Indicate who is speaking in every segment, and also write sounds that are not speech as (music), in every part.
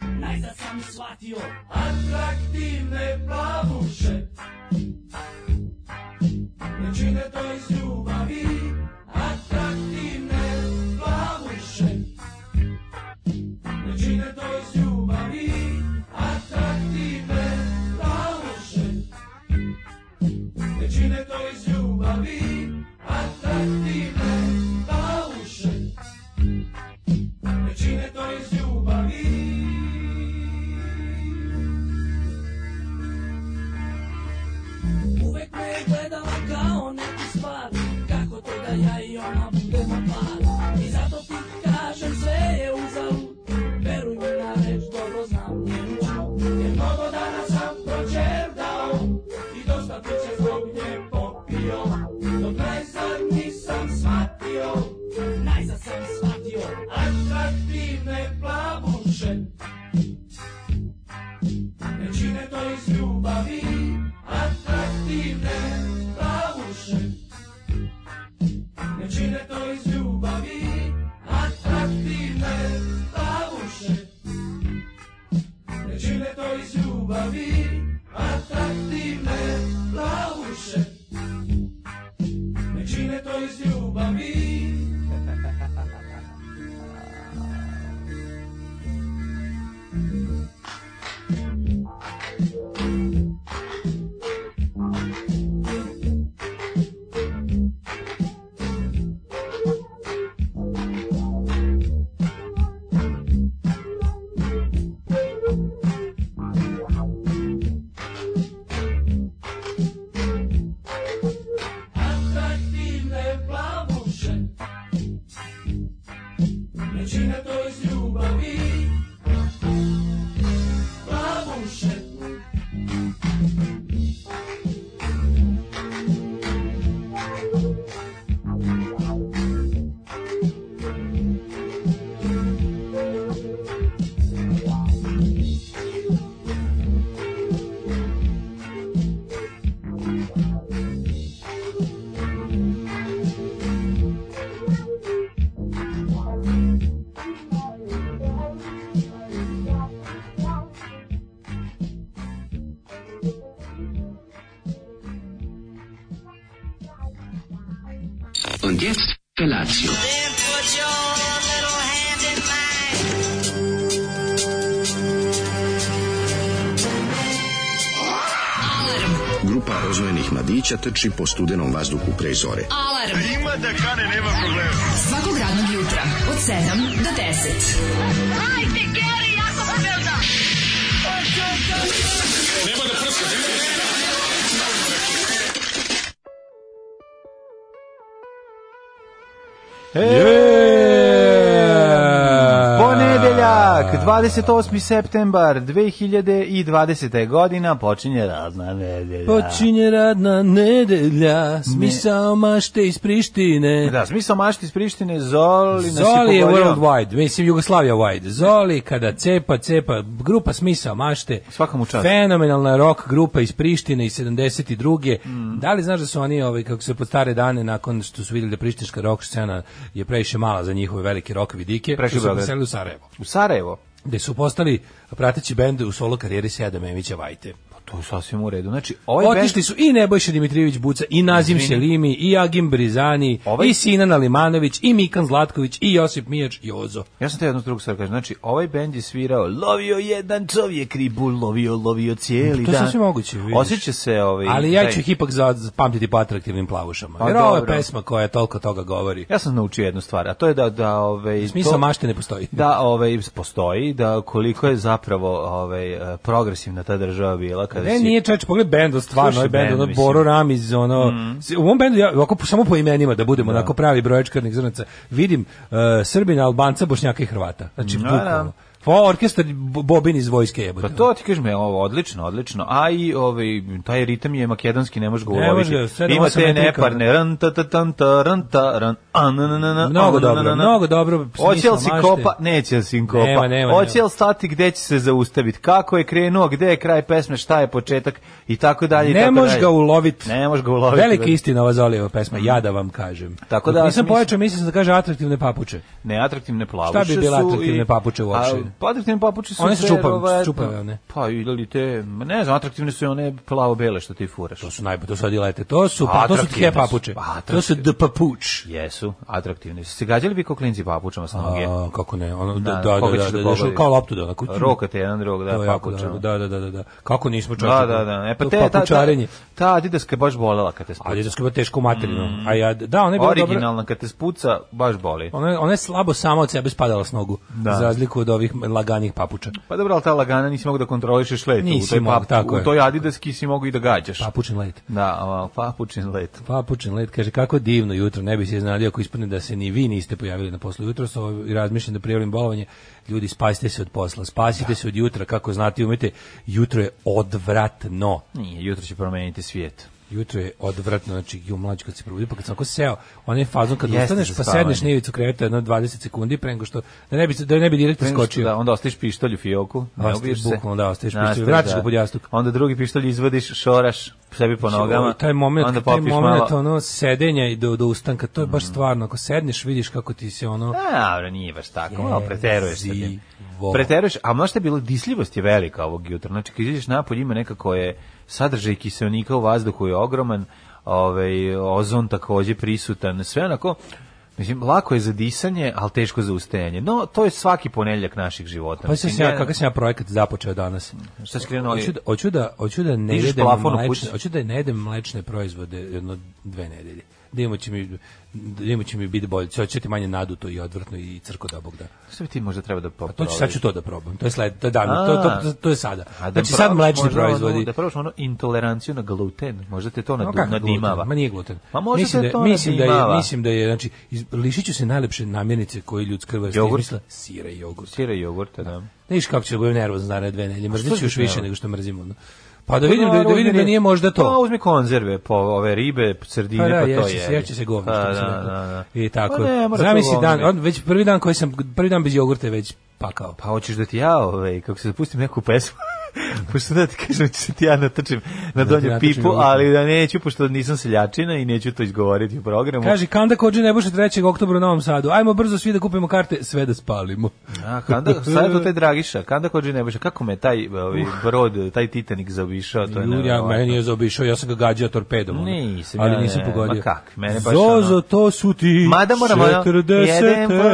Speaker 1: Onda da sam shvatio atraktivne plavuše Ne čine to iz ljubavi Atraktivne plavuše Ne čine to iz ljubavi Atraktivne plavuše Ne čine to iz ljubavi Atraktivne plavuše Ne čine to iz ljubavi Uvek me je gledala kao neku stvar Kako to da ja i ona budemo par I zato ti kažem sve je uzalud Veruj mi na reč, dobro znam njenu čao Jer mnogo dana sam pročerdao I dosta priče zbog nje popio Dok najzad nisam shvatio Najzad sam shvatio Atraktivne plavuše ne čine to iz ljubavi, atraktivne plavuše. Ne čine to iz ljubavi, atraktivne plavuše. Ne čine to iz ljubavi, atraktivne plavuše. Ne čine to iz ljubavi, atraktivne plavuše. Ne čine to iz ljubavi, plavuše.
Speaker 2: Und jetzt Felatio.
Speaker 3: Then put your little hand in mine.
Speaker 4: Grupa rozvojenih mladića trči po studenom vazduhu pre zore.
Speaker 5: Alarm. Ima da kane, nema problema. Svakog radnog jutra, od 7 do 10. Hajde, Geri, jako se velda.
Speaker 6: Ponedeljak, 28. septembar 2020. godina, počinje radna nedelja.
Speaker 1: Počinje radna nedelja, smisao mašte iz Prištine.
Speaker 6: Da, smisao mašti iz Prištine, Zoli nas
Speaker 1: Zoli
Speaker 6: je
Speaker 1: je
Speaker 6: pogodio.
Speaker 1: world wide, mislim Jugoslavia wide. Zoli kada cepa, cepa, grupa smisao mašte.
Speaker 6: Svaka mu čast.
Speaker 1: Fenomenalna rock grupa iz Prištine iz 72.
Speaker 6: Mm.
Speaker 1: Da li znaš da su oni ovaj kako se pod stare dane nakon što su vidjeli da prištinska rock scena je previše mala za njihove velike rock vidike,
Speaker 6: Prešli
Speaker 1: što su
Speaker 6: Beograd.
Speaker 1: preselili u Sarajevo,
Speaker 6: U Sarajevo.
Speaker 1: gde su postali prateći bend u solo karijeri Sjeda Memića Vajte.
Speaker 6: Pa to je sasvim u redu. Znači, ovaj band-
Speaker 1: Otišli su i Nebojša Dimitrijević Buca, i Nazim
Speaker 6: Izvini.
Speaker 1: Selimi, i Agim Brizani,
Speaker 6: Ovaj-
Speaker 1: i Sinan Alimanović, i Mikan Zlatković, i Josip Mijač Jozo.
Speaker 6: Ja sam te jednu drugu stvar kažem. Znači, ovaj bend je svirao lovio jedan čovjek ribu, lovio, lovio cijeli
Speaker 1: To je
Speaker 6: dan.
Speaker 1: sasvim moguće, vidiš.
Speaker 6: Osjeća se ovaj...
Speaker 1: Ali ja
Speaker 6: taj-
Speaker 1: ću ih ipak za- zapamtiti po atraktivnim plavušama.
Speaker 6: Pa
Speaker 1: Jer ovo je
Speaker 6: dobro.
Speaker 1: pesma koja toliko toga govori.
Speaker 6: Ja sam naučio jednu stvar, a to je da... da ovaj,
Speaker 1: Smisao
Speaker 6: to-
Speaker 1: mašte ne postoji.
Speaker 6: da ovaj postoji da koliko je zapravo ovaj eh, progresivna ta država bila kada
Speaker 1: Ne,
Speaker 6: da si
Speaker 1: nije čovječ, pogled bendo, stvarno,
Speaker 6: Slušaj
Speaker 1: ovaj bend,
Speaker 6: bend,
Speaker 1: ono,
Speaker 6: mislim. Mhm.
Speaker 1: Boro Ramiz, ono, s- u ovom bendu, ja, ovako, po- samo po imenima, da budemo onako pravi brojač krvnih zrnaca, vidim uh, Srbina, Albanca, Bošnjaka i Hrvata. Znači,
Speaker 6: Da,
Speaker 1: bukvalno.
Speaker 6: da.
Speaker 1: Pa orkestar B- Bobin iz vojske jebote.
Speaker 6: Pa to ti kažem, je ovo odlično, odlično. A i ovaj taj ritam je makedonski, ne možeš ga
Speaker 1: Ne može
Speaker 6: uloviti.
Speaker 1: ga, sedam,
Speaker 6: Ima
Speaker 1: osam
Speaker 6: te
Speaker 1: metrika.
Speaker 6: neparne ran ta ta tan ta ran ta ran. a, na, na, na, na,
Speaker 1: Mnogo
Speaker 6: a, na, na,
Speaker 1: dobro,
Speaker 6: na, na.
Speaker 1: mnogo dobro.
Speaker 6: Hoće
Speaker 1: smisao
Speaker 6: li si
Speaker 1: mašte.
Speaker 6: kopa? Neće li si kopa.
Speaker 1: Nema, nema,
Speaker 6: Hoće
Speaker 1: nema.
Speaker 6: li stati gde će se zaustaviti? Kako je krenuo, gde je kraj pesme, šta je početak i tako dalje i
Speaker 1: Ne
Speaker 6: tako
Speaker 1: možeš
Speaker 6: dalje.
Speaker 1: ga uloviti.
Speaker 6: Ne možeš ga uloviti.
Speaker 1: Velika
Speaker 6: da.
Speaker 1: istina ova Zolijeva pesma, ja da vam kažem.
Speaker 6: Tako
Speaker 1: Dok
Speaker 6: da,
Speaker 1: nisam
Speaker 6: mislim-
Speaker 1: pojačao, mislim da kaže atraktivne papuče.
Speaker 6: Neatraktivne plavuše
Speaker 1: Šta bi bile
Speaker 6: su i-
Speaker 1: atraktivne papuče uopšte?
Speaker 6: A, Pa atraktivne papuče su
Speaker 7: One su
Speaker 6: sve
Speaker 7: čupave,
Speaker 6: verovatno-
Speaker 7: čupave one.
Speaker 6: Pa ili te, ma ne znam, atraktivne su i one plavo-bele što ti furaš.
Speaker 7: To su najbolje, to su odilete. To su, pa, to su
Speaker 6: Atraktivne
Speaker 7: tke
Speaker 6: su.
Speaker 7: papuče.
Speaker 6: Pa,
Speaker 7: To su
Speaker 6: atraktivne.
Speaker 7: d papuč.
Speaker 6: Jesu, atraktivni su. Se gađali bi kao klinci papučama s noge?
Speaker 7: A, kako ne, ono, da,
Speaker 6: Da,
Speaker 7: da, da, da,
Speaker 6: koga
Speaker 7: da,
Speaker 6: ćeš da
Speaker 7: da, da,
Speaker 6: pogodiš?
Speaker 7: kao loptu da, onako.
Speaker 6: Rokate jedan drugog,
Speaker 7: To
Speaker 6: da,
Speaker 7: je jako dobro.
Speaker 6: papučama.
Speaker 7: Da, da, da, da, da. Kako nismo čak.
Speaker 6: Da, da, da. E pa te ta ta,
Speaker 7: papučarenje.
Speaker 6: ta Adidaska je baš bolela kad te spuca.
Speaker 7: Ali je skoro teško materijalno.
Speaker 6: Mm.
Speaker 7: A ja da, ona je bila dobra.
Speaker 6: Originalna kad te spuca baš boli.
Speaker 7: Ona, je- ona je slabo sama od sebe spadala s nogu.
Speaker 6: Da.
Speaker 7: Za razliku od ovih laganih papuča.
Speaker 6: Pa dobro, ali ta lagana nisi mogao da kontrolišeš let.
Speaker 7: Nisi
Speaker 6: u toj,
Speaker 7: mogao, tako je.
Speaker 6: u toj Adidaski si mogao i da gađaš.
Speaker 7: Papučin let.
Speaker 6: Da, a, papučin let.
Speaker 7: Papučin let kaže kako divno jutro, ne bi se iznadio ako ispadne da se ni vi niste pojavili na poslu jutro, sa i razmišljam da prijavim bolovanje. Ljudi, spasite se od posla, spasite se od jutra, kako znate i umete, jutro je odvratno.
Speaker 6: Nije, jutro će promeniti svijet.
Speaker 7: Jutro je odvratno, znači ju mlađi kad se probudi, pa kad sam ako seo, on je fazon kad
Speaker 6: Jeste
Speaker 7: ustaneš
Speaker 6: za
Speaker 7: pa
Speaker 6: spavanje.
Speaker 7: sedneš na ivicu kreveta na 20 sekundi pre nego što da ne bi da ne bi direktno
Speaker 6: Prema što
Speaker 7: skočio.
Speaker 6: Da, onda ostaviš pištolj u fioku, ne
Speaker 7: Ostaviš,
Speaker 6: ubiješ se.
Speaker 7: bukvalno da, ostaviš
Speaker 6: Nastaviš,
Speaker 7: pištolj, vratiš ga pod jastuk.
Speaker 6: Onda drugi pištolj izvadiš, šoraš sebi po nogama.
Speaker 7: Joj, Znači, taj moment,
Speaker 6: onda
Speaker 7: taj
Speaker 6: popiješ
Speaker 7: moment da
Speaker 6: malo. Mhm.
Speaker 7: ono sedenja i do, do ustanka, to je baš stvarno, ako sedneš vidiš kako ti se ono
Speaker 6: A, Pa, dobro, nije baš tako, malo preteruješ sa tim.
Speaker 7: Jezivo.
Speaker 6: Preteruješ, a možda je bilo, disljivost je velika ovog jutra. Znači, kad izađeš napolje, ima nekako je sadržaj kiselnika u vazduhu je ogroman, ovaj, ozon takođe prisutan, sve onako, Mislim, lako je za disanje, ali teško za ustajanje. No, to je svaki ponedjeljak naših života.
Speaker 7: Pa se
Speaker 6: Mislim,
Speaker 7: ja
Speaker 6: ne-
Speaker 7: kakav sam ja projekat započeo danas.
Speaker 6: Šta si krenuo?
Speaker 7: Hoću da, hoću da, hoću da ne
Speaker 6: Dižeš
Speaker 7: jedem
Speaker 6: plafon u
Speaker 7: mlečne,
Speaker 6: kući?
Speaker 7: hoću da ne jedem mlečne proizvode jedno dve nedelje. Dimo će mi dimo će mi biti bolje, će će ti manje naduto i odvrtno i crko da bog da.
Speaker 6: Šta bi ti možda treba da
Speaker 7: Pa
Speaker 6: popraviš?
Speaker 7: to ću sad ću to da probam. To je sled, to je dan, to, to, to, to je sada.
Speaker 6: A da
Speaker 7: znači sad
Speaker 6: probaš
Speaker 7: mlečni
Speaker 6: možda ono-
Speaker 7: proizvodi.
Speaker 6: Da probaš ono intoleranciju na gluten, možda te to
Speaker 7: Ma
Speaker 6: nad,
Speaker 7: kako
Speaker 6: nadimava.
Speaker 7: gluten? Ma nije gluten.
Speaker 6: Ma Pa možda te
Speaker 7: mislim da, je-
Speaker 6: to
Speaker 7: mislim da
Speaker 6: nadimava.
Speaker 7: je mislim da je znači iz, lišiću se najlepše namirnice koje ljudska vrsta
Speaker 6: Jogurt.
Speaker 7: izmislila, sira i jogurt.
Speaker 6: Sira i jogurta, da.
Speaker 7: Ne viš kako će da budem nervozan za dve nedelje, mrzit ću
Speaker 6: Pa što
Speaker 7: još
Speaker 6: si
Speaker 7: više
Speaker 6: nervozan?
Speaker 7: nego što mrzim. ono. Pa da vidim, da, da,
Speaker 6: uzmi
Speaker 7: vidim da
Speaker 6: ri-
Speaker 7: nije možda
Speaker 6: Pa
Speaker 7: to.
Speaker 6: uzmi konzerve, po ove ribe, srdine,
Speaker 7: Pa
Speaker 6: pa,
Speaker 7: da,
Speaker 6: to
Speaker 7: ješće se,
Speaker 6: je.
Speaker 7: ješće se govno.
Speaker 6: Pa,
Speaker 7: što
Speaker 6: da,
Speaker 7: bi se reklo.
Speaker 6: da, da.
Speaker 7: I tako.
Speaker 6: Pa ne, mora to
Speaker 7: Zamisli dan,
Speaker 6: govno
Speaker 7: on, već prvi dan koji sam, prvi dan bez jogurta je već pakao.
Speaker 6: Pa hoćeš da ti ja, ovaj, kako se zapustim neku pesmu, (laughs) pošto da ti kažem, ću se ti ja natačim na
Speaker 7: Da ti
Speaker 6: donju
Speaker 7: natačim
Speaker 6: pipu,
Speaker 7: jogurta.
Speaker 6: ali da neću, pošto nisam seljačina i neću to izgovoriti u programu.
Speaker 7: Kaže, kanda kođe ne boše 3. oktobra u Novom Sadu. Ajmo brzo svi da kupimo karte, sve da spalimo.
Speaker 6: A,
Speaker 7: (laughs)
Speaker 6: kanda, sad to taj Dragiša, kanda kod Džinebiša, kako me taj ovi, brod, taj Titanic zaobišao, to je
Speaker 7: Ljudi, ja,
Speaker 6: nevjerovatno.
Speaker 7: meni je zaobišao, ja sam ga gađao torpedom. ono.
Speaker 6: Nisam, ja
Speaker 7: ali
Speaker 6: ne,
Speaker 7: nisam
Speaker 6: ne,
Speaker 7: pogodio.
Speaker 6: ma kak, mene baš
Speaker 7: Zozo,
Speaker 6: ono-
Speaker 7: to su ti
Speaker 6: Mada moramo, ono,
Speaker 7: 40.
Speaker 6: jedem, po,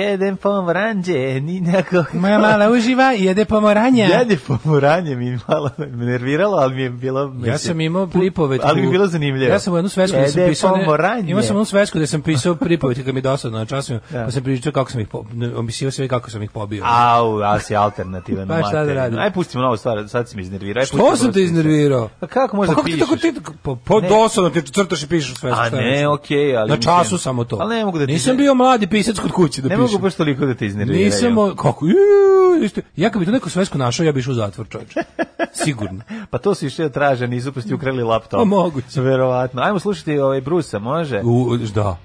Speaker 6: jedem pomranđe, ni neko...
Speaker 7: Moja mala uživa i jede pomoranja.
Speaker 6: Jedje pomoranje mi je malo me nerviralo, ali mi je bilo...
Speaker 7: Ja
Speaker 6: mislim,
Speaker 7: sam imao pripovetku.
Speaker 6: Ali mi je bilo zanimljivo.
Speaker 7: Ja sam u jednu svesku gde sam
Speaker 6: Jede
Speaker 7: pisao. Ne,
Speaker 6: pomoranje.
Speaker 7: imao sam jednu svesku gde sam pisao pripovetke kad mi je dosadno na času,
Speaker 6: Da.
Speaker 7: pa sam pričao kako sam ih po- ne, opisivao sve kako sam ih pobio.
Speaker 6: Au, a si alternativan
Speaker 7: Pa šta da
Speaker 6: materijan.
Speaker 7: radim?
Speaker 6: Aj, pustimo novu stvar, sad si mi iznervirao. aj,
Speaker 7: Pa Što
Speaker 6: pustimo
Speaker 7: sam
Speaker 6: prosto
Speaker 7: te
Speaker 6: ništa.
Speaker 7: iznervirao?
Speaker 6: Pa kako možda
Speaker 7: pa kako ti
Speaker 6: pišeš?
Speaker 7: tako ti pa, pa
Speaker 6: Ne.
Speaker 7: dosadno ti crtaš i pišeš svesku.
Speaker 6: A
Speaker 7: šta
Speaker 6: ne,
Speaker 7: je?
Speaker 6: okej, ali
Speaker 7: Na
Speaker 6: mislim-
Speaker 7: času samo to.
Speaker 6: Ali ne mogu da ti-
Speaker 7: Nisam bio mladi pisac kod kuće da
Speaker 6: Ne
Speaker 7: pišem.
Speaker 6: mogu baš toliko da te iznerviraju.
Speaker 7: Nisam, o- kako, Iu, isto- ja kad bi tu neku svesku našao, ja bi išao u
Speaker 6: (laughs)
Speaker 7: zatvor, čovječe. Sigurno.
Speaker 6: Pa to su išli traže, nisu pa ste ukrali laptop.
Speaker 7: Pa moguće.
Speaker 6: Verovatno. Ajmo slušati ovaj Brusa, može?
Speaker 7: U, da.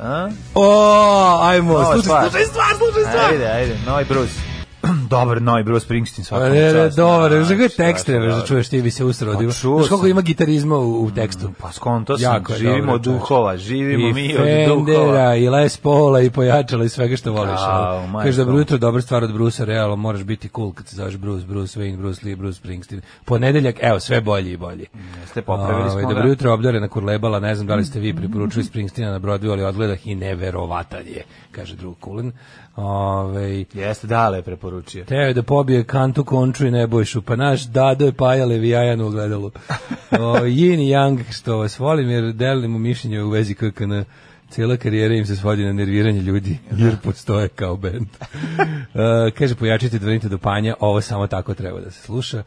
Speaker 6: A?
Speaker 7: O, ajmo,
Speaker 6: Nova
Speaker 7: slušaj,
Speaker 6: stvar.
Speaker 7: slušaj stvar, slušaj stvar.
Speaker 6: Ajde, ajde, Novi Bruce. (clears throat) Dobar Novi Bruce Springsteen
Speaker 7: Pa
Speaker 6: svakom
Speaker 7: ne, ne,
Speaker 6: čast.
Speaker 7: dobro,
Speaker 6: Da,
Speaker 7: znaš kako je
Speaker 6: strašno
Speaker 7: tekst, ne,
Speaker 6: dobro.
Speaker 7: da čuješ, ti bi se usrao.
Speaker 6: Pa
Speaker 7: divo.
Speaker 6: čuo
Speaker 7: Znaš koliko
Speaker 6: sam.
Speaker 7: ima gitarizma u, u tekstu.
Speaker 6: Pa skonto sam,
Speaker 7: Jako je
Speaker 6: živimo
Speaker 7: dobro,
Speaker 6: od
Speaker 7: čovječe.
Speaker 6: duhova, živimo
Speaker 7: I
Speaker 6: mi od duhova.
Speaker 7: Fendera, i Les Paula, i pojačala, i svega što voliš.
Speaker 6: Au,
Speaker 7: ali.
Speaker 6: majko.
Speaker 7: Kažeš dobro jutro, dobra stvar od Brusa, realno, moraš biti cool kad se zoveš Bruce, Bruce Wayne, Bruce Lee, Bruce Springsteen. Ponedeljak, evo, sve bolje i bolje.
Speaker 6: Jeste, popravili
Speaker 7: Ovaj,
Speaker 6: smo da.
Speaker 7: Dobro
Speaker 6: ga.
Speaker 7: jutro, obdarena kurlebala, ne znam da li ste vi preporučili Springsteena na Broadway, ali odgledah i neverovatan je, kaže drug Kulen. Ovaj,
Speaker 6: Jeste, dale je preporučio.
Speaker 7: Teo je da pobije kantu konču i nebojšu, pa naš dado je paja Levijajan u (laughs) ogledalu. O, yin i yang, što vas volim, jer delim mu mišljenje u vezi KKN. Cijela karijera im se svodi na nerviranje ljudi, jer postoje kao bend. (laughs) E, kaže, pojačite dvrnite do panja, ovo samo tako treba da se sluša.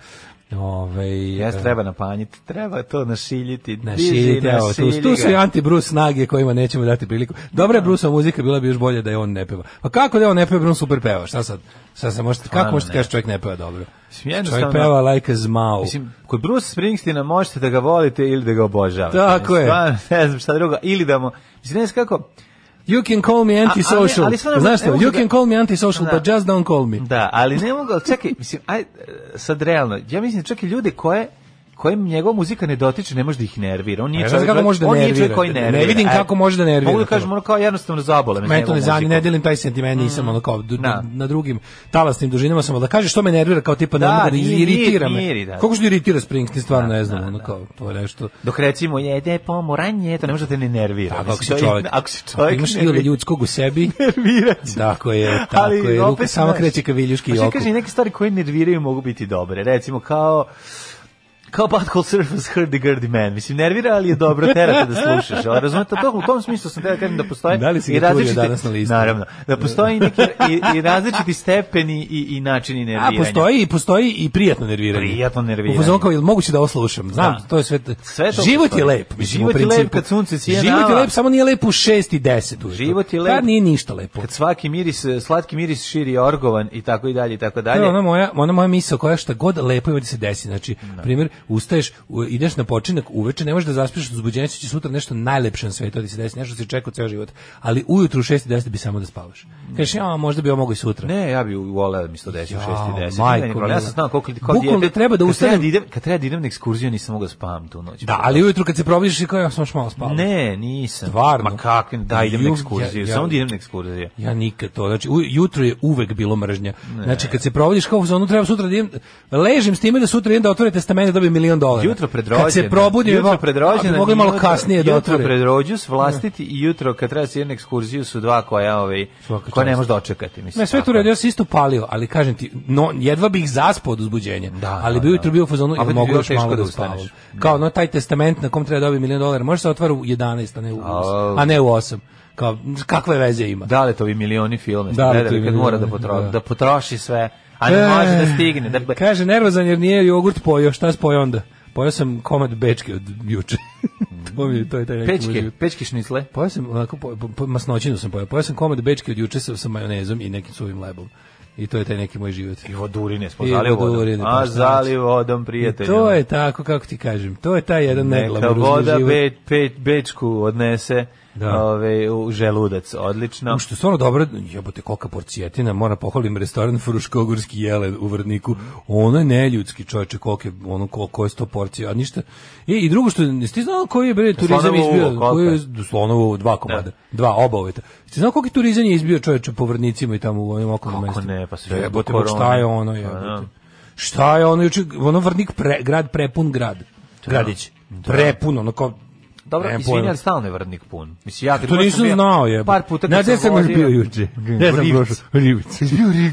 Speaker 7: Ove,
Speaker 6: Jeste, treba napanjiti, treba to našiljiti. diži,
Speaker 7: Da. Našiljite, evo, tu,
Speaker 6: našilji
Speaker 7: tu su
Speaker 6: ga. Da.
Speaker 7: i anti-Bruce snage kojima nećemo dati priliku. Dobra je Bruce muzika, bila bi još bolje da je on ne peva. Pa kako da je on ne peva, Bruce super peva, šta sad? Šta se možete, kako
Speaker 6: Stvarno
Speaker 7: možete
Speaker 6: ne.
Speaker 7: kaži čovjek ne peva dobro?
Speaker 6: Mislim,
Speaker 7: Čovjek
Speaker 6: jednostavno-
Speaker 7: peva like a zmao.
Speaker 6: Mislim, kod Bruce Springsteena možete da ga volite ili da ga obožavate.
Speaker 7: Tako je.
Speaker 6: Stvarno, ne znam šta drugo. Ili da mu... Mislim, ne znam kako...
Speaker 7: You can call me antisocial.
Speaker 6: A- ali- ali stvarno,
Speaker 7: Znaš što,
Speaker 6: ne mogu
Speaker 7: you
Speaker 6: da-
Speaker 7: can call me antisocial,
Speaker 6: Da.
Speaker 7: but just don't call me.
Speaker 6: Da, ali ne mogu, ali čekaj, mislim, aj, e, sad realno, ja mislim čak i ljude koje kojem njegova muzika ne dotiče, ne može da ih nervira. On nije
Speaker 7: ne
Speaker 6: čovjek,
Speaker 7: znam kako može da
Speaker 6: on nije čovjek
Speaker 7: nervira.
Speaker 6: koji
Speaker 7: Ne
Speaker 6: nervira.
Speaker 7: vidim
Speaker 6: E,
Speaker 7: kako može da nervira
Speaker 6: Mogu da kažem,
Speaker 7: to.
Speaker 6: ono kao jednostavno zabole me.
Speaker 7: Mene to
Speaker 6: njegovom
Speaker 7: ne zanima, ne
Speaker 6: muzikom.
Speaker 7: delim taj sentiment, nisam ono kao d-
Speaker 6: Da.
Speaker 7: na drugim talasnim dužinama sam, ali da kažeš što me nervira, kao tipa ne
Speaker 6: Da,
Speaker 7: mogu da
Speaker 6: nije-
Speaker 7: iritira
Speaker 6: nije-
Speaker 7: me.
Speaker 6: nije, da.
Speaker 7: Kako što iritira Springsteen, stvarno
Speaker 6: Da,
Speaker 7: ne znam,
Speaker 6: da,
Speaker 7: ono
Speaker 6: da.
Speaker 7: kao, to je nešto.
Speaker 6: Dok recimo jede pomoranje, to ne može da te ne nervira.
Speaker 7: Tako,
Speaker 6: Mislim,
Speaker 7: Pa, ako si
Speaker 6: to je-
Speaker 7: čovjek,
Speaker 6: Ako si čovjek,
Speaker 7: imaš
Speaker 6: nervira-
Speaker 7: ilu ljudskog u
Speaker 6: (laughs)
Speaker 7: sebi,
Speaker 6: nervira će.
Speaker 7: tako
Speaker 6: (laughs)
Speaker 7: je, tako je, ruka sama
Speaker 6: znaš,
Speaker 7: kreće ka viljuški
Speaker 6: pa što
Speaker 7: joku.
Speaker 6: Kaže, neke stvari koje nerviraju mogu biti dobre. Recimo, kao kao Butthole Surface Hurdy Gurdy Man. Mislim, nervira, ali je dobro terate da slušaš. Ali razumete, to, u tom smislu sam te da kažem da postoje
Speaker 7: Da li si ga
Speaker 6: i
Speaker 7: turio
Speaker 6: različiti,
Speaker 7: danas na listu?
Speaker 6: Naravno, da postoji neki i, i različiti stepeni i, i načini
Speaker 7: A,
Speaker 6: nerviranja.
Speaker 7: postoji, postoji i prijatno nerviranje.
Speaker 6: Prijatno nerviranje.
Speaker 7: U fazonu kao, jel moguće da ovo slušam? Znam,
Speaker 6: Da.
Speaker 7: to je sve...
Speaker 6: Sve to
Speaker 7: život
Speaker 6: postoji.
Speaker 7: je lep, mislim,
Speaker 6: Život
Speaker 7: u
Speaker 6: je lep
Speaker 7: principu.
Speaker 6: kad sunce sije
Speaker 7: Život je
Speaker 6: nama.
Speaker 7: lep, samo nije lep u 6 i 10 ujutru.
Speaker 6: Život je lep.
Speaker 7: Tad nije ništa lepo.
Speaker 6: Kad svaki miris, slatki miris širi orgovan i tako i dalje i tako dalje.
Speaker 7: To je ona moja, ona moja misao koja šta god lepo je da se desi. Znači, primjer, ustaješ, u- ideš na počinak uveče, ne možeš da zaspiš od uzbuđenja, će sutra nešto najlepše na svetu da ti se desi, nešto što si čekao ceo život. Ali ujutru u 6.10 bi samo da spavaš. Kažeš, ja, možda bi ovo mogo i sutra.
Speaker 6: Ne, ja bi voleo da mi 110 u 6 i 10.
Speaker 7: Jao,
Speaker 6: Majko,
Speaker 7: majko
Speaker 6: ja
Speaker 7: mila.
Speaker 6: sam znao koliko kao
Speaker 7: Bukvalno
Speaker 6: dijete-
Speaker 7: treba da
Speaker 6: kad
Speaker 7: ustanem-
Speaker 6: treba idem, kad treba da idem na ekskurziju nisam mogao da spavam tu noć.
Speaker 7: Da, ali ujutru kad se probudiš i kao, ja sam još malo spavao.
Speaker 6: Ne, nisam.
Speaker 7: Stvarno?
Speaker 6: Ma kakvim, da idem na
Speaker 7: Ju,
Speaker 6: ekskurziju,
Speaker 7: ja- ja- Pa
Speaker 6: samo da idem na ekskurziju.
Speaker 7: Ja nikad to, znači u, jutro je uvek bilo mržnja. Znači kad se provodiš kao za onu treba sutra da idem, ležim s time da sutra idem da otvorim testament i dobijem milion dolara.
Speaker 6: Jutro pred rođendan.
Speaker 7: da. Kad se probudim,
Speaker 6: jutro
Speaker 7: evo,
Speaker 6: pred rođendan,
Speaker 7: a bi mogli malo
Speaker 6: jutro-
Speaker 7: kasnije da
Speaker 6: Jutro
Speaker 7: otvore.
Speaker 6: pred rođus vlastiti i jutro kad treba da se jedna ekskurziju su dva koja, ovaj,
Speaker 7: Svaka
Speaker 6: koja ne
Speaker 7: čast.
Speaker 6: može dočekati. Mislim,
Speaker 7: Ne, sve tu
Speaker 6: tako.
Speaker 7: redio, ja sam isto palio, ali kažem ti, no, jedva bih zaspao od uzbuđenja,
Speaker 6: Da,
Speaker 7: ali
Speaker 6: da,
Speaker 7: bi ujutro
Speaker 6: da.
Speaker 7: bio u fazonu,
Speaker 6: A
Speaker 7: jel
Speaker 6: bi ti
Speaker 7: mogu
Speaker 6: bilo
Speaker 7: još
Speaker 6: teško
Speaker 7: malo
Speaker 6: da
Speaker 7: da spavam.
Speaker 6: ustaneš.
Speaker 7: Kao, no, taj testament na kom treba dobiti milion dolara, može se otvara u 11, a ne u 8,
Speaker 6: Au.
Speaker 7: a ne u 8. Kao, kakve veze ima?
Speaker 6: Da li to vi milioni filme?
Speaker 7: Da li
Speaker 6: Da
Speaker 7: to
Speaker 6: li
Speaker 7: vi
Speaker 6: kad mora da,
Speaker 7: milioni,
Speaker 6: potro,
Speaker 7: da.
Speaker 6: da potroši sve, a ne može da stigne. Da,
Speaker 7: E, Kaže, nervozan jer nije jogurt pojeo, šta spojeo onda? Pojeo sam komad bečke od juče. (laughs) to, mi, je- to je taj neki moj
Speaker 6: pečke,
Speaker 7: život.
Speaker 6: pečke šnicle.
Speaker 7: Pojeo sam, onako, po, po, po- masnoćinu sam pojeo. Pojeo sam komad bečke od juče sa, sa majonezom i nekim suvim lebom. I to je taj neki moj život.
Speaker 6: I vodurine, smo
Speaker 7: I
Speaker 6: zali vodom.
Speaker 7: vodurine, pa
Speaker 6: A
Speaker 7: šta
Speaker 6: zali vodom,
Speaker 7: I
Speaker 6: prijatelju.
Speaker 7: to je tako, kako ti kažem, to je taj jedan
Speaker 6: Neka
Speaker 7: neglamoruzni
Speaker 6: voda
Speaker 7: život.
Speaker 6: be, pe, bečku odnese
Speaker 7: Da.
Speaker 6: ovaj, u želudac, odlično.
Speaker 7: U, Što je stvarno dobro, jebote kolika porcijetina, moram pohvalim restoran Fruškogorski jelen u Vrdniku. Ono je neljudski, čoveče, kolike, ono ko, ko je sto porcija, a ništa. E, I, i drugo što, jesi ti znao koji je bre turizam
Speaker 6: Slonovo Da. uvo, koliko
Speaker 7: izbio? Koji
Speaker 6: je?
Speaker 7: je slonovo dva komada, dva oba uveta. Jesi znao koliki turizam je izbio čoveče po Vrdnicima i tamo u onim okolnim
Speaker 6: Kako
Speaker 7: mestima?
Speaker 6: ne, pa sve
Speaker 7: jebote,
Speaker 6: do
Speaker 7: ma šta je
Speaker 6: korone.
Speaker 7: ono,
Speaker 6: Pa
Speaker 7: jebote.
Speaker 6: da.
Speaker 7: Šta je ono, juče, ono Vrdnik pre, grad prepun grad.
Speaker 6: Da.
Speaker 7: Gradić. Prepun, ono kao
Speaker 6: Dobro,
Speaker 7: nemam
Speaker 6: izvini,
Speaker 7: pojma.
Speaker 6: ali stalno je vrdnik pun. Mislim, ja kad
Speaker 7: To
Speaker 6: god sam
Speaker 7: nisam
Speaker 6: bio-
Speaker 7: znao je.
Speaker 6: Par puta
Speaker 7: Na
Speaker 6: kad
Speaker 7: gde
Speaker 6: sam
Speaker 7: sam još
Speaker 6: vozio-
Speaker 7: bio juče. Ne znam
Speaker 6: Ribic.
Speaker 7: prošao.
Speaker 6: (laughs)
Speaker 7: Ribic.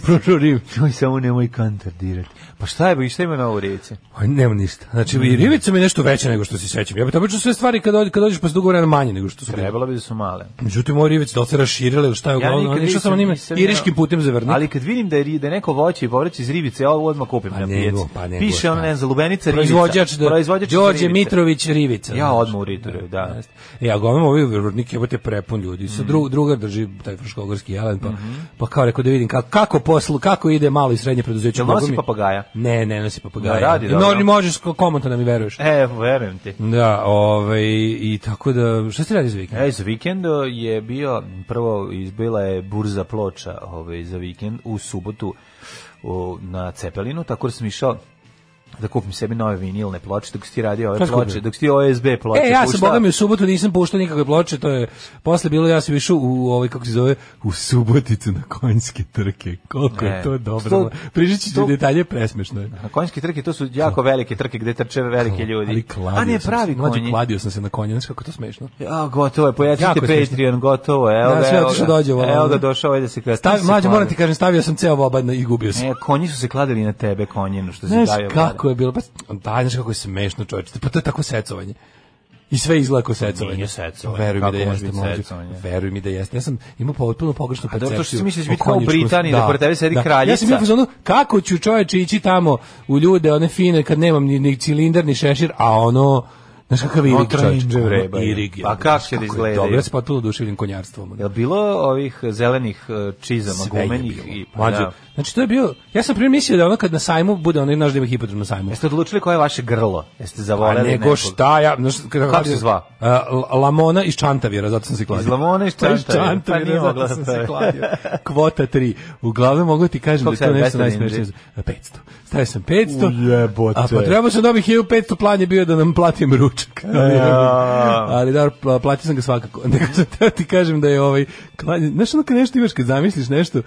Speaker 7: Prošao Ribic.
Speaker 6: Joj, samo nemoj kantar dirati. Pa šta je, bi, šta ima na ovo rivice?
Speaker 7: Aj, Pa nema ništa.
Speaker 6: Mm.
Speaker 7: Znači, i ribica mi je nešto veća nego što se sećam. Ja bih obično sve stvari kad, od- kad dođeš posle dugo vremena manje nego što su bile.
Speaker 6: Trebalo bi da su male.
Speaker 7: Međutim, moj ribic da li se raširila ili šta je
Speaker 6: Ja
Speaker 7: uglavnom.
Speaker 6: nikad
Speaker 7: ono, išao
Speaker 6: nisam-
Speaker 7: sam onim
Speaker 6: nisam
Speaker 7: iriškim
Speaker 6: jeo.
Speaker 7: putem za vrnik.
Speaker 6: Ali kad vidim da je, ri- da je neko voće i povrće iz rivice, ja ovo odmah kupim
Speaker 7: Pa
Speaker 6: na
Speaker 7: nego,
Speaker 6: pijaci.
Speaker 7: pa nego,
Speaker 6: Piše ono,
Speaker 7: šta?
Speaker 6: ne znam, lubenica rivica.
Speaker 7: proizvođač da
Speaker 6: Proizvođač
Speaker 7: Đorđe
Speaker 6: rivice.
Speaker 7: Mitrović Rivica.
Speaker 6: Ja
Speaker 7: znaš.
Speaker 6: odmah u Ritoriju, da.
Speaker 7: Jeste. E, a glavnom ovi vrnik jebote prepun ljudi. Sa
Speaker 6: Mm.
Speaker 7: dru, druga drži taj fruškogorski jelen, pa,
Speaker 6: Mhm.
Speaker 7: pa kao rekao da vidim kako, kako poslu, kako ide malo i srednje preduzeće.
Speaker 6: Jel
Speaker 7: Mogu
Speaker 6: nosi
Speaker 7: mi-
Speaker 6: papagaja?
Speaker 7: Ne, ne nosi papagaja.
Speaker 6: Da, radi dobro.
Speaker 7: no, ni možeš ko- komotno da mi veruješ.
Speaker 6: E, verujem ti.
Speaker 7: Da, ovaj, i tako da, šta ste radi za vikend?
Speaker 6: E, za vikend e, je bio, prvo izbila je burza ploča ovaj, za vikend u subotu u, na Cepelinu, tako da sam išao da kupim sebi nove vinilne ploče, dok si ti radio ove
Speaker 7: Šta si
Speaker 6: ploče,
Speaker 7: kupio?
Speaker 6: dok si Pa ti OSB ploče.
Speaker 7: E, ja sam,
Speaker 6: puštao.
Speaker 7: boga mi, u subotu nisam puštao nikakve ploče, to je, posle bilo, ja sam išao u, ovaj, kako se zove, u suboticu na konjske trke. Koliko je
Speaker 6: E,
Speaker 7: to dobro.
Speaker 6: sto-
Speaker 7: Prižit ću ti
Speaker 6: sto-
Speaker 7: detalje, presmešno je.
Speaker 6: Na konjski trke, to su jako velike trke gde trče velike ljudi.
Speaker 7: Ali kladio
Speaker 6: A ne,
Speaker 7: sam
Speaker 6: pravi
Speaker 7: se, mlađe,
Speaker 6: konji.
Speaker 7: kladio sam se na konje, znaš kako je to smešno.
Speaker 6: Ja, gotovo je,
Speaker 7: Jako
Speaker 6: pojačite
Speaker 7: je smešno.
Speaker 6: Patreon, gotovo je. Evo
Speaker 7: Da,
Speaker 6: ga,
Speaker 7: sve
Speaker 6: evo
Speaker 7: otišao
Speaker 6: ga.
Speaker 7: dođe, ovo,
Speaker 6: Evo
Speaker 7: ono.
Speaker 6: ga došao, ajde se kada.
Speaker 7: Stavi, mlađe, moram ti kažem, stavio sam ceo obad i gubio sam.
Speaker 6: E, konji su se kladili na tebe, konjinu, što si
Speaker 7: Znaš
Speaker 6: davio.
Speaker 7: kako je bilo, pa da, znaš kako je smešno čovječe, pa to je tako secovanje. I sve izgleda kao secovanje.
Speaker 6: Nije secovanje,
Speaker 7: Veruj mi
Speaker 6: kako
Speaker 7: da
Speaker 6: može
Speaker 7: jeste,
Speaker 6: biti
Speaker 7: mlađe.
Speaker 6: secovanje?
Speaker 7: Veruj mi da jeste. Ja sam imao potpuno pogrešnu
Speaker 6: A dobro,
Speaker 7: percepciju.
Speaker 6: to što si misliš da će
Speaker 7: o
Speaker 6: biti kao u
Speaker 7: konjičkom-
Speaker 6: Britaniji, da pored tebe sedi kraljica.
Speaker 7: Ja sam bio u fazonu, kako ću čovječe ići tamo u ljude, one fine, kad nemam ni, ni cilindar, ni šešir, a ono Znaš kakav Irig
Speaker 6: Otrnjiđe
Speaker 7: čovječ? Ono,
Speaker 6: vreba je.
Speaker 7: Irig je.
Speaker 6: Pa
Speaker 7: ono,
Speaker 6: kako
Speaker 7: znaš
Speaker 6: će da
Speaker 7: je
Speaker 6: izgledaju?
Speaker 7: Dobro, ja sam potpuno oduševljen konjarstvom. ono.
Speaker 6: Jel bilo ovih zelenih eh, čizama,
Speaker 7: Sve je
Speaker 6: gumenih
Speaker 7: bilo.
Speaker 6: i pa
Speaker 7: Mlađo,
Speaker 6: da.
Speaker 7: Znači to je bio, ja sam primjer mislio da ono kad na sajmu bude onaj naš da ima hipodrom na sajmu.
Speaker 6: Jeste odlučili koje je vaše grlo? Jeste
Speaker 7: A
Speaker 6: zavoleli
Speaker 7: nego
Speaker 6: nekog?
Speaker 7: šta ja... Znaš,
Speaker 6: Kako se zva?
Speaker 7: A, L- Lamona iz Čantavira, zato sam se kladio.
Speaker 6: Iz Lamona iz
Speaker 7: Pa
Speaker 6: Čantavira, pa nije
Speaker 7: zato
Speaker 6: mogla
Speaker 7: sam
Speaker 6: da
Speaker 7: se
Speaker 6: stavi.
Speaker 7: kladio. Kvota 3. Uglavnom mogu ti kažem da
Speaker 6: Koliko
Speaker 7: je to
Speaker 6: sad, 500
Speaker 7: nešto najsmešnije.
Speaker 6: dinara?
Speaker 7: za- 500. Stavio sam 500.
Speaker 6: Ujebote.
Speaker 7: A pa trebao sam dobiti 1500, plan je bio da nam platim ručak.
Speaker 6: (laughs) Ja.
Speaker 7: Ali da, pla- platio sam ga svakako. (laughs) Nego sam teo ti kažem da je ovaj... Klanje, znaš ono kad nešto imaš, kad zamisliš nešto,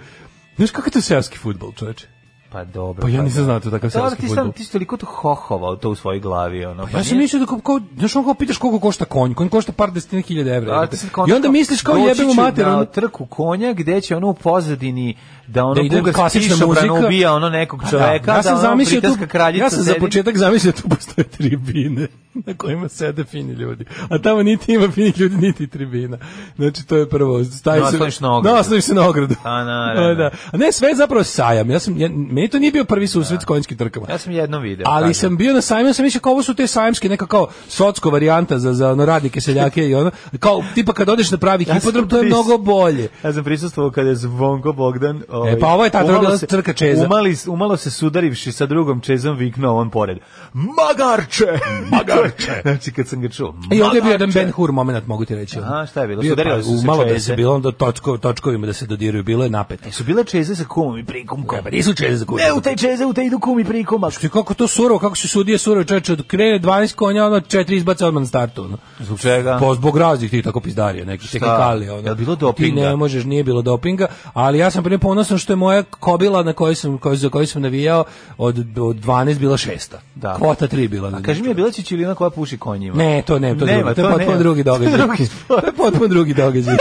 Speaker 7: Znaš kako je to seoski futbol, čoveče?
Speaker 6: Pa dobro.
Speaker 7: Pa ja nisam
Speaker 6: da.
Speaker 7: znao da je takav
Speaker 6: Pa dobro,
Speaker 7: seoski
Speaker 6: ti sam-
Speaker 7: fudbal.
Speaker 6: Ti si toliko to hohovao to u svojoj glavi. Ono, pa
Speaker 7: Ja sam
Speaker 6: nije-
Speaker 7: mislio da kao, kao znaš on kao pitaš koliko košta konj, konj košta par desetina hiljada evra.
Speaker 6: A,
Speaker 7: jebote.
Speaker 6: Da, ti sad kontaš
Speaker 7: I onda misliš kao
Speaker 6: doći
Speaker 7: jebemo
Speaker 6: ću da
Speaker 7: mater,
Speaker 6: na
Speaker 7: ono,
Speaker 6: trku konja gde će ono u pozadini da ono
Speaker 7: da ide
Speaker 6: kuga
Speaker 7: klasična muzika.
Speaker 6: ubija ono nekog
Speaker 7: Pa
Speaker 6: čoveka,
Speaker 7: da, ja sam
Speaker 6: da ono
Speaker 7: zamislio tu,
Speaker 6: britanska kraljica
Speaker 7: ja sam za
Speaker 6: sedi.
Speaker 7: početak zamislio da tu postoje tribine (laughs) na kojima sede fini ljudi. A tamo niti ima finih ljudi, niti tribina. Znači to je prvo. Stavi
Speaker 6: No,
Speaker 7: se-
Speaker 6: osloniš Da, na ogradu.
Speaker 7: No, osloniš se na ogradu.
Speaker 6: A,
Speaker 7: (laughs)
Speaker 6: naravno.
Speaker 7: Da, da. A ne, sve je zapravo sajam. Ja sam, ja, meni to nije bio prvi susret s konjskim trkama.
Speaker 6: Ja sam jednom video.
Speaker 7: Ali
Speaker 6: kažem.
Speaker 7: sam bio na sajmu, ja sam mislio kao ovo su te sajmske neka kao socko varijanta za za ono radnike, seljake i ono. Kao tipa kad odeš na pravi
Speaker 6: (laughs) Ja sam
Speaker 7: hipodrom to je
Speaker 6: pris-
Speaker 7: mnogo bolje.
Speaker 6: Ja sam prisustvovao kada je Zvonko Bogdan... ovaj,
Speaker 7: pa ovo je ta
Speaker 6: umalo
Speaker 7: druga
Speaker 6: se-
Speaker 7: trka čeza.
Speaker 6: Umali, umalo se sudarivši sa drugom čezom viknuo on pored. Magarče!
Speaker 7: (laughs)
Speaker 6: Magarče! (laughs) znači kad sam ga čuo.
Speaker 7: I ovdje je bio jedan Ben Hur moment, mogu ti reći.
Speaker 6: Aha, šta je bilo?
Speaker 7: Bio,
Speaker 6: Sudarili
Speaker 7: pa,
Speaker 6: su se
Speaker 7: malo da se
Speaker 6: čeze.
Speaker 7: bilo onda točko, točkovima da se dodiruju, bilo je napeto.
Speaker 6: Su bile čeze sa kumom i prikumkom.
Speaker 7: Pa nisu čeze za kuću.
Speaker 6: Ne, u taj čeze, u taj idu kum i prikumak.
Speaker 7: Ti kako to surovo, kako su sudije surovo, čoveče, od krene 12 konja, ono četiri izbaca odmah na startu, ono.
Speaker 6: Zbog čega?
Speaker 7: Po zbog raznih ti tako pizdarija, neki tehnikali, ono.
Speaker 6: Jel bilo dopinga?
Speaker 7: Ti ne možeš, nije bilo dopinga, ali ja sam prije ponosan što je moja kobila na kojoj sam, koj, za koju sam navijao od, od 12 bila šesta.
Speaker 6: Da.
Speaker 7: Kvota 3 bila.
Speaker 6: A kaži mi, je bila Čičilina koja puši konjima?
Speaker 7: Ne, to ne, to,
Speaker 6: Nema,
Speaker 7: drugo, to
Speaker 6: to
Speaker 7: je potpuno
Speaker 6: nema.
Speaker 7: drugi događaj.
Speaker 6: To je drugi sport.
Speaker 7: to je potpuno drugi događaj.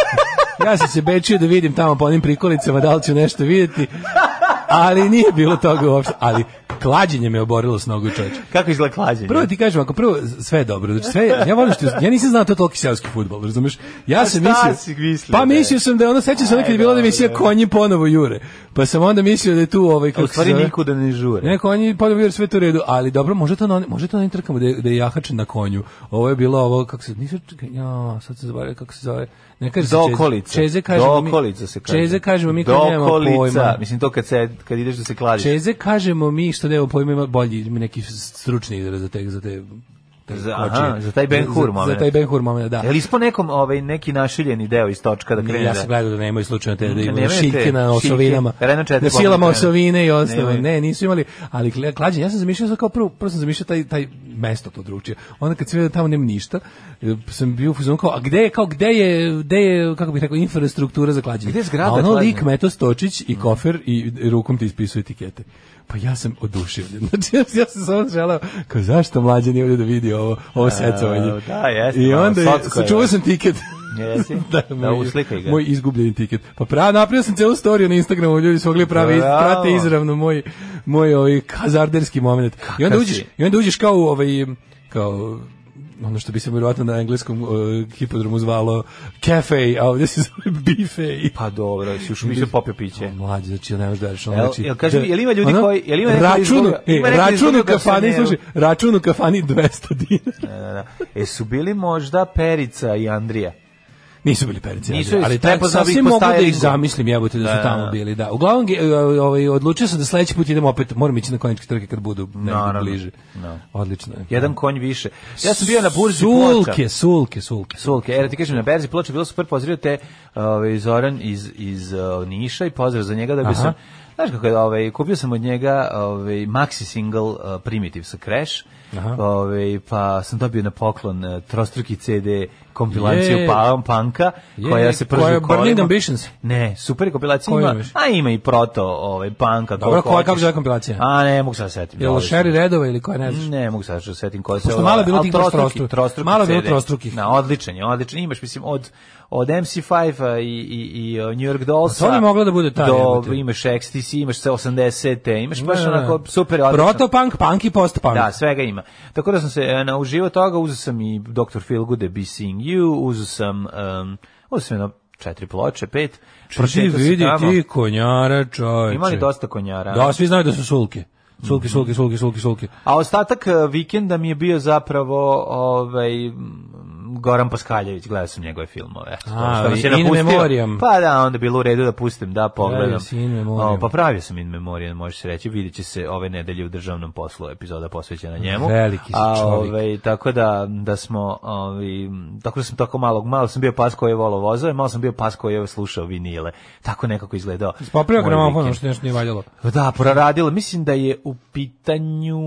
Speaker 7: ja sam se bečio da vidim tamo po onim prikolicama da li ću nešto vidjeti, ali nije bilo toga uopšte. Ali klađenje me oborilo s nogu čovječe.
Speaker 6: Kako izgleda klađenje?
Speaker 7: Prvo ti kažem, ako prvo sve je dobro, znači sve, ja volim što ja nisam znao da je to toliki seoski fudbal, razumeš? Ja sam
Speaker 6: šta
Speaker 7: mislio,
Speaker 6: si mislio
Speaker 7: pa
Speaker 6: da je?
Speaker 7: mislio sam da je ono sećam se ono kad je bilo da emisija konji ponovo jure, pa sam onda mislio da je tu ovaj
Speaker 6: A
Speaker 7: kako
Speaker 6: u
Speaker 7: se
Speaker 6: stvari
Speaker 7: zove-
Speaker 6: nikuda ne žure.
Speaker 7: ne, konji ponovo jure sve to u redu, ali dobro, može to na onim- može to na onim trkama da je, da je jahačen na konju. Ovo je bilo ovo kako se nisu čekaj, ja, sad se zaboravio kako se zove. Ne kaže se
Speaker 6: Do
Speaker 7: čeze.
Speaker 6: okolice.
Speaker 7: Čeze kažemo
Speaker 6: Do
Speaker 7: mi.
Speaker 6: okolice se kaže.
Speaker 7: Čeze kažemo mi
Speaker 6: Do
Speaker 7: kad nemamo
Speaker 6: okolica.
Speaker 7: pojma.
Speaker 6: Mislim, to kad, se, kad ideš da se kladiš.
Speaker 7: Čeze kažemo mi što nema pojma ima bolji ima neki stručni izraz za te za te te
Speaker 6: Za-
Speaker 7: kočije.
Speaker 6: aha, za taj Ben Hur
Speaker 7: za, za
Speaker 6: moment. E,
Speaker 7: taj Ben Hur moment, da.
Speaker 6: Je li ispo nekom ovaj, neki našiljeni deo iz točka da krene?
Speaker 7: ja
Speaker 6: da-
Speaker 7: sam gledao da nemaju slučajno te da imaju
Speaker 6: Nemaju te
Speaker 7: šiljke na osovinama.
Speaker 6: šiljke, Renault četiri
Speaker 7: Na silama
Speaker 6: pomaka,
Speaker 7: osovine i ostalo.
Speaker 6: nemaju.
Speaker 7: Ne, nisu imali. Ali kle- klađenje, ja sam zamišljao sad kao prvo, prvo sam zamišljao taj, taj mesto to drugčije. Onda kad sam vidio da tamo nema ništa, eh, sam bio u fazonu kao, a gde je, kao gde je, gde je, kako bih rekao, infrastruktura za klađenje?
Speaker 6: Gde je zgrada Mm.
Speaker 7: A ono
Speaker 6: klađenja?
Speaker 7: lik Meto Stočić i kofer i rukom ti ispisuje etikete. Pa ja sam oduševljen. (laughs) Znači, ja, ja sam samo želeo, kao zašto mlađe nije ovdje da vidi ovo, ovo secovanje.
Speaker 6: da, jeste,
Speaker 7: I
Speaker 6: malo
Speaker 7: onda je,
Speaker 6: socko je,
Speaker 7: sačuvao
Speaker 6: da.
Speaker 7: sam tiket. (laughs)
Speaker 6: Jesi? Da,
Speaker 7: moj-
Speaker 6: uslikaj ga.
Speaker 7: Moj izgubljeni tiket. Pa pra, napravio sam celu storiju na Instagramu, ljudi su mogli pravi,
Speaker 6: Bravo.
Speaker 7: prate izravno moj, moj ovaj kazarderski moment. I onda,
Speaker 6: si.
Speaker 7: uđeš, I onda uđeš kao u ovaj, kao ono što bi se vjerojatno na engleskom eh, hipodromu zvalo cafe, a ovdje se zove buffet.
Speaker 6: Pa dobro, si još više popio piće.
Speaker 7: Mlađe, znači, ne možeš da radiš.
Speaker 6: Jel- jel kaži mi, jel ima ljudi koji- jel ima neko iz
Speaker 7: račun,
Speaker 6: druga- ima neko iz
Speaker 7: račun u
Speaker 6: druga
Speaker 7: kafani,
Speaker 6: garsonjera?
Speaker 7: slušaj, račun u kafani 200 dinara.
Speaker 6: Da, da. E su bili možda Perica i Andrija?
Speaker 7: Nisu bili perici.
Speaker 6: Nisu,
Speaker 7: ali
Speaker 6: jesu, prepoznao bih
Speaker 7: sasvim
Speaker 6: po
Speaker 7: mogu da ih
Speaker 6: stylingu.
Speaker 7: zamislim, jebote, da su
Speaker 6: Da,
Speaker 7: tamo
Speaker 6: da.
Speaker 7: bili, da. Uglavnom, ge- e, ovaj, odlučio sam da sledeći put idemo opet, moram ići na konjičke trke kad budu negdje
Speaker 6: Naravno.
Speaker 7: bliže.
Speaker 6: Da.
Speaker 7: Odlično je.
Speaker 6: Jedan konj više. Ja sam bio na burzi ploča.
Speaker 7: Sulke, sulke, sulke.
Speaker 6: Sulke, jer ti kažem, na Berzi ploče bilo super, pozdravio te ovaj, Zoran iz, iz uh, Niša i pozdrav za njega da bi
Speaker 7: Aha.
Speaker 6: sam, znaš kako je, ovaj, kupio sam od njega ovaj, maxi single uh, Primitive sa Crash,
Speaker 7: Aha.
Speaker 6: ovaj, pa sam dobio na poklon uh, trostruki CD kompilaciju
Speaker 7: Je.
Speaker 6: pa, Panka,
Speaker 7: Je,
Speaker 6: koja se prži
Speaker 7: koja je
Speaker 6: u kolima.
Speaker 7: Burning Ambitions.
Speaker 6: Ne, super kompilacija
Speaker 7: Koju
Speaker 6: ima,
Speaker 7: imaš?
Speaker 6: a ima i proto ovaj, Panka.
Speaker 7: Dobro,
Speaker 6: koliko
Speaker 7: koja-
Speaker 6: hoćeš.
Speaker 7: kako se zove kompilacija?
Speaker 6: A ne, mogu sad da setim.
Speaker 7: Jel
Speaker 6: Ovaj,
Speaker 7: Sherry Redova ili koja ne znaš?
Speaker 6: ne mogu sad što se setim koja se
Speaker 7: Pošto
Speaker 6: ova-
Speaker 7: malo je bilo
Speaker 6: ali
Speaker 7: tih
Speaker 6: trostruki-
Speaker 7: trostrukih.
Speaker 6: trostruki
Speaker 7: Malo je bilo
Speaker 6: CD.
Speaker 7: trostrukih.
Speaker 6: Na, odličan je, odličan. Imaš, mislim, od, od MC5 i, i, i uh, New York Dollsa.
Speaker 7: To bi moglo da bude ta,
Speaker 6: Do,
Speaker 7: jebote.
Speaker 6: imaš XTC, imaš se 80-te, imaš baš
Speaker 7: Ne, ne, ne.
Speaker 6: onako super odličan.
Speaker 7: Da, Protopunk, punk i postpunk. Pa
Speaker 6: Da, svega ima. Tako da sam se e, nauživao toga, uzeo sam i Dr. Feel Good, Be Seeing You, uzeo sam, um, uzeo sam jedno četiri ploče, pet.
Speaker 7: Pa Ti
Speaker 6: prošetao sam
Speaker 7: vidi
Speaker 6: tamo.
Speaker 7: ti konjara, čoveče.
Speaker 6: Ima li dosta Mhm. konjara?
Speaker 7: Da, svi znaju da su sulke. sulke, sulke, sulke, sulke, sulke.
Speaker 6: A ostatak e, vikenda mi je bio zapravo ovaj m, Goran Paskaljević, gledao sam njegove filmove. eto,
Speaker 7: A,
Speaker 6: što nas je
Speaker 7: i In
Speaker 6: napustio.
Speaker 7: Memoriam.
Speaker 6: Pa da, onda je bilo u redu da pustim, da pogledam.
Speaker 7: si In Memoriam.
Speaker 6: O, pa pravio sam In Memoriam, može se reći. Vidjet će se ove nedelje u državnom poslu epizoda posvećena njemu.
Speaker 7: Veliki si
Speaker 6: A,
Speaker 7: čovjek.
Speaker 6: ovaj, tako da, da smo, ovaj, m, tako da sam tako malo, malo sam bio pas koji je volao vozove, malo sam bio pas koji je slušao vinile. Tako nekako izgledao.
Speaker 7: Popravio
Speaker 6: moj
Speaker 7: gramofon,
Speaker 6: vikend.
Speaker 7: što nešto nije valjalo.
Speaker 6: Da, proradila. Mislim da je u pitanju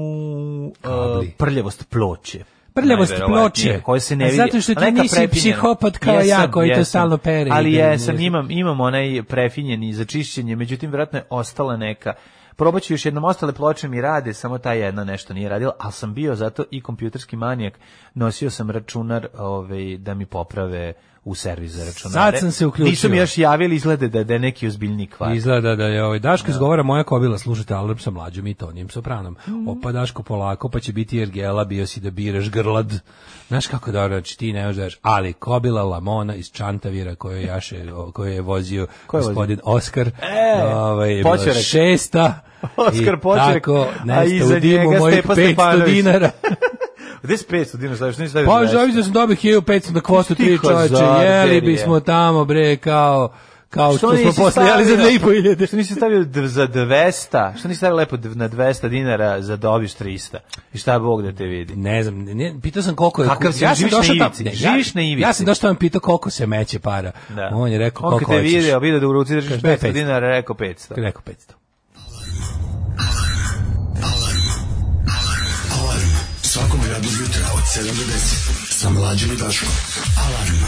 Speaker 7: Kabli.
Speaker 6: uh, prljavost ploče.
Speaker 7: Prljavost
Speaker 6: Najverovatnije,
Speaker 7: ploče.
Speaker 6: Koja se ne
Speaker 7: A
Speaker 6: vidi.
Speaker 7: zato što ti
Speaker 6: A neka
Speaker 7: nisi
Speaker 6: prepinjena.
Speaker 7: psihopat kao ja koji to stalno pere
Speaker 6: Ali
Speaker 7: i da
Speaker 6: jesam,
Speaker 7: ne-
Speaker 6: imam, imam onaj prefinjeni za čišćenje, međutim, vjerojatno je ostala neka Probat ću još jednom, ostale ploče mi rade, samo ta jedna nešto nije radila, ali sam bio zato i kompjuterski manijak, nosio sam računar ovaj, da mi poprave u servis za računare.
Speaker 7: Sad sam se uključio.
Speaker 6: Nisu mi još javili, izglede da, da je neki ozbiljni kvar.
Speaker 7: Izgleda da je ovaj Daško izgovara moja kobila, slušate Alarm sa mlađom i Tonijem Sopranom.
Speaker 6: Mm.
Speaker 7: Opa Daško polako, pa će biti Ergela, bio si da biraš grlad. Znaš kako da znači ti ne možeš, ali kobila Lamona iz Čantavira koju je jaše, o, koju je vozio
Speaker 6: Ko je vozio?
Speaker 7: gospodin Oskar.
Speaker 6: E,
Speaker 7: ovaj, je bila
Speaker 6: Počerek.
Speaker 7: šesta.
Speaker 6: Oskar
Speaker 7: I
Speaker 6: Počerek,
Speaker 7: Tako,
Speaker 6: a
Speaker 7: nešto
Speaker 6: iza
Speaker 7: u dimu
Speaker 6: njega
Speaker 7: mojih
Speaker 6: Stepa
Speaker 7: 500
Speaker 6: Stepanović. (laughs)
Speaker 7: dinara.
Speaker 6: Gde si 500 dinara staviš? Nisi stavio
Speaker 7: Pa
Speaker 6: za
Speaker 7: žavi da sam dobio 1500 na kvostu tri
Speaker 6: Tiho,
Speaker 7: čoveče, jeli
Speaker 6: zarderije.
Speaker 7: bismo tamo bre kao kao što, smo
Speaker 6: nisi
Speaker 7: posle jeli za
Speaker 6: stavio?
Speaker 7: 2500.
Speaker 6: Što nisi stavio d- za 200? Što nisi stavio lepo d- na 200 dinara za dobiš 300? I šta Bog da te vidi?
Speaker 7: Ne znam, ne, pitao sam koliko je...
Speaker 6: Kakav si, živiš na ivici, živiš na ivici.
Speaker 7: Ja sam došao tamo i pitao koliko se meće para.
Speaker 6: Da.
Speaker 7: On je rekao
Speaker 6: On
Speaker 7: koliko
Speaker 6: kad te
Speaker 7: hoćeš.
Speaker 6: video, video da u ruci držiš
Speaker 7: Kaže, da je
Speaker 6: 500
Speaker 7: 500.
Speaker 6: dinara, rekao 500.
Speaker 7: Rekao 500.
Speaker 8: Svakog radnog jutra od 7 do 10 sa mlađom i Daškom. Alarm.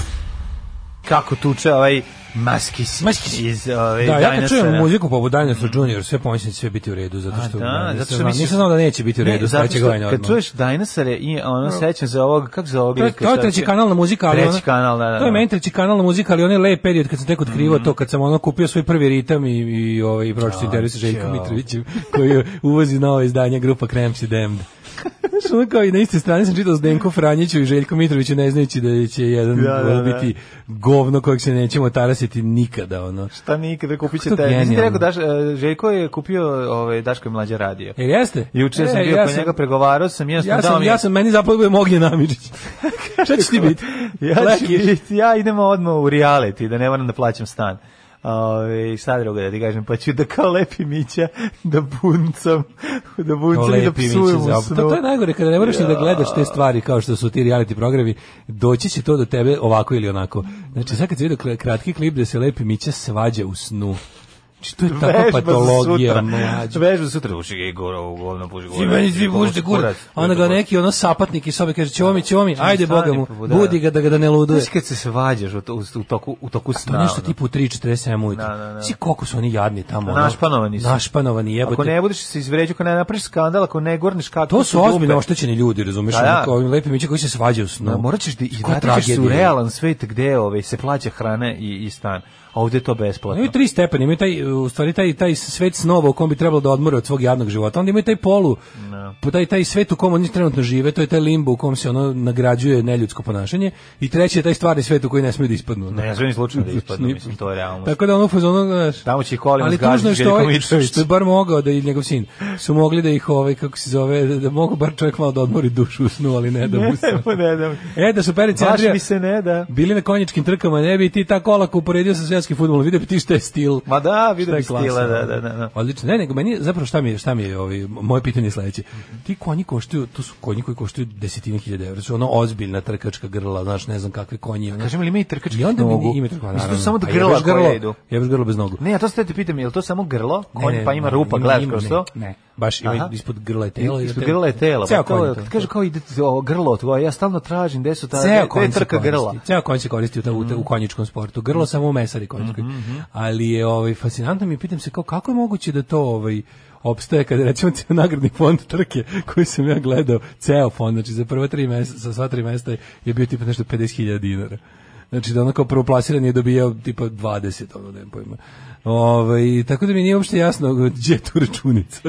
Speaker 6: Kako tuče ovaj Maskis, Maskis. iz ovaj, ove,
Speaker 7: Da, ja kad čujem muziku poput Dinosaur Junior, sve pomislim da će sve biti u redu, zato što,
Speaker 6: da,
Speaker 7: da,
Speaker 6: zato što
Speaker 7: nisam, znao,
Speaker 6: misliš-
Speaker 7: nisam znao da neće biti u redu, sledeće godine
Speaker 6: Kad
Speaker 7: odmah.
Speaker 6: čuješ Dinosaure i ono sećam za ovog, kako za ovog
Speaker 7: To je,
Speaker 6: lika,
Speaker 7: to je
Speaker 6: šta
Speaker 7: treći
Speaker 6: će-
Speaker 7: kanalna muzika, ali
Speaker 6: Treći
Speaker 7: ona-
Speaker 6: kanal, da, da.
Speaker 7: To je
Speaker 6: da. Mhm.
Speaker 7: meni treći kanalna muzika, ali onaj lep period kad sam tek otkrivao to, kad sam ono kupio svoj prvi ritam i, i, ovaj, i pročito intervju sa Željkom
Speaker 6: Ćao.
Speaker 7: Mitrovićem, koji uvozi novo izdanje grupa Cramps i Damned. Znaš, ono kao i na iste strane sam čitao Zdenko Franjiću i Željko Mitroviću, ne znajući da će jedan
Speaker 6: Da, da, da.
Speaker 7: biti govno kojeg se nećemo tarasiti nikada, ono.
Speaker 6: Šta nikada Pa da kupit
Speaker 7: Kako je
Speaker 6: ćete? Nisi ti
Speaker 7: genijalno.
Speaker 6: rekao, Daš, e, Željko je kupio ovaj, Daško je mlađe radio.
Speaker 7: Jel jeste?
Speaker 6: Juče
Speaker 7: E,
Speaker 6: sam bio
Speaker 7: ja
Speaker 6: kod njega, pregovarao sam, ja sam
Speaker 7: Ja
Speaker 6: dao
Speaker 7: sam,
Speaker 6: mi-
Speaker 7: ja sam, meni zapravo budem Ognjen
Speaker 6: (laughs)
Speaker 7: Amidžić. Šta će ti biti?
Speaker 6: ja, ću
Speaker 7: Leki.
Speaker 6: biti- ja idemo odmah u reality, da ne moram da plaćam stan. Ove, šta drugo da ti kažem, pa ću da kao lepi mića da buncam, da buncam i da
Speaker 7: Lepi
Speaker 6: psujem
Speaker 7: Mići
Speaker 6: u
Speaker 7: za- To,
Speaker 6: snu.
Speaker 7: to je najgore, kada ne moraš ni da gledaš te stvari kao što su ti reality programi, doći će to do tebe ovako ili onako. Znači, sad kad se vidio kra- kratki klip da se Lepi Mića svađa u snu, Znači, to je takva
Speaker 6: Vežba za
Speaker 7: patologija,
Speaker 6: sutra.
Speaker 7: mlađa.
Speaker 6: Vežba za sutra, uši ga gore, u govno puši
Speaker 7: Svi
Speaker 6: gore.
Speaker 7: meni svi pušte kurac. A Onda ga neki ono sapatnik iz sobe kaže, čomi, čomi, ajde
Speaker 6: Da. stani,
Speaker 7: boga mu,
Speaker 6: pa, da.
Speaker 7: budi ga da ga da ne luduje.
Speaker 6: Znaš kad se svađaš u, to- u, toku, u toku
Speaker 7: Pa To
Speaker 6: sna?
Speaker 7: nešto
Speaker 6: ono.
Speaker 7: tipa u 3.47 ujutro.
Speaker 6: Da, da, da.
Speaker 7: Svi koliko su oni jadni tamo. ono.
Speaker 6: Našpanovani su.
Speaker 7: Našpanovani, jebote.
Speaker 6: Ako ne budeš da se izvređu, ako ne napraviš skandal, ako ne gorniš kako
Speaker 7: To su ozbiljno oštećeni ljudi, razumeš?
Speaker 6: Pa da.
Speaker 7: Ono, kao ovim lepim miće koji se svađaju u snu.
Speaker 6: No, morat ćeš da i
Speaker 7: Koja
Speaker 6: vratit ćeš se u
Speaker 7: tragedija.
Speaker 6: realan svet gde ovaj, se plaća hrana i, i stan. A ovde je to besplatno.
Speaker 7: Imaju tri stepena, imaju taj, u stvari taj, taj svet snova u kom bi trebalo da odmore od svog javnog života, onda imaju taj polu,
Speaker 6: Da.
Speaker 7: po taj, taj svet u kom oni trenutno žive, to je taj limbo u kom se ono nagrađuje neljudsko ponašanje i treći je taj stvarni svet u koji ne smiju da ispadnu.
Speaker 6: Ne, sve ni slučajno
Speaker 7: (laughs)
Speaker 6: da ispadnu, mislim, to je realnost.
Speaker 7: Tako da ono u fazonu, znaš,
Speaker 6: Tamo će i kolima
Speaker 7: ali
Speaker 6: zgažiti
Speaker 7: tužno je što,
Speaker 6: Željko
Speaker 7: ovaj,
Speaker 6: Mitrović.
Speaker 7: što je bar mogao da i njegov sin su mogli da ih ovaj, kako se zove, da, da mogu bar čovjek malo da odmori dušu u snu, ali ne da
Speaker 6: (laughs)
Speaker 7: mu se.
Speaker 6: Pa ne dam.
Speaker 7: E, da su Perica i
Speaker 6: Baš
Speaker 7: Andrija
Speaker 6: mi se ne da.
Speaker 7: bili na konjičkim trkama, ne bi ti ta kolaka uporedio sa svjetskim futbolom, vidio bi ti šta je stil.
Speaker 6: Ma da, vidim
Speaker 7: Šta je
Speaker 6: bi stila,
Speaker 7: klasa,
Speaker 6: da, da, da. da.
Speaker 7: Odlično. Ne, nego meni zapravo šta mi je, šta mi je ovaj moje pitanje je sledeće. Ti konji koštaju, to su konji koji koštaju desetine hiljada evra. Su ono ozbiljna trkačka grla, znaš, ne znam kakve konji. ono.
Speaker 6: Kažem li ima i trkački
Speaker 7: I onda mi
Speaker 6: nogu?
Speaker 7: ni- ima trkačka.
Speaker 6: Mislim, to su samo
Speaker 7: naravno.
Speaker 6: grla
Speaker 7: jebeš
Speaker 6: koja idu.
Speaker 7: Jebeš grlo bez nogu.
Speaker 6: Ne, a to ste te pitam, je li to samo grlo? Konj,
Speaker 7: Ne, ne,
Speaker 6: pa ima
Speaker 7: ne,
Speaker 6: rupa,
Speaker 7: ima-
Speaker 6: gledaš
Speaker 7: ima-
Speaker 6: kroz to?
Speaker 7: Ne, baš ima
Speaker 6: Aha.
Speaker 7: ispod grla je telo. i
Speaker 6: Ispod
Speaker 7: telo-
Speaker 6: grla je telo.
Speaker 7: Ceo
Speaker 6: pa to
Speaker 7: konj
Speaker 6: je-
Speaker 7: je to.
Speaker 6: Kad kaže kao ide o, grlo tvoje, ja stalno tražim gde su ta,
Speaker 7: Ceo
Speaker 6: gde
Speaker 7: konj
Speaker 6: gde
Speaker 7: se
Speaker 6: trka
Speaker 7: koristi.
Speaker 6: grla. Mhm.
Speaker 7: Ceo konj se koristi u, ta- u, ta- u konjičkom sportu. Grlo samo u mesari konjičkoj. Ali je ovaj fascinantno mi pitam se kao kako je moguće da to ovaj opstaje kada recimo cijel nagradni fond trke koji sam ja gledao, ceo fond, znači za prva tri mesta, za sva tri mesta je bio tipa nešto 50.000 dinara. Znači da ono kao prvoplasiran je dobijao tipa 20, ono nema pojma. Ovaj, tako da mi nije uopšte jasno gdje je tu računica.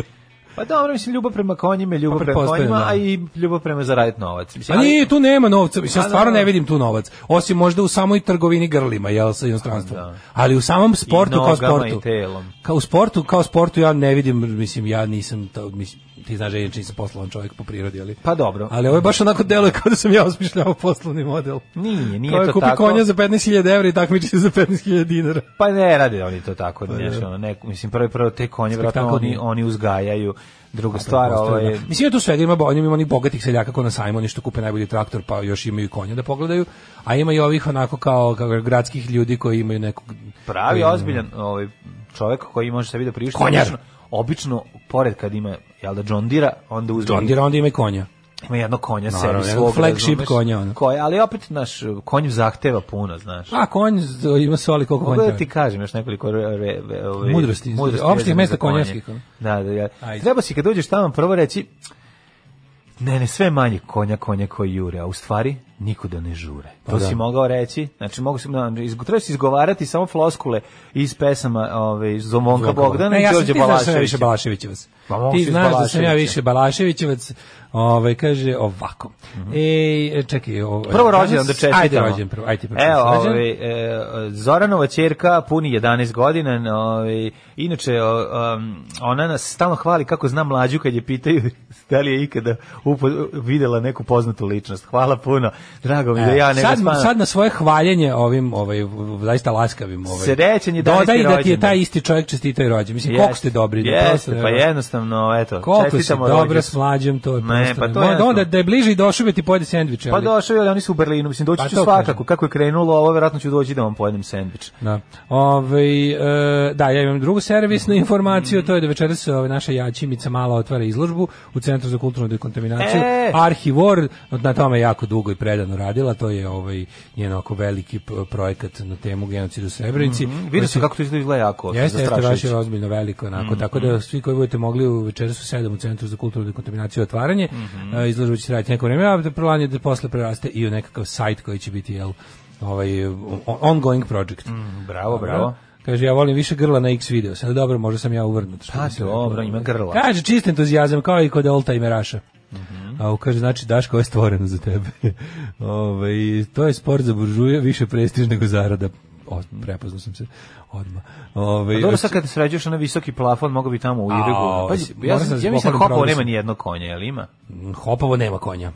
Speaker 6: Pa dobro, mislim, ljubav prema konjima, je ljubav
Speaker 7: Pa
Speaker 6: prema
Speaker 7: pretpostavljam,
Speaker 6: konjima,
Speaker 7: da.
Speaker 6: a i ljubav prema zaraditi novac. Mislim,
Speaker 7: Pa
Speaker 6: Znači, ali-
Speaker 7: nije, tu nema novca, mislim, ja
Speaker 6: Pa
Speaker 7: stvarno
Speaker 6: da.
Speaker 7: ne vidim tu novac. Osim možda u samoj trgovini grlima, jel, sa inostranstvom.
Speaker 6: Da.
Speaker 7: Ali u samom sportu kao
Speaker 6: nogama
Speaker 7: sportu.
Speaker 6: i telom.
Speaker 7: Kao u sportu, kao sportu ja ne vidim, mislim, ja nisam, to, mislim, ti znaš da ja inače nisam poslovan čovjek po prirodi, ali...
Speaker 6: Pa dobro.
Speaker 7: Ali ovo je baš onako deluje kao da sam ja osmišljavao poslovni model.
Speaker 6: Nije, nije
Speaker 7: Kao je
Speaker 6: to
Speaker 7: kupi
Speaker 6: tako.
Speaker 7: konja za 15.000 evra i takmiči se za 15.000 dinara.
Speaker 6: Pa ne, rade oni to tako, znaš, ono, neko- mislim, prvo prvo te konje, vratno,
Speaker 7: Pa da. Spektakl
Speaker 6: oni,
Speaker 7: nije.
Speaker 6: oni uzgajaju, druga stvar, ovaj, ovo je...
Speaker 7: Mislim, ima tu svega, ima, bo- ima onih bogatih seljaka ko na sajmu, oni što kupe najbolji traktor, pa još imaju i konja da pogledaju, a ima i ovih onako kao, kao gradskih ljudi koji imaju nekog...
Speaker 6: pravi
Speaker 7: koji-
Speaker 6: ozbiljan ovaj čovjek koji može sebi da priušti
Speaker 7: Konjar.
Speaker 6: obično, obično pored kad ima jel da John Deere onda uzme
Speaker 7: John Deere, onda ima i konja.
Speaker 6: ima jedno konja
Speaker 7: Naravno,
Speaker 6: sebi
Speaker 7: jedno
Speaker 6: svog
Speaker 7: flagship
Speaker 6: razumeš?
Speaker 7: konja, ono.
Speaker 6: Koje, ali opet naš konj zahteva puno znaš
Speaker 7: A, konj z- ima soli koliko
Speaker 6: Mogu
Speaker 7: konja.
Speaker 6: da ti kažem još nekoliko re, re, re, ove,
Speaker 7: Mudrosti, opštih
Speaker 6: vezanih
Speaker 7: mesta
Speaker 6: za konje.
Speaker 7: konjarskih, ono.
Speaker 6: Da, da, ja.
Speaker 7: Ajde.
Speaker 6: Treba si kad dođeš tamo prvo reći Ne, ne, sve manje konja, konja koji jure, a u stvari nikuda ne žure. to
Speaker 7: da.
Speaker 6: si mogao reći, znači mogu si, na, izgo, treba si izgovarati samo floskule iz pesama ove, iz Zomonka Bogdana
Speaker 7: Ne,
Speaker 6: i
Speaker 7: ja sam, ti
Speaker 6: Đorđe
Speaker 7: znaš da sam ja
Speaker 6: Balaševića.
Speaker 7: više Balaševićevac.
Speaker 6: Ma, mogu
Speaker 7: ti
Speaker 6: si iz
Speaker 7: znaš da sam ja
Speaker 6: Balaševića.
Speaker 7: više Balaševićevac. Ovaj, kaže ovako. Ej, e, čekaj. Ovo,
Speaker 6: Mhm. Prvo rođendan
Speaker 7: danas-
Speaker 6: da čestitamo.
Speaker 7: Ajde rođen prvo. Ajde pa ti prvo.
Speaker 6: Evo,
Speaker 7: rođen.
Speaker 6: ovaj, e, Zoranova ćerka puni 11 godina, no, ovaj, inače o, um, ona nas stalno hvali kako zna mlađu kad je pitaju (laughs) da li je ikada upo, videla neku poznatu ličnost. Hvala puno. Drago mi da
Speaker 7: Evo,
Speaker 6: ja ne
Speaker 7: sad,
Speaker 6: spadam.
Speaker 7: sad na svoje hvaljenje ovim ovaj v- zaista laskavim ovaj.
Speaker 6: Srećan je
Speaker 7: Dodaj
Speaker 6: 11.
Speaker 7: da ti je taj
Speaker 6: rođendan.
Speaker 7: isti čovjek čestitao i rođen. Mislim koliko ste dobri. da
Speaker 6: jeste,
Speaker 7: prosto ne-
Speaker 6: pa jednostavno, eto,
Speaker 7: Koliko si
Speaker 6: čestitamo
Speaker 7: dobra
Speaker 6: rođendan.
Speaker 7: s mlađem, to je
Speaker 6: Ne,
Speaker 7: prosto.
Speaker 6: pa
Speaker 7: ne-
Speaker 6: to je
Speaker 7: Onda-
Speaker 6: jasno.
Speaker 7: onda da je bliže i došao bi ti pojede sendvič.
Speaker 6: Pa
Speaker 7: ali-
Speaker 6: došao je, oni su u Berlinu, mislim, doći
Speaker 7: Pa
Speaker 6: ću
Speaker 7: to
Speaker 6: svakako.
Speaker 7: kažem.
Speaker 6: Kako je krenulo ovo, verovatno ću doći da vam pojedem sendvič.
Speaker 7: Da. Ovaj, e, da, ja imam drugu servisnu informaciju, to je da večeras ovaj, naša Jačimica mala otvara izložbu u Centru za kulturnu dekontaminaciju.
Speaker 6: E!
Speaker 7: Arhivor, na tome je jako dugo i predano radila, to je ovaj, njen oko veliki p- projekat na temu genocida u Srebrenici.
Speaker 6: Mhm, Vidio sam kako to izgleda jako.
Speaker 7: Jeste, jeste, baš
Speaker 6: zastrašujuće.
Speaker 7: je ozbiljno veliko, onako,
Speaker 6: Mm,
Speaker 7: tako da svi koji budete mogli u večeru su sedam u Centru za kulturnu dekontaminaciju i otvaranje,
Speaker 6: Mm-hmm.
Speaker 7: e, izložba će raditi neko vreme, a plan je da posle preraste i u nekakav sajt koji će biti, jel, ovaj, o- ongoing project. da,
Speaker 6: Bravo, Mm. bravo.
Speaker 7: Kaže, ja volim više grla na X video. Sad dobro, možda sam ja uvrnut. što
Speaker 6: Pa
Speaker 7: bi se reklo.
Speaker 6: dobro, ima grla.
Speaker 7: Kaže, čist entuzijazam, kao i kod Olta i Meraša.
Speaker 6: Mm-hmm.
Speaker 7: A u kaže, znači, Daško, ovo je stvoreno za tebe. (laughs) Ove, to je sport za buržuje, više prestiž nego zarada. O, prepoznao sam se odmah. Ovaj, Ove,
Speaker 6: Pa Dobro, sad kad sređuješ onaj visoki plafon, mogu bi tamo u
Speaker 7: A,
Speaker 6: Irigu.
Speaker 7: ovo,
Speaker 6: Pazi,
Speaker 7: si-
Speaker 6: ja,
Speaker 7: moram
Speaker 6: sam,
Speaker 7: da
Speaker 6: ja mislim da
Speaker 7: pohvalim
Speaker 6: Hopovo
Speaker 7: progres.
Speaker 6: nema ni jedno konje, jel ima?
Speaker 7: Hopovo nema konja.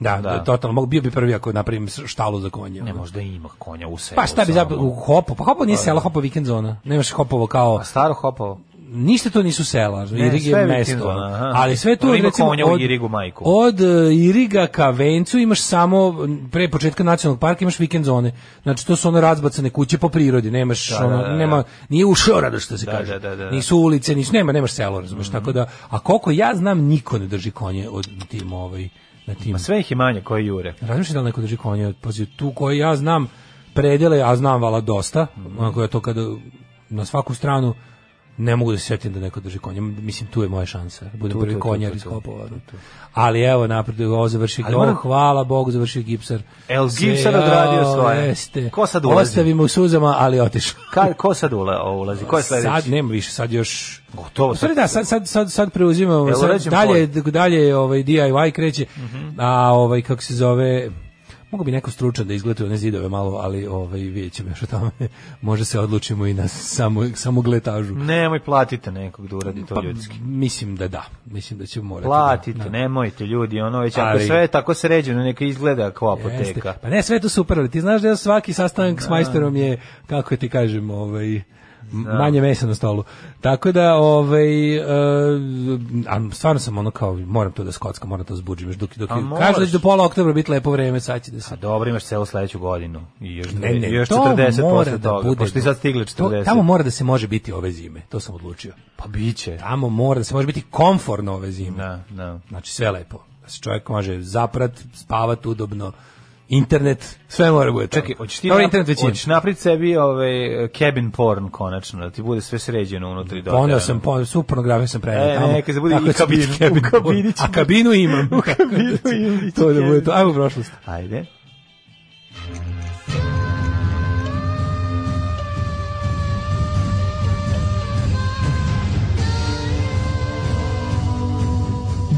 Speaker 7: Da,
Speaker 6: Da.
Speaker 7: da, totalno, mogu- bio bi prvi ako napravim štalu za konja.
Speaker 6: Ne, možda ima konja u selu.
Speaker 7: Pa šta
Speaker 6: samo.
Speaker 7: bi
Speaker 6: da.
Speaker 7: zapravo, u Hopo, pa Hopo nije selo, Hopo je vikend zona. Nemaš Hopovo kao...
Speaker 6: A staro Hopovo?
Speaker 7: ništa to nisu sela,
Speaker 6: Ne,
Speaker 7: Irig
Speaker 6: sve
Speaker 7: je
Speaker 6: je
Speaker 7: mesto.
Speaker 6: Vikinzona, aha.
Speaker 7: Ali sve to
Speaker 6: Ali ima
Speaker 7: recimo,
Speaker 6: konja u Irigu, majku.
Speaker 7: Od e, Iriga ka Vencu imaš samo m, pre početka nacionalnog parka imaš vikend zone. Znači to su one razbacane kuće po prirodi, nemaš ono,
Speaker 6: da, da.
Speaker 7: nema nije u šoradu što se
Speaker 6: Da,
Speaker 7: kaže.
Speaker 6: da, Mhm. da, da.
Speaker 7: Nisu ulice, nisu nema, nemaš selo, razumeš. Tako da a koliko ja znam niko ne drži konje od na tim ovaj na tim.
Speaker 6: Ma sve ih je manje koje jure.
Speaker 7: Razmišljam da li neko drži konje, pazi, tu koji ja znam predele, a znam vala dosta,
Speaker 6: Mhm.
Speaker 7: onako ja to kada na svaku stranu ne mogu da se setim da neko drži konje. Mislim, tu je moja šansa. da Budem prvi
Speaker 6: tu,
Speaker 7: konjar
Speaker 6: tu,
Speaker 7: iz
Speaker 6: tu,
Speaker 7: Kopova. Ali evo, napred, ovo završi,
Speaker 6: Ali
Speaker 7: ovo,
Speaker 6: moram-
Speaker 7: hvala Bogu, završio Gipsar.
Speaker 6: El
Speaker 7: Sve,
Speaker 6: Gipsar odradio
Speaker 7: jao,
Speaker 6: svoje.
Speaker 7: Jeste.
Speaker 6: Ko sad ulazi?
Speaker 7: Ostavimo u suzama, ali otišao.
Speaker 6: Ka, ko sad ula, ulazi? Ko je sledeći?
Speaker 7: Sad nema više, sad još...
Speaker 6: Gotovo.
Speaker 7: U stvari da, sad, sad, sad, sad preuzimamo,
Speaker 6: Jel
Speaker 7: sad
Speaker 6: uređen
Speaker 7: dalje, dalje ovaj DIY kreće, a ovaj, kako se zove, mogu bi neko stručan da izgleda one zidove malo, ali ovaj, vidjet ćemo još o tome, (laughs) može se odlučimo i na samo, samo gletažu.
Speaker 6: Nemoj, platite nekog da uradi to ljudski.
Speaker 7: Mislim da da, mislim da ćemo morati. Pa, da-
Speaker 6: Platite,
Speaker 7: da.
Speaker 6: nemojte ljudi, ono već ako
Speaker 7: Ali-
Speaker 6: sve je tako sređeno, neka izgleda kao
Speaker 7: Jeste.
Speaker 6: apoteka.
Speaker 7: Pa ne, sve je to super, ali ti znaš da ja svaki sastanak s majstorom je, kako ti kažem, ovaj, m-
Speaker 6: Da.
Speaker 7: manje mesa na stolu. Tako da, ovaj, e, a stvarno sam ono kao, moram to da skockam, moram to zbuđim još dok, dok
Speaker 6: A
Speaker 7: je,
Speaker 6: moraš.
Speaker 7: kažu da će do pola oktobra biti lepo vreme, sad će da se...
Speaker 6: A dobro, imaš celu sledeću godinu. I još,
Speaker 7: Ne, ne,
Speaker 6: i još
Speaker 7: to
Speaker 6: 40
Speaker 7: mora
Speaker 6: posle
Speaker 7: da
Speaker 6: toga,
Speaker 7: bude
Speaker 6: pošto i
Speaker 7: do-
Speaker 6: sad stigle
Speaker 7: to-
Speaker 6: 40.
Speaker 7: tamo mora da se može biti ove zime, to sam odlučio.
Speaker 6: Pa biće.
Speaker 7: Tamo mora da se može biti komforno ove zime.
Speaker 6: Da, da.
Speaker 7: Znači sve lepo. Da se čovjek može zaprat, spavat udobno, internet, sve mora bude. tamo.
Speaker 6: Čekaj, hoćeš ti
Speaker 7: Dobro,
Speaker 6: nap-
Speaker 7: internet većina.
Speaker 6: hoćeš napraviti sebi ovaj, cabin porn konačno, da ti bude sve sređeno unutri do
Speaker 7: Poneo Pa sam, poneo, svu pornografiju sam preneo
Speaker 6: Da, E,
Speaker 7: tamo.
Speaker 6: neka se bude
Speaker 7: Tako
Speaker 6: i
Speaker 7: da će biti
Speaker 6: kabin- u
Speaker 7: cabin
Speaker 6: kabini
Speaker 7: porn.
Speaker 6: će
Speaker 7: A kabinu
Speaker 6: (laughs)
Speaker 7: imam. u (laughs) kabinu
Speaker 6: imam, bit će
Speaker 7: to da bude
Speaker 6: cabin.
Speaker 7: to. Ajmo u prošlost.
Speaker 6: Ajde.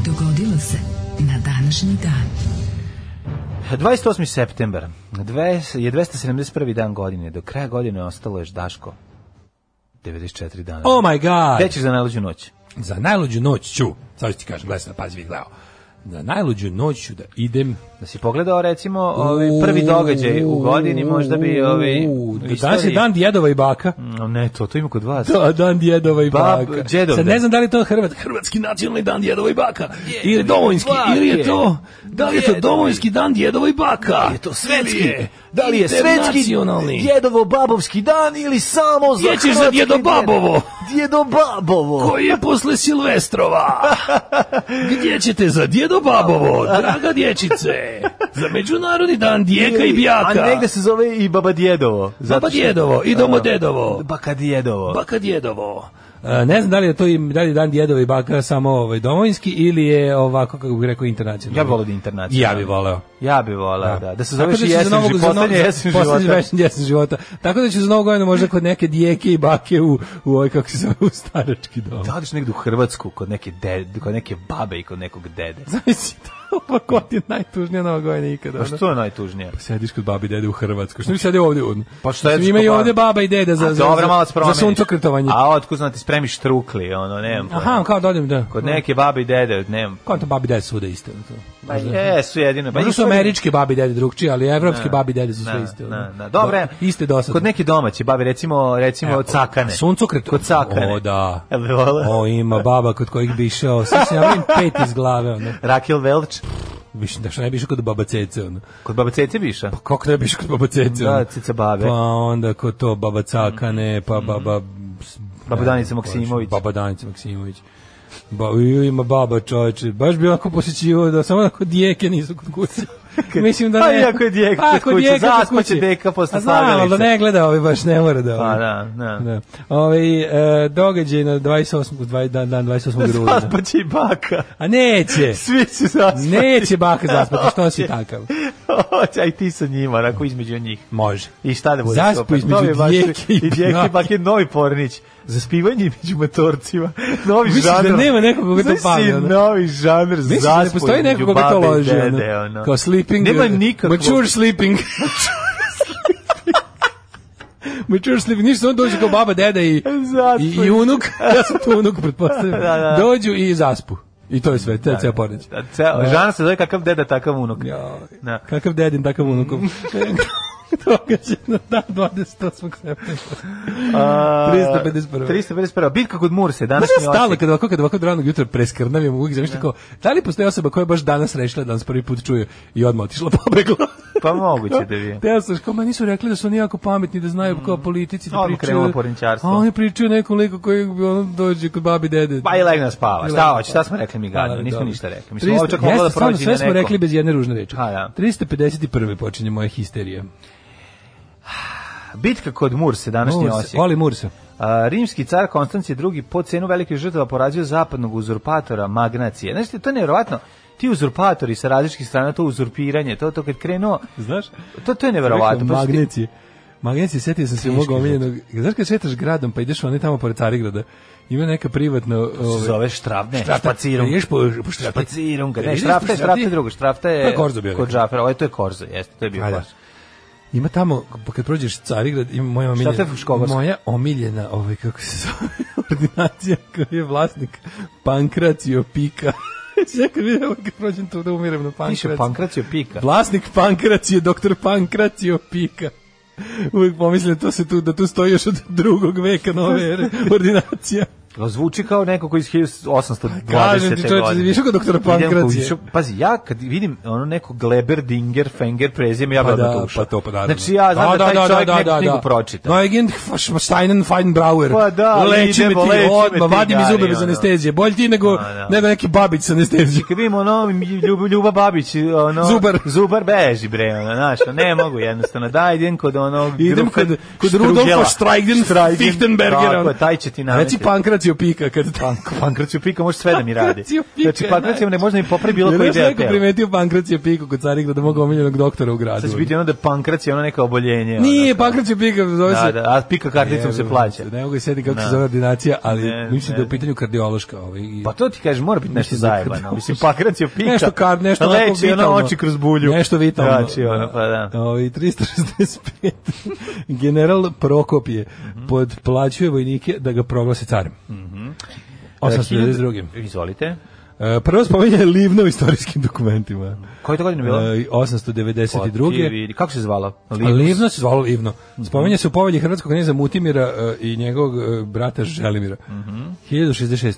Speaker 9: Dogodilo se na današnji dan.
Speaker 6: 28. septembar Dves- je 271. dan godine. Do kraja godine ostalo je Daško 94 dana.
Speaker 7: Oh my
Speaker 6: Gde
Speaker 7: god!
Speaker 6: ćeš za najluđu noć?
Speaker 7: Za najluđu noć ću, sad ću ti kažem, gledaj sad, pazi, vidi, gledao. Za najluđu noć ću da idem
Speaker 6: Da si pogledao recimo ovaj prvi događaj u godini možda bi ovaj
Speaker 7: U,
Speaker 6: u
Speaker 7: Danas je
Speaker 6: istoriji- Mm.
Speaker 7: dan djedova i baka.
Speaker 6: No, ne, to to ima kod vas.
Speaker 7: Da, dan djedova i
Speaker 6: Bab-
Speaker 7: baka.
Speaker 6: djedovde.
Speaker 7: Sad ne znam da li je to Hrvat, hrvatski nacionalni dan djedova i baka.
Speaker 6: Djedovi,
Speaker 7: Ili domovinski, ili je to...
Speaker 6: bake,
Speaker 7: Da li je to
Speaker 6: djedovi.
Speaker 7: domovinski dan djedova i baka?
Speaker 6: je to svetski. Da li je svetski
Speaker 7: Internacionalni.
Speaker 6: djedovo babovski dan ili samo za
Speaker 7: Gdje ćeš za
Speaker 6: hrvatski
Speaker 7: djedobabovo?
Speaker 6: dan? Djedobabovo.
Speaker 7: Koji je
Speaker 6: (laughs)
Speaker 7: posle Silvestrova? Gdje ćete za djedo babovo, draga dječice? Za međunarodni dan djeka i bjaka.
Speaker 6: A negde se zove i baba djedovo. Da,
Speaker 7: Baba djedovo i domo dedovo.
Speaker 6: Baka djedovo.
Speaker 7: Baka djedovo. Pa E, Ne znam da li je to im, da li je dan djedova i baka samo ovaj domovinski ili je ovako kako bih rekao internacionalni.
Speaker 6: Ja bih volio da je
Speaker 7: I
Speaker 6: internacionalni.
Speaker 7: ja bih voleo.
Speaker 6: Ja bih volao, da. Da se zoveš
Speaker 7: Tako
Speaker 6: i
Speaker 7: da ću za
Speaker 6: jesen
Speaker 7: novog-
Speaker 6: života,
Speaker 7: za novog-
Speaker 6: poslednji jesen
Speaker 7: poslednji
Speaker 6: života.
Speaker 7: jesen- jesen života. Tako da ću za novu godinu možda kod neke dijeke i bake u, u ovoj, kako se zove, u starački dom.
Speaker 6: Da odeš negde u Hrvatsku kod neke, dede, kod neke babe i kod nekog dede.
Speaker 7: (laughs) Zamisli to, pa ko ti je najtužnija nova godina ikada?
Speaker 6: Pa
Speaker 7: ono?
Speaker 6: što je najtužnije?
Speaker 7: Sediš kod babi i dede u Hrvatskoj. Što bi sedio ovdje?
Speaker 6: Pa šta je
Speaker 7: Ima i
Speaker 6: skopano?
Speaker 7: ovdje baba i deda za,
Speaker 6: A
Speaker 7: za,
Speaker 6: dobro, malo
Speaker 7: za,
Speaker 6: se
Speaker 7: za
Speaker 6: promeniš.
Speaker 7: suncokretovanje.
Speaker 6: A otkud znam ti spremiš trukli, ono, nemam pojma.
Speaker 7: Aha, kao da odem, da.
Speaker 6: Kod neke babe i dede, nemam.
Speaker 7: Kao to babi i dede svuda isto. ono To.
Speaker 6: Pa jesu jedino. Pa
Speaker 7: Možda su
Speaker 6: nisu-
Speaker 7: američki babi i dede drugčiji, ali evropski
Speaker 6: Da,
Speaker 7: babi i dede su
Speaker 6: da,
Speaker 7: sve isto. ono.
Speaker 6: da, da. Dobre.
Speaker 7: Iste dosadne.
Speaker 6: Kod neke domaće babe, recimo, recimo
Speaker 7: Evo,
Speaker 6: cakane.
Speaker 7: Suncokret.
Speaker 6: Kod cakane.
Speaker 7: O, da.
Speaker 6: Jel bi volao?
Speaker 7: O, ima baba kod kojih bi išao. Sve se javim pet iz glave, ono.
Speaker 6: Rakel Velč,
Speaker 7: Više, da što ne bi išao kod baba cece, ono.
Speaker 6: kod baba Cece Biša.
Speaker 7: Pa kako ne bi išao kod baba cece, ono?
Speaker 6: Da, cica babe. Mm-hmm.
Speaker 7: Pa onda kod to baba cakane, pa baba... s-
Speaker 6: Baba
Speaker 7: ne
Speaker 6: Danica
Speaker 7: znam ko je,
Speaker 6: Maksimović.
Speaker 7: Baba Danica Maksimović. Ba, ju, ima baba čoveče, baš bi onako posjećivo da samo onako dijeke nisu kod
Speaker 6: (laughs)
Speaker 7: kuće. Mislim da ne.
Speaker 6: A iako je dijeka
Speaker 7: Pa,
Speaker 6: kod
Speaker 7: ako
Speaker 6: kuće,
Speaker 7: dijeka kod
Speaker 6: zaspaće
Speaker 7: kuće.
Speaker 6: deka posle
Speaker 7: A znam, ali da
Speaker 6: slagalice.
Speaker 7: ne gleda, ovaj baš ne mora da.
Speaker 6: Pa
Speaker 7: ovaj.
Speaker 6: da, da.
Speaker 7: Da. Ovaj e, događaj na 28. dvaj- dan, dan
Speaker 6: (laughs)
Speaker 7: 28. rujna.
Speaker 6: Zaspaće i baka.
Speaker 7: A neće.
Speaker 6: Svi će (laughs) zaspati. (laughs)
Speaker 7: Neće baka zaspati, što si takav?
Speaker 6: Hoće, aj ti sa njima, onako između njih.
Speaker 7: Može.
Speaker 6: I šta da bude
Speaker 7: Zaspu
Speaker 6: super?
Speaker 7: između
Speaker 6: Novi baš-
Speaker 7: Dijeke i
Speaker 6: i Dijeke
Speaker 7: Bake.
Speaker 6: i Bake, novi pornić. Za spivanje među matorcima. (laughs) Novi
Speaker 7: Misliš da
Speaker 6: žanr.
Speaker 7: nema nekog koga to
Speaker 6: Znaš si,
Speaker 7: pali, ono?
Speaker 6: novi žanr
Speaker 7: Misliš da ne
Speaker 6: zaspu
Speaker 7: postoji neko
Speaker 6: između
Speaker 7: koga to
Speaker 6: babe i
Speaker 7: loži? ono?
Speaker 6: dede, ono.
Speaker 7: Kao sleeping.
Speaker 6: Nema
Speaker 7: uh,
Speaker 6: nikakvog.
Speaker 7: Mature
Speaker 6: (laughs)
Speaker 7: sleeping. Mature sleeping. Ništa, samo dođe kao baba, deda i,
Speaker 6: Zaspu.
Speaker 7: i, i
Speaker 6: (laughs)
Speaker 7: unuk. Ja sam tu unuk, pretpostavljam.
Speaker 6: Da, da.
Speaker 7: Dođu i zaspu. I to je sve, to je ceo pornić.
Speaker 6: Da, Ceo, žanr se zove kakav deda, takav unuk. Da.
Speaker 7: Kakav dedin, takav unukov.
Speaker 6: (laughs)
Speaker 7: Događaj na dan 28. septembra.
Speaker 6: A,
Speaker 7: 351.
Speaker 6: 351. Bitka kod Murse, danas
Speaker 7: Znaš
Speaker 6: mi
Speaker 7: ja stalo kada ovako, kada ovako od ranog jutra preskrnavim, uvijek zamišljam kao, da li postoji osoba koja je baš danas rešila da nas prvi put čuje i odmah otišla pobegla?
Speaker 6: Pa moguće da bi.
Speaker 7: Teo sam, kao, ma nisu rekli da su oni jako pametni, da znaju kao politici, da
Speaker 6: Odmah
Speaker 7: pričaju.
Speaker 6: krenulo porničarstvo.
Speaker 7: A oni pričaju o nekom liku koji ono, dođe kod babi i dede.
Speaker 6: Pa i legne spava.
Speaker 7: Legne
Speaker 6: Šta hoće, šta smo rekli mi gadno,
Speaker 7: Da,
Speaker 6: nismo
Speaker 7: dobro.
Speaker 6: ništa rekli. Mislim, ovo
Speaker 7: 300
Speaker 6: čak moglo da
Speaker 7: jeste, stvarno,
Speaker 6: prođe i na
Speaker 7: Sve smo
Speaker 6: nekom.
Speaker 7: rekli bez jedne ružne reči.
Speaker 6: Ha, da.
Speaker 7: 351. počinje moja histerija.
Speaker 6: Bitka kod Murse, današnji
Speaker 7: Mursa,
Speaker 6: Osijek.
Speaker 7: Voli Mursa.
Speaker 6: A, rimski car Konstancije II po cenu velikih žrtava porazio zapadnog uzurpatora Magnacije. Znaš, to je nevjerovatno. Ti uzurpatori sa različitih strana, to uzurpiranje, to, to kad krenuo,
Speaker 7: Znaš?
Speaker 6: to, to je nevjerovatno. Pa su ti-
Speaker 7: Magnecije. Magnecije, setio sam se
Speaker 6: Teški
Speaker 7: mog omiljenog. Znaš kad šetaš gradom pa ideš oni tamo pored Carigrada, ima neka privatna...
Speaker 6: se
Speaker 7: Ovaj,
Speaker 6: zove štrafne,
Speaker 7: Štrafta.
Speaker 6: špacirom.
Speaker 7: Ideš po- po štrafti.
Speaker 6: špacirom, ga, ne,
Speaker 7: Ideš po
Speaker 6: štrafta je, štrafta je
Speaker 7: štrafti.
Speaker 6: drugo, štrafta je,
Speaker 7: To je Korzo bio
Speaker 6: kod
Speaker 7: neki.
Speaker 6: Džafera, ovo je, to je Korzo, jeste, to je bio
Speaker 7: A, da.
Speaker 6: Korzo.
Speaker 7: Ima tamo, pa kad prođeš Carigrad, ima moja
Speaker 6: Šta
Speaker 7: omiljena,
Speaker 6: te Fuškovarsko?
Speaker 7: moja omiljena, ovaj, kako se zove, (laughs) ordinacija koja je vlasnik Pankracio Pika. (laughs) ja kad vidim, ovaj, kad prođem tu da umirem na
Speaker 6: Piše
Speaker 7: Pankracio.
Speaker 6: Pankracio Pika.
Speaker 7: Vlasnik Pankracio, doktor Pankracio Pika. Uvijek pomislim da to se tu, da tu stoji još od drugog veka nove
Speaker 6: (laughs)
Speaker 7: ere, ordinacija.
Speaker 6: Pa Zvuči kao neko koji iz 1820.
Speaker 7: Kažem ti, čovječe,
Speaker 6: godine.
Speaker 7: više kod doktora
Speaker 6: Idem ko
Speaker 7: Pankracije.
Speaker 6: više- Pazi, ja kad vidim ono neko Gleber, Dinger, Fenger, prezime, ja bi
Speaker 7: Pa
Speaker 6: odmah
Speaker 7: da,
Speaker 6: ušao.
Speaker 7: pa to, pa da.
Speaker 6: Znači ja znam da, taj čovjek neku knjigu pročita.
Speaker 7: Neugen Steinen Feinbrauer.
Speaker 6: Pa da,
Speaker 7: leči me
Speaker 6: idemo,
Speaker 7: ti,
Speaker 6: leči me
Speaker 7: odmah,
Speaker 6: ti,
Speaker 7: vadi mi zube
Speaker 6: Gari,
Speaker 7: bez
Speaker 6: ono.
Speaker 7: anestezije. Bolje ti nego,
Speaker 6: Pa da.
Speaker 7: nego neki babić sa anestezijom.
Speaker 6: Znači, Kad vidimo ono Ljub, Ljuba Babić, ono
Speaker 7: Zubar.
Speaker 6: Zubar beži bre, ono, znaš, ne mogu jednostavno. Da, idem kod onog
Speaker 7: Idem
Speaker 6: Grufa-
Speaker 7: kod, kod
Speaker 6: Štrugela.
Speaker 7: Rudolfa Strajgden Fichtenbergera.
Speaker 6: Tako, je, taj će ti
Speaker 7: Reci pa-
Speaker 6: nametiti.
Speaker 7: Pankrac pankracio pika kad
Speaker 6: Pank, pankraciju pika može sve da mi radi.
Speaker 7: Pankraciju pika,
Speaker 6: Znači, pankraciju ne može da mi popravi bilo
Speaker 7: Jel
Speaker 6: koji
Speaker 7: još
Speaker 6: deo
Speaker 7: neko
Speaker 6: tela.
Speaker 7: primetio pankracio piku kod Carigrada mog omiljenog doktora u gradu?
Speaker 6: Sad će biti ono da je pankracija ono neka oboljenje.
Speaker 7: Nije,
Speaker 6: ono.
Speaker 7: pankracio pika zove
Speaker 6: Da,
Speaker 7: se...
Speaker 6: da, a pika karticom se
Speaker 7: Jebem
Speaker 6: plaća.
Speaker 7: Ne mogu se kako se
Speaker 6: Da.
Speaker 7: zove ordinacija, ali
Speaker 6: Ne,
Speaker 7: mislim
Speaker 6: ne.
Speaker 7: da je u pitanju kardiološka. Ovaj, i-
Speaker 6: Pa to ti kažeš, mora biti nešto
Speaker 7: Mislim da-
Speaker 6: zajebano. Mislim, pankracija pika.
Speaker 7: Nešto kar, nešto onako
Speaker 6: Leči ono
Speaker 7: vitalno.
Speaker 6: oči kroz bulju.
Speaker 7: Nešto vitalno.
Speaker 6: Znači, ono, pa da.
Speaker 7: Ovi, 365. (laughs) General Prokopije
Speaker 6: Mhm.
Speaker 7: podplaćuje vojnike da ga proglase carem. Mm -hmm.
Speaker 6: Izvolite.
Speaker 7: 892. E, Prvo spominje Livna u istorijskim dokumentima.
Speaker 6: Koje to godine
Speaker 7: E,
Speaker 6: bilo?
Speaker 7: 892.
Speaker 6: Druge. Pa, Kako se zvala?
Speaker 7: Livno. Livno se zvalo Livno.
Speaker 6: Mhm.
Speaker 7: Spominje se u povelji hrvatskog knjeza Mutimira e, i njegovog e, brata Želimira.
Speaker 6: Mhm.
Speaker 7: 1066.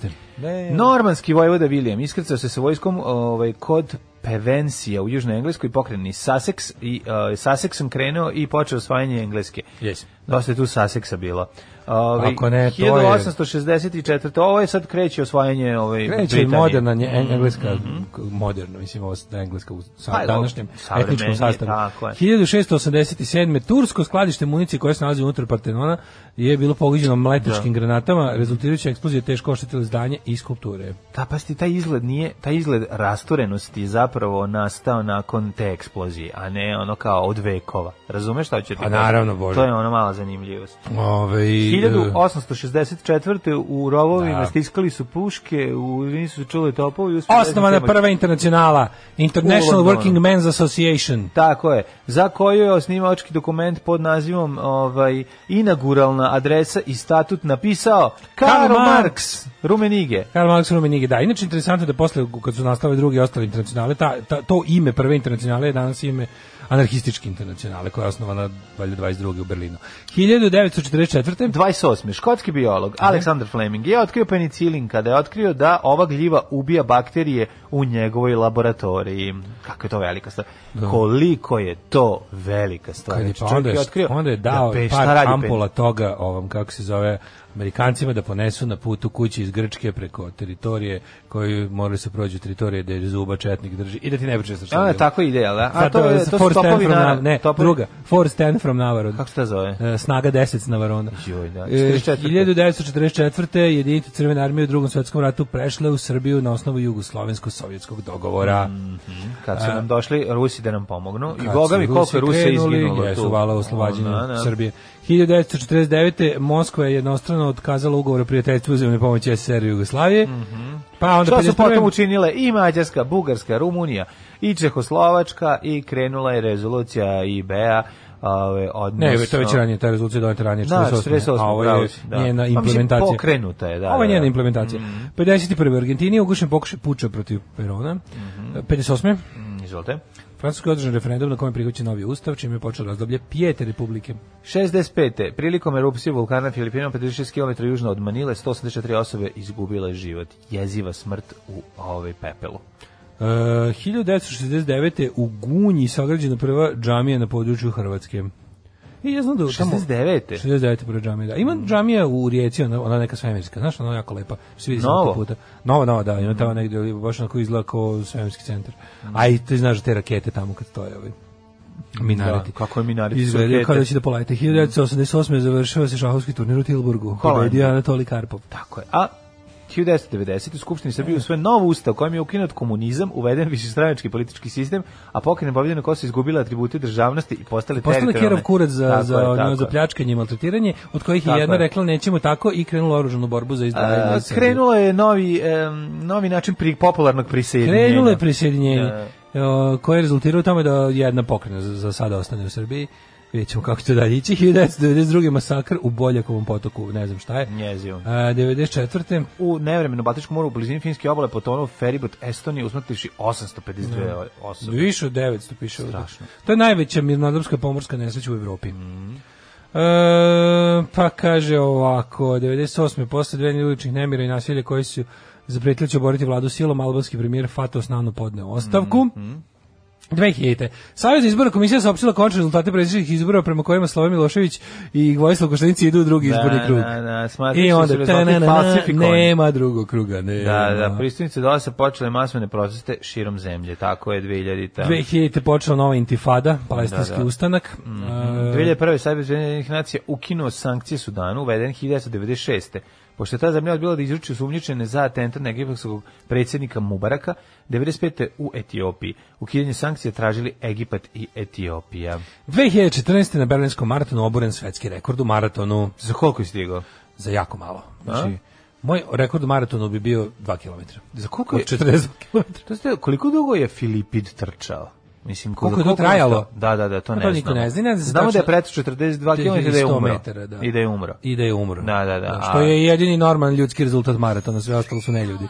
Speaker 6: Normanski vojvoda William iskrcao se sa vojskom ovaj, kod Pevensija u južnoj engleskoj pokrajini Sussex i uh, Sussexom krenuo i počeo osvajanje engleske.
Speaker 7: Yes.
Speaker 6: Dosta je tu Sussexa bilo. Ovaj,
Speaker 7: Ako ne, to je-
Speaker 6: 1864. Ovo je sad kreće osvajanje ovaj,
Speaker 7: Kreće
Speaker 6: Britanije.
Speaker 7: moderna nje- engleska, k- moderno, mislim, ovo da je engleska u sa
Speaker 6: Mhm, Pa,
Speaker 7: današnjem
Speaker 6: savremenije,
Speaker 7: etničkom sastavu.
Speaker 6: tako je.
Speaker 7: 1687. Tursko skladište municije koje se nalazi unutar Partenona je bilo pogođeno mletačkim
Speaker 6: Da.
Speaker 7: granatama, rezultirajuća eksplozija teško oštetila zdanje i skulpture.
Speaker 6: Ta pa sti taj izgled nije, taj izgled rasturenosti je zapravo nastao nakon te eksplozije, a ne ono kao od vekova. Razumeš šta ću ti
Speaker 7: Pa
Speaker 6: kažem?
Speaker 7: naravno, Bože. e,
Speaker 6: To je ono mala zanimljivost.
Speaker 7: Ove,
Speaker 6: e, 1864. u rovovima
Speaker 7: Da.
Speaker 6: stiskali su puške, u nisu se čuli topovi. uspeli
Speaker 7: Osnovana
Speaker 6: da se-
Speaker 7: prva internacionala, International
Speaker 6: U Londonu.
Speaker 7: Working Men's Association.
Speaker 6: Tako je. Za koju je osnivački dokument pod nazivom ovaj inauguralna adresa i statut napisao Karl
Speaker 7: Karl
Speaker 6: Marx, Rumenige.
Speaker 7: Karl Marx Rumenige, da. Inače, interesantno je da posle, kad su nastale drugi i ostale internacionale, ta, ta, to ime prve internacionale je danas ime anarhističke internacionale, koja je osnovana valjda 22. u Berlinu. 1944.
Speaker 6: 28. Škotski biolog Aleksandar Fleming je otkrio penicilin kada je otkrio da ova gljiva ubija bakterije u njegovoj laboratoriji. Kako je to velika stvar. Koliko je to velika stvar.
Speaker 7: Da. Kad je,
Speaker 6: Znači,
Speaker 7: pa
Speaker 6: čovjek
Speaker 7: onda, je, onda je dao
Speaker 6: Da, pe- šta
Speaker 7: par
Speaker 6: radi pe-
Speaker 7: ampola toga, ovom, kako se zove, Amerikancima da ponesu na putu kući iz Grčke preko teritorije koju morali se prođu teritorije da je zuba četnik drži i da ti ne pričaš šta je
Speaker 6: A,
Speaker 7: bilo.
Speaker 6: tako ide, jel da? A
Speaker 7: Sad,
Speaker 6: to, je, to su
Speaker 7: Force 10
Speaker 6: topovi
Speaker 7: from
Speaker 6: na...
Speaker 7: Nav- Ne,
Speaker 6: topovi-
Speaker 7: druga. Force 10 from Navarod.
Speaker 6: Kako se to zove?
Speaker 7: E, snaga 10 s Navarona.
Speaker 6: Joj, da,
Speaker 7: E,
Speaker 6: 44..
Speaker 7: 1944. jedinice Crvene armije u drugom svjetskom ratu prešle u Srbiju na osnovu jugoslovensko-sovjetskog dogovora.
Speaker 6: Kad su nam došli Rusi da nam pomognu. I
Speaker 7: Kad
Speaker 6: Mm, Boga
Speaker 7: su
Speaker 6: mi
Speaker 7: Rusi
Speaker 6: koliko je Rusa
Speaker 7: krenuli,
Speaker 6: izginulo tu.
Speaker 7: Jesu vala oslobađenju
Speaker 6: Da, da.
Speaker 7: Srbije. 1949. Moskva je jednostrano otkazala ugovor o prijateljstvu i uzemne pomoći SSR i Jugoslavije. Pa onda
Speaker 6: Mhm. Šta su
Speaker 7: 51..
Speaker 6: potom učinile i Mađarska, Bugarska, Rumunija i Čehoslovačka i krenula je rezolucija IBA ove, odnosno...
Speaker 7: Ne, to je već ranije, ta rezolucija je doneta ranije,
Speaker 6: Da,
Speaker 7: 48.
Speaker 6: 48,
Speaker 7: a ovo je
Speaker 6: pravo si, da.
Speaker 7: njena
Speaker 6: Pa mislim,
Speaker 7: implementacija.
Speaker 6: pokrenuta je, da,
Speaker 7: Ovo je
Speaker 6: da,
Speaker 7: njena
Speaker 6: da.
Speaker 7: implementacija. 51. u Argentini je ugušen pokušaj puča protiv Perona.
Speaker 6: Mhm.
Speaker 7: 58.
Speaker 6: Mm, Izvolite.
Speaker 7: Francusko je održan referendum na kojem je prihvaćen novi ustav, čime je počelo razdoblje pijete republike.
Speaker 6: 65. Prilikom erupcije vulkana na Filipinima 56 km južno od Manile 184 osobe izgubile život. Jeziva smrt u ovaj pepelu.
Speaker 7: E, 1969. u Gunji sagrađena prva džamija na području Hrvatske. I ja znam da tamo...
Speaker 6: 69.
Speaker 7: 69. prva džamija, da. Ima
Speaker 6: Mm.
Speaker 7: džamija u Rijeci, ona, ona neka svemirska, znaš, ona jako lepa. Svi vidi
Speaker 6: Novo? Mm.
Speaker 7: samo puta. Nova, nova, da, ima tamo negdje, baš onako izgleda kao svemirski centar. A i ti znaš da te rakete tamo kad stoje ovi minareti.
Speaker 6: Da, kako je minareti su
Speaker 7: Izgledaju
Speaker 6: rakete.
Speaker 7: kao da će da polajte. 1988. je završio se šahovski turnir u Tilburgu. Pobedio je Anatoli Karpov.
Speaker 6: Tako je. A 1990. u Skupštini Srbije usvojen nov ustav kojim je ukinut komunizam, uveden višestranački politički sistem, a pokrene pobjedene Kosovo izgubila atribute državnosti i postale
Speaker 7: Postala
Speaker 6: teritorijalne-
Speaker 7: Kjerov kurac za,
Speaker 6: Tako
Speaker 7: za,
Speaker 6: je,
Speaker 7: ono,
Speaker 6: tako
Speaker 7: za
Speaker 6: je.
Speaker 7: pljačkanje i maltretiranje, od kojih je
Speaker 6: Tako
Speaker 7: jedna
Speaker 6: je.
Speaker 7: rekla nećemo tako i krenula oružanu borbu za izdavljanje.
Speaker 6: A, Krenulo je novi, em, novi način pri, popularnog prisjedinjenja.
Speaker 7: Krenulo je prisjedinjenje,
Speaker 6: Da.
Speaker 7: o, koje je rezultiralo u tome da jedna pokrena za, za sada ostane u Srbiji. Vidjet ćemo kako će to dalje ići. 1992. masakr u Boljakovom potoku, ne znam šta je.
Speaker 6: Njezivo.
Speaker 7: A, 94.
Speaker 6: U nevremenu Baltičkom moru u blizini finske obale potonuo feribot Estonije usmrtivši
Speaker 7: Da.
Speaker 6: 852 osobe.
Speaker 7: Više od 900 piše ovdje.
Speaker 6: Strašno. Mhm.
Speaker 7: To je najveća mirnodopska pomorska nesreća u Evropi. E, pa kaže ovako, 98. posle dve uličnih nemira i nasilja koji su zapretili da će oboriti vladu silom, albanski premijer Fato Snano podneo ostavku.
Speaker 6: Mhm.
Speaker 7: 2000. Savjez izbora komisija saopštila končne rezultate predsjedničkih izbora prema kojima Slobodan Milošević i Vojislav Koštenica idu u drugi izborni krug.
Speaker 6: Da, da,
Speaker 7: I
Speaker 6: smatrali su se
Speaker 7: onda,
Speaker 6: rezultati
Speaker 7: ta-na-na-na,
Speaker 6: falsifikovani.
Speaker 7: nema drugog kruga. Ne,
Speaker 6: Da, da, pristupnice DOS-a počele masovne proteste širom zemlje, tako je 2000.
Speaker 7: 2000. počela nova intifada, palestinski
Speaker 6: da.
Speaker 7: ustanak. E,
Speaker 6: 2001. Savjet Ujedinjenih nacija ukinuo sankcije Sudanu, uveden 1996. Pošto je ta zemlja odbila da izruči osumnjičene za atentat na egipatskog predsjednika Mubaraka, 95. u Etiopiji. Ukidanje sankcija tražili Egipat i Etiopija.
Speaker 7: 2014. na Berlinskom maratonu oboren svetski rekord u maratonu
Speaker 6: Za koliko je stigao?
Speaker 7: za jako malo. Znači, moj rekord u maratonu bi bio 2 km.
Speaker 6: Za koliko
Speaker 7: Od 42 km.
Speaker 6: To ste, koliko dugo je Filipid trčao? Mislim,
Speaker 7: Koliko je to trajalo?
Speaker 6: Da, da, da, to
Speaker 7: Pa
Speaker 6: ne
Speaker 7: to
Speaker 6: znam.
Speaker 7: niko ne zna, ne zna se
Speaker 6: Znamo da je
Speaker 7: tačno-
Speaker 6: pretoč 42 km i da je
Speaker 7: 100
Speaker 6: umro.
Speaker 7: metara, da.
Speaker 6: I da je umro.
Speaker 7: I da je umro.
Speaker 6: Da, da, da.
Speaker 7: Što
Speaker 6: A-
Speaker 7: je jedini normalan ljudski rezultat maratona, sve ostalo su neljudi.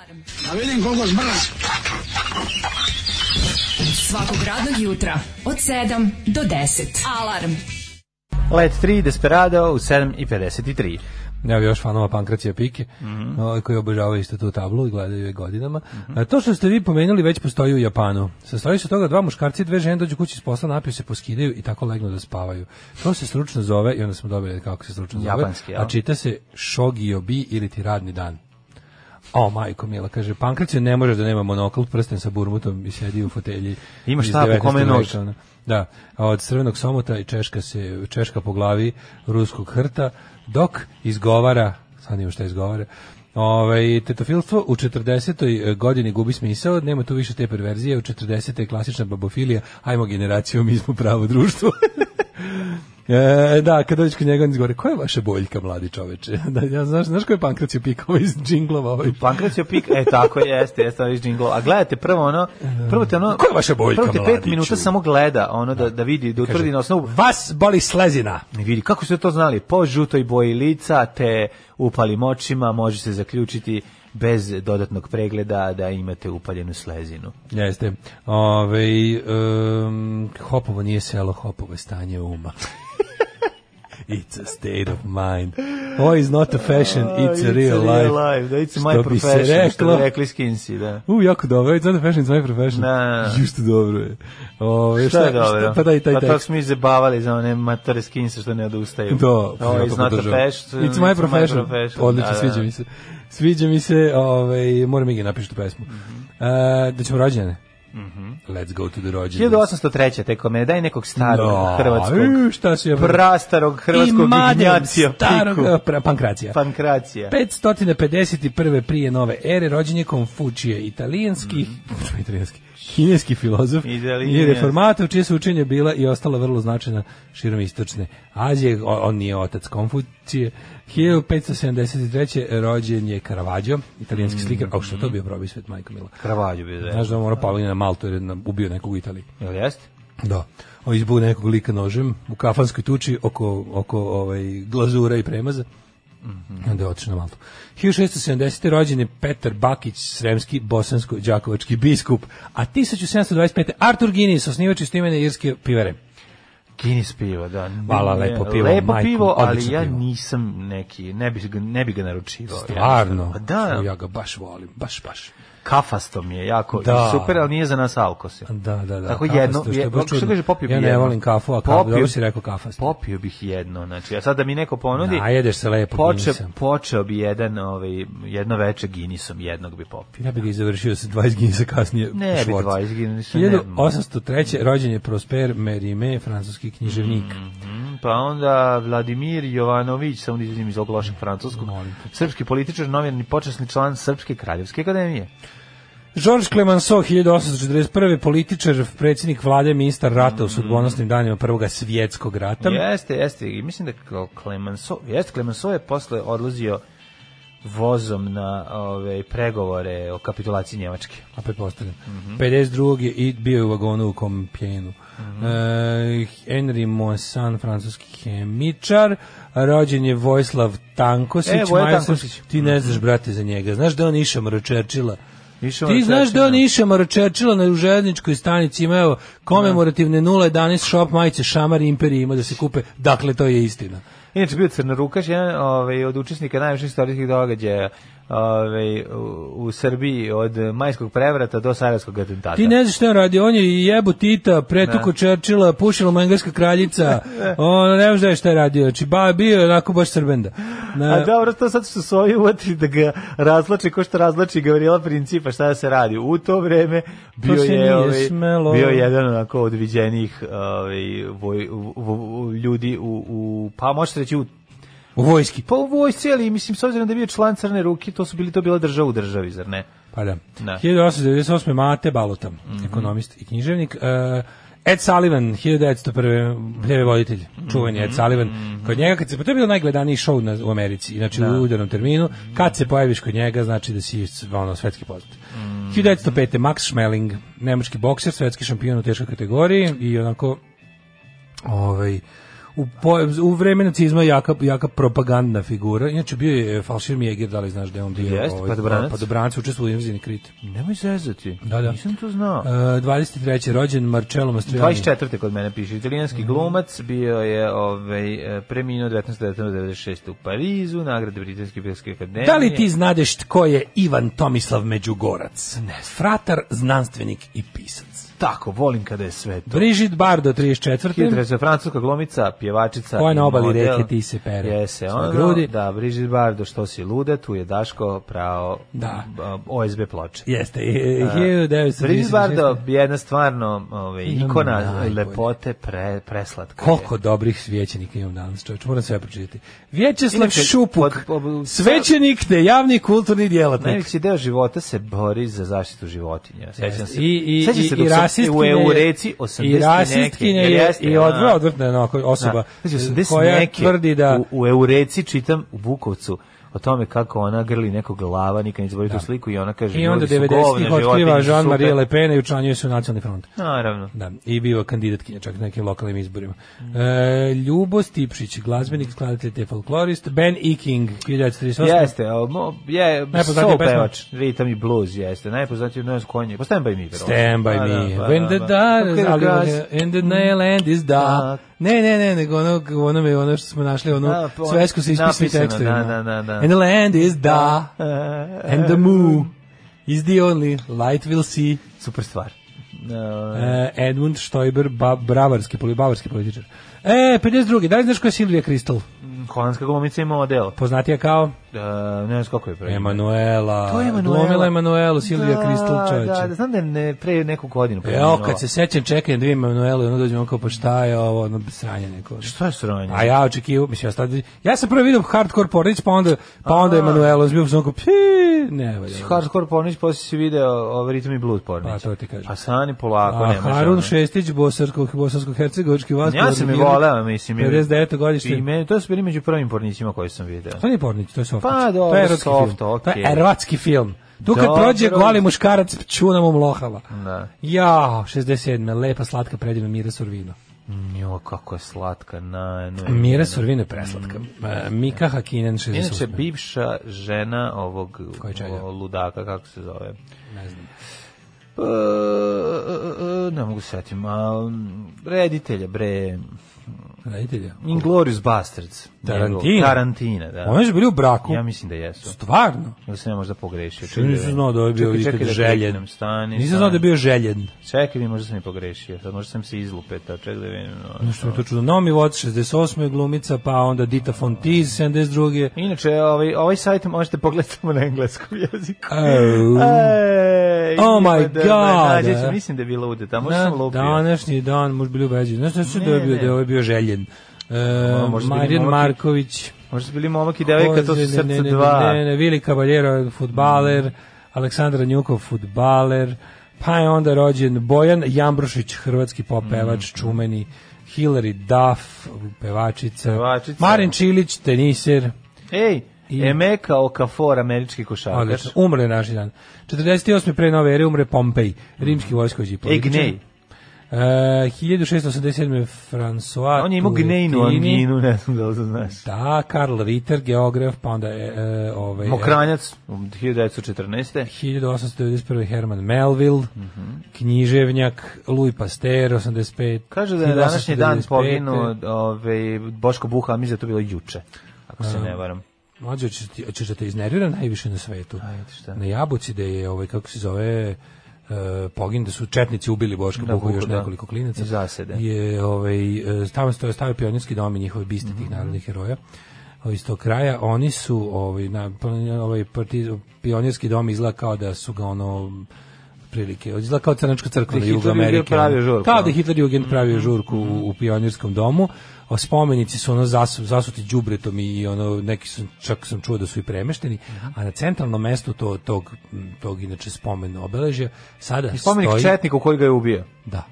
Speaker 8: A vidim koliko zbrz.
Speaker 9: Svakog radnog jutra od 7 do 10. Alarm.
Speaker 6: Let 3, Desperado u 7.53.
Speaker 7: Evo još fanova Pankracija Pike,
Speaker 6: Mhm.
Speaker 7: ovaj, koji obožavaju isto tu tablu i gledaju je godinama. A to što ste vi pomenuli već postoji u Japanu. Sastoji se od toga dva muškarci i dve žene dođu kući s posla, napiju se, poskidaju i tako legnu da spavaju. To se stručno zove, i onda smo dobili kako se stručno zove,
Speaker 6: Japanski, jel?
Speaker 7: a čita se Shogiobi ili ti radni dan. O, majko mila, kaže, Pankracija ne možeš da nema monokl, prsten sa burmutom i sjedi u fotelji.
Speaker 6: Ima
Speaker 7: iz
Speaker 6: šta, po
Speaker 7: 19.
Speaker 6: kome
Speaker 7: veka,
Speaker 6: nož?
Speaker 7: ono. Da, a od crvenog somota i češka se češka po glavi ruskog hrta dok izgovara, sad nema šta izgovara. Ovaj tetofilstvo u 40. godini gubi smisao, nema tu više te perverzije, u 40. je klasična babofilija, ajmo generacijom, mi smo pravo društvo. (laughs) E, da, kad dođeš kod njega, on izgovore, koja je vaša boljka, mladi čoveče? (laughs) Da, ja, znaš, znaš ko je Pankracio pikao iz džinglova? Ovaj?
Speaker 6: Pankracio pik, e tako jeste, jeste ovi džinglo. A gledajte prvo ono, prvo te ono...
Speaker 7: Koja je vaša boljka,
Speaker 6: Prvo te pet
Speaker 7: mladiću?
Speaker 6: minuta samo gleda, ono da, da vidi, da utvrdi na osnovu...
Speaker 7: Vas boli slezina!
Speaker 6: Ne vidi, kako su to znali? Po žutoj boji lica te upalim očima može se zaključiti bez dodatnog pregleda da imate upaljenu slezinu.
Speaker 7: Jeste. Ove, um, hopovo nije selo, hopovo je stanje (laughs) uma. it's a state of mind. Oh, it's not a fashion, it's a real life.
Speaker 6: life. Da, it's
Speaker 7: Što
Speaker 6: my
Speaker 7: bi se
Speaker 6: profession, što
Speaker 7: reklo.
Speaker 6: bi rekli skinsi, da.
Speaker 7: U, jako dobro, it's not a fashion, it's my profession.
Speaker 6: Da, da, da.
Speaker 7: Ju, što dobro je. Ove,
Speaker 6: Šta je dobro?
Speaker 7: pa da i taj
Speaker 6: pa to
Speaker 7: tekst.
Speaker 6: smo mi zabavali za one matore skinse što ne odustaju.
Speaker 7: Da,
Speaker 6: Ovo je
Speaker 7: ja to
Speaker 6: znata
Speaker 7: podržavam.
Speaker 6: fashion,
Speaker 7: It's my profession. Da, Odlično,
Speaker 6: Da,
Speaker 7: sviđa mi se. Sviđa mi se, ovaj, moram i ga napišu tu pesmu. E, da ćemo rođene. Let's go to the rođene.
Speaker 6: 1803. teko mene, daj nekog starog
Speaker 7: Da,
Speaker 6: hrvatskog.
Speaker 7: e, šta si ja-
Speaker 6: Prastarog hrvatskog Ignacija
Speaker 7: starog e,
Speaker 6: Piku.
Speaker 7: pra- pankracija.
Speaker 6: Pankracija.
Speaker 7: 551. prije nove ere rođen je Konfučije, italijanski, (laughs) italijanski, kineski filozof
Speaker 6: Mm. Italijanski.
Speaker 7: i reformator, čije su učenje bila i ostala vrlo značajna širom istočne Azije. O- on nije otac Konfučije. 1573. rođen je Caravaggio, italijanski slikar. A što je to bio probaj svet, majko mila?
Speaker 6: Kravalju bi Mm. da je.
Speaker 7: Znaš da on mora Paulina na Maltu jer je na- ubio nekog u Italiji.
Speaker 6: Jel jeste?
Speaker 7: Da. O izbu nekog lika nožem u kafanskoj tuči oko, oko ovaj, glazura i premaza.
Speaker 6: Mhm.
Speaker 7: I onda je otišao na Maltu. 1670. rođen je Petar Bakić, sremski bosansko-đakovački biskup, a 1725. Artur Guinness, osnivač istimene irske pivare.
Speaker 6: Guinness pivo, da.
Speaker 7: Hvala,
Speaker 6: Ne,
Speaker 7: lepo pivo,
Speaker 6: Lepo
Speaker 7: majko,
Speaker 6: pivo, ali
Speaker 7: odlično
Speaker 6: ja
Speaker 7: pivo.
Speaker 6: nisam neki, ne bi, ga- ne bi ga naručivao.
Speaker 7: Stvarno.
Speaker 6: Pa da,
Speaker 7: Ču, Ja ga baš volim, baš, baš.
Speaker 6: kafasto mi je jako
Speaker 7: Da.
Speaker 6: super, ali nije za nas alkose.
Speaker 7: Da, da, da.
Speaker 6: Tako
Speaker 7: kafasto,
Speaker 6: jedno,
Speaker 7: što je
Speaker 6: je-
Speaker 7: baš
Speaker 6: kako se
Speaker 7: čudno.
Speaker 6: kaže, popio bi
Speaker 7: Ja ne
Speaker 6: jedno.
Speaker 7: volim kafu, a kafu,
Speaker 6: Popio-
Speaker 7: dobro si rekao kafasto.
Speaker 6: Popio bih jedno, znači, a sad da mi neko ponudi,
Speaker 7: Najedeš se lepo
Speaker 6: poče,
Speaker 7: Guinnessom.
Speaker 6: počeo bi jedan, ovaj, jedno veče Guinnessom, jednog bi popio.
Speaker 7: Ja bih ga i završio sa 20 ginisa kasnije.
Speaker 6: Ne bi
Speaker 7: Schwartz.
Speaker 6: 20 Guinnessa, ne bi.
Speaker 7: 1803. rođen je Prosper Merime, francuski književnik.
Speaker 6: Pa onda Vladimir Jovanović, samo da izvinim iz ovog lošeg francuskog, srpski političar, novinar i počasni član Srpske kraljevske akademije.
Speaker 7: Georges Clemenceau, 1841. političar, predsjednik vlade, ministar rata u sudbonosnim danima Prvog svjetskog rata.
Speaker 6: Jeste, jeste. I mislim da kao Clemenceau, jeste, Clemenceau je posle odlazio vozom na ove pregovore o kapitulaciji Njemačke.
Speaker 7: A pretpostavljam. 52. je i bio je u vagonu u Kompjenu. E, Henry Monsan, francuski hemičar, rođen je Vojislav Tankosić.
Speaker 6: E, Voja
Speaker 7: majstor-
Speaker 6: Tankosić.
Speaker 7: Ti ne znaš, brate, za njega. Znaš da je on išao mrčerčila?
Speaker 6: Išao
Speaker 7: Ti
Speaker 6: na
Speaker 7: znaš da
Speaker 6: Čečina.
Speaker 7: on iša maročečila na željezničkoj stanici, ima evo komemorativne 011 shop majice Šamar Imperij ima da se kupe, dakle to je istina.
Speaker 6: Inače bio crnorukaš, jedan ovaj, od učesnika najviših istorijskih događaja ovaj, u, u Srbiji od majskog prevrata do sarajevskog atentata.
Speaker 7: Ti ne znaš šta je on radio, on je jebo Tita, pretuko Čerčila, pušila mu engleska kraljica, on ne znaš da je šta je radio, znači ba, bio je onako baš srbenda. Na-
Speaker 6: A da. dobro, to sad što su ovi uvatili da ga razlači, ko što razlači Gavrila Principa, šta da se radi. U to vreme bio
Speaker 7: se
Speaker 6: je
Speaker 7: nije
Speaker 6: ovaj,
Speaker 7: smelo.
Speaker 6: bio jedan onako od viđenijih ovaj, voj- vo- vo- ljudi u, u, pa možete reći u
Speaker 7: U vojski.
Speaker 6: Pa u vojsci, ali mislim, s obzirom da je bio član Crne ruke, to su bili, to bila država u državi, zar ne?
Speaker 7: Pa da.
Speaker 6: Da. Mhm.
Speaker 7: 1898. Mate Baluta, ekonomist i književnik. Uh, Ed Sullivan, 1901. Pljeve voditelj, čuveni
Speaker 6: Mhm.
Speaker 7: Ed Sullivan. Kod njega, kad se, pa to je bilo najgledaniji show na, u Americi, znači
Speaker 6: Da.
Speaker 7: u udarnom terminu. Kad se pojaviš kod njega, znači da si ono, svetski poznat.
Speaker 6: Mhm.
Speaker 7: 1905. Max Schmeling, nemački bokser, svetski šampion u teškoj kategoriji i onako ovaj u, po, u vreme nacizma jaka, jaka propagandna figura. Inače, bio je Falšir Mjeger, da li znaš da je on bio?
Speaker 6: Jeste, pa padobranac.
Speaker 7: padobranac, učestvovao u invaziji na Krit.
Speaker 6: Nemoj zezati.
Speaker 7: Da, da.
Speaker 6: Nisam to znao.
Speaker 7: Uh, 23. rođen Marcello Mastroianni.
Speaker 6: 24. kod mene piše, italijanski
Speaker 7: Mhm.
Speaker 6: glumac bio je ovaj, e, preminuo 1996. u Parizu, nagrade Britanske pilske akademije.
Speaker 7: Da li ti znadeš tko je Ivan Tomislav Međugorac? Ne. Fratar, znanstvenik i pisac.
Speaker 6: Tako, volim kada je sve to.
Speaker 7: Brigitte Bardo, 34.
Speaker 6: Hidraza, francuska glumica, pjevačica.
Speaker 7: Koja
Speaker 6: i
Speaker 7: na obali
Speaker 6: model.
Speaker 7: reke ti se pere.
Speaker 6: Jese,
Speaker 7: Sa
Speaker 6: ono,
Speaker 7: grudi.
Speaker 6: da, Brigitte Bardo, što si luda, tu je Daško prao
Speaker 7: Da.
Speaker 6: a, OSB ploče.
Speaker 7: Jeste, e, 1936.
Speaker 6: Brigitte Bardo je jedna stvarno ovaj,
Speaker 7: Imam
Speaker 6: ikona
Speaker 7: najbolje.
Speaker 6: lepote, pre, preslatka. je.
Speaker 7: Koliko dobrih svećenika imam danas, čovječ, moram sve pročitati. Vjećeslav
Speaker 6: Inače,
Speaker 7: Šupuk,
Speaker 6: pod- pod-
Speaker 7: svećenik te javni kulturni djelatnik.
Speaker 6: Najveći deo života se bori za zaštitu životinja. Sećam
Speaker 7: Jeste.
Speaker 6: se.
Speaker 7: I, i,
Speaker 6: sećam
Speaker 7: i,
Speaker 6: se
Speaker 7: i
Speaker 6: dok sam
Speaker 7: rasistkinja
Speaker 6: u EU
Speaker 7: je-
Speaker 6: reci 80
Speaker 7: i rasistkinja
Speaker 6: neke,
Speaker 7: je,
Speaker 6: jer jeste,
Speaker 7: i
Speaker 6: a?
Speaker 7: odvra odvrtna ona osoba
Speaker 6: Da. Znači, 80
Speaker 7: koja
Speaker 6: neke,
Speaker 7: tvrdi da
Speaker 6: u, u Eureci čitam u Bukovcu o tome kako ona grli nekog glava, nikad ne zaboravim tu sliku i ona kaže
Speaker 7: Da. i onda
Speaker 6: "Ljudi su govna,
Speaker 7: 90-ih
Speaker 6: životinje
Speaker 7: otkriva
Speaker 6: su super."
Speaker 7: Jean-Marie Le Pen i učlanjuje se u nacionalni front.
Speaker 6: Naravno.
Speaker 7: Da, i bio kandidatkinja čak na nekim lokalnim izborima.
Speaker 6: Mm.
Speaker 7: E, Ljubo Stipšić, glazbenik, skladatelj te folklorist, Ben E. King, 1938.
Speaker 6: Jeste, a, mo- je
Speaker 7: Najpoznatija
Speaker 6: soul
Speaker 7: pesma.
Speaker 6: pevač, ritam i blues, jeste, najpoznatiji ne znam konje. Pa stand by me. bro.
Speaker 7: Stand by
Speaker 6: Pa da,
Speaker 7: me.
Speaker 6: pa da,
Speaker 7: When the
Speaker 6: pa da.
Speaker 7: dark is
Speaker 6: Kako je
Speaker 7: ali
Speaker 6: gas?
Speaker 7: on je- and the nail end is dark.
Speaker 6: Dark.
Speaker 7: Ne, ne, ne, nego ono, ono, me, ono što smo našli, ono
Speaker 6: Da, pa on-
Speaker 7: svesku se ispisni
Speaker 6: napisano,
Speaker 7: tekstovi.
Speaker 6: da,
Speaker 7: ono.
Speaker 6: da, da, da.
Speaker 7: And the land is dark,
Speaker 6: (laughs)
Speaker 7: and the moon is the only light we'll see.
Speaker 6: Super stvar. Da.
Speaker 7: E, Edmund Stoiber, ba, bravarski, poli- bavarski političar. E, 52. Da li znaš ko je Silvija Kristal?
Speaker 6: Holandska glumica i model.
Speaker 7: Poznatija kao
Speaker 6: Uh, ne znam kako je pravi.
Speaker 7: Emanuela. Glumila je Emanuelu, Silvija Kristal, čoveče.
Speaker 6: Da, da, znam da je ne, pre neku godinu.
Speaker 7: Evo, kad se sećam, čekam dvije Manuele, ono dođem oko, pa šta je ovo, ono sranje neko.
Speaker 6: Što je sranje?
Speaker 7: A ja očekivao, mislim, ja, sad, ja sam prvo vidio hardcore pornić, pa onda, pa onda je Manuelo, on bio sam oko, pii, ne, valja.
Speaker 6: Hardcore pornić, poslije si video ovaj ritam i blues pornić.
Speaker 7: Pa, to ti kažem.
Speaker 6: Pa stani polako,
Speaker 7: A
Speaker 6: nemaš. ono.
Speaker 7: Harun Šestić, bosanskog, bosansko-hercegovički vaskar.
Speaker 6: Ja sam je voleo, mislim. i-
Speaker 7: 59. godište.
Speaker 6: I meni, to su bili među prvim pornicima koje sam video.
Speaker 7: To nije pornić, to je softić.
Speaker 6: Pa, dobro,
Speaker 7: to je erotski
Speaker 6: soft,
Speaker 7: film. To je
Speaker 6: okej.
Speaker 7: erotski film. Tu kad
Speaker 6: Dobro.
Speaker 7: prođe goli muškarac, čunom mu mlohava.
Speaker 6: Da.
Speaker 7: Ja, 67. Lepa, slatka, predivna Mira Sorvino.
Speaker 6: Jo, kako je slatka. Na, na,
Speaker 7: Mira Sorvino je preslatka. E, Mika Hakinen, 68.
Speaker 6: Mm. Inače, bivša žena ovog
Speaker 7: Koji čega?
Speaker 6: o, ludaka, kako se zove?
Speaker 7: Ne znam.
Speaker 6: E, e, e, ne mogu se setim. a, m, reditelja, bre.
Speaker 7: Raditelja.
Speaker 6: Inglourious Bastards.
Speaker 7: Tarantino?
Speaker 6: Njegov- Tarantina, da.
Speaker 7: Oni su bili u braku.
Speaker 6: Ja mislim da jesu.
Speaker 7: Stvarno?
Speaker 6: Ili se ne možda pogrešio.
Speaker 7: Što nisam znao da je bio
Speaker 6: Čekaj,
Speaker 7: ikad
Speaker 6: čekaj da
Speaker 7: željen.
Speaker 6: kliknem, Stani,
Speaker 7: Nisam znao da je bio željen.
Speaker 6: Čekaj, mi možda sam i pogrešio. Sad možda sam se izlupetao. Čekaj da vidim. ono.
Speaker 7: Nešto mi je to čudo. Naomi Watts, 68. glumica, pa onda Dita Fontiz, 72.
Speaker 6: Inače, ovaj, ovaj sajt možete pogledati samo na engleskom (laughs) jeziku. E,
Speaker 7: Oh.
Speaker 6: Ej,
Speaker 7: Oh my
Speaker 6: ima da- da
Speaker 7: God.
Speaker 6: nađe- Mislim da je bilo ude, tamo
Speaker 7: Na
Speaker 6: sam lupio.
Speaker 7: današnji dan, možda bili u Beđu. Znaš nešto da je
Speaker 6: Ne,
Speaker 7: bio, da je
Speaker 6: ne.
Speaker 7: ovaj bio željen. E,
Speaker 6: A, možda bili
Speaker 7: Marijan
Speaker 6: momak-
Speaker 7: Marković.
Speaker 6: Možda su bili momak i devojka, to su
Speaker 7: Koze, ne,
Speaker 6: srca
Speaker 7: ne,
Speaker 6: dva. Mm.
Speaker 7: Ne, ne, ne, Vili Cavaljero, futbaler, Aleksandar Njukov, futbaler, pa je onda rođen Bojan Jambrušić, hrvatski pop
Speaker 6: Mm.
Speaker 7: pevač, čumeni, Hilary Duff, pevačica,
Speaker 6: Pevačica.
Speaker 7: Marin Čilić, teniser,
Speaker 6: Ej,
Speaker 7: I-
Speaker 6: Emeka Okafor, američki košarkaš.
Speaker 7: odlično, umre Pa je naši dan. 48. pre nove ere umre Pompej, rimski vojskovođi i
Speaker 6: Ej,
Speaker 7: političar.
Speaker 6: Mm. gnej.
Speaker 7: E, 1687. François
Speaker 6: On je imao gnejnu
Speaker 7: Turetini.
Speaker 6: anginu, ne znam da li to znaš.
Speaker 7: Da, Karl Ritter, geograf, pa onda je, e, ovaj,
Speaker 6: Mokranjac, 1914.
Speaker 7: 1891. Herman Melville,
Speaker 6: Mhm.
Speaker 7: književnjak, Louis Pasteur, 85.
Speaker 6: Kaže da je na današnji dan
Speaker 7: 1895.
Speaker 6: poginuo ovaj, Boško Buha, a mislim da je to bilo juče, ako se ne varam.
Speaker 7: Mlađe, hoćeš ti- hoćeš da te iznervira najviše na svetu.
Speaker 6: Ajde, šta?
Speaker 7: Na Jabuci da je, ovaj, kako se zove, e, pogin da su četnici ubili Boška
Speaker 6: Da,
Speaker 7: Buhu i još
Speaker 6: Buhu, da.
Speaker 7: nekoliko klinaca.
Speaker 6: I zasede.
Speaker 7: Je, ovaj, e, tamo stoje stavio pionirski dom i njihove biste
Speaker 6: Mhm.
Speaker 7: tih narodnih heroja ovaj, iz tog kraja. Oni su, ovaj, na, pa, ovaj partiz- pionirski dom izgleda kao da su ga ono otprilike. Izgleda kao crnačka crkva
Speaker 6: Da
Speaker 7: na
Speaker 6: je
Speaker 7: jugu
Speaker 6: Hitler Jugend
Speaker 7: Amerike.
Speaker 6: pravio žurku,
Speaker 7: Kao da
Speaker 6: ono.
Speaker 7: je Hitler Jugend pravio žurku
Speaker 6: Mhm.
Speaker 7: u, u pionirskom domu. A spomenici su ono zasu, zasuti đubretom i ono neki su čak sam čuo da su i premešteni,
Speaker 6: Mhm.
Speaker 7: a na centralnom mestu to, tog tog inače spomen obeležja sada
Speaker 6: I spomenik
Speaker 7: stoji
Speaker 6: četniku koji ga je ubio.
Speaker 7: da.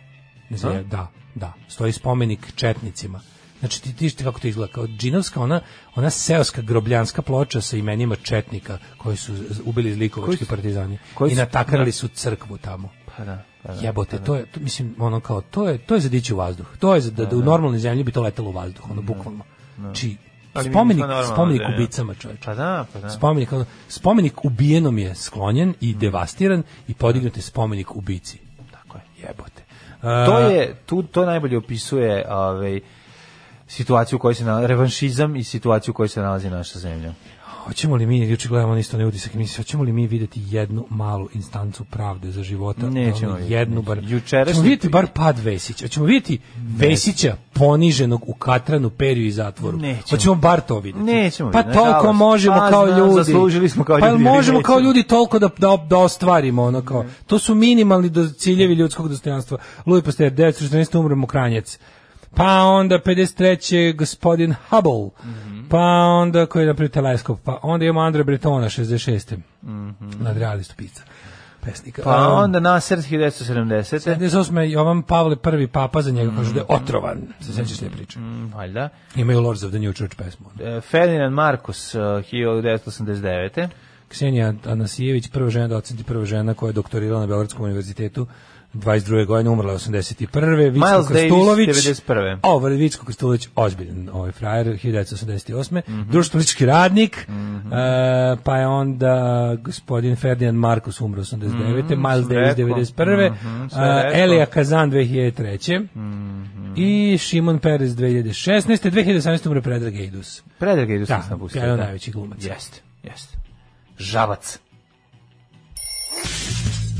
Speaker 7: Ne znam, ja- da, da. Stoji spomenik četnicima. Znači ti ti kako to izgleda kao džinovska ona ona seoska grobljanska ploča sa imenima četnika koji su z- ubili zlikovački
Speaker 6: Koji su-
Speaker 7: partizani
Speaker 6: koji su-
Speaker 7: i
Speaker 6: da.
Speaker 7: natakarali su crkvu tamo.
Speaker 6: Pa da, pa da,
Speaker 7: Jebote,
Speaker 6: pa da.
Speaker 7: to je to, mislim ono kao to je to je za dići u vazduh. To je za, da, da u normalnoj zemlji bi to letelo u vazduh, ono bukvalno. Znači
Speaker 6: Da. Ali mi
Speaker 7: spomenik
Speaker 6: nismo normalno
Speaker 7: spomenik
Speaker 6: da je.
Speaker 7: ubicama, čoveče.
Speaker 6: Pa da, pa da. Mm.
Speaker 7: Spomenik, ono, spomenik ubijenom je sklonjen i devastiran i podignut je spomenik ubici.
Speaker 6: Tako je.
Speaker 7: Jebote.
Speaker 6: To je tu to najbolje opisuje ovaj situaciju u kojoj se nalazi revanšizam i situaciju u kojoj se nalazi naša zemlja.
Speaker 7: Hoćemo li mi, juče gledamo isto ne utisak, mislim, hoćemo li mi vidjeti jednu malu instancu pravde za života?
Speaker 6: Nećemo
Speaker 7: Ono,
Speaker 6: vidjeti,
Speaker 7: Jednu
Speaker 6: nećemo.
Speaker 7: bar.
Speaker 6: Jučerašnji-
Speaker 7: Hoćemo vidjeti bar pad Vesića. Hoćemo vidjeti Vesića poniženog u katranu, perju i zatvoru.
Speaker 6: Nećemo.
Speaker 7: Hoćemo bar to vidjeti.
Speaker 6: Nećemo
Speaker 7: Pa
Speaker 6: vidjeti, nažalost.
Speaker 7: toliko možemo
Speaker 6: Pa
Speaker 7: kao
Speaker 6: znam,
Speaker 7: ljudi.
Speaker 6: zaslužili smo kao
Speaker 7: Pa
Speaker 6: ljudi, da ali
Speaker 7: možemo kao
Speaker 6: nećemo.
Speaker 7: ljudi toliko da, da, da ostvarimo, ono kao. To su minimalni do, ciljevi ljudskog dostojanstva. Louis Pasteur, 1914. umremo kranjec. Pa onda 53. gospodin Hubble. Pa onda koji je napravio teleskop. Pa onda imamo Andre Bretona, 66. Mm -hmm. Nadrealistu pizza. Pesnika.
Speaker 6: Mhm. Pa
Speaker 7: Um,
Speaker 6: onda Nasr 1970.
Speaker 7: 78. Jovan Pavle I papa za njega kažu da
Speaker 6: Mhm.
Speaker 7: je otrovan. Se sećaš te priče.
Speaker 6: Mm, Valjda.
Speaker 7: Imaju Lords of the New Church pesmu.
Speaker 6: E, Ferdinand Markus e, 1989.
Speaker 7: Ksenija Anasijević, prva žena docent i prva žena koja je doktorirala na Beogradskom univerzitetu 22. godine, umrla je 81. Vicko
Speaker 6: Miles Davis,
Speaker 7: Krstulović,
Speaker 6: 91..
Speaker 7: Ovo je Vicko Krstulović, ozbiljen ovaj frajer, 1988.
Speaker 6: Mhm.
Speaker 7: Društvenički radnik, e, pa je onda gospodin Ferdinand Markus umro 89. Miles
Speaker 6: sam
Speaker 7: Davis,
Speaker 6: rekao.
Speaker 7: 91.
Speaker 6: Mhm, sve Mhm.
Speaker 7: E,
Speaker 6: rekao.
Speaker 7: Elija Kazan, 2003. I Šimon Perez, 2016. 2017. umre Predrag Eidus.
Speaker 6: Predrag Eidus
Speaker 7: Da,
Speaker 6: nas napustio.
Speaker 7: jedan od najvećih glumaca.
Speaker 6: Jeste, jeste. Žavac.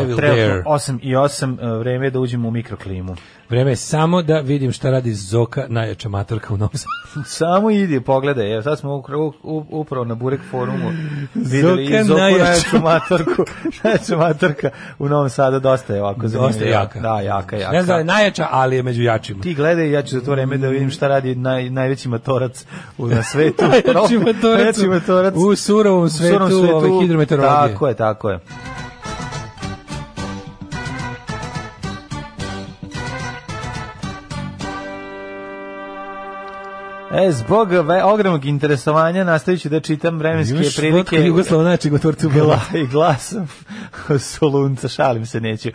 Speaker 7: I Will
Speaker 6: trenutno
Speaker 7: Dare.
Speaker 6: 8 i 8, e, vreme je da uđemo u mikroklimu.
Speaker 7: Vreme je samo da vidim šta radi Zoka, najjača matorka u Novom Sadu.
Speaker 6: Samo idi, pogledaj, evo, sad smo ukra- u- upravo na Burek forumu videli
Speaker 7: Zoka
Speaker 6: i Zoku
Speaker 7: najjača.
Speaker 6: najjaču
Speaker 7: (laughs)
Speaker 6: matorku, najjaču matorku u Novom Sadu, dosta je ovako
Speaker 7: Dosta je
Speaker 6: zanimljiva.
Speaker 7: jaka.
Speaker 6: (laughs) Da, jaka, jaka.
Speaker 7: Ne znam da je najjača, ali je među jačima.
Speaker 6: Ti gledaj, ja ću za to vreme da vidim šta radi naj, najveći matorac u, na svetu.
Speaker 7: (laughs) Najjači matorac
Speaker 6: Najjači matorac
Speaker 7: u surovom svetu,
Speaker 6: surovom
Speaker 7: ove hidrometeorologije.
Speaker 6: Tako je, tako je. E, zbog ve- ogromnog interesovanja nastavit ću da čitam vremenske
Speaker 7: Imaš
Speaker 6: prilike
Speaker 7: vodka Jugoslava najjačeg u Torcu Bela.
Speaker 6: i glasom (laughs) Solunca, šalim se, neću. E,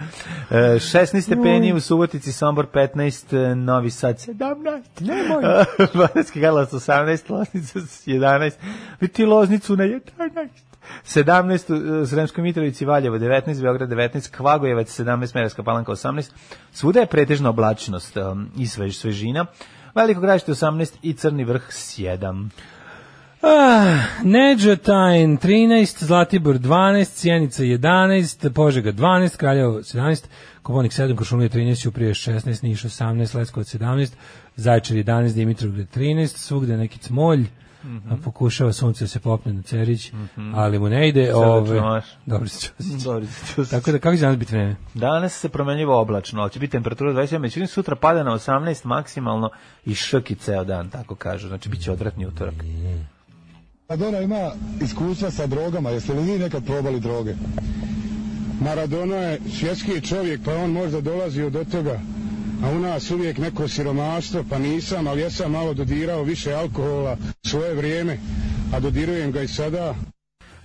Speaker 6: 16 stepeni u Subotici, Sombor 15, e, Novi Sad 17, nemoj. (laughs) Banatski Karlovac 18, Loznica 11, biti Loznicu na 11. 17 u Sremskoj Mitrovici, Valjevo 19, Beograd 19, Kvagojevac 17, Merarska Palanka 18. Svuda je pretežna oblačnost um, i svež, svežina. Veliko gražište 18 i Crni vrh 7.
Speaker 7: Ah, Neđotajn 13, Zlatibor 12, Sjenica 11, Požega 12, Kraljevo 17, Koponik 7, Košumlija 13, Uprije 16, Niš 18, Leskovac 17, Zaječar 11, Dimitrovgrad 13, svugde neki cmolj,
Speaker 6: Mhm.
Speaker 7: a pokušava sunce da se popne na Cerić, ali mu ne ide.
Speaker 6: Odlično,
Speaker 7: Ove,
Speaker 6: Maš.
Speaker 7: dobro se ću.
Speaker 6: Dobro,
Speaker 7: Tako da kako će danas biti vreme?
Speaker 6: Danas se promenljivo oblačno, ali će biti temperatura 27, međutim sutra pada na 18 maksimalno i šrki ceo dan, tako kažu. Znači, bit će odvratni utorak.
Speaker 10: Maradona ima iskustva sa drogama, jeste li vi nekad probali droge? Maradona je svjetski čovjek, pa on možda dolazio do toga, a u nas uvijek neko siromaštvo, pa nisam, ali ja sam malo dodirao više alkohola svoje vrijeme, a dodirujem ga i sada,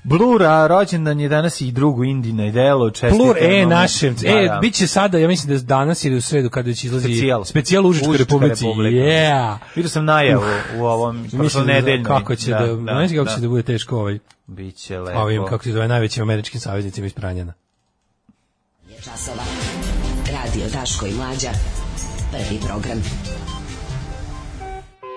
Speaker 6: Blur, a rođendan je danas i drugu Indina i delo. čestitamo
Speaker 7: Plur E
Speaker 6: mu.
Speaker 7: našem.
Speaker 6: Da,
Speaker 7: E,
Speaker 6: da.
Speaker 7: bit će sada, ja mislim da je danas ili u sredu kada će izlazi
Speaker 6: Specijal.
Speaker 7: specijal Užičkoj
Speaker 6: Užička
Speaker 7: republici.
Speaker 6: republika.
Speaker 7: Yeah.
Speaker 6: Vidio sam najavu u ovom
Speaker 7: Mislim da
Speaker 6: prošlonedeljnom.
Speaker 7: kako će da, da, znaš kako
Speaker 6: da.
Speaker 7: će da bude teško ovaj
Speaker 6: Biće lepo.
Speaker 7: ovim kako se zove najvećim američkim saveznicima iz Pranjana.
Speaker 9: Je časova. Radio Daško i Mlađa. Prvi program.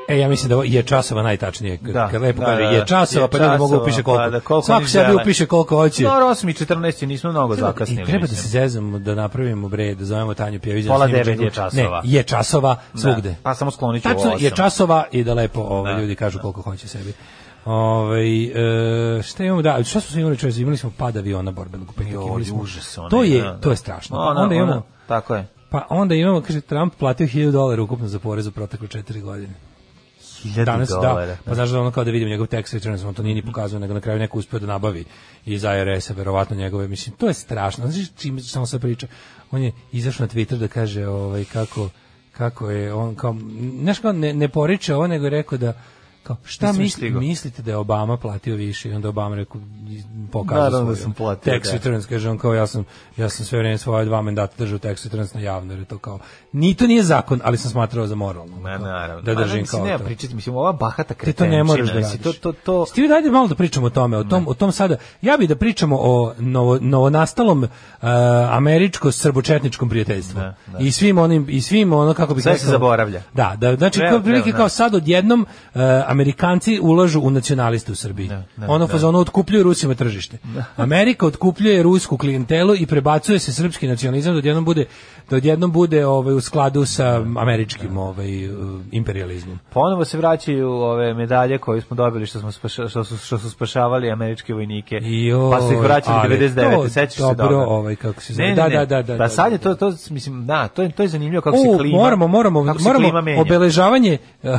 Speaker 7: E, ja mislim da ovo je časova najtačnije. Da,
Speaker 6: Da,
Speaker 7: kad lepo
Speaker 6: da,
Speaker 7: kaže
Speaker 6: da,
Speaker 7: je časova,
Speaker 6: je
Speaker 7: pa ljudi mogu
Speaker 6: časova,
Speaker 7: upiše koliko.
Speaker 6: pa da, koliko
Speaker 7: Svako
Speaker 6: oni
Speaker 7: sebi
Speaker 6: žele.
Speaker 7: upiše koliko hoće.
Speaker 6: Dobro, 8 i 14 nismo mnogo zakasnili.
Speaker 7: I treba da
Speaker 6: mislim.
Speaker 7: se zezamo, da napravimo bre, da zovemo Tanju Pjević.
Speaker 6: Pola devet je časova.
Speaker 7: Ne, je časova svugde.
Speaker 6: Pa samo sklonit ću u
Speaker 7: Tačno, je
Speaker 6: osam.
Speaker 7: časova i da lepo ove,
Speaker 6: Da,
Speaker 7: ljudi kažu koliko hoće sebi. Ove, e, šta imamo da, šta su imali čovječe, imali smo pad aviona borbenog petka.
Speaker 6: Joj,
Speaker 7: imali smo-
Speaker 6: užas onaj,
Speaker 7: To je,
Speaker 6: da, da.
Speaker 7: to je strašno.
Speaker 6: Ona,
Speaker 7: onda imamo,
Speaker 6: ona, tako je.
Speaker 7: pa onda imamo, kaže, Trump platio 1000 dolara ukupno za porez u protekle četiri godine. Danas, da, pa znaš da ono kao da vidim njegov tax returns, on to nije ni pokazao, nego na kraju neko uspio da nabavi iz IRS-a, verovatno njegove, mislim, to je strašno, znaš čim samo se priča, on je izašao na Twitter da kaže ovaj, kako, kako je, on kao, znaš kao, ne, ne poriče ovo, nego je rekao da, kao, šta
Speaker 6: Nisam
Speaker 7: misli,
Speaker 6: stigao.
Speaker 7: mislite da je Obama platio više i onda Obama rekao, pokazao
Speaker 6: Naravno
Speaker 7: svoj,
Speaker 6: da sam
Speaker 7: ono,
Speaker 6: platio,
Speaker 7: tax
Speaker 6: da.
Speaker 7: returns, kaže on kao ja sam, ja sam sve vreme svoje dva mandata držao tax returns na javno, jer je to kao, ni to nije zakon, ali sam smatrao za moralno.
Speaker 6: Ma,
Speaker 7: kao,
Speaker 6: naravno.
Speaker 7: Da
Speaker 6: Pa,
Speaker 7: držim
Speaker 6: mislim,
Speaker 7: kao
Speaker 6: nema
Speaker 7: to.
Speaker 6: pričati, mislim, ova bahata
Speaker 7: Ti to
Speaker 6: kretenčina. znači,
Speaker 7: ne moraš da radiš.
Speaker 6: mislim, To, to, to,
Speaker 7: Stivi, dajde malo da pričamo o tome, o tom, o tom sada. Ja bih da pričamo o novo, novonastalom eh, američko-srbočetničkom prijateljstvu.
Speaker 6: Da, da.
Speaker 7: I svim onim, i svim ono, kako bi
Speaker 6: Sve se zaboravlja.
Speaker 7: Da, da znači,
Speaker 6: Treba,
Speaker 7: kao prilike
Speaker 6: treba, da.
Speaker 7: kao sad odjednom eh, Amerikanci ulažu u nacionaliste u Srbiji.
Speaker 6: Da, da,
Speaker 7: ono,
Speaker 6: da.
Speaker 7: fazonu, otkupljuju Rusima tržište.
Speaker 6: (laughs)
Speaker 7: Amerika otkupljuje rusku klijentelu i prebacuje se srpski nacionalizam da odjednom bude, da odjednom bude ovaj, u skladu sa
Speaker 6: Da.
Speaker 7: američkim ovaj, eh, imperializmom.
Speaker 6: Ponovo se vraćaju ove medalje koje smo dobili što smo spaša, što su što su spašavali američke vojnike.
Speaker 7: Joj,
Speaker 6: pa su ih vraćali
Speaker 7: ali
Speaker 6: 99.
Speaker 7: to
Speaker 6: Sećaš se
Speaker 7: dobro,
Speaker 6: dobro.
Speaker 7: ovaj, kako se zove.
Speaker 6: Ne,
Speaker 7: Da,
Speaker 6: ne, ne.
Speaker 7: da, da, da, da,
Speaker 6: Pa sad je
Speaker 7: da,
Speaker 6: to to mislim, da, to je to je zanimljivo kako
Speaker 7: U,
Speaker 6: se klima.
Speaker 7: moramo, moramo,
Speaker 6: kako se klima
Speaker 7: moramo
Speaker 6: menja.
Speaker 7: obeležavanje eh,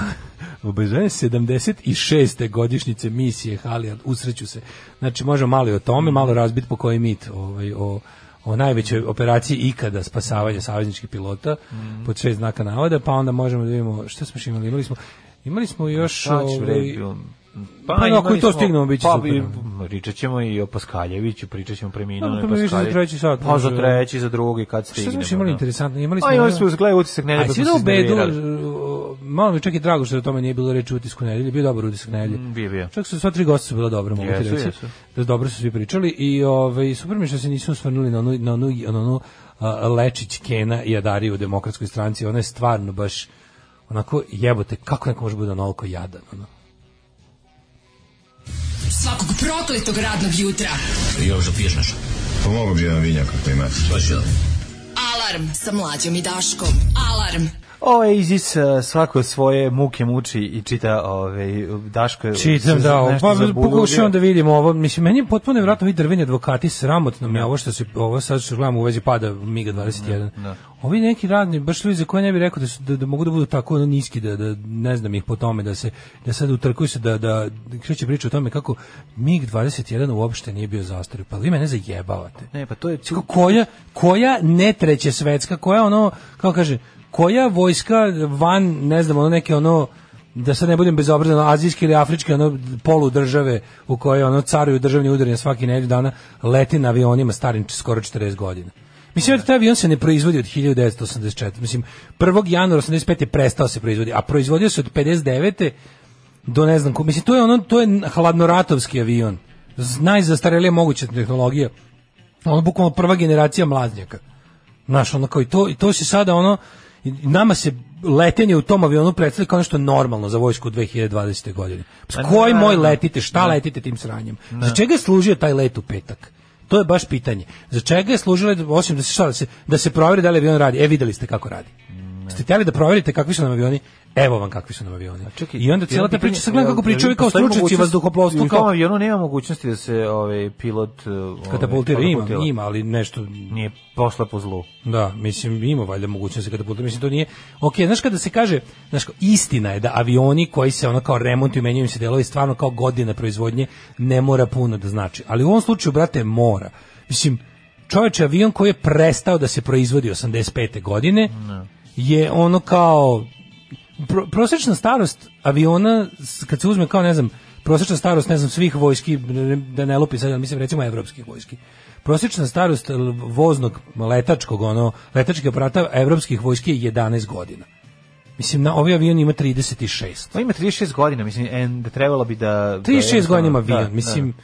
Speaker 7: (laughs) obeležavanje 76. godišnjice misije Halijard, usreću se. Znači, možemo malo i o tome,
Speaker 6: Mhm.
Speaker 7: malo razbit po koji mit ovaj, o, o najvećoj operaciji ikada spasavanja savezničkih pilota
Speaker 6: Mhm.
Speaker 7: pod šest znaka navoda, pa onda možemo da vidimo šta smo još imali. Imali smo, imali smo još...
Speaker 6: Sad će, bre,
Speaker 7: ovaj,
Speaker 6: bilo-
Speaker 7: pa no, ako
Speaker 6: imali
Speaker 7: i to
Speaker 6: smo-
Speaker 7: stignemo, bit će
Speaker 6: pa,
Speaker 7: super.
Speaker 6: i- Pričat ćemo i o Paskaljeviću, pričat ćemo
Speaker 7: Pa,
Speaker 6: preminuloj
Speaker 7: pa mi više za
Speaker 6: Paskaljeviću.
Speaker 7: treći sat,
Speaker 6: Pa za
Speaker 7: može. da. Pa,
Speaker 6: treći, za drugi, kad
Speaker 7: Šta
Speaker 6: stignemo.
Speaker 7: smo još imali
Speaker 6: da.
Speaker 7: interesantno? Imali smo...
Speaker 6: A imali
Speaker 7: ono-
Speaker 6: smo gledaj utisak nedelje,
Speaker 7: A
Speaker 6: pa
Speaker 7: svi
Speaker 6: smo
Speaker 7: da
Speaker 6: se
Speaker 7: ubedu,
Speaker 6: iznervirali.
Speaker 7: uh, malo mi čak i drago što o tome nije bilo reči u utisku nedelje, bio dobar utisak nedelje.
Speaker 6: Mm, bio, bio.
Speaker 7: Čak su sva tri gosta su bila dobra, mogu ti
Speaker 6: Jesu,
Speaker 7: reći.
Speaker 6: jesu.
Speaker 7: Da dobro su svi pričali i ovaj, super mi je što se nisu osvrnuli na onu, na onu, na onu a, Lečić, Kena i Adariju u demokratskoj stranci, ona je stvarno baš onako jebote, kako neko može da bude onoliko jadan, ono.
Speaker 9: Svakog prokletog radnog jutra.
Speaker 8: Pomogu bi vam vinjak ako imate.
Speaker 9: Alarm sa mlađom i Daškom. Alarm.
Speaker 6: Oasis uh, svako svoje muke muči i čita ove Daško je-
Speaker 7: Čitam
Speaker 6: se-
Speaker 7: da, ovo,
Speaker 6: nešto
Speaker 7: pa
Speaker 6: zabulio.
Speaker 7: pokušavam da vidim ovo. Mislim meni je potpuno nevratno ovi drveni advokati sramotno mi je ovo što se ovo sad što gledam u vezi pada Miga 21. Ovi neki radni baš ljudi za koje ne bih rekao da, su, da, da mogu da budu tako ono, niski da da ne znam ih po tome da se da sad utrkuju se da da kreće priča o tome kako Mig 21 uopšte nije bio zastareo. Pa vi mene zajebavate.
Speaker 6: Ne, pa to je
Speaker 7: Ko- koja koja ne treće svetska, koja ono kako kaže, koja vojska van ne znam, ono neke ono da sad ne budem bezobrazan, ono, azijske ili afričke ono polu države u kojoj ono caruju državni udari na svaki nedelju dana leti na avionima starim č- skoro 40 godina. Mislim da taj avion se ne proizvodi od 1984. Mislim 1. januara 85 je prestao se proizvodi, a proizvodio se od 59 do ne znam ko. Mislim to je ono to je hladnoratovski avion. Z- Najzastarelija moguća tehnologija ono bukvalno prva generacija mlaznjaka. Znaš, ono kao i to, i to se sada ono, i nama se letenje u tom avionu predstavlja kao nešto normalno za vojsku u 2020. godine. S
Speaker 6: Pa Da.
Speaker 7: koji
Speaker 6: ne,
Speaker 7: moj
Speaker 6: ne.
Speaker 7: letite, šta letite tim sranjem? Za čega je služio taj let u petak? To je baš pitanje. Za čega je služilo, osim da se, šta, da se, da se proveri da li avion radi? E, videli ste kako radi. Ste htjeli da proverite kakvi su nam avioni? Evo vam kakvi su nam avioni.
Speaker 6: Čekaj,
Speaker 7: I onda cijela
Speaker 6: jedno
Speaker 7: ta
Speaker 6: pitanje,
Speaker 7: priča, sad gledam
Speaker 6: jel-
Speaker 7: kako
Speaker 6: jel
Speaker 7: pričaju kao
Speaker 6: postoji
Speaker 7: stručnjaci
Speaker 6: mogućnost-
Speaker 7: vazduhoplovstva,
Speaker 6: I u tom
Speaker 7: kao
Speaker 6: avionu nema mogućnosti da se ovaj pilot eh, ovaj,
Speaker 7: katapultira, ima,
Speaker 6: katapultira.
Speaker 7: ima, ali nešto
Speaker 6: Nije pošla po zlu.
Speaker 7: Da, mislim ima valjda mogućnost kada putem, mislim to nije. Okej, znaš kada se kaže, znaš kao, istina je da avioni koji se ono kao remontuju, i menjaju im se delovi, stvarno kao godina proizvodnje ne mora puno da znači. Ali u ovom slučaju brate mora. Mislim čoveče avion koji je prestao da se proizvodi 85. godine je ono kao pro, prosečna starost aviona s- kad se uzme kao ne znam prosečna starost ne znam svih vojski da ne lupi sad ali mislim recimo evropskih vojski prosečna starost l- voznog letačkog ono letačkih aparata evropskih vojski je 11 godina mislim na ovaj avion ima 36
Speaker 6: Pa ima 36 godina, mislim, and trebalo bi da...
Speaker 7: 36 godina ima avion,
Speaker 6: Da, da.
Speaker 7: mislim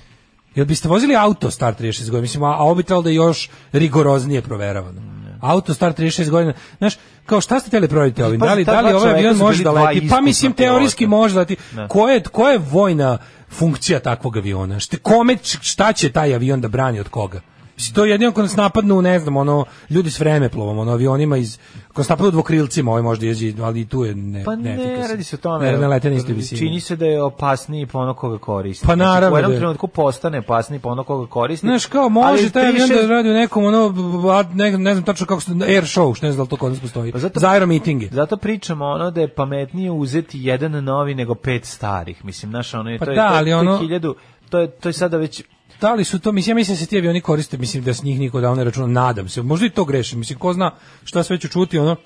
Speaker 7: Jel biste vozili auto star 36 godina? Mislim, a, a ovo bi trebalo da je još rigoroznije proveravano. Autostar 36 godina. Znaš, kao šta ste hteli provjeriti ovim?
Speaker 6: Pa,
Speaker 7: Da li,
Speaker 6: ta
Speaker 7: da
Speaker 6: dva
Speaker 7: li ovaj
Speaker 6: čoveka
Speaker 7: avion
Speaker 6: su
Speaker 7: može
Speaker 6: bili
Speaker 7: da
Speaker 6: dva
Speaker 7: leti? Pa
Speaker 6: iskusna
Speaker 7: mislim, teorijski
Speaker 6: pilota.
Speaker 7: može da leti.
Speaker 6: Da.
Speaker 7: Koja je, koja je vojna funkcija takvog aviona? Šte, kome, č- šta će taj avion da brani od koga? Mislim, to je jedino ako nas napadnu, ne znam, ono, ljudi s vremeplovom, ono, avionima iz, ako nas napadnu dvokrilcima, ovaj možda jeđi, ali i tu je ne,
Speaker 6: Pa ne,
Speaker 7: neefikasan.
Speaker 6: radi se o tome.
Speaker 7: Ne, ne lete na istoj visini.
Speaker 6: Čini se da je opasniji po ono koga koristi.
Speaker 7: Pa
Speaker 6: Znači,
Speaker 7: naravno
Speaker 6: U jednom
Speaker 7: da je.
Speaker 6: trenutku postane opasniji po ono koga koristi.
Speaker 7: Znaš, kao može
Speaker 6: Ali
Speaker 7: taj avion da
Speaker 6: triše-
Speaker 7: radi u nekom ono, b- b- a, ne, ne znam tačno kako se, air show, što ne znam da li to kod nas postoji.
Speaker 6: Pa
Speaker 7: Zato,
Speaker 6: zato-
Speaker 7: za aero mitinge.
Speaker 6: Zato pričamo ono da je pametnije uzeti jedan novi nego pet starih. Mislim, znaš, ono je,
Speaker 7: Pa
Speaker 6: to je,
Speaker 7: da,
Speaker 6: to je-
Speaker 7: ali
Speaker 6: to je
Speaker 7: ono-
Speaker 6: hiljadu, to je, to je sada već
Speaker 7: Da li su to, mislim, ja mislim da se ti avioni koriste, mislim da s njih niko davno ne računa, nadam se, možda i to grešim, mislim, ko zna šta sve ću čuti, ono,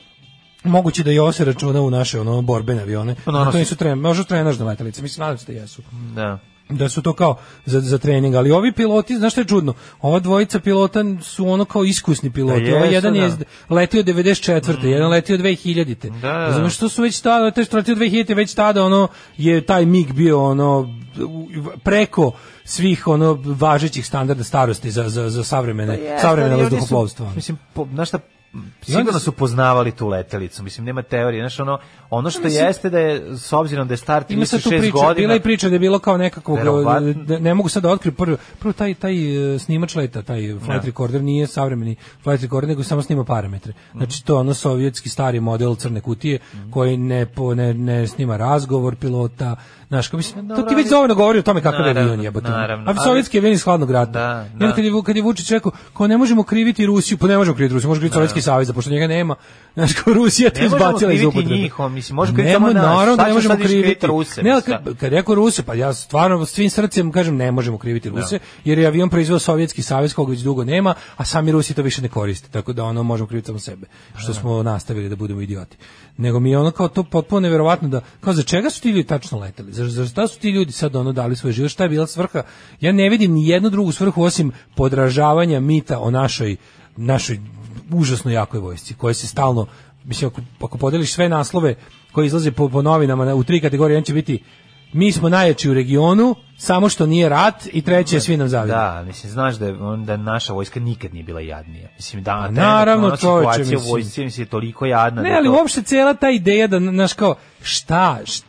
Speaker 7: moguće da i ovo se računa u naše ono borbene avione.
Speaker 6: Pa naravno.
Speaker 7: to nisu tren, možda trenažne letelice, mislim nadam se da jesu.
Speaker 6: Da.
Speaker 7: da su to kao za, za trening, ali ovi piloti, znaš što je čudno, ova dvojica pilota su ono kao iskusni piloti,
Speaker 6: Da
Speaker 7: ovaj
Speaker 6: jesu,
Speaker 7: jedan je
Speaker 6: da. Mm.
Speaker 7: letio 94. jedan letio 2000.
Speaker 6: Da, da.
Speaker 7: Razumeš, to su već tada, te što je letio 2000. već tada ono je taj mig bio ono u- preko svih ono važećih standarda starosti za, za, za savremene, savremene
Speaker 6: Pa ali oni su,
Speaker 7: vazduhoplovstva. ono.
Speaker 6: Mislim, po, znaš šta, sigurno su poznavali tu letelicu, mislim, nema teorije, znaš, ono, ono što jeste da je, s obzirom da je start
Speaker 7: Pa Ima sad tu
Speaker 6: 36
Speaker 7: priča,
Speaker 6: godina,
Speaker 7: bila je priča da je bilo kao nekakvog,
Speaker 6: Verovatno.
Speaker 7: ne, ne mogu sad da otkrijem, prvo, prvo taj, taj e, snimač leta, taj
Speaker 6: Da.
Speaker 7: flight recorder nije savremeni flight recorder, nego samo snima parametre.
Speaker 6: Mhm.
Speaker 7: Znači to je ono sovjetski stari model crne kutije koji ne, po, ne, ne snima razgovor pilota, znaš, kao mislim, to ti
Speaker 6: dobro,
Speaker 7: već
Speaker 6: ali-
Speaker 7: dovoljno govori o tome kakav je
Speaker 6: Naravno,
Speaker 7: avion jebote.
Speaker 6: naravno,
Speaker 7: A
Speaker 6: ali-
Speaker 7: sovjetski avion iz hladnog rata.
Speaker 6: Da,
Speaker 7: I onda
Speaker 6: da.
Speaker 7: kad je, Vu- kad je Vučić rekao, kao ne možemo kriviti Rusiju, pa ne možemo kriviti Rusiju, možemo
Speaker 6: Da.
Speaker 7: kriviti Sovjetski savez, a pošto njega nema, znaš, kao Rusija te
Speaker 6: Ne možemo
Speaker 7: izbacila iz
Speaker 6: kriviti
Speaker 7: upotrebe.
Speaker 6: njih, on, mislim, može kriviti
Speaker 7: Nema,
Speaker 6: samo nas.
Speaker 7: Naravno da
Speaker 6: Sad
Speaker 7: ne
Speaker 6: ćeš
Speaker 7: možemo
Speaker 6: sad još kriviti
Speaker 7: kriviti
Speaker 6: Ruse,
Speaker 7: Ne, ali
Speaker 6: šta?
Speaker 7: kad, kad je rekao Ruse, pa ja stvarno svim srcem kažem ne možemo kriviti Ruse, jer je avion proizveo Sovjetski savez kog već dugo nema, a sami Rusi to više ne koriste, tako da ono možemo kriviti samo sebe, što smo nastavili da budemo idioti. Nego mi je ono kao to potpuno neverovatno da, kao za čega su ti ljudi tačno leteli, za, za šta su ti ljudi sad ono dali svoj život, šta je bila svrha, ja ne vidim ni jednu drugu svrhu osim podražavanja mita o našoj, našoj užasno jakoj vojsci, koja se stalno mislim ako, ako podeliš sve naslove koji izlaze po, po novinama na- u tri kategorije, on će biti mi smo najjači u regionu, samo što nije rat i treće je svi nam zavidu.
Speaker 6: Da, mislim, znaš da, je, da naša vojska nikad nije bila jadnija. Mislim, da, trenutno
Speaker 7: Pa naravno,
Speaker 6: ona
Speaker 7: čoveče,
Speaker 6: situacija
Speaker 7: mislim.
Speaker 6: u vojsci mislim, je toliko jadna.
Speaker 7: Ne,
Speaker 6: da
Speaker 7: ali
Speaker 6: to-
Speaker 7: uopšte cijela ta ideja da, znaš, kao, šta, št-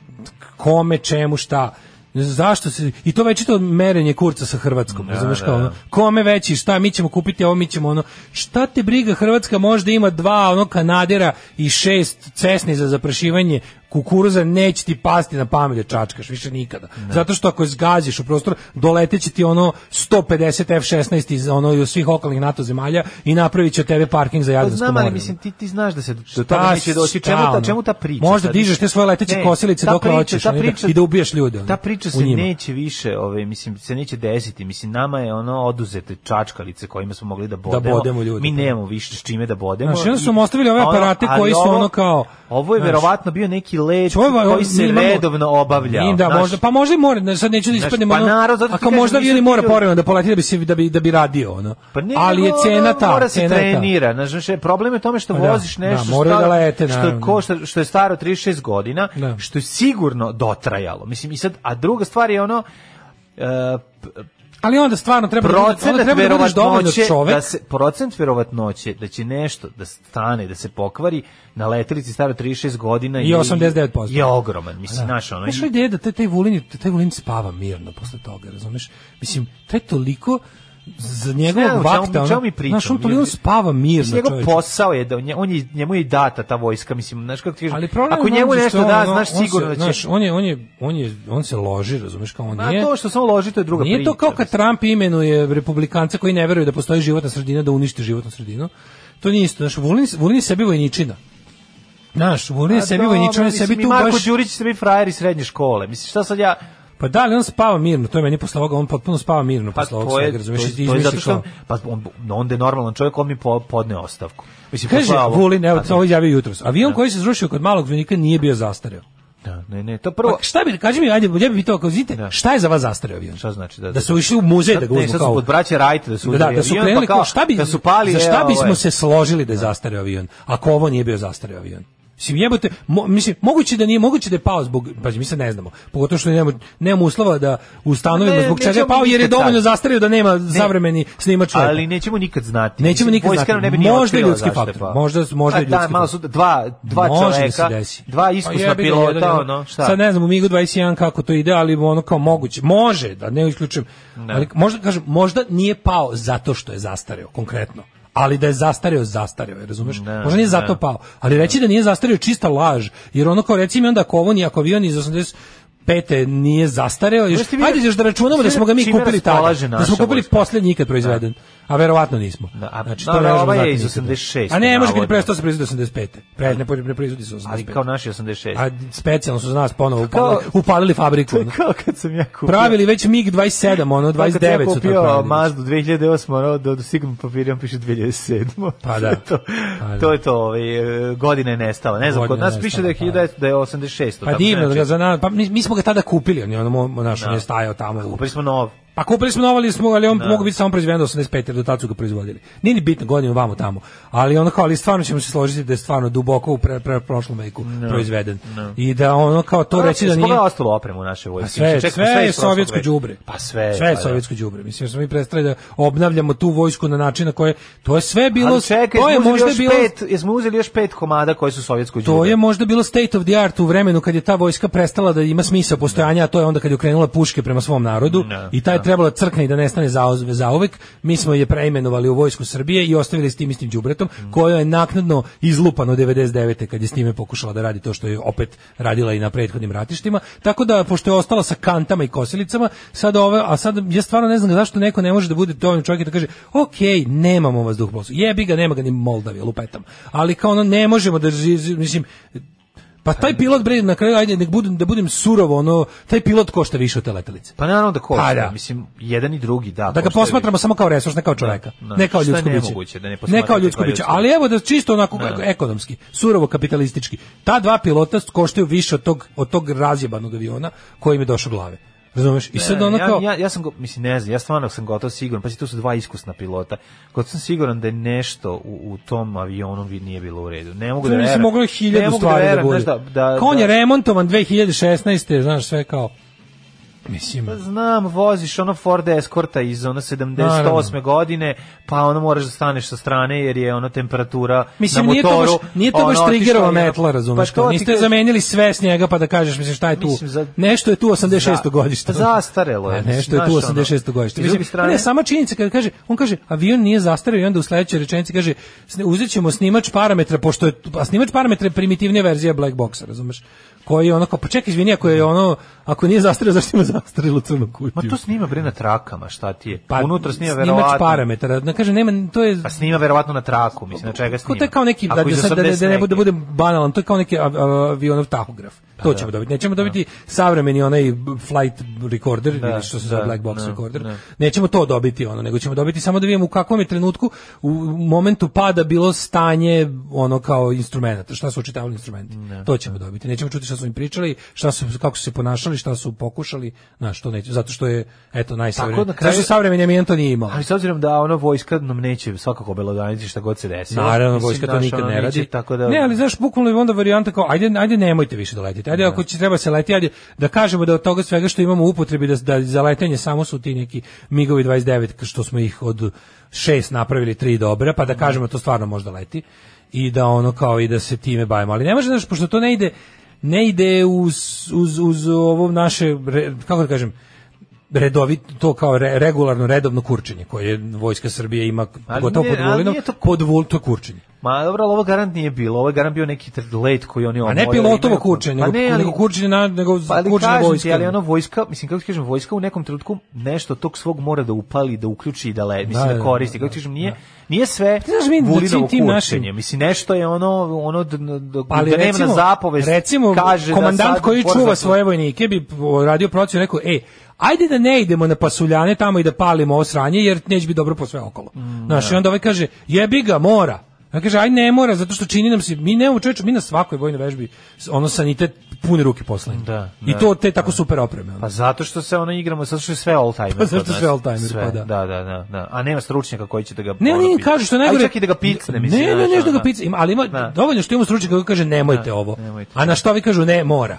Speaker 7: kome, čemu, šta, zašto se, i to večito merenje kurca sa Hrvatskom,
Speaker 6: Da,
Speaker 7: razumeš,
Speaker 6: da,
Speaker 7: kao,
Speaker 6: da.
Speaker 7: ono, kome veći, šta, mi ćemo kupiti ovo, mi ćemo ono, šta te briga, Hrvatska možda ima dva, ono, kanadera i šest cesni za zaprašivanje kukuruza, neće ti pasti na pamet da čačkaš, više nikada. Zato što ako zgaziš u prostor, doleteće ti ono 150 F-16 iz ono iz svih okolnih NATO zemalja i napravit će od tebe parking za
Speaker 6: Pa
Speaker 7: Jadransko
Speaker 6: znam, ali
Speaker 7: more.
Speaker 6: mislim, ti, ti znaš da se do
Speaker 7: Šta
Speaker 6: toga neće doći.
Speaker 7: šta,
Speaker 6: Čemu ta,
Speaker 7: ono?
Speaker 6: čemu ta priča?
Speaker 7: Možda
Speaker 6: sad?
Speaker 7: dižeš te svoje leteće
Speaker 6: Ne,
Speaker 7: kosilice
Speaker 6: ta
Speaker 7: dokle
Speaker 6: priča-
Speaker 7: hoćeš,
Speaker 6: ta
Speaker 7: ono, i da-
Speaker 6: priča-
Speaker 7: i da ubijaš ljude, ono,
Speaker 6: Ta priča
Speaker 7: u
Speaker 6: se
Speaker 7: njima.
Speaker 6: neće više, ovaj, mislim, se neće desiti. Mislim, nama je ono oduzete čačkalice kojima smo mogli da bodemo.
Speaker 7: bodemo ljude,
Speaker 6: Mi
Speaker 7: pa.
Speaker 6: nemamo više s čime da bodemo.
Speaker 7: Znaš, i onda su
Speaker 6: I-
Speaker 7: nam ostavili ove
Speaker 6: a ono,
Speaker 7: aparate
Speaker 6: ali
Speaker 7: koji su
Speaker 6: ovo-
Speaker 7: ono kao,
Speaker 6: Ovo je
Speaker 7: znaš,
Speaker 6: verovatno bio neki let
Speaker 7: Ovo je-
Speaker 6: koji se
Speaker 7: ovaj, mi imamo-
Speaker 6: redovno obavlja.
Speaker 7: I Da, možda, pa možda i mora, ne, sad neću da
Speaker 6: Znaš,
Speaker 7: ispadnem,
Speaker 6: pa
Speaker 7: ono,
Speaker 6: naravno, zato ti
Speaker 7: ako
Speaker 6: kažem,
Speaker 7: možda
Speaker 6: mi
Speaker 7: avioni
Speaker 6: sad
Speaker 7: mora
Speaker 6: ti-
Speaker 7: povremeno da poleti da bi, se, da bi, da bi radio, ono.
Speaker 6: Pa ne,
Speaker 7: ali je
Speaker 6: nego,
Speaker 7: cena
Speaker 6: ono,
Speaker 7: ta,
Speaker 6: mora se
Speaker 7: cena ta.
Speaker 6: trenira. Znaš, znaš, problem je u tome što
Speaker 7: Pa da,
Speaker 6: voziš nešto
Speaker 7: da, moraju
Speaker 6: što,
Speaker 7: da lete,
Speaker 6: što, je
Speaker 7: naravno.
Speaker 6: ko, što, što je staro 36 godina,
Speaker 7: Da.
Speaker 6: što je sigurno dotrajalo. Mislim, i sad, a druga stvar je ono, e, p-
Speaker 7: Ali onda stvarno treba, da- onda
Speaker 6: procenat
Speaker 7: treba da budeš dovoljno
Speaker 6: verovatnoće
Speaker 7: čovek.
Speaker 6: da se procent verovatnoće da će nešto da stane da se pokvari na letelici staro 36 godina
Speaker 7: I
Speaker 6: je-
Speaker 7: 89%.
Speaker 6: je ogroman mislim naš ono
Speaker 7: Znaš, ideja da taj, taj Vulin, je- taj Vulin spava mirno posle toga, razumeš? Mislim, taj toliko za
Speaker 6: Ne,
Speaker 7: njegovog
Speaker 6: o čemu-
Speaker 7: vakta, ono,
Speaker 6: o čemu mi pričamo?
Speaker 7: znaš, on toliko
Speaker 6: Mi-
Speaker 7: spava mirno,
Speaker 6: njegov
Speaker 7: čoveče.
Speaker 6: posao je da nje- on je njemu je i data ta vojska mislim znaš kako ti kažem
Speaker 7: Ali problem
Speaker 6: ako
Speaker 7: je u
Speaker 6: njemu
Speaker 7: tome što
Speaker 6: nešto
Speaker 7: on,
Speaker 6: da
Speaker 7: ono,
Speaker 6: znaš
Speaker 7: on se-
Speaker 6: sigurno da
Speaker 7: znaš,
Speaker 6: će
Speaker 7: on je on je on je on se loži, razumeš kao on
Speaker 6: a
Speaker 7: nije.
Speaker 6: to što samo loži to je druga
Speaker 7: Nije
Speaker 6: priča
Speaker 7: to kao kad Trump imenuje republikanca koji ne veruju da postoji životna sredina da uništi životnu sredinu. To nije isto, znaš, Vulin, Vulin je sebi vojničina. Znaš, Vulin je
Speaker 6: A
Speaker 7: sebi
Speaker 6: Pa dobro,
Speaker 7: vojničina, on je
Speaker 6: mislim,
Speaker 7: sebi
Speaker 6: i
Speaker 7: tu
Speaker 6: Marko
Speaker 7: baš...
Speaker 6: Đurić su bili frajeri srednje škole mislim šta sad ja
Speaker 7: Pa da, ali on spava mirno, to je meni posle ovoga, on potpuno spava mirno
Speaker 6: Pa
Speaker 7: posle ovog
Speaker 6: to je,
Speaker 7: svega, razumeš,
Speaker 6: to je-
Speaker 7: i ti
Speaker 6: to je zato
Speaker 7: izmisliš
Speaker 6: što
Speaker 7: kao-
Speaker 6: pa on, onda je normalan čovjek, on mi po, podne ostavku. Mislim,
Speaker 7: Kaže,
Speaker 6: poslao ovo.
Speaker 7: Vulin, evo,
Speaker 6: Pa
Speaker 7: ovo izjavio jutros, avion koji se zrušio kod malog zvonika nije bio zastareo.
Speaker 6: Da, ne, ne, to
Speaker 7: Pa
Speaker 6: prvo...
Speaker 7: šta bi, kaži mi, ajde, ja bih pitao, kao znite, šta je za vas zastareo avion?
Speaker 6: Da. Šta znači? Da,
Speaker 7: Da su išli u muzej da ga
Speaker 6: Ne,
Speaker 7: uzmu
Speaker 6: sad su
Speaker 7: kao...
Speaker 6: kod braće Rajte da su
Speaker 7: da, da,
Speaker 6: uzeli
Speaker 7: da su
Speaker 6: avion,
Speaker 7: krenuli
Speaker 6: pa
Speaker 7: kao, šta bi,
Speaker 6: da su pali,
Speaker 7: za šta
Speaker 6: e,
Speaker 7: bismo
Speaker 6: ovaj.
Speaker 7: se složili da je zastareo avion, ako ovo nije bio zastareo avion. Mislim, jebote, mo, mislim, moguće da nije, moguće da je pao zbog, pa mi sad ne znamo, pogotovo što nemamo, nemamo uslova da ustanovimo
Speaker 6: Ne,
Speaker 7: zbog čega je
Speaker 6: nećemo
Speaker 7: pao, jer je
Speaker 6: nikad
Speaker 7: dovoljno
Speaker 6: saznati.
Speaker 7: zastario da nema savremeni snimač leta.
Speaker 6: Ali nećemo nikad znati.
Speaker 7: Nećemo
Speaker 6: Mislim,
Speaker 7: nikad
Speaker 6: vojska
Speaker 7: znati.
Speaker 6: nam ne bi ni
Speaker 7: Možda je
Speaker 6: otkrila
Speaker 7: ljudski
Speaker 6: zašto
Speaker 7: faktor,
Speaker 6: pa.
Speaker 7: možda- možda
Speaker 6: A
Speaker 7: je ljudski
Speaker 6: da, malo su dva, dva
Speaker 7: Može da
Speaker 6: čoveka,
Speaker 7: se desi.
Speaker 6: dva
Speaker 7: A
Speaker 6: iskusna
Speaker 7: jebi ga, jedan je
Speaker 6: pilota,
Speaker 7: ono.
Speaker 6: ono, šta?
Speaker 7: Sad ne znam, u MiG-u 21 kako to ide, ali ono kao moguće. Može, da ne isključujem.
Speaker 6: Ne.
Speaker 7: Ali možda, kažem, možda nije pao zato što je zastareo, konkretno. Ali da je zastareo, zastareo je, razumeš?
Speaker 6: Ne,
Speaker 7: možda nije zato
Speaker 6: ne.
Speaker 7: pao. Ali reći da nije zastareo je čista laž. Jer ono kao, reci mi onda, ako ovo nije, ako avion iz 80 pete nije zastareo, još,
Speaker 6: Znaš ti vi-
Speaker 7: ajde još da računamo da smo ga mi
Speaker 6: Čime
Speaker 7: kupili tada,
Speaker 6: raspolaže
Speaker 7: da
Speaker 6: naša
Speaker 7: smo kupili
Speaker 6: vojska?
Speaker 7: posljednji ikad proizveden, a verovatno nismo.
Speaker 6: Da, a-
Speaker 7: Znači,
Speaker 6: dobro,
Speaker 7: ne možemo
Speaker 6: ovaj je
Speaker 7: znati
Speaker 6: iz
Speaker 7: nikada.
Speaker 6: 86,
Speaker 7: A ne, može kad
Speaker 6: navodno.
Speaker 7: prestao se proizvodi 85. Pre, ne, ne proizvodi se 85.
Speaker 6: Ali kao naši 86.
Speaker 7: A specijalno su za nas ponovo
Speaker 6: Kao-
Speaker 7: upalili, upalili fabriku.
Speaker 6: To je
Speaker 7: ono.
Speaker 6: (laughs) kao kad sam ja kupio.
Speaker 7: Pravili već MiG 27, ono
Speaker 6: Kao kad sam
Speaker 7: 29
Speaker 6: ja
Speaker 7: su to
Speaker 6: kupio
Speaker 7: pravili. znači.
Speaker 6: Mazdu 2008, ono, da dosignu papirom piše 2007.
Speaker 7: Pa
Speaker 6: (laughs) To
Speaker 7: da.
Speaker 6: je to,
Speaker 7: Pa da.
Speaker 6: to je to, ovaj, e, godina je nestala. Ne znam,
Speaker 7: Godina
Speaker 6: kod nas
Speaker 7: je
Speaker 6: piše da je,
Speaker 7: nestala,
Speaker 6: 1900, da je 86.
Speaker 7: Pa
Speaker 6: tako
Speaker 7: divno, da
Speaker 6: znači.
Speaker 7: ga za nas, pa mi, mi smo ga tada kupili, on je ono mo- naš, on je
Speaker 6: Da.
Speaker 7: stajao tamo. u-
Speaker 6: Kupili smo nov.
Speaker 7: Pa kupili smo novali smo, ali on mogu biti samo proizveden do 85, jer do tada su ga proizvodili. Nije ni bitno godinu vamo tamo. Ali ono kao, ali stvarno ćemo se složiti da je stvarno duboko u pre, pre, prošlom veku
Speaker 6: Da.
Speaker 7: proizveden. I da ono kao to reći da
Speaker 6: Zbog
Speaker 7: nije...
Speaker 6: je ostalo opremu naše vojske.
Speaker 7: Pa sve,
Speaker 6: Čekaj,
Speaker 7: sve,
Speaker 6: iz
Speaker 7: je
Speaker 6: prošlog
Speaker 7: sovjetsko
Speaker 6: veka.
Speaker 7: đubre.
Speaker 6: Pa sve,
Speaker 7: sve je
Speaker 6: pa da.
Speaker 7: sovjetsko đubre. Mislim smo mi prestali da obnavljamo tu vojsku na način na koje to je sve bilo
Speaker 6: Ali čekaj,
Speaker 7: to je
Speaker 6: jesmo uzeli
Speaker 7: možda
Speaker 6: još
Speaker 7: bilo
Speaker 6: pet, jesmo uzeli još pet komada koji su sovjetsko đubre.
Speaker 7: To je možda bilo state of the art u vremenu kad je ta vojska prestala da ima smisao postojanja, a to je onda kad je okrenula puške prema svom narodu
Speaker 6: Ne,
Speaker 7: i ta je trebala da crkne i da nestane zaozve zauvek. Mi smo je preimenovali u vojsku Srbije i ostavili s tim istim đubretom, koja je naknadno izlupano 99. kad je s time pokušala da radi to što je opet radila i na prethodnim ratištima. Tako da pošto je ostala sa kantama i kosilicama, sad ove, a sad ja stvarno ne znam zašto neko ne može da bude dovoljno čovjek i da kaže, ok, nemamo vas duh poslu. Jebi ga, nema ga ni Moldavija, lupetam. Ali kao ono, ne možemo da, ži- ži- mislim, pa taj pilot bre na kraju ajde nek budem da budem surovo ono taj pilot košta više od te letelice.
Speaker 6: Pa naravno da košta,
Speaker 7: Pa da.
Speaker 6: mislim, jedan i drugi, da.
Speaker 7: Da ga
Speaker 6: koštaju.
Speaker 7: posmatramo samo kao resurs, ne kao čoveka,
Speaker 6: Da.
Speaker 7: ne kao
Speaker 6: Šta je
Speaker 7: ljudsko biće.
Speaker 6: nemoguće da ne
Speaker 7: ne
Speaker 6: posmatrate
Speaker 7: kao ljudsko
Speaker 6: kao
Speaker 7: biće,
Speaker 6: ljudsko?
Speaker 7: ali evo da čisto onako
Speaker 6: Da.
Speaker 7: ekonomski, surovo kapitalistički. Ta dva pilota koštaju više od tog od tog razjebanog aviona koji im je došao glave. Razumeš? I sad
Speaker 6: Ne,
Speaker 7: ono
Speaker 6: E, ja,
Speaker 7: kao
Speaker 6: ja, ja sam go, mislim ne znam, ja stvarno sam gotovo siguran, pa tu su dva iskusna pilota. Gotovo sam siguran da je nešto u, u tom avionu vi nije bilo u redu. Ne mogu
Speaker 7: Tu
Speaker 6: da
Speaker 7: mislim,
Speaker 6: verujem.
Speaker 7: moglo je
Speaker 6: Ne
Speaker 7: hiljadu
Speaker 6: mogu
Speaker 7: stvari da,
Speaker 6: verujem,
Speaker 7: bude.
Speaker 6: znaš, da, da,
Speaker 7: Kao on
Speaker 6: da-
Speaker 7: je remontovan 2016. znaš sve kao
Speaker 6: Pa
Speaker 7: mislim
Speaker 6: Znam, voziš ono Ford Escorta iz ono 78.
Speaker 7: Naravno.
Speaker 6: godine, pa ono moraš da staneš sa strane jer je ono temperatura
Speaker 7: Mislim,
Speaker 6: na
Speaker 7: nije to
Speaker 6: motoru.
Speaker 7: baš, nije to
Speaker 6: ono,
Speaker 7: baš
Speaker 6: otišla
Speaker 7: triggerova
Speaker 6: je- Pa
Speaker 7: metla, razumeš,
Speaker 6: to
Speaker 7: kao,
Speaker 6: ti
Speaker 7: niste
Speaker 6: kažem.
Speaker 7: zamenili sve s njega pa da kažeš, mislim, šta je tu?
Speaker 6: Mislim, za-
Speaker 7: nešto je tu 86.
Speaker 6: za-
Speaker 7: godište.
Speaker 6: pa zastarelo je,
Speaker 7: A nešto je tu
Speaker 6: znaš, ono,
Speaker 7: 86. godište.
Speaker 6: iz druge
Speaker 7: Mislim,
Speaker 6: strane-
Speaker 7: ne, sama činjenica kada kaže, on kaže, avion nije zastareo i onda u sledećoj rečenici kaže, "Sni- uzet ćemo snimač parametra, pošto je, a snimač parametra je primitivnija verzija Black Boxa, razumeš? koji je ono kao, pa čekaj, izvini, ako je ono, ako nije zastareo, zašto ima zastarelu crnu
Speaker 6: Ma
Speaker 7: kutiju?
Speaker 6: to snima bre na trakama, šta ti je?
Speaker 7: Pa,
Speaker 6: Unutra snima
Speaker 7: Snimač
Speaker 6: verovatno.
Speaker 7: parametara, da kaže, nema, to je
Speaker 6: Pa snima verovatno na traku, mislim, na čega
Speaker 7: Ko
Speaker 6: snima.
Speaker 7: to je kao neki da,
Speaker 6: Ako
Speaker 7: da,
Speaker 6: iz
Speaker 7: sad, da, da, da ne
Speaker 6: 80
Speaker 7: bude
Speaker 6: neki.
Speaker 7: bude banalan, to je kao neki av- av- avionov tahograf.
Speaker 6: Pa da.
Speaker 7: To ćemo dobiti. Nećemo dobiti savremeni onaj b- flight recorder
Speaker 6: Da,
Speaker 7: ili što se zove
Speaker 6: da,
Speaker 7: black box
Speaker 6: da,
Speaker 7: recorder.
Speaker 6: da.
Speaker 7: Nećemo to dobiti ono, nego ćemo dobiti samo da vidimo u kakvom je trenutku u momentu pada bilo stanje ono kao instrumenta, šta su očitavali instrumenti.
Speaker 6: Da,
Speaker 7: To ćemo dobiti. Nećemo čuti šta su im pričali, šta su kako su se ponašali, šta su pokušali, na što neće, zato što je eto najsavremeniji.
Speaker 6: na kraju-
Speaker 7: Zato što savremeni avion to nije imao.
Speaker 6: Ali s obzirom da ono vojska nam neće svakako obelodaniti šta god se desi.
Speaker 7: Naravno, vojska to nikad ne radi.
Speaker 6: tako da,
Speaker 7: Ne, ali znaš, bukvalno je onda varijanta kao, ajde, ajde nemojte više da letite. Ajde, ako će treba se leti, ajde da kažemo da od toga svega što imamo u upotrebi, da, da za letenje samo su ti neki MIG-ovi 29, što smo ih od šest napravili tri dobre,
Speaker 6: Mhm.
Speaker 7: pa da kažemo to stvarno možda leti i da ono kao i da se time bavimo. Ali ne može, znaš, pošto to ne ide, ne ide uz, uz, uz ovo naše, re- kako da kažem, redovit to kao re- regularno redovno kurčenje koje vojska Srbije ima
Speaker 6: Ali
Speaker 7: gotovo
Speaker 6: nije-
Speaker 7: pod
Speaker 6: ali
Speaker 7: Vulinom
Speaker 6: nije to-
Speaker 7: pod Vul- to je kurčenje
Speaker 6: Ma dobro, ali ovo garant nije bilo. Ovo je garant bio neki let koji oni
Speaker 7: A
Speaker 6: omorili.
Speaker 7: ne pilotovo kurčenje,
Speaker 6: Pa
Speaker 7: nego,
Speaker 6: ne, ali,
Speaker 7: nego kurčenje na nego
Speaker 6: pa ali
Speaker 7: kurčenje
Speaker 6: kažem
Speaker 7: vojske.
Speaker 6: ti, ali ono vojska, mislim, kako ti kažem, vojska u nekom trenutku nešto tog svog mora da upali, da uključi i da le, mislim, da,
Speaker 7: Da, da,
Speaker 6: koristi. Kako ti kažem, nije, nije sve
Speaker 7: Ti znaš, mi da
Speaker 6: Vulinovo
Speaker 7: svim tim našim-
Speaker 6: kurčenje. Mislim, nešto je ono, ono da, da, da,
Speaker 7: Pa ali
Speaker 6: da
Speaker 7: recimo,
Speaker 6: nema zapovest.
Speaker 7: recimo
Speaker 6: kaže
Speaker 7: komandant
Speaker 6: da sad
Speaker 7: koji
Speaker 6: mora
Speaker 7: čuva
Speaker 6: da-
Speaker 7: svoje vojnike bi radio procenu i rekao, ej, ajde da ne idemo na pasuljane tamo i da palimo ovo sranje, jer neće biti dobro po sve okolo.
Speaker 6: Mm,
Speaker 7: Znaš,
Speaker 6: da.
Speaker 7: i onda ovaj kaže, jebi ga, mora. A kaže, aj ne mora, zato što čini nam se, mi nemamo čovječe, mi na svakoj vojnoj vežbi, s- ono sanitet pune ruke posla.
Speaker 6: Da,
Speaker 7: I
Speaker 6: da,
Speaker 7: to te tako super opreme. ono.
Speaker 6: Pa zato što se ono igramo, zato što je sve all timer.
Speaker 7: (laughs) Pa zato
Speaker 6: kod nas.
Speaker 7: sve all-timer,
Speaker 6: Sve,
Speaker 7: pa da.
Speaker 6: Da, da, da, da. A nema stručnjaka koji će da ga...
Speaker 7: Ne,
Speaker 6: ono,
Speaker 7: oni im
Speaker 6: pi-
Speaker 7: kažu što
Speaker 6: A i
Speaker 7: najgore.
Speaker 6: Čak i da ga picne, mislim.
Speaker 7: Ne, ne,
Speaker 6: znaš,
Speaker 7: ne,
Speaker 6: ono,
Speaker 7: da ga picne. Ima- Ali ima
Speaker 6: Da.
Speaker 7: dovoljno što ima stručnjak koji kaže nemojte
Speaker 6: Da,
Speaker 7: ovo.
Speaker 6: nemojte.
Speaker 7: A na što ovi kažu ne, mora.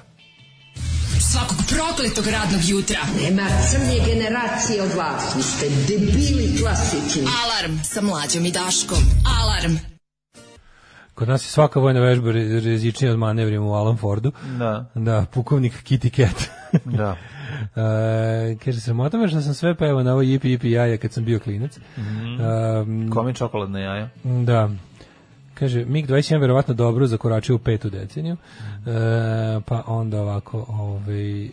Speaker 9: Svakog prokletog radnog jutra.
Speaker 5: Nema crnje generacije od vas, vi ste debili klasični.
Speaker 9: Alarm sa mlađom i Daškom. Alarm.
Speaker 7: Kod nas je svaka vojna vežba re- rizičnija od manevrima u Alan Fordu.
Speaker 6: Da.
Speaker 7: Da, pukovnik Kitty Cat.
Speaker 6: Da.
Speaker 7: E, kaže, sramota me što sam sve pevao na ovo jipi jipi jaja kad sam bio klinac. E,
Speaker 6: Kome čokoladne jaja?
Speaker 7: Da. Kaže, MiG-21 verovatno dobro zakoračio u petu deceniju. E, pa onda ovako, ovaj, um,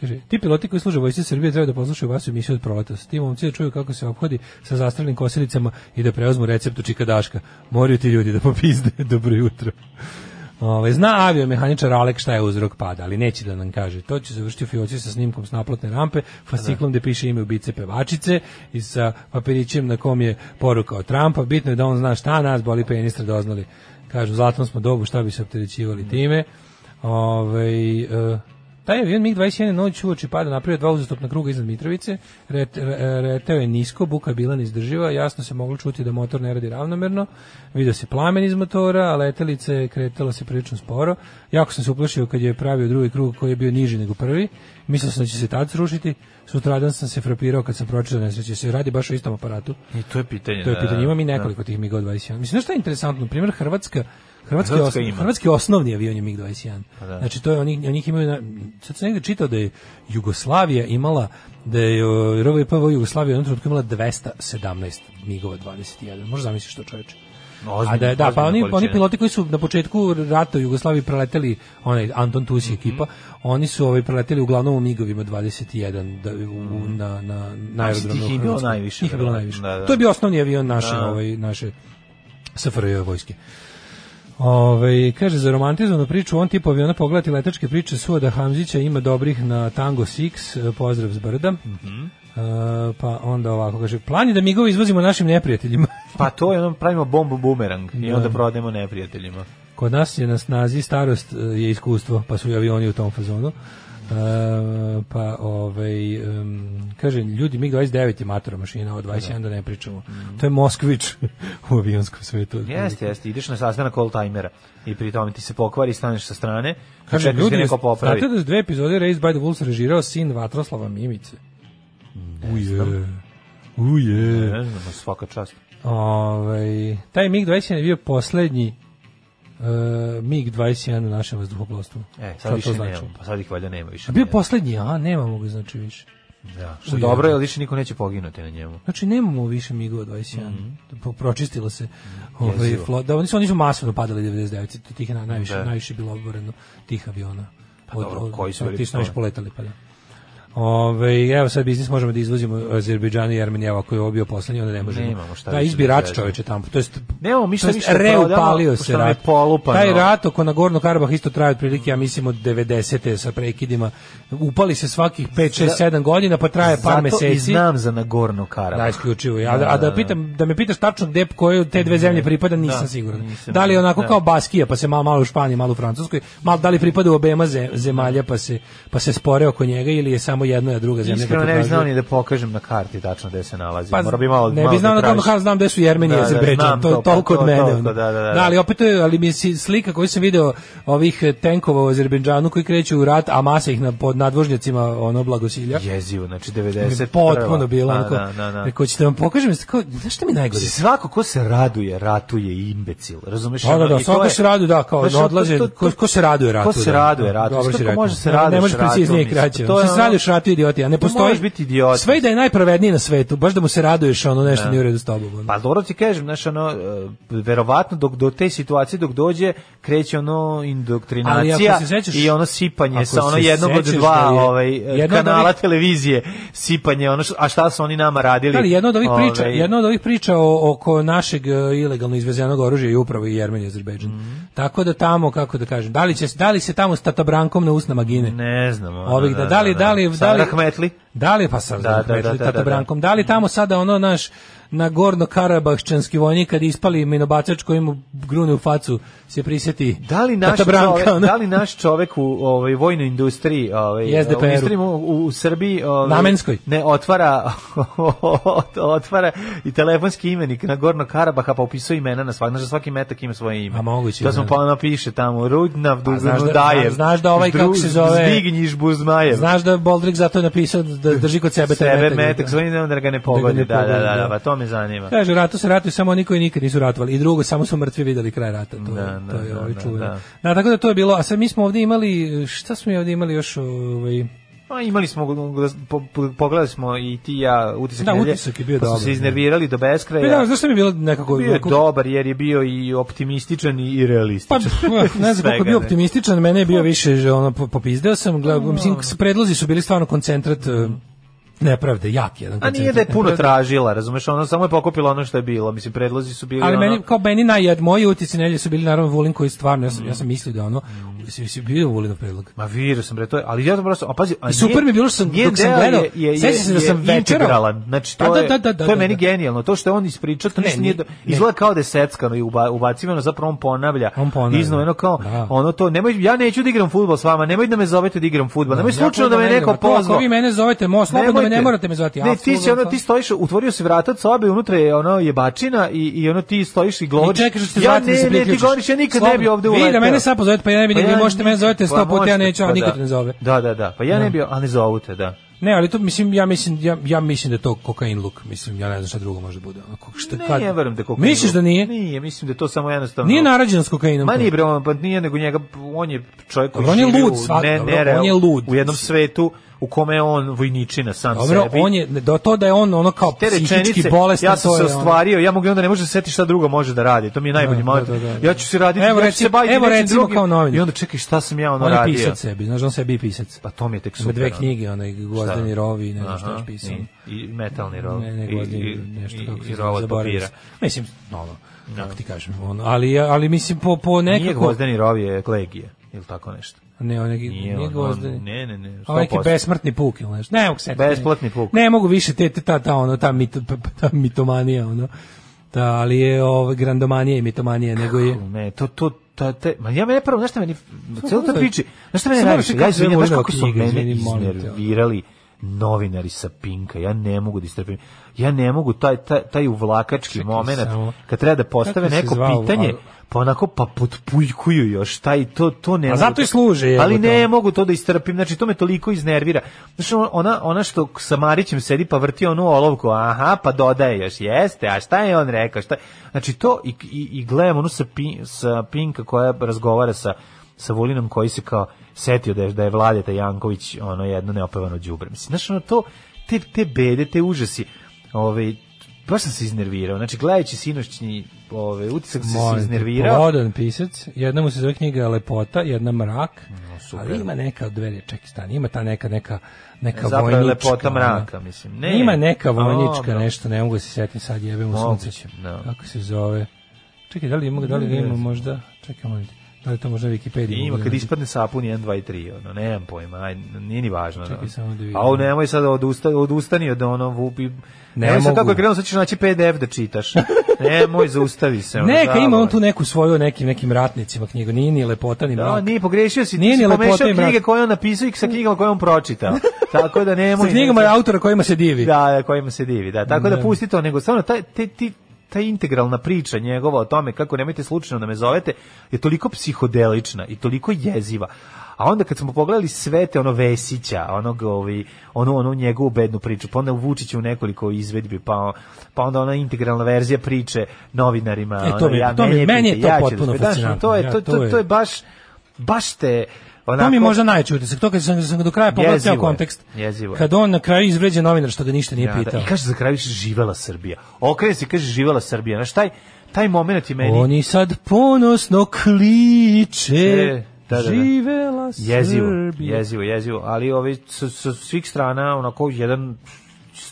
Speaker 7: kaže, ti piloti koji služe u vojsci Srbije treba da poslušaju vas u emisiju od proleta. Ti momci da čuju kako se ophodi sa zastavljenim kosilicama i da preozmu recept u Čika Daška. Moraju ti ljudi da popizde. (laughs) Dobro jutro. Ove, Ovaj, zna aviomehaničar Alek šta je uzrok pada, ali neće da nam kaže. To će završiti u fioci sa snimkom s naplatne rampe, fasciklom gde piše ime ubice pevačice i sa papirićem na kom je poruka od Trumpa. Bitno je da on zna šta nas boli penistra doznali. Kažu, zlatom smo dobu, šta bi se opterećivali time. Ovaj e, taj avion MiG-21 noć uoči pada napravio dva uzastopna kruga iznad Mitrovice, ret, re- reteo je nisko, buka je bila neizdrživa, jasno se moglo čuti da motor ne radi ravnomerno, vidio se plamen iz motora, a letelica je kretala se prilično sporo. Jako sam se uplašio kad je pravio drugi krug koji je bio niži nego prvi, mislio sam da će se tad srušiti, sutradan sam se frapirao kad sam pročitao nesreće, se radi baš o istom aparatu.
Speaker 6: I to je pitanje.
Speaker 7: To je
Speaker 6: da,
Speaker 7: pitanje. Ima mi
Speaker 6: da.
Speaker 7: nekoliko tih MiG-21. Mislim, znaš šta je interesantno? Primjer, Hrvatska, Hrvatski,
Speaker 6: Hrvatska
Speaker 7: osno-
Speaker 6: ima.
Speaker 7: hrvatski osnovni avion je MiG-21.
Speaker 6: da.
Speaker 7: Znači, to je, oni, onih imaju... Na, sad sam negde čitao da je Jugoslavija imala da je o, RVPV Jugoslavija u jednom trenutku imala 217 MiG-ova 21. Možda zamisliš to čoveče.
Speaker 6: Ozbiljna-
Speaker 7: A da, je- da, pa
Speaker 6: ozbiljna
Speaker 7: oni, oni
Speaker 6: količina.
Speaker 7: piloti koji su na početku rata u Jugoslaviji preleteli, onaj Anton Tusi ekipa,
Speaker 6: Mhm.
Speaker 7: oni su ovaj preleteli uglavnom u MiG-ovima 21 da, u, na, na, na
Speaker 6: Znači,
Speaker 7: aerodromu.
Speaker 6: Mhm. tih je
Speaker 7: u
Speaker 6: bilo
Speaker 7: Hrvatskoj.
Speaker 6: najviše,
Speaker 7: Tih je bilo
Speaker 6: verovatno.
Speaker 7: najviše.
Speaker 6: Da, da.
Speaker 7: To je bio osnovni avion naše, ovaj, naše SFRJ vojske. Ove, kaže, za romantizovnu priču, on tipa aviona pogledati letačke priče Suada Hamzića, ima dobrih na Tango 6, e, pozdrav s brda.
Speaker 6: Mhm.
Speaker 7: E, pa onda ovako, kaže, plan je da migove izvozimo našim neprijateljima.
Speaker 6: Pa to je ono, pravimo bombu bumerang
Speaker 7: Da.
Speaker 6: i onda prodajemo neprijateljima.
Speaker 7: Kod nas je na snazi starost e, je iskustvo, pa su i avioni u tom fazonu. E, pa ovaj em, kaže ljudi MiG 29 je matora mašina, o 21 da ne pričamo. To je Moskvič (laughs) u avionskom svetu.
Speaker 6: Mhm. Jeste, jeste, ideš na sastanak all timera i pri tome ti se pokvari, staneš sa strane,
Speaker 7: Kaže,
Speaker 6: čekaš da
Speaker 7: ljudi,
Speaker 6: neko popravi.
Speaker 7: znate da su dve epizode Race by the Wolves režirao sin Vatroslava Mimice? Uje. Uje.
Speaker 6: Ne znam, svaka čast.
Speaker 7: Ovaj, taj MiG-21 je bio poslednji uh, MiG-21 u našem vazduhoplovstvu.
Speaker 6: E,
Speaker 7: Šta
Speaker 6: sad
Speaker 7: to
Speaker 6: više
Speaker 7: znači?
Speaker 6: nema, pa sad ih valjda nema više.
Speaker 7: A bio
Speaker 6: Ne.
Speaker 7: poslednji, a nemamo ga znači više.
Speaker 6: Da, što je dobro, jer više niko neće poginuti na njemu.
Speaker 7: Znači nemamo više MiG-ova 21.
Speaker 6: Mhm.
Speaker 7: Po- Pročistilo se. Ovaj flot, da oni su oni su masovno padali 99, to tih je na, najviše
Speaker 6: Da.
Speaker 7: najviše bilo oboreno tih aviona. Pa
Speaker 6: dobro, koji su bili
Speaker 7: ti su najviše
Speaker 6: pogođeni?
Speaker 7: poletali pa da. Ove, evo sad biznis možemo da izvozimo Azerbejdžan i Armenija, ako je ovo bio poslednji, onda ne možemo.
Speaker 6: Nemamo šta
Speaker 7: da,
Speaker 6: više
Speaker 7: izbirač
Speaker 6: da
Speaker 7: čoveče tamo. To jest,
Speaker 6: Nemamo mi šta
Speaker 7: to jest
Speaker 6: više da prodamo,
Speaker 7: reupalio se
Speaker 6: što nam je
Speaker 7: rat.
Speaker 6: polupano.
Speaker 7: Taj rat oko na Gorno Karabah isto traje otprilike, ja mislim, od 90. sa prekidima. Upali se svakih 5, 6, 7 godina, pa traje par
Speaker 6: Zato i
Speaker 7: meseci.
Speaker 6: znam za Nagorno Karabah.
Speaker 7: Da, isključivo. A da, a da pitam, da me pitaš tačno gde koje od te dve zemlje pripada, nisam
Speaker 6: Da,
Speaker 7: siguran.
Speaker 6: nisam.
Speaker 7: Da li je onako
Speaker 6: Da.
Speaker 7: kao Baskija, pa se malo malo u Španiji, malo u Francuskoj, malo da li pripada u obema ze- zemalja, pa se pa se spore oko njega ili je samo jedna a druga zemlja.
Speaker 6: Iskreno ne bih znao ni
Speaker 7: pretražuje?
Speaker 6: da pokažem na karti tačno gde se nalazi.
Speaker 7: Pa,
Speaker 6: Mora bi malo,
Speaker 7: ne
Speaker 6: malo
Speaker 7: bi znao
Speaker 6: da
Speaker 7: na
Speaker 6: tražim.
Speaker 7: kako znam gde su Jermeni i
Speaker 6: Da, da,
Speaker 7: Azerbejdžan,
Speaker 6: znam
Speaker 7: to
Speaker 6: to,
Speaker 7: je toliko
Speaker 6: pa
Speaker 7: od
Speaker 6: to,
Speaker 7: mene.
Speaker 6: toliko,
Speaker 7: ono.
Speaker 6: da, da, da.
Speaker 7: ali opet to je, ali mi je si- slika koju sam video ovih eh, tenkova u Azerbejdžanu koji kreću u rat, a masa ih na, pod nadvožnjacima ono blagosilja.
Speaker 6: Jezivo, znači
Speaker 7: Je
Speaker 6: 90
Speaker 7: potpuno bilo
Speaker 6: Da,
Speaker 7: onako.
Speaker 6: da, da, da.
Speaker 7: Rekao, ćete vam pokažem, kao, znaš šta mi je najgore?
Speaker 6: Svako ko se raduje, ratuje imbecil. Razumeš?
Speaker 7: Da, da,
Speaker 6: ono,
Speaker 7: da,
Speaker 6: i to
Speaker 7: svako
Speaker 6: je-
Speaker 7: se raduje, da, kao,
Speaker 6: Znaš,
Speaker 7: ne odlaže,
Speaker 6: to- to-
Speaker 7: ko- ko se raduje ratu,
Speaker 6: Ko se
Speaker 7: da.
Speaker 6: raduje ratu?
Speaker 7: Dobro si
Speaker 6: Kako
Speaker 7: rekao.
Speaker 6: možeš se
Speaker 7: Ne- ne
Speaker 6: raduješ
Speaker 7: možeš
Speaker 6: ratu,
Speaker 7: preciznije i
Speaker 6: mislim?
Speaker 7: kraće,
Speaker 6: To
Speaker 7: ono.
Speaker 6: je
Speaker 7: Što se
Speaker 6: ono-
Speaker 7: raduješ ratu, idiot, ja ne
Speaker 6: To
Speaker 7: postoji-
Speaker 6: možeš biti idiot.
Speaker 7: Sve i da je najpravedniji na svetu, baš da mu se raduješ, ono, nešto nije u redu s tobom, ono.
Speaker 6: Pa dobro ti kažem, znaš, ono, e, verovatno dok do te situacije dok dođe, kreće ono
Speaker 7: Ali
Speaker 6: indoktrinacija
Speaker 7: ako se sećaš-
Speaker 6: i ono sipanje
Speaker 7: ako
Speaker 6: sa ono
Speaker 7: se
Speaker 6: jednog od
Speaker 7: sećaš
Speaker 6: dva
Speaker 7: da je
Speaker 6: ovaj, e,
Speaker 7: jedna od
Speaker 6: kanala
Speaker 7: ovih-
Speaker 6: televizije, sipanje, ono, š- a šta su oni nama radili?
Speaker 7: Da li jedna od ovih priča,
Speaker 6: Ovaj,
Speaker 7: jedna od ovih priča o, oko našeg e, ilegalno izvezenog oružja je upravo i Jermenija i Azerbejdžan.
Speaker 6: Mhm.
Speaker 7: Tako da tamo, kako da kažem, da li će se- da li se tamo s tatabrankom na usnama gine?
Speaker 6: Ne znam. ono,
Speaker 7: Ovih da- da li- da li- da li-
Speaker 6: Sara Rahmetli?
Speaker 7: Da li pa sa
Speaker 6: Da, da, da,
Speaker 7: da,
Speaker 6: da,
Speaker 7: tata
Speaker 6: da.
Speaker 7: Brankom? Da li tamo sada ono naš na gorno karabahčanski vojnik kad ispali minobacač koji mu grune u facu se prisjeti
Speaker 6: Da li naš
Speaker 7: tata Branka,
Speaker 6: čovek,
Speaker 7: ono?
Speaker 6: da li naš čovek u ovaj vojnoj industriji, ovaj
Speaker 7: I SDP-u.
Speaker 6: u industriji mu- u, u Srbiji, ovaj
Speaker 7: Namenskoj.
Speaker 6: Ne, otvara (laughs) otvara i telefonski imenik na Gorno Karabaha pa upisuje imena na svak, znaš da svaki metak ima svoje ime.
Speaker 7: A moguće,
Speaker 6: Da smo
Speaker 7: da.
Speaker 6: pa napiše tamo Rudnav,
Speaker 7: znaš da-
Speaker 6: Dajev.
Speaker 7: znaš da ovaj, kako se zove-
Speaker 6: Zbignjiš Buzmajev.
Speaker 7: Znaš da je Boldrik zato je napisao da drži kod sebe, taj
Speaker 6: sebe
Speaker 7: metak.
Speaker 6: metak, svoj da ga ne pogodi. Da, da,
Speaker 7: pogodi,
Speaker 6: da, da,
Speaker 7: da.
Speaker 6: pa to me zanima.
Speaker 7: Kaže, ratu se ratuju samo oni koji nikad nisu ratovali. I drugo, samo su mrtvi videli kraj rata. To,
Speaker 6: Da,
Speaker 7: je-
Speaker 6: da,
Speaker 7: to je
Speaker 6: da,
Speaker 7: ovaj
Speaker 6: da,
Speaker 7: čuveno.
Speaker 6: da.
Speaker 7: Da, tako da to je bilo. A sad mi smo ovdje imali, šta smo mi ovdje imali još? Ovaj,
Speaker 6: Pa imali smo, po- po- pogledali smo i ti i ja utisak
Speaker 7: Da,
Speaker 6: nedelje,
Speaker 7: utisak je bio
Speaker 6: pa smo
Speaker 7: dobar,
Speaker 6: se
Speaker 7: da.
Speaker 6: iznervirali do beskraja.
Speaker 7: Pa da, znaš šta mi je bilo nekako...
Speaker 6: bio je
Speaker 7: onako-
Speaker 6: dobar jer je bio i optimističan i
Speaker 7: Pa,
Speaker 6: realističan.
Speaker 7: pf, ne znam koliko je bio
Speaker 6: (laughs) Svega, ne. Pa-
Speaker 7: optimističan, mene je bio više, že ono, po- popizdeo sam, gledam, mislim, predlozi su bili stvarno koncentrat e, nepravde, jak jedan
Speaker 6: A
Speaker 7: koncentrat.
Speaker 6: nije da je puno
Speaker 7: nepravde.
Speaker 6: tražila, razumeš, ono samo je pokupila ono što je bilo, mislim predlozi su bili
Speaker 7: Ali
Speaker 6: ono,
Speaker 7: meni, kao meni najjad, moji utici nedelje su bili naravno Vulin koji stvarno, ja sam, ja sam mislio da ono, si, si bio Vulinov predlog.
Speaker 6: Ma vidio sam bre to, je- ali ja sam prosto, a pazi, a
Speaker 7: I super
Speaker 6: nije-
Speaker 7: mi je bilo što sam-
Speaker 6: njen
Speaker 7: dok sam
Speaker 6: deo
Speaker 7: gledao,
Speaker 6: je- je-
Speaker 7: sećam se da
Speaker 6: je
Speaker 7: sam večerao.
Speaker 6: integralan. Znači to
Speaker 7: Pa da,
Speaker 6: je
Speaker 7: da, da, da,
Speaker 6: to je
Speaker 7: da,
Speaker 6: meni
Speaker 7: da.
Speaker 6: genijalno, to što je on ispričao, to
Speaker 7: Ne,
Speaker 6: ništa nije
Speaker 7: ni-
Speaker 6: do-
Speaker 7: ne.
Speaker 6: izgleda kao da je seckano i uba- ubacivano, zapravo on ponavlja.
Speaker 7: On ponavlja.
Speaker 6: Iznoveno kao
Speaker 7: Da.
Speaker 6: ono to, nemoj ja neću da igram fudbal s vama, nemoj da me zovete da igram fudbal. Nemoj slučajno da me neko pozvao.
Speaker 7: pa Ako vi mene zovete, mo, slobodno me
Speaker 6: Nemojte.
Speaker 7: ne morate me zvati.
Speaker 6: Ne, ti
Speaker 7: apsolutno,
Speaker 6: si ono, ti stojiš, utvorio si vrata od sobe, unutra je ono jebačina i, i ono ti stojiš i govoriš.
Speaker 7: I čekaš da se
Speaker 6: ja
Speaker 7: vratim da
Speaker 6: ne,
Speaker 7: se
Speaker 6: ne, ti
Speaker 7: priključiš.
Speaker 6: govoriš, ja nikad ne bi
Speaker 7: Slobodno.
Speaker 6: ovde
Speaker 7: Vi da
Speaker 6: uleteo.
Speaker 7: mene sad pozovete, pa ja ne bi nigde,
Speaker 6: ja
Speaker 7: možete mene zovete
Speaker 6: pa
Speaker 7: sto puta, ja
Speaker 6: možete,
Speaker 7: neću, a
Speaker 6: pa
Speaker 7: niko
Speaker 6: da.
Speaker 7: te ne zove.
Speaker 6: Da, da, da, pa ja ne bi, a ne zovu te, da.
Speaker 7: Ne, ali to mislim ja mislim ja, ja mislim da je to kokain luk, mislim ja ne znam šta drugo može da bude. Onako šta
Speaker 6: Ne,
Speaker 7: kad
Speaker 6: ja verujem da je kokain.
Speaker 7: Misliš da nije? Nije,
Speaker 6: Nije, mislim da je to samo jednostavno.
Speaker 7: narađen s kokainom.
Speaker 6: Ma
Speaker 7: to.
Speaker 6: nije bre, on, pa nije nego njega, on je čovjek koji
Speaker 7: Dobro, on je
Speaker 6: živi
Speaker 7: lud,
Speaker 6: u
Speaker 7: svak-
Speaker 6: ne,
Speaker 7: dobro,
Speaker 6: nereal-
Speaker 7: on je lud.
Speaker 6: u jednom svetu u kome je on vojničina sam
Speaker 7: Dobro,
Speaker 6: sebi.
Speaker 7: on je do to da je on ono kao
Speaker 6: te
Speaker 7: psihički
Speaker 6: rečenice,
Speaker 7: bolestan,
Speaker 6: ja sam
Speaker 7: to
Speaker 6: se
Speaker 7: je ono.
Speaker 6: ostvario, ja mogu i onda ne može da se seti šta drugo može da radi, to mi je najbolji
Speaker 7: Da,
Speaker 6: moment.
Speaker 7: da, da, da.
Speaker 6: Ja ću se raditi,
Speaker 7: Evo
Speaker 6: ja ću se
Speaker 7: recimo-
Speaker 6: baviti
Speaker 7: evo
Speaker 6: nečim
Speaker 7: recimo
Speaker 6: drugim.
Speaker 7: kao novinar.
Speaker 6: I onda čekaj šta sam ja ono
Speaker 7: on je
Speaker 6: radio.
Speaker 7: pisac sebi, znaš, on sebi je pisac.
Speaker 6: Pa to mi je tek
Speaker 7: Ima
Speaker 6: super.
Speaker 7: dve
Speaker 6: ono.
Speaker 7: knjige, onaj Gvozdeni rovi, ne znam šta
Speaker 6: Aha,
Speaker 7: još pisao.
Speaker 6: I, i metalni rov.
Speaker 7: Ne, ne,
Speaker 6: i,
Speaker 7: Gvozdeni,
Speaker 6: i-
Speaker 7: nešto
Speaker 6: i-
Speaker 7: kako
Speaker 6: i
Speaker 7: se
Speaker 6: rov
Speaker 7: zove,
Speaker 6: od
Speaker 7: zaboravio
Speaker 6: papira. Da.
Speaker 7: sam. Mislim, ono, kako ti kažem, ono, ali, ali mislim po, po
Speaker 6: Nije
Speaker 7: nekako...
Speaker 6: gvozdeni rov je klegije, ili tako nešto.
Speaker 7: Ne, on neki, nije,
Speaker 6: on, on-
Speaker 7: Gvozdeni.
Speaker 6: Ne, ne, ne,
Speaker 7: A Pa neki
Speaker 6: 100%.
Speaker 7: besmrtni puk ili nešto. Ne mogu se setiti.
Speaker 6: Besplatni puk.
Speaker 7: Ne mogu više te, te- ta, ta, ono, ta, mito, pa- pa- ta mitomanija, ono. Ta, ali je ovo, grandomanija i mitomanija, nego je...
Speaker 6: Ne, to, to, ta, te, ma ja mene prvo, znaš šta meni, cijelo to
Speaker 7: kako
Speaker 6: priči, znaš šta mene najviše,
Speaker 7: Sad moraš
Speaker 6: ja
Speaker 7: i kako
Speaker 6: izvinjam,
Speaker 7: zove
Speaker 6: znaš kako su
Speaker 7: Volinova knjiga,
Speaker 6: mene
Speaker 7: izvini, molim te, ono.
Speaker 6: iznervirali novinari sa Pinka, ja ne mogu da istrpim, ja ne mogu taj, taj, taj uvlakački moment,
Speaker 7: samo.
Speaker 6: kad treba da postave
Speaker 7: Kako se
Speaker 6: neko
Speaker 7: zvao,
Speaker 6: pitanje,
Speaker 7: ali-
Speaker 6: pa onako pa potpuljkuju još, taj, to, to ne
Speaker 7: A
Speaker 6: mogu
Speaker 7: zato i
Speaker 6: da-
Speaker 7: služe, jebote,
Speaker 6: Ali ne
Speaker 7: ono.
Speaker 6: mogu to da istrpim, znači to me toliko iznervira. Znaš, ona, ona što sa Marićem sedi pa vrti onu olovku, aha, pa dodaje još, jeste, a šta je on rekao, šta Znači to i, i, i gledam onu sa, Pi- sa Pinka koja razgovara sa sa Vulinom koji se kao setio da je, da je Vladeta Janković ono jedno neopevano đubre. Mislim, znaš, ono to, te, te bede, te užasi, ovaj, baš sam se iznervirao. Znači, gledajući sinoćni ovaj, utisak sam se
Speaker 7: Molim te,
Speaker 6: iznervirao.
Speaker 7: plodan pisac, jedna mu se zove knjiga Lepota, jedna Mrak, ali ima neka od dveri, čekaj stani, ima ta neka, neka, neka
Speaker 6: Zapravo je
Speaker 7: vojnička.
Speaker 6: lepota
Speaker 7: ono.
Speaker 6: mraka, mislim. Ne.
Speaker 7: Ima neka vojnička
Speaker 6: Dobro.
Speaker 7: nešto, ne mogu da se setim sad, jebem u
Speaker 6: Moguće,
Speaker 7: sunce.
Speaker 6: da.
Speaker 7: Kako se zove? Čekaj, da li ima, da li ga ima možda, čekaj, molim te, da li to možda na Wikipediji?
Speaker 6: Ima,
Speaker 7: mogu da
Speaker 6: kad
Speaker 7: nađem?
Speaker 6: ispadne sapun 1, 2 i 3, ono, nemam pojma, aj, nije ni važno.
Speaker 7: Čekaj
Speaker 6: da.
Speaker 7: samo da vidim.
Speaker 6: A ovo nemoj sad odusta, odustani od ono, vupi,
Speaker 7: Ne
Speaker 6: nemoj sad
Speaker 7: mogu.
Speaker 6: kako je krenuo, sad ćeš naći PDF da
Speaker 7: (laughs)
Speaker 6: čitaš. nemoj, zaustavi se. ono,
Speaker 7: Neka ima
Speaker 6: zabavno.
Speaker 7: on tu neku svoju o nekim nekim ratnicima knjigu, nije ni lepota ni
Speaker 6: Da,
Speaker 7: mrak.
Speaker 6: nije pogrešio si,
Speaker 7: Nije
Speaker 6: nije
Speaker 7: ni
Speaker 6: si
Speaker 7: lepota
Speaker 6: pomešao
Speaker 7: i mrak.
Speaker 6: knjige koje on napisao i sa knjigama koje on
Speaker 7: (laughs)
Speaker 6: pročitao. Tako da nemoj.
Speaker 7: Sa knjigama
Speaker 6: nemoj-
Speaker 7: autora kojima se divi.
Speaker 6: Da, da, kojima se divi, da. Tako da pusti to, nego stvarno taj, te, ti, ta integralna priča njegova o tome kako nemojte slučajno da me zovete je toliko psihodelična i toliko jeziva. A onda kad smo pogledali sve te ono Vesića, onog ovi, ono ono njegovu bednu priču, pa onda Vučića u nekoliko izvedbi, pa pa onda ona integralna verzija priče novinarima.
Speaker 7: E, to
Speaker 6: ono,
Speaker 7: mi-
Speaker 6: ja,
Speaker 7: to mi-
Speaker 6: mene
Speaker 7: meni je
Speaker 6: pitajte, ću da
Speaker 7: to potpuno
Speaker 6: spre- znaš,
Speaker 7: fascinantno.
Speaker 6: To je
Speaker 7: Ja,
Speaker 6: to,
Speaker 7: to
Speaker 6: to,
Speaker 7: je-
Speaker 6: to je baš baš te onako
Speaker 7: To mi je možda najveći utisak. To kad sam, sam ga do kraja pogledao
Speaker 6: Jezivo
Speaker 7: ceo
Speaker 6: je,
Speaker 7: kontekst.
Speaker 6: jezivo je.
Speaker 7: Kad on na kraju izvređa novinar što ga ništa nije
Speaker 6: Ja, da.
Speaker 7: pitao.
Speaker 6: I kaže za kraj više živela Srbija. Okrene se i kaže živela Srbija. Znaš, taj, taj moment je meni...
Speaker 7: Oni sad ponosno kliče.
Speaker 6: E, da, da, da.
Speaker 7: Živela
Speaker 6: Jezivo,
Speaker 7: Srbija.
Speaker 6: jezivo, jezivo. Ali ovaj, sa, sa svih strana onako jedan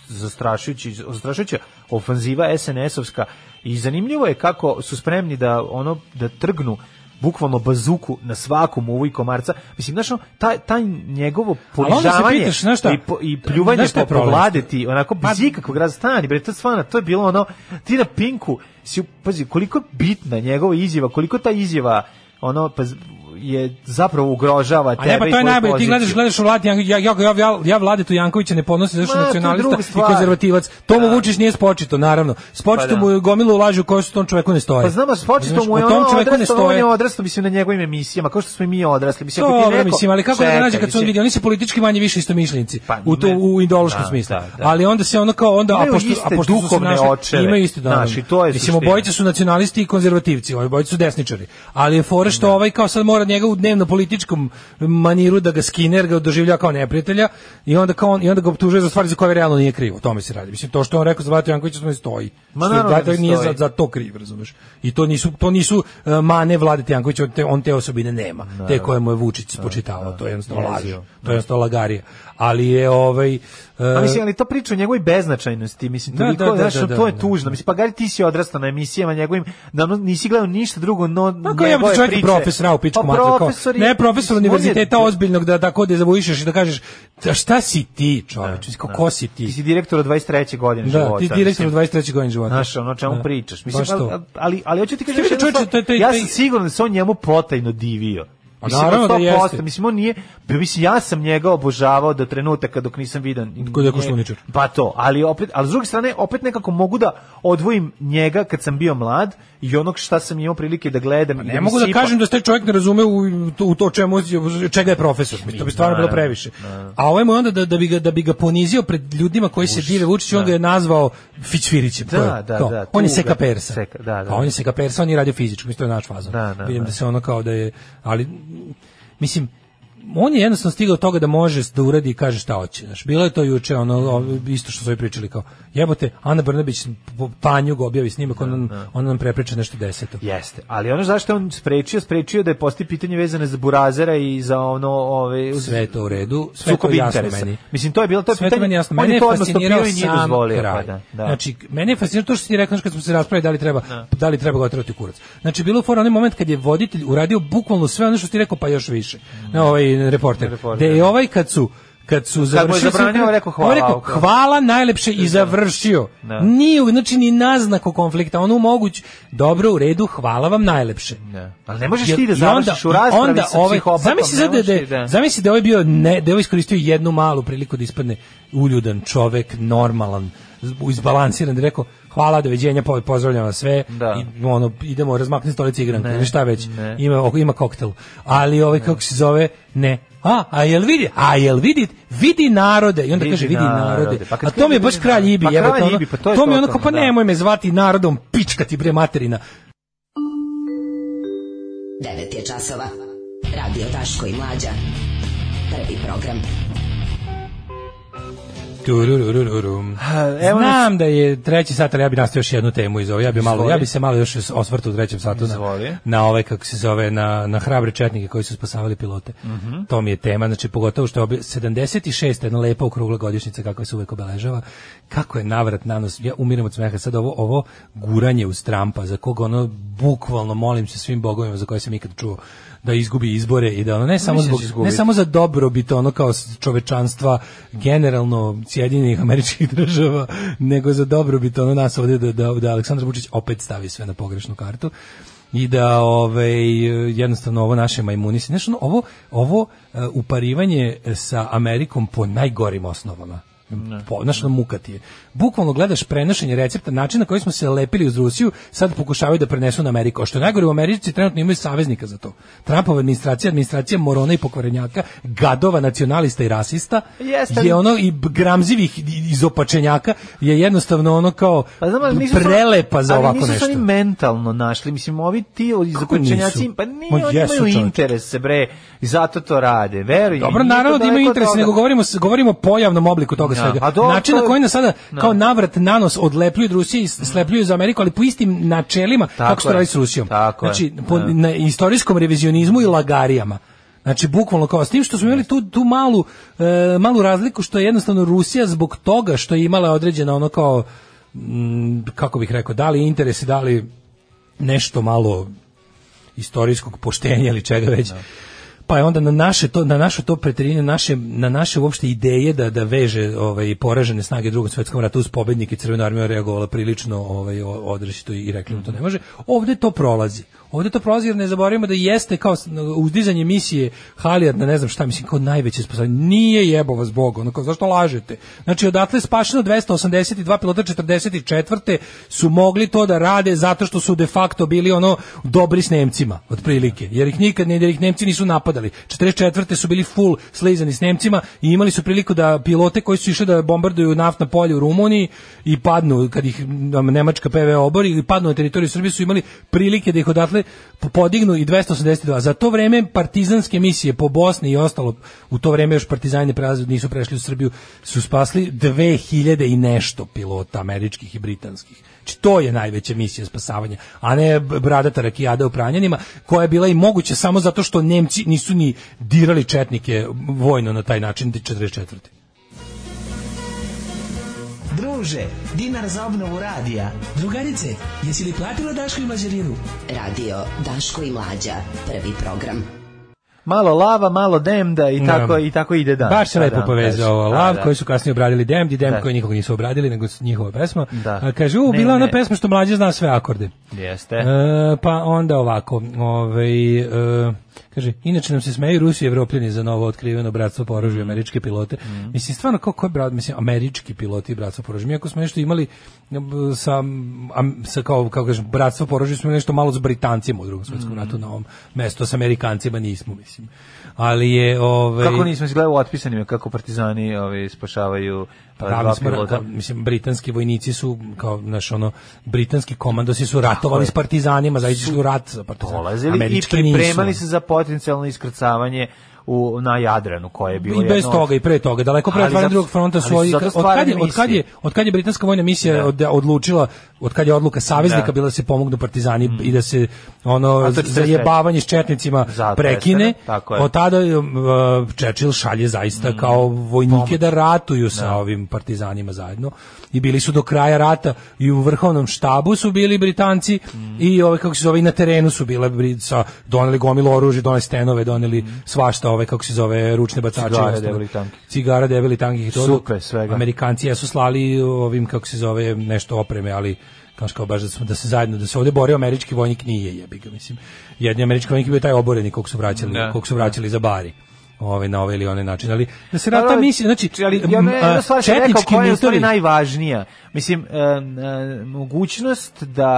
Speaker 6: zastrašujući, zastrašujuća ofanziva SNS-ovska i zanimljivo je kako su spremni da ono da trgnu bukvalno bazuku na svakom uvu i komarca. Mislim, znaš, ono, taj, taj njegovo
Speaker 7: Ali onda se
Speaker 6: ponižavanje
Speaker 7: pitaš, znaš šta?
Speaker 6: i, po- i pljuvanje
Speaker 7: Znaš šta
Speaker 6: po
Speaker 7: je problem?
Speaker 6: vladeti, onako,
Speaker 7: Pa-
Speaker 6: bez ikakvog razstani, bre, to je stvarno, to je bilo ono, ti na Pinku, si, pazi, koliko je bitna njegova izjava, koliko ta izjava, ono, pa z- je zapravo ugrožava
Speaker 7: A
Speaker 6: tebe.
Speaker 7: ne, pa
Speaker 6: i
Speaker 7: to je
Speaker 6: tvoju
Speaker 7: najbolje, ti
Speaker 6: poziciju.
Speaker 7: gledaš, gledaš u Vladi, Janko- ja, ja, ja, ja, ja Vladetu Jankovića ne podnosim zašto
Speaker 6: Ma,
Speaker 7: je
Speaker 6: to je
Speaker 7: nacionalista
Speaker 6: druga
Speaker 7: i
Speaker 6: stvar.
Speaker 7: konzervativac. To mu
Speaker 6: Da.
Speaker 7: Vučić nije spočito, naravno. Spočito
Speaker 6: Pa da.
Speaker 7: mu je gomilu lažu koje su tom čoveku ne stoje.
Speaker 6: Pa znam, s početom mu je
Speaker 7: Razumeš, o
Speaker 6: ono
Speaker 7: tom čoveku ne
Speaker 6: odrastao, on
Speaker 7: stoje.
Speaker 6: je odrastao, mislim, na njegovim emisijama, kao što smo i mi odrasli. Mislim, ako ti
Speaker 7: Dobro,
Speaker 6: neko-
Speaker 7: mislim, ali kako da ga
Speaker 6: Čekaj,
Speaker 7: nađe kad su oni
Speaker 6: mislim,
Speaker 7: vidi, oni su politički manje više istomišljenici
Speaker 6: Pa,
Speaker 7: u to
Speaker 6: ne.
Speaker 7: u ideološkom
Speaker 6: Da,
Speaker 7: smislu.
Speaker 6: da, da.
Speaker 7: Ali onda se ono kao onda
Speaker 6: Imaju
Speaker 7: a pošto
Speaker 6: iste
Speaker 7: a pošto su se
Speaker 6: duhovne
Speaker 7: našli-
Speaker 6: očeve,
Speaker 7: imaju iste da.
Speaker 6: znaš, i to je
Speaker 7: Mislim
Speaker 6: suština.
Speaker 7: obojica su nacionalisti i konzervativci, ovi obojica su desničari. Ali je fora
Speaker 6: Da.
Speaker 7: što ovaj kao sad mora njega u dnevno političkom maniru da ga skine, jer ga doživlja kao neprijatelja i onda kao on, i onda ga optužuje za stvari za koje realno nije kriv. O tome se radi. Mislim to što je on rekao za Vatu Jankovića ne stoji.
Speaker 6: Ma,
Speaker 7: Što je
Speaker 6: naravno da
Speaker 7: Vlatko
Speaker 6: ne
Speaker 7: nije za,
Speaker 6: stoji.
Speaker 7: za to kriv, razumeš? I to nisu to nisu e, mane Vlade Jankovića, on te, on te osobine nema. Te koje mu je Vučić
Speaker 6: Da,
Speaker 7: spočitavao, to je jednostavno laž.
Speaker 6: Jezivo.
Speaker 7: To je jednostavno lagarija. Ali je ovaj e,
Speaker 6: A Da. Pa mislim, ali to priča o njegovoj beznačajnosti, mislim,
Speaker 7: Da,
Speaker 6: toliko,
Speaker 7: da, da,
Speaker 6: znaš,
Speaker 7: da, da,
Speaker 6: to je
Speaker 7: da.
Speaker 6: tužno. Mislim, pa gari ti si odrastao na emisijama njegovim, da ono nisi gledao ništa drugo, no
Speaker 7: Pa kao jebote, čovjek je profesor, au
Speaker 6: Pa
Speaker 7: pičku mater, kao- ne profesor univerziteta ozbiljnog da tako da zavujišeš i da kažeš "Da šta si ti, čoveče? Mislim, kao, ko si
Speaker 6: Da, Ti si
Speaker 7: ti?
Speaker 6: direktor od 23. godine
Speaker 7: Da,
Speaker 6: života.
Speaker 7: ti si direktor
Speaker 6: mislim.
Speaker 7: u 23. godini života.
Speaker 6: Znaš, ono o čemu
Speaker 7: Da.
Speaker 6: pričaš.
Speaker 7: Baš
Speaker 6: Mislim, pa,
Speaker 7: to.
Speaker 6: ali, ali, ali hoću ti kažem,
Speaker 7: Što je,
Speaker 6: još jednu
Speaker 7: čovječe,
Speaker 6: stvar,
Speaker 7: to je- to je-
Speaker 6: ja sam siguran da se on njemu potajno divio.
Speaker 7: Pa naravno da
Speaker 6: od 100%,
Speaker 7: jeste.
Speaker 6: Mislim, on nije, pa mislim, ja sam njega obožavao do trenutaka dok nisam vidan.
Speaker 7: Ko je Koštuničar.
Speaker 6: Pa to, ali opet, ali s druge strane, opet nekako mogu da odvojim njega kad sam bio mlad i onog šta sam imao prilike da gledam. i
Speaker 7: Ne
Speaker 6: mi
Speaker 7: mogu da
Speaker 6: sipa.
Speaker 7: kažem da se taj čovjek ne razume u to, u to čemu čega je profesor. Mislim, to bi stvarno bilo
Speaker 6: Naravno,
Speaker 7: previše. A ovaj mu je onda da, da bi ga da bi ga ponizio pred ljudima koji se dive Vučiću, on ga je nazvao Fićvirićem.
Speaker 6: Da,
Speaker 7: To je
Speaker 6: da,
Speaker 7: to.
Speaker 6: da,
Speaker 7: On je
Speaker 6: tu
Speaker 7: seka
Speaker 6: ga-
Speaker 7: persa.
Speaker 6: Seka, da, da.
Speaker 7: A on je seka persa, on je radio fizičko, mislim to je naš fazon.
Speaker 6: Da, da,
Speaker 7: Vidim da.
Speaker 6: da.
Speaker 7: se ono kao da je, ali mislim on je jednostavno stigao do toga da može da uradi i kaže šta hoće. Znaš, bilo je to juče ono o- isto što su ovi pričali kao jebote Ana Brnabić po- Panjug objavi
Speaker 6: Da,
Speaker 7: snimak, on, nam- on nam prepriča nešto deseto.
Speaker 6: Jeste, ali ono zašto je on sprečio, sprečio da je postoji pitanje vezane za Burazera i za ono ove uz-
Speaker 7: sve je to u redu, sve je
Speaker 6: sukob
Speaker 7: to jasno
Speaker 6: interesa.
Speaker 7: meni.
Speaker 6: Mislim to je bilo to je
Speaker 7: Sve je to
Speaker 6: pitanje.
Speaker 7: meni jasno.
Speaker 6: on
Speaker 7: Mene je
Speaker 6: to odmah
Speaker 7: fascinirao
Speaker 6: stopirao i nije
Speaker 7: sam
Speaker 6: dozvolio,
Speaker 7: kraj.
Speaker 6: pa da, da.
Speaker 7: Znači, mene je fascinirao to što si rekao znaš, kad smo se raspravili da li treba, da li treba ga otrati u kurac. Znači, bilo je fora onaj moment kad je voditelj uradio bukvalno sve ono što ti rekao, pa još više.
Speaker 6: Mm.
Speaker 7: Ne, ovaj reporter. Da je ovaj kad su kad su
Speaker 6: mu je
Speaker 7: završili
Speaker 6: zabranio,
Speaker 7: sastanak,
Speaker 6: rekao,
Speaker 7: on je
Speaker 6: hvala, ok.
Speaker 7: hvala najlepše i završio.
Speaker 6: Da.
Speaker 7: Nije, znači ni naznaku konflikta, ono moguć, dobro u redu, hvala vam najlepše.
Speaker 6: Ne. Ali ne možeš
Speaker 7: Jer-
Speaker 6: ti da
Speaker 7: i
Speaker 6: završiš u raspravi sa psihopatom.
Speaker 7: Zamisli
Speaker 6: ne
Speaker 7: sad da,
Speaker 6: možeš ti
Speaker 7: da, da. zamisli da je ovaj bio ne, da je ovaj iskoristio jednu malu priliku da ispadne uljudan čovek, normalan, z- izbalansiran, da je rekao hvala, doviđenja, po- pozdravljam vas sve
Speaker 6: Da.
Speaker 7: i ono, idemo razmaknuti stolice igranke ili šta već,
Speaker 6: ne.
Speaker 7: ima, ok- ima koktel ali ovaj, kako se zove, ne a, a jel vidi, a jel vidi vidi narode, i onda
Speaker 6: Vidi
Speaker 7: kaže vidi narode,
Speaker 6: narode. Pa
Speaker 7: a
Speaker 6: kad
Speaker 7: to mi je
Speaker 6: kaže
Speaker 7: baš
Speaker 6: vidi
Speaker 7: kralj
Speaker 6: narode.
Speaker 7: Ibi,
Speaker 6: Pa
Speaker 7: jebote,
Speaker 6: kralj
Speaker 7: ono,
Speaker 6: Ibi, pa to je
Speaker 7: mi je ono
Speaker 6: to,
Speaker 7: kao, pa
Speaker 6: da.
Speaker 7: nemoj me zvati narodom, pička ti bre materina
Speaker 9: 9 je časova. Radio Daško i Mlađa. Prvi program.
Speaker 7: Tururururum.
Speaker 6: evo nas-
Speaker 7: Znam da je treći sat, ali ja bi nastao još jednu temu iz ovo. Ja bi malo,
Speaker 6: Izvoli.
Speaker 7: ja bi se malo još osvrtu u trećem satu na,
Speaker 6: Izvoli.
Speaker 7: na ovaj, kako se zove, na, na hrabre četnike koji su spasavali pilote.
Speaker 6: Mhm.
Speaker 7: To mi je tema, znači pogotovo što je obje- 76. jedna lepa okrugla godišnjica kako se uvek obeležava. Kako je navrat na nos, ja umirem od smeha. Sad ovo, ovo guranje uz Trumpa, za koga ono bukvalno molim se svim bogovima za koje sam ikad čuo da izgubi izbore i da ono ne samo
Speaker 6: Mislim da
Speaker 7: zbog
Speaker 6: će
Speaker 7: ne
Speaker 6: izgubiti.
Speaker 7: samo za dobrobit ono kao s- čovečanstva generalno Sjedinjenih američkih (laughs) država nego za dobrobit ono nas ovdje da, da, da Aleksandar Vučić opet stavi sve na pogrešnu kartu i da ovaj jednostavno ovo naše majmuni se nešto ovo ovo e, uparivanje sa Amerikom po najgorim osnovama po, znaš, ono, muka ti je. Bukvalno gledaš prenošenje recepta, način na koji smo se lepili uz Rusiju, sad pokušavaju da prenesu na Ameriku. A što je najgore, u Americi trenutno imaju saveznika za to. Trumpova administracija, administracija morona i pokvarenjaka, gadova, nacionalista i rasista,
Speaker 6: Jeste, ali-
Speaker 7: je ono i b- gramzivih i- izopačenjaka, je jednostavno ono kao
Speaker 6: Pa znam, ali nisu su-
Speaker 7: prelepa za
Speaker 6: ali
Speaker 7: ovako
Speaker 6: nisu se
Speaker 7: nešto.
Speaker 6: oni mentalno našli, mislim, ovi ti izakućenjaci,
Speaker 7: nisu?
Speaker 6: pa nije,
Speaker 7: Ma
Speaker 6: oni
Speaker 7: jesu,
Speaker 6: imaju
Speaker 7: čovječe.
Speaker 6: interese, bre, i zato to rade, veruj. mi,
Speaker 7: Dobro,
Speaker 6: nije to
Speaker 7: naravno da imaju
Speaker 6: daleko od
Speaker 7: interes,
Speaker 6: toga.
Speaker 7: nego govorimo s- govorimo o pojavnom obliku toga
Speaker 6: Da,
Speaker 7: svega.
Speaker 6: a do-
Speaker 7: Način
Speaker 6: to
Speaker 7: na
Speaker 6: je-
Speaker 7: koji nas sada
Speaker 6: Da.
Speaker 7: kao navrat na nos odlepljuju od Rusije i s- slepljuju za Ameriku, ali po istim načelima
Speaker 6: Tako
Speaker 7: kako se
Speaker 6: je.
Speaker 7: radi s Rusijom.
Speaker 6: Tako je.
Speaker 7: znači, po,
Speaker 6: Da.
Speaker 7: na istorijskom revizionizmu i lagarijama. Znači, bukvalno kao s tim što smo imali tu, tu malu, e, malu razliku što je jednostavno Rusija zbog toga što je imala određena ono kao, mm, kako bih rekao, da li interesi, da li nešto malo istorijskog poštenja ili čega već.
Speaker 6: Da.
Speaker 7: Pa je onda na naše to na naše to preterivanje, naše na naše uopšte ideje da da veže ovaj poražene snage Drugog svetskog rata uz pobednike Crvena armija reagovala prilično ovaj o- odrešito i rekli mu to ne može. Ovde to prolazi. Ovde to prolazi jer ne zaboravimo da jeste kao s- uzdizanje misije Halijat na ne znam šta mislim kao najveće sposobnosti. Nije jebo vas Bog, ono kao zašto lažete? Znači odatle je spašeno 282 pilota 44. su mogli to da rade zato što su de facto bili ono dobri s Nemcima, otprilike. Jer ih nikad ne, jer ih Nemci nisu napadali. 44. su bili full slizani s Nemcima i imali su priliku da pilote koji su išli da bombarduju naftna polja u Rumuniji i padnu, kad ih nam Nemačka PV obori i padnu na teritoriju Srbije su imali prilike da ih odatle po- podignu i 282. Za to vreme partizanske misije po Bosni i ostalo, u to vreme još partizani ne prelaze, nisu prešli u Srbiju, su spasli 2000 i nešto pilota američkih i britanskih. Znači, to je najveća misija spasavanja, a ne b- bradata rakijada u Pranjanima, koja je bila i moguća samo zato što Nemci nisu ni dirali četnike vojno na taj način 44.
Speaker 11: Druže, dinar za obnovu radija. Drugarice, jesi li platila Dašku i Mađarinu?
Speaker 12: Radio Daško i Mlađa, prvi program.
Speaker 6: Malo lava, malo demda i
Speaker 7: Da.
Speaker 6: tako i tako ide dan.
Speaker 7: Baš se
Speaker 6: Pa
Speaker 7: lepo
Speaker 6: da,
Speaker 7: povezao
Speaker 6: kažem.
Speaker 7: ovo.
Speaker 6: Pa
Speaker 7: Lav
Speaker 6: da.
Speaker 7: koji su kasnije obradili Demdi, Dem
Speaker 6: Da.
Speaker 7: koji nikog nisu obradili, nego s- njihova pesma.
Speaker 6: Da.
Speaker 7: A kaže, u,
Speaker 6: Ne,
Speaker 7: bila ona
Speaker 6: ne.
Speaker 7: pesma što mlađe zna sve akorde.
Speaker 6: Jeste.
Speaker 7: E, pa onda ovako, ovaj, e, kaže, inače nam se smeju Rusi i Evropljani za novo otkriveno bratstvo po oružju američke pilote. Mislim, stvarno, kako je brat, mislim, američki piloti i bratstvo po oružju. Mi ako smo nešto imali m, sa, am- sa kao, kao kažem, bratstvo po oružju, smo imali nešto malo s Britancima u drugom svetskom ratu na ovom mesto, s Amerikancima nismo, mislim. Ali je, ovaj...
Speaker 6: Kako nismo izgledali u otpisanima, kako partizani ovi, spašavaju pa, dva
Speaker 7: Pravili smo, ra-
Speaker 6: pilota.
Speaker 7: kao, Da, mislim, britanski vojnici su, kao, znaš, ono, britanski komandosi su ratovali s partizanima, zaista su u rat sa partizanima.
Speaker 6: Dolazili i
Speaker 7: Američki
Speaker 6: pripremali
Speaker 7: nisu.
Speaker 6: se za potencijalno iskrcavanje u, na Jadranu, koje je bilo
Speaker 7: I bez
Speaker 6: jedno od-
Speaker 7: toga i pre toga, daleko pre
Speaker 6: Ali
Speaker 7: otvaranja
Speaker 6: zato-
Speaker 7: drugog fronta su
Speaker 6: ali
Speaker 7: ovi,
Speaker 6: zato
Speaker 7: od kad je,
Speaker 6: stvarane
Speaker 7: od kad je,
Speaker 6: misije.
Speaker 7: od kad je britanska vojna misija od- odlučila, od kad je odluka saveznika
Speaker 6: Da. Mm.
Speaker 7: bila da se pomognu partizani i da se ono
Speaker 6: A to je 43.
Speaker 7: zajebavanje s četnicima
Speaker 6: Zato je
Speaker 7: prekine,
Speaker 6: sve, tako je.
Speaker 7: od tada uh, Churchill šalje zaista
Speaker 6: Mm,
Speaker 7: kao vojnike da ratuju sa ovim partizanima zajedno i bili su do kraja rata i u vrhovnom štabu su bili Britanci
Speaker 6: Mm.
Speaker 7: i ove kako se zove i na terenu su bile Brit- sa doneli gomilu oružja, doneli stenove, doneli svašta ove kako se zove ručne bacače, i
Speaker 6: Mm. Cigare,
Speaker 7: ostalo.
Speaker 6: debeli tanki.
Speaker 7: cigara debeli tankih to
Speaker 6: Supe,
Speaker 7: dok
Speaker 6: svega.
Speaker 7: Amerikanci jesu slali ovim kako se zove nešto opreme, ali kao kao baš da, smo, da se zajedno da se ovde borio američki vojnik nije jebi ga mislim. Jedni američki vojnik je bio taj oboreni kog su vraćali,
Speaker 6: Da.
Speaker 7: kog su vraćali za bari ovaj na ovaj ili onaj način, ali da se rata
Speaker 6: Pa Ali,
Speaker 7: misli, znači
Speaker 6: ali ja
Speaker 7: m,
Speaker 6: ne, jedna
Speaker 7: a,
Speaker 6: stvar sam rekao
Speaker 7: četnički
Speaker 6: koja je u stvari
Speaker 7: mitori-
Speaker 6: najvažnija. Mislim, e, e, mogućnost da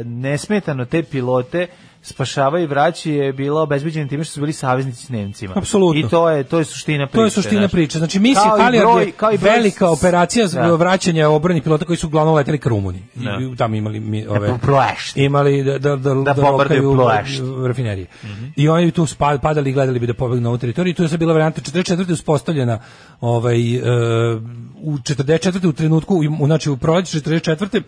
Speaker 6: e, nesmetano te pilote spašava i vraća je bila obezbeđena time što su bili saveznici s Nemcima.
Speaker 7: Apsolutno.
Speaker 6: I to je, to je suština priče.
Speaker 7: To je suština
Speaker 6: znaš.
Speaker 7: priče. Znači misija
Speaker 6: Kao i
Speaker 7: Halijard
Speaker 6: broj-
Speaker 7: je
Speaker 6: kao i broj-
Speaker 7: velika operacija
Speaker 6: Da.
Speaker 7: za vraćanje obrani pilota koji su uglavnom leteli ka Rumuniji. I-
Speaker 6: Da.
Speaker 7: I, tamo imali mi ove
Speaker 6: po- Ploešt.
Speaker 7: Imali da da da, da,
Speaker 6: bombarduju
Speaker 7: lokaju
Speaker 6: Ploešt.
Speaker 7: rafinerije.
Speaker 6: Mhm.
Speaker 7: I oni bi tu spa- padali i gledali bi da pobegnu na ovu teritoriju. Tu je sad bila varijanta 44. uspostavljena ovaj e, u 44. u trenutku u, znači u proleće 44.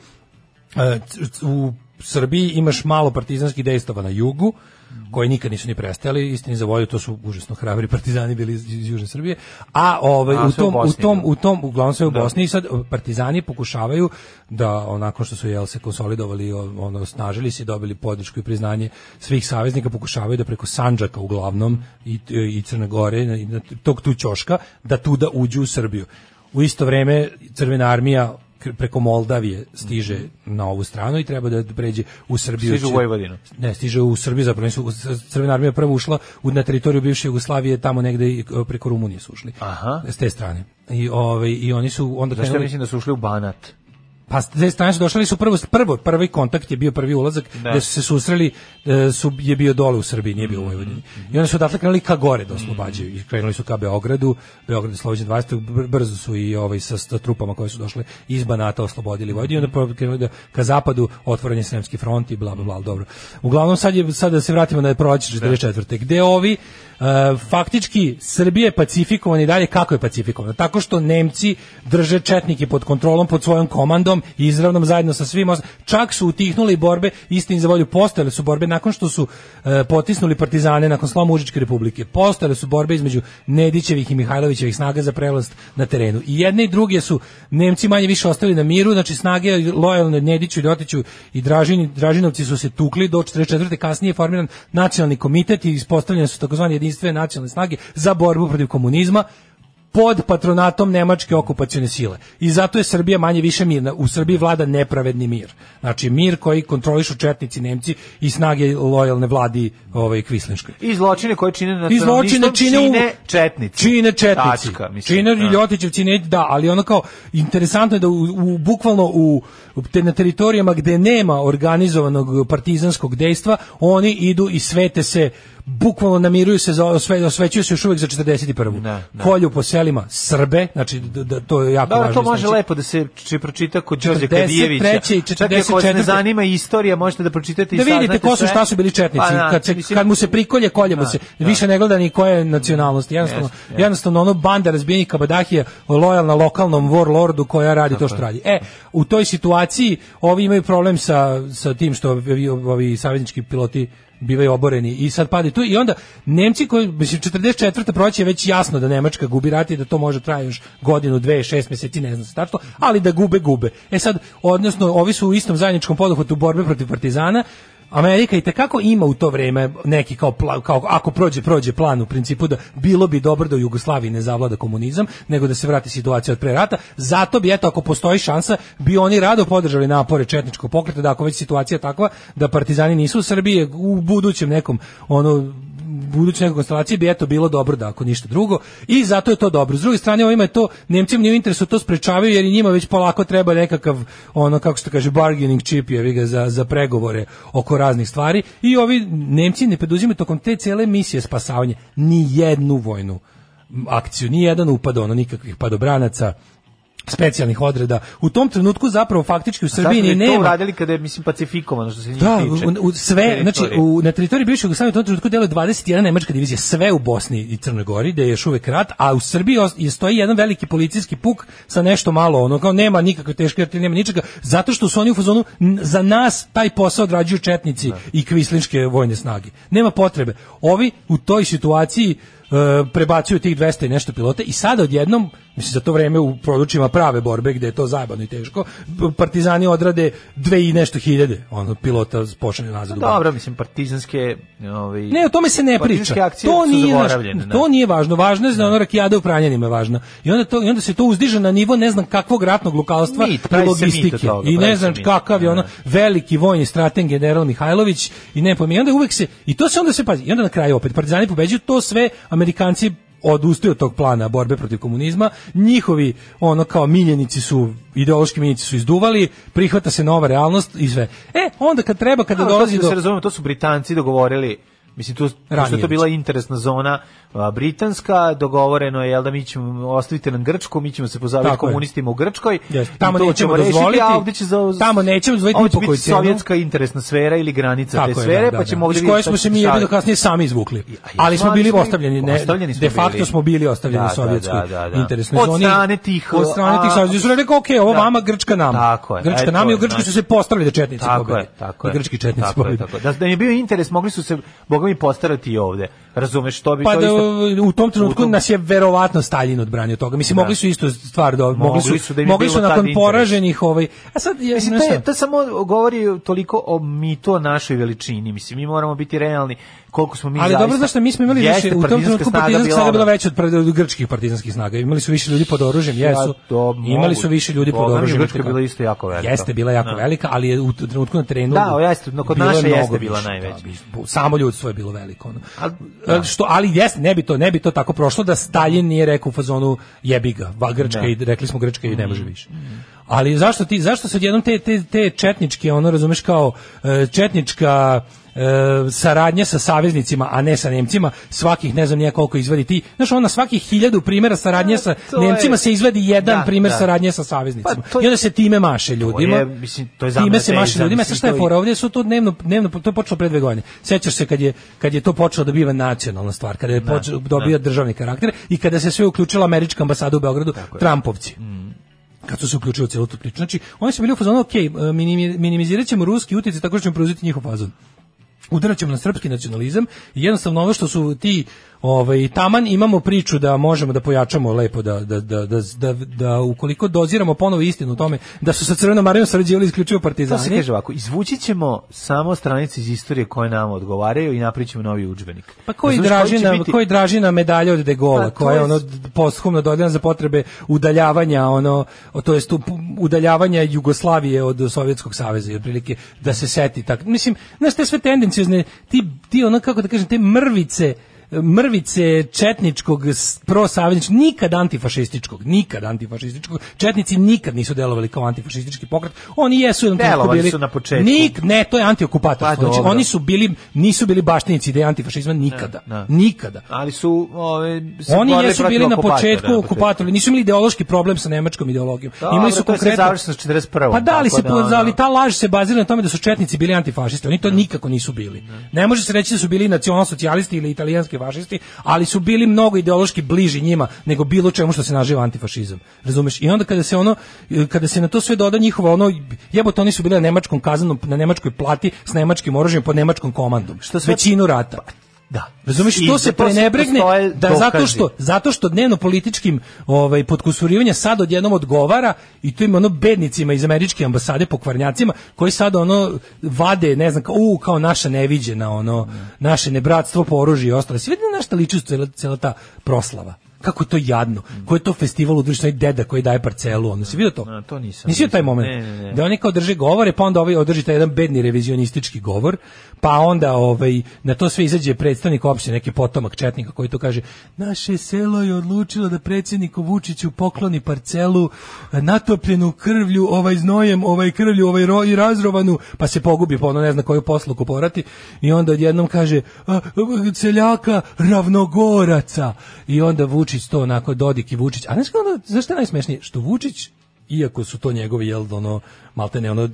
Speaker 7: E, c- c- u Srbiji imaš malo partizanskih dejstava na jugu,
Speaker 6: Mhm.
Speaker 7: koji nikad nisu ni prestajali, istini za volju, to su užasno hrabri partizani bili iz, iz Južne Srbije, a, ovaj,
Speaker 6: A,
Speaker 7: u,
Speaker 6: sve u
Speaker 7: tom, u,
Speaker 6: Bosni,
Speaker 7: tom,
Speaker 6: da.
Speaker 7: u tom, uglavnom sve u Bosni i sad partizani pokušavaju da onako što su jel se konsolidovali, o- ono, snažili se i dobili podršku i priznanje svih saveznika, pokušavaju da preko Sanđaka uglavnom i, i Crne Gore, i na- tog tu ćoška, da tu da uđu u Srbiju. U isto vreme Crvena armija k- preko Moldavije stiže na ovu stranu i treba da pređe u Srbiju.
Speaker 6: Stiže Mhm. u Vojvodinu.
Speaker 7: Ne, stiže u Srbiju, zapravo nisu, u- Crvena armija je prvo ušla u, na teritoriju bivše Jugoslavije, tamo negde i, e, preko Rumunije su ušli.
Speaker 6: Aha.
Speaker 7: S te strane. I, ovaj, i oni su onda
Speaker 6: Zašto ja
Speaker 7: krenuli-
Speaker 6: mislim da su ušli u Banat?
Speaker 7: pa s te strane su došli su prvo, prvo prvi kontakt je bio prvi ulazak
Speaker 6: Da.
Speaker 7: da. gde su se susreli e, su je bio dole u Srbiji, nije bio u Vojvodini.
Speaker 6: Mhm,
Speaker 7: I onda su odatle krenuli ka gore da oslobađaju. I krenuli su ka Beogradu, Beograd je slobođen 20. Br- brzo su i ovaj sa, sa trupama koje su došle iz Banata oslobodili Vojvodinu, I onda prvo krenuli da ka zapadu otvoren je Sremski front i bla bla bla, ali dobro. Uglavnom sad je sad da se vratimo na proleće 44. gde ovi e, faktički Srbija je pacifikovana i dalje kako je pacifikovana? Tako što Nemci drže četnike pod kontrolom, pod svojom komandom Kosovom izravnom zajedno sa svim os- čak su utihnuli borbe istin za volju postojale su borbe nakon što su e, potisnuli partizane nakon sloma Užičke republike postojale su borbe između Nedićevih i Mihajlovićevih snaga za prevlast na terenu i jedne i druge su Nemci manje više ostali na miru znači snage lojalne Nediću i Ljotiću i Dražini Dražinovci su se tukli do 44. kasnije je formiran nacionalni komitet i ispostavljene su takozvane jedinstvene nacionalne snage za borbu protiv komunizma pod patronatom nemačke okupacione sile. I zato je Srbija manje više mirna. U Srbiji vlada nepravedni mir. Znači mir koji kontrolišu četnici Nemci i snage lojalne vladi ovaj Kvislinškoj.
Speaker 6: I zločine koje čine na
Speaker 7: I zločine čine, u-
Speaker 6: čine četnici.
Speaker 7: Čine četnici.
Speaker 6: Tačka, mislim,
Speaker 7: čine
Speaker 6: da.
Speaker 7: Ljotićevci, ne- da, ali ono kao interesantno je da u, u- bukvalno u, u te, na teritorijama gde nema organizovanog partizanskog dejstva, oni idu i svete se bukvalno namiruju se za osve, osvećuju se još uvek za 41. Kolju po selima Srbe, znači d- d- to je jako
Speaker 6: Dobro,
Speaker 7: važno.
Speaker 6: to može
Speaker 7: istaći.
Speaker 6: lepo da se či pročita kod Đorđe
Speaker 7: znači, 43.
Speaker 6: Kadijevića.
Speaker 7: i
Speaker 6: Čak i ako vas
Speaker 7: 44.
Speaker 6: ne zanima istorija, možete da pročitate i
Speaker 7: da vidite
Speaker 6: saznate
Speaker 7: ko su
Speaker 6: sve.
Speaker 7: šta su bili četnici
Speaker 6: Pa, da,
Speaker 7: kad se
Speaker 6: mislim,
Speaker 7: kad mu se prikolje kolje mu
Speaker 6: Da,
Speaker 7: se više ne gleda ni koje je nacionalnosti jednostavno
Speaker 6: Jeste, jeste.
Speaker 7: jednostavno ono banda razbijenih kabadahija lojalna lokalnom warlordu koja radi to što radi e u toj situaciji ovi imaju problem sa sa tim što ovi, ovi saveznički piloti bivaju oboreni i sad pade tu i onda Nemci koji mislim 44. proći je već jasno da Nemačka gubi rat i da to može traje još godinu, dve, šest mjeseci, ne znam se tačno, ali da gube, gube. E sad, odnosno, ovi su u istom zajedničkom poduhvatu borbe protiv partizana, Amerika i tekako ima u to vrijeme neki kao, pla- kao ako prođe prođe plan u principu da bilo bi dobro da u Jugoslaviji ne zavlada komunizam, nego da se vrati situacija od pre rata. Zato bi eto ako postoji šansa bi oni rado podržali napore četničkog pokreta da ako već situacija takva da partizani nisu u Srbiji u budućem nekom ono buduće neke konstelacije bi eto bilo dobro da ako ništa drugo i zato je to dobro. S druge strane ovima je to Nemcima nije u interesu to sprečavaju jer i njima već polako treba nekakav ono kako se to kaže bargaining chip je ga za, za pregovore oko raznih stvari i ovi Nemci ne preduzimaju tokom te cele misije spasavanja ni jednu vojnu akciju, ni jedan upad ono nikakvih padobranaca specijalnih odreda. U tom trenutku zapravo faktički u Srbiji
Speaker 6: Zato
Speaker 7: ni
Speaker 6: je to
Speaker 7: nema
Speaker 6: uradili kada je, mislim, pacifikovano, što se njih
Speaker 7: da,
Speaker 6: tiče.
Speaker 7: u, u- sve, znači
Speaker 6: Teritorije.
Speaker 7: u, na teritoriji bivše Jugoslavije u tom trenutku deluje 21 nemačka divizija, sve u Bosni i Crnoj Gori, da je još uvek rat, a u Srbiji os- je stoji jedan veliki policijski puk sa nešto malo, ono kao nema nikakve teške artiljerije, nema ničega, zato što su oni u fazonu "N- za nas taj posao odrađuju četnici i kvislinške vojne snage. Nema potrebe. Ovi u toj situaciji e, prebacuju tih 200 i nešto pilota i sada odjednom, mislim za to vreme u područjima prave borbe gdje je to zajebano i teško, b- partizani odrade dve i nešto hiljade ono, pilota pošalju nazad u
Speaker 6: Dobro, mislim, partizanske... Ovaj,
Speaker 7: ne, o tome se ne
Speaker 6: partizanske
Speaker 7: priča.
Speaker 6: akcije
Speaker 7: To
Speaker 6: su
Speaker 7: nije, naš-
Speaker 6: zaboravljene, da.
Speaker 7: to nije važno. Važno je da ona rakijada u Pranjanima je važna. I onda, to, i onda se to uzdiže na nivo ne znam kakvog ratnog lukalstva
Speaker 6: Mit,
Speaker 7: i
Speaker 6: pravi se mit od
Speaker 7: logistike.
Speaker 6: toga,
Speaker 7: I ne
Speaker 6: pravi se
Speaker 7: znam
Speaker 6: mit,
Speaker 7: kakav je
Speaker 6: da,
Speaker 7: ono
Speaker 6: da.
Speaker 7: veliki vojni strateg general Mihajlović i ne pomi. I onda uvek se, i to se onda se pazi. I onda na kraju opet partizani pobeđuju, to sve Amerikanci odustaju od tog plana borbe protiv komunizma. Njihovi ono kao miljenici su ideološki miljenici su izduvali, prihvata se nova realnost i sve. E, onda kad treba kada
Speaker 6: Dobro,
Speaker 7: dolazi
Speaker 6: to, da
Speaker 7: do
Speaker 6: se razumemo, to su Britanci dogovorili Mislim, tu, pošto je
Speaker 7: Ranije.
Speaker 6: to bila interesna zona a, britanska, dogovoreno je, jel da mi ćemo, ostavite nam Grčku, mi ćemo se pozabaviti
Speaker 7: Tako je.
Speaker 6: komunistima u Grčkoj,
Speaker 7: Jeste,
Speaker 6: i
Speaker 7: tamo
Speaker 6: to
Speaker 7: nećemo
Speaker 6: rešiti,
Speaker 7: dozvoliti,
Speaker 6: a ovdje će za,
Speaker 7: tamo nećemo dozvoliti
Speaker 6: ovdje
Speaker 7: ni
Speaker 6: će
Speaker 7: po koju
Speaker 6: biti
Speaker 7: cenu.
Speaker 6: sovjetska interesna sfera ili granica te
Speaker 7: je,
Speaker 6: sfere,
Speaker 7: da,
Speaker 6: pa
Speaker 7: da,
Speaker 6: ćemo
Speaker 7: da.
Speaker 6: ovdje
Speaker 7: Iz koje
Speaker 6: vidjeti šta
Speaker 7: smo se
Speaker 6: će
Speaker 7: mi jebido
Speaker 6: staviti.
Speaker 7: kasnije sami izvukli.
Speaker 6: jesmo,
Speaker 7: Ali smo
Speaker 6: ali
Speaker 7: bili
Speaker 6: smo i-
Speaker 7: ostavljeni, ne,
Speaker 6: ostavljeni smo
Speaker 7: de facto
Speaker 6: bili.
Speaker 7: smo bili
Speaker 6: Da,
Speaker 7: ostavljeni u
Speaker 6: da,
Speaker 7: sovjetskoj
Speaker 6: da, da, da.
Speaker 7: interesnoj
Speaker 6: Od
Speaker 7: zoni.
Speaker 6: strane tih,
Speaker 7: Od strane tih
Speaker 6: a-
Speaker 7: saveznika su rekli, ok, ovo
Speaker 6: Da.
Speaker 7: vama, Grčka nama.
Speaker 6: Tako je,
Speaker 7: Grčka
Speaker 6: e,
Speaker 7: nama
Speaker 6: to
Speaker 7: i
Speaker 6: je,
Speaker 7: u Grčkoj su
Speaker 6: znači-
Speaker 7: se postavili da četnici
Speaker 6: Tako
Speaker 7: pobede.
Speaker 6: je, tako
Speaker 7: Da
Speaker 6: je.
Speaker 7: grčki četnici
Speaker 6: tako je,
Speaker 7: pobede.
Speaker 6: tako je. Da, da im je bio interes, mogli su se, boga mi, postarati i ovde. Razumeš, to bi
Speaker 7: Pa
Speaker 6: to
Speaker 7: da,
Speaker 6: isto...
Speaker 7: u tom trenutku
Speaker 6: u tom-
Speaker 7: nas je verovatno Stalin odbranio toga. Mislim,
Speaker 6: Da.
Speaker 7: mogli su isto stvar do, mogli,
Speaker 6: Mogli
Speaker 7: su,
Speaker 6: su da im je
Speaker 7: mogli
Speaker 6: bilo
Speaker 7: su
Speaker 6: tad
Speaker 7: nakon
Speaker 6: interes.
Speaker 7: poraženih ovaj... A sad, ja,
Speaker 6: Mislim,
Speaker 7: znaš
Speaker 6: to, je,
Speaker 7: šta?
Speaker 6: to samo govori toliko o mitu o našoj veličini. Mislim, mi moramo biti realni koliko smo mi
Speaker 7: ali
Speaker 6: zaista...
Speaker 7: dobro znaš šta, mi smo imali
Speaker 6: Jeste,
Speaker 7: više u tom
Speaker 6: partizanska
Speaker 7: trenutku
Speaker 6: snaga
Speaker 7: partizanska snaga bila
Speaker 6: ono-
Speaker 7: veća od, pred- od grčkih partizanskih snaga imali su više ljudi pod oružjem
Speaker 6: Ja,
Speaker 7: jesu
Speaker 6: to
Speaker 7: imali su
Speaker 6: mogu.
Speaker 7: više ljudi pod
Speaker 6: Boga mi,
Speaker 7: oružjem
Speaker 6: Grčka je
Speaker 7: itekako.
Speaker 6: bila isto jako velika.
Speaker 7: jeste bila jako
Speaker 6: Da.
Speaker 7: velika ali je u t- trenutku na terenu
Speaker 6: Da, o, jeste, no, kod
Speaker 7: bilo je
Speaker 6: naše
Speaker 7: mnogo
Speaker 6: jeste bila
Speaker 7: više,
Speaker 6: najveća.
Speaker 7: da, bi- samo ljudstvo je bilo veliko ono.
Speaker 6: Al- da.
Speaker 7: E, što ali jest ne bi to ne bi to tako prošlo da Stalin nije rekao u fazonu jebi ga va grčka
Speaker 6: Da. Mm.
Speaker 7: i rekli smo grčka i ne može više ali zašto ti zašto se odjednom te te te četničke ono razumeš kao e, četnička e, saradnja sa saveznicima, a ne sa Nemcima, svakih ne znam nije koliko izvadi ti. Znaš, ona svakih hiljadu primjera saradnje sa
Speaker 6: to je-
Speaker 7: Nemcima se izvadi jedan
Speaker 6: Da,
Speaker 7: primjer
Speaker 6: da.
Speaker 7: saradnje sa saveznicima.
Speaker 6: Pa to-
Speaker 7: I onda se time maše ljudima.
Speaker 6: je, mislim, to je
Speaker 7: time
Speaker 6: zamna
Speaker 7: se
Speaker 6: teza,
Speaker 7: maše ljudima. Sa
Speaker 6: mislim,
Speaker 7: šta je
Speaker 6: to je-
Speaker 7: fora? Ovdje su to dnevno, dnevno to je počelo pre dve godine. Sećaš se kad je, kad je to počelo da biva nacionalna stvar, kada
Speaker 6: Da,
Speaker 7: je
Speaker 6: Mm.
Speaker 7: počeo dobio državni karakter i kada se sve uključila američka ambasada u Beogradu, Trumpovci. kad su se uključili u celu tu priču. Znači, oni su bili u fazonu, ok, minimi- minimizirat ćemo ruski utjecaj tako što ćemo preuzeti njihov fazon. Udarat ćemo na srpski nacionalizam i jednostavno ono što su ti ovaj, taman imamo priču da možemo da pojačamo lepo, da, da, da, da, da, da ukoliko doziramo ponovo istinu u tome da su sa Crvenom Marijom sarađivali isključivo
Speaker 6: To
Speaker 7: partizani.
Speaker 6: se kaže ovako, izvući ćemo samo stranice iz istorije koje nam odgovaraju i naprićemo novi udžbenik.
Speaker 7: Pa koji
Speaker 6: Razumeš, koji će
Speaker 7: dražina,
Speaker 6: biti-
Speaker 7: koji dražina medalja od De Gola,
Speaker 6: Pa, to
Speaker 7: koja je
Speaker 6: je-
Speaker 7: ono posthumno dodeljena za potrebe udaljavanja ono o, to jest up- udaljavanja Jugoslavije od Sovjetskog saveza i otprilike da se seti tak. Mislim, znaš te sve tendenciozne ti ti ono kako da kažem te mrvice mrvice četničkog s- prosavjetničkog, nikad antifašističkog, nikad antifašističkog. Četnici nikad nisu delovali kao antifašistički pokret. Oni jesu u jednom trenutku
Speaker 6: Delovali
Speaker 7: bili-
Speaker 6: su na početku.
Speaker 7: Nik, ne, to je antiokupatorstvo.
Speaker 6: Pa,
Speaker 7: znači,
Speaker 6: dobro.
Speaker 7: oni su bili, nisu bili baštinici ideje antifašizma nikada.
Speaker 6: ne.
Speaker 7: Nikada.
Speaker 6: Ali su... Ove, se
Speaker 7: Oni
Speaker 6: borili
Speaker 7: jesu
Speaker 6: protiv
Speaker 7: bili na
Speaker 6: okupatora,
Speaker 7: početku
Speaker 6: da,
Speaker 7: okupatori, nisu imali ideološki problem sa nemačkom ideologijom.
Speaker 6: Dobro,
Speaker 7: imali su
Speaker 6: to je sve
Speaker 7: konkretno
Speaker 6: završeno s 41..
Speaker 7: Pa da li
Speaker 6: tako
Speaker 7: se
Speaker 6: da,
Speaker 7: po-
Speaker 6: ono- Da.
Speaker 7: ali ta laž se bazira na tome da su četnici bili antifašisti, oni to nikako nisu bili. Ne može se reći da su bili nacionalsocijalisti ili italijanski fašisti, ali su bili mnogo ideološki bliži njima nego bilo čemu što se naziva antifašizam. Razumeš? I onda kada se ono kada se na to sve doda njihova ono jebote oni su bili na nemačkom kazanom na nemačkoj plati s nemačkim oružjem pod nemačkom komandom. Što
Speaker 6: sve-
Speaker 7: većinu rata.
Speaker 6: Da.
Speaker 7: Razumeš
Speaker 6: I
Speaker 7: to
Speaker 6: za
Speaker 7: se
Speaker 6: to se
Speaker 7: prenebregne
Speaker 6: postoje
Speaker 7: da zato
Speaker 6: dokazi.
Speaker 7: što zato što dnevno političkim ovaj potkusurivanja sad odjednom odgovara i to im ono bednicima iz američke ambasade pokvarnjacima koji sad ono vade ne znam kao u kao naša neviđena ono naše nebratstvo po oružju i ostalo. Sve na šta liči cela, cela ta proslava. Kako je to jadno. Koji je to festival udruženih deda koji daje parcelu, ono se vidio to?
Speaker 6: Da, to nisam.
Speaker 7: Nisi vidio taj
Speaker 6: nisam.
Speaker 7: moment?
Speaker 6: Ne, ne, ne.
Speaker 7: Da oni kao drže govore, pa onda ovaj održi taj jedan bedni revizionistički govor, pa onda ovaj, na to sve izađe predstavnik opštine, neki potomak četnika koji to kaže, naše selo je odlučilo da predsjedniku Vučiću pokloni parcelu e, natopljenu krvlju, ovaj znojem, ovaj krvlju, ovaj ro, i razrovanu, pa se pogubi, pa ono ne zna koju poslu kuporati, i onda odjednom kaže, "A, a, seljaka ravnogoraca, i onda Vučić to onako, Dodik i Vučić, a znaš kao ono, znaš šta je najsmešnije, što Vučić iako su to njegovi jel ono maltene ono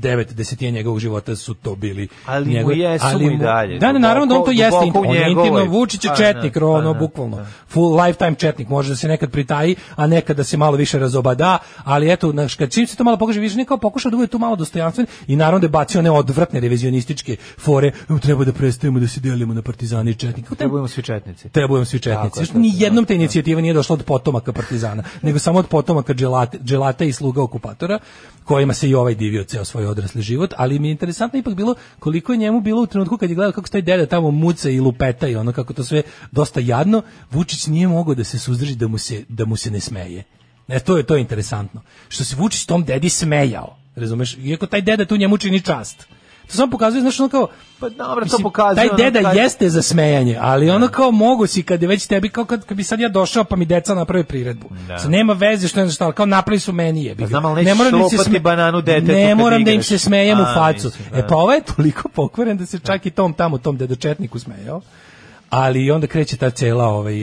Speaker 7: devet desetina njegovog života su to bili
Speaker 6: Ali mu
Speaker 7: njegovi-
Speaker 6: jesu mu i
Speaker 7: mu-
Speaker 6: dalje,
Speaker 7: da ne, naravno da on to
Speaker 6: duboko-
Speaker 7: jeste
Speaker 6: duboko u
Speaker 7: on je
Speaker 6: njegovoj-
Speaker 7: intimno Vučić je
Speaker 6: Pa,
Speaker 7: četnik
Speaker 6: da,
Speaker 7: ono
Speaker 6: pa, da,
Speaker 7: bukvalno full lifetime četnik može da se nekad pritaji a nekad da se malo više razobada ali eto znaš, kad čim se to malo pokaže više nikao pokušao da bude tu malo dostojanstven i naravno da je bacio one odvratne revizionističke fore "U, treba da prestajemo da se delimo na partizane i četnike Kako taj-
Speaker 6: Trebujemo svi četnici.
Speaker 7: trebujemo svi četnici.
Speaker 6: Tako je,
Speaker 7: Još
Speaker 6: tako
Speaker 7: ni
Speaker 6: je,
Speaker 7: jednom ta inicijativa nije došla od potomaka partizana, nego samo od potomaka dželate, dželata i sluga okupatora, kojima se i ovaj divio ceo svoj odrasli život, ali mi je interesantno ipak bilo koliko je njemu bilo u trenutku kad je gledao kako stoji deda tamo muca i lupeta i ono kako to sve dosta jadno, Vučić nije mogao da se suzdrži da mu se, da mu se ne smeje. E, to je to je interesantno. Što se Vučić tom dedi smejao, razumeš? Iako taj deda tu njemu čini čast. To samo pokazuje, znaš, ono kao,
Speaker 6: Pa dobro, to
Speaker 7: Mislim,
Speaker 6: pokazuje. ono,
Speaker 7: Taj deda
Speaker 6: kad- Da.
Speaker 7: jeste za smejanje, ali ono kao mogu si kad je već tebi kao kad, kad bi sad ja došao pa mi deca naprave priredbu.
Speaker 6: Da.
Speaker 7: Sad nema veze što je šta, ali kao napravi su meni je.
Speaker 6: Pa znam, ali nećeš
Speaker 7: da
Speaker 6: lopati bananu detetu
Speaker 7: Ne
Speaker 6: kad
Speaker 7: moram da im
Speaker 6: igraš.
Speaker 7: se smejem u
Speaker 6: A,
Speaker 7: facu.
Speaker 6: mislim,
Speaker 7: E
Speaker 6: da.
Speaker 7: pa ovaj je toliko pokvaren da se čak i tom tamo tom dedočetniku smejao. Ali onda kreće ta cela ovaj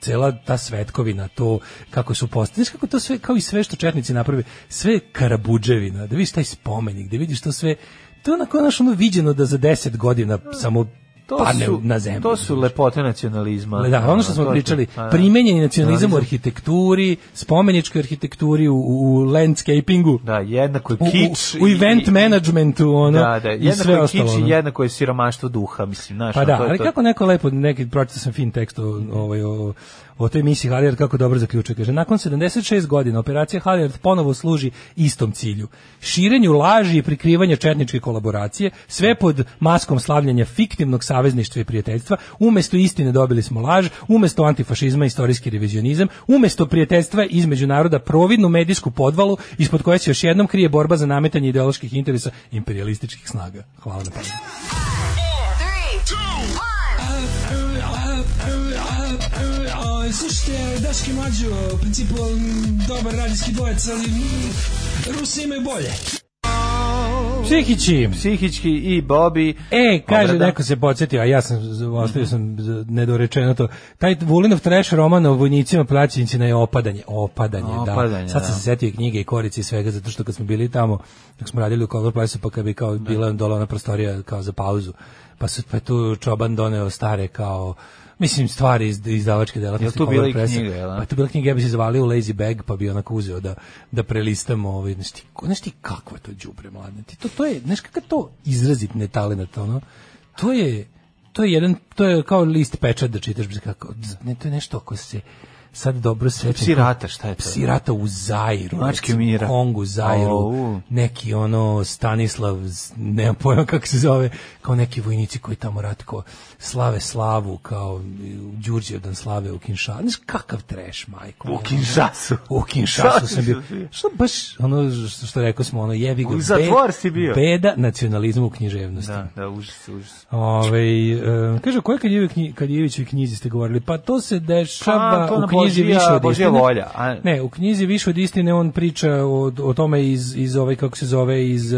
Speaker 7: cela ta svetkovina to kako su postali znaš kako to sve kao i sve što četnici naprave sve je karabudževina da vidiš taj spomenik da vidiš to sve to je onako naš ono viđeno da za 10 godina samo
Speaker 6: To
Speaker 7: padne
Speaker 6: su,
Speaker 7: pa na zemlju.
Speaker 6: To su lepote nacionalizma.
Speaker 7: Da, ono što smo
Speaker 6: To je-
Speaker 7: pričali,
Speaker 6: Pa, da.
Speaker 7: primenjeni nacionalizam u
Speaker 6: Nacionalizam.
Speaker 7: arhitekturi, spomeničkoj arhitekturi, u, u u landscapingu,
Speaker 6: Da, jednako je
Speaker 7: u, u-
Speaker 6: kič.
Speaker 7: u
Speaker 6: i-
Speaker 7: event
Speaker 6: i-
Speaker 7: managementu, ono,
Speaker 6: Da, da,
Speaker 7: i
Speaker 6: jednako
Speaker 7: sve
Speaker 6: je
Speaker 7: ostalo.
Speaker 6: kič
Speaker 7: ono.
Speaker 6: i jednako je siromaštvo duha, mislim, znaš.
Speaker 7: Pa
Speaker 6: ono,
Speaker 7: da,
Speaker 6: to je
Speaker 7: ali
Speaker 6: to.
Speaker 7: kako neko lepo, neki, pročitao sam fin tekst o, ovaj, o, o toj misiji Halliard, kako dobro zaključuje. Kaže, nakon 76 godina operacija Halliard ponovo služi istom cilju. Širenju laži i prikrivanja četničke kolaboracije, sve pod maskom slavljanja fiktivnog savezništva i prijateljstva, umesto istine dobili smo laž, umesto antifašizma istorijski revizionizam, umesto prijateljstva između naroda providnu medijsku podvalu ispod koje se još jednom krije borba za nametanje ideoloških interesa imperialističkih snaga. Hvala na pažnju.
Speaker 11: Slušajte, Daški Mađo, u principu dobar radijski dvojec, ali Rusi imaju bolje.
Speaker 7: Psihići!
Speaker 6: Psihički i da. Bobi.
Speaker 7: E, kaže,
Speaker 6: Obrada.
Speaker 7: neko se podsjetio, a ja sam, z- ostavio sam z- nedorečeno to. Taj Vulinov trash roman o vojnicima plaćenicina je opadanje. Opadanje, da.
Speaker 6: Opadanje,
Speaker 7: Sad sam
Speaker 6: da.
Speaker 7: se setio i knjige i korice i svega, zato što kad smo bili tamo, dok smo radili u Color Place, pa kad bi kao
Speaker 6: Da.
Speaker 7: bila dole ona prostorija kao za pauzu, pa, su, pa je tu čoban doneo stare kao mislim stvari iz izdavačke delatnosti.
Speaker 6: Jel tu bila
Speaker 7: Power
Speaker 6: i
Speaker 7: Pressa.
Speaker 6: knjiga, jel da?
Speaker 7: Pa tu bila knjiga, ja bi se zavalio u lazy bag, pa bi onako uzeo da, da prelistamo. Ovaj, znaš, ti, znaš ti kako je to đubre mladne? Ti to, to je, znaš kakav to izrazit netalenat, ono, to je, to je jedan, to je kao list pečat da čitaš, bez kako, ne, to je nešto ako se sad dobro sećam.
Speaker 6: Psirata, šta je to?
Speaker 7: Psirata u Zairu.
Speaker 6: Mačke
Speaker 7: recimo,
Speaker 6: mira.
Speaker 7: Kongu, Zairu.
Speaker 6: Au.
Speaker 7: Neki ono Stanislav, z- nemam pojma kako se zove, kao neki vojnici koji tamo ratko slave slavu, kao e, Đurđevdan slave u Kinshasa. Znaš kakav treš, majko.
Speaker 6: U Kinshasu.
Speaker 7: U Kinshasu sam
Speaker 6: (laughs)
Speaker 7: bio.
Speaker 6: Šta si?
Speaker 7: Što baš, ono što, što rekao smo, ono jevi ga.
Speaker 6: U
Speaker 7: be-
Speaker 6: zatvor si bio.
Speaker 7: Beda nacionalizmu u književnosti.
Speaker 6: Da, da, užas, užas.
Speaker 7: Ovaj e, kaže, o kojoj Kadjevi knji, Kadjevićevoj knjizi ste govorili? Pa to se dešava
Speaker 6: Pa, to na
Speaker 7: u knjizi
Speaker 6: Božija-
Speaker 7: više od
Speaker 6: Božija
Speaker 7: istine.
Speaker 6: volja, a-
Speaker 7: Ne, u knjizi više od istine on priča o, o tome iz, iz ovaj, kako se zove, iz e,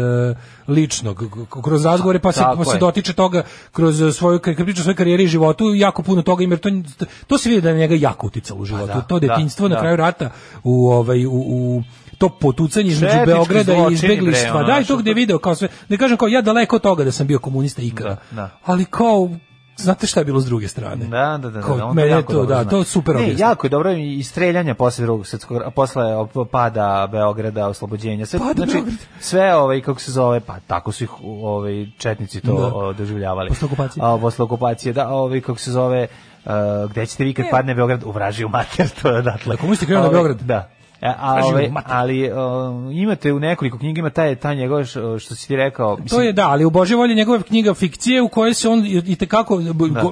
Speaker 7: ličnog, k- kroz razgovore, pa se,
Speaker 6: Tako
Speaker 7: pa se
Speaker 6: je.
Speaker 7: dotiče toga kroz e, svoju, kad priča o svojoj karijeri i životu, jako puno toga, im, jer to, to se vidi da je na njega jako uticalo u životu.
Speaker 6: da,
Speaker 7: to detinjstvo
Speaker 6: da,
Speaker 7: na
Speaker 6: da.
Speaker 7: kraju rata u, ovaj, u, u to potucanje između
Speaker 6: Četnički
Speaker 7: Beograda i
Speaker 6: zločini, bre,
Speaker 7: izbeglištva.
Speaker 6: ono,
Speaker 7: Da, i
Speaker 6: znaš,
Speaker 7: to gde je video kao sve. Ne kažem kao ja daleko od toga da sam bio komunista ikada.
Speaker 6: Da, da.
Speaker 7: Ali kao znate šta je bilo s druge strane?
Speaker 6: Da, da, da, da.
Speaker 7: Kao,
Speaker 6: on
Speaker 7: meni je
Speaker 6: jako
Speaker 7: to,
Speaker 6: dobro
Speaker 7: da,
Speaker 6: zna.
Speaker 7: to je super
Speaker 6: Ne,
Speaker 7: objasnio.
Speaker 6: jako je dobro i streljanja posle drugog svetskog ra- posle op- pada Beograda, oslobođenja. Sve,
Speaker 7: Pada
Speaker 6: znači,
Speaker 7: Beograda.
Speaker 6: sve ovaj kako se zove, pa tako su ih ovaj četnici to
Speaker 7: Da.
Speaker 6: o, doživljavali.
Speaker 7: Posle okupacije.
Speaker 6: A, posle okupacije, da, ovaj kako se zove Uh, gde ćete vi kad
Speaker 7: Ne.
Speaker 6: padne Beograd u vražiju mater, to je odatle.
Speaker 7: Da, komunisti krenu na
Speaker 6: Ovaj,
Speaker 7: Beograd.
Speaker 6: Da. A, a,
Speaker 7: Vražiju
Speaker 6: ovaj,
Speaker 7: mater.
Speaker 6: ali um, imate u nekoliko knjiga, ima taj, taj njegov š- što si ti rekao.
Speaker 7: To je da, ali u Božje volje njegova knjiga fikcije u kojoj se on i te kako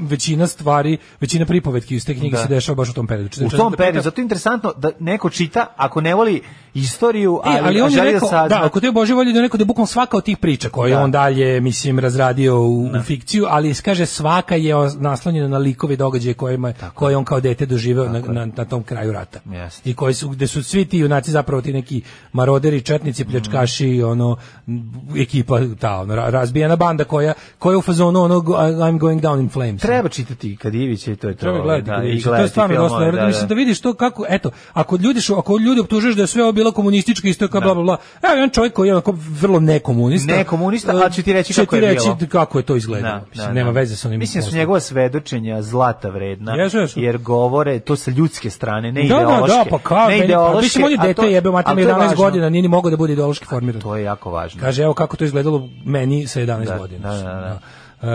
Speaker 7: većina stvari, većina pripovetki iz te knjige
Speaker 6: Da.
Speaker 7: se dešava baš u tom periodu.
Speaker 6: u tom periodu, zato je interesantno da neko čita, ako ne voli istoriju,
Speaker 7: E,
Speaker 6: ali,
Speaker 7: ali on je
Speaker 6: želi
Speaker 7: rekao,
Speaker 6: da sazna.
Speaker 7: da, ako te Bože volje da je neko da je bukvalno svaka od tih priča koje je
Speaker 6: Da.
Speaker 7: on dalje, mislim, razradio u, u fikciju, ali kaže svaka je os- naslonjena na likove i događaje kojima, koje je on kao dete doživeo na, na, na tom kraju rata.
Speaker 6: Jeste.
Speaker 7: I koji su, gde su svi ti junaci zapravo ti neki maroderi, četnici, pljačkaši,
Speaker 6: Mhm.
Speaker 7: ono, m, ekipa, ta, ono, ra- razbijena banda koja, koja je u fazonu onog I'm going down in flames.
Speaker 6: Treba čitati Kadijević i to je to.
Speaker 7: Treba gledati.
Speaker 6: da,
Speaker 7: Da,
Speaker 6: i
Speaker 7: to je
Speaker 6: gledati
Speaker 7: stvarno
Speaker 6: filmove,
Speaker 7: dosta nevredno. Mislim da vidiš to kako, eto, ako ljudi su, ako ljudi optužuješ da je sve ovo bilo komunistička isto
Speaker 6: Da.
Speaker 7: kao bla bla bla. Evo jedan čovjek koji je onako vrlo nekomunista.
Speaker 6: Nekomunista, ali će ti reći
Speaker 7: će
Speaker 6: kako je
Speaker 7: ti reći
Speaker 6: bilo.
Speaker 7: kako je to izgledalo.
Speaker 6: Da,
Speaker 7: mislim,
Speaker 6: da,
Speaker 7: nema
Speaker 6: da.
Speaker 7: veze sa onim.
Speaker 6: Mislim da su
Speaker 7: poslom.
Speaker 6: njegova svedočenja zlata vredna,
Speaker 7: Jesu, jesu.
Speaker 6: jer govore to sa ljudske strane, ne
Speaker 7: da, da,
Speaker 6: ideološke.
Speaker 7: da, pa kao,
Speaker 6: ne
Speaker 7: meni- pa,
Speaker 6: ideološke,
Speaker 7: mislim, on je
Speaker 6: a to-
Speaker 7: dete jebe, mate
Speaker 6: ali
Speaker 7: mi
Speaker 6: to je
Speaker 7: 11
Speaker 6: važno.
Speaker 7: godina, nije ni mogao da bude ideološki formiran.
Speaker 6: To je jako važno.
Speaker 7: Kaže, evo kako to izgledalo meni sa 11
Speaker 6: Da,
Speaker 7: godina.
Speaker 6: da, da, da.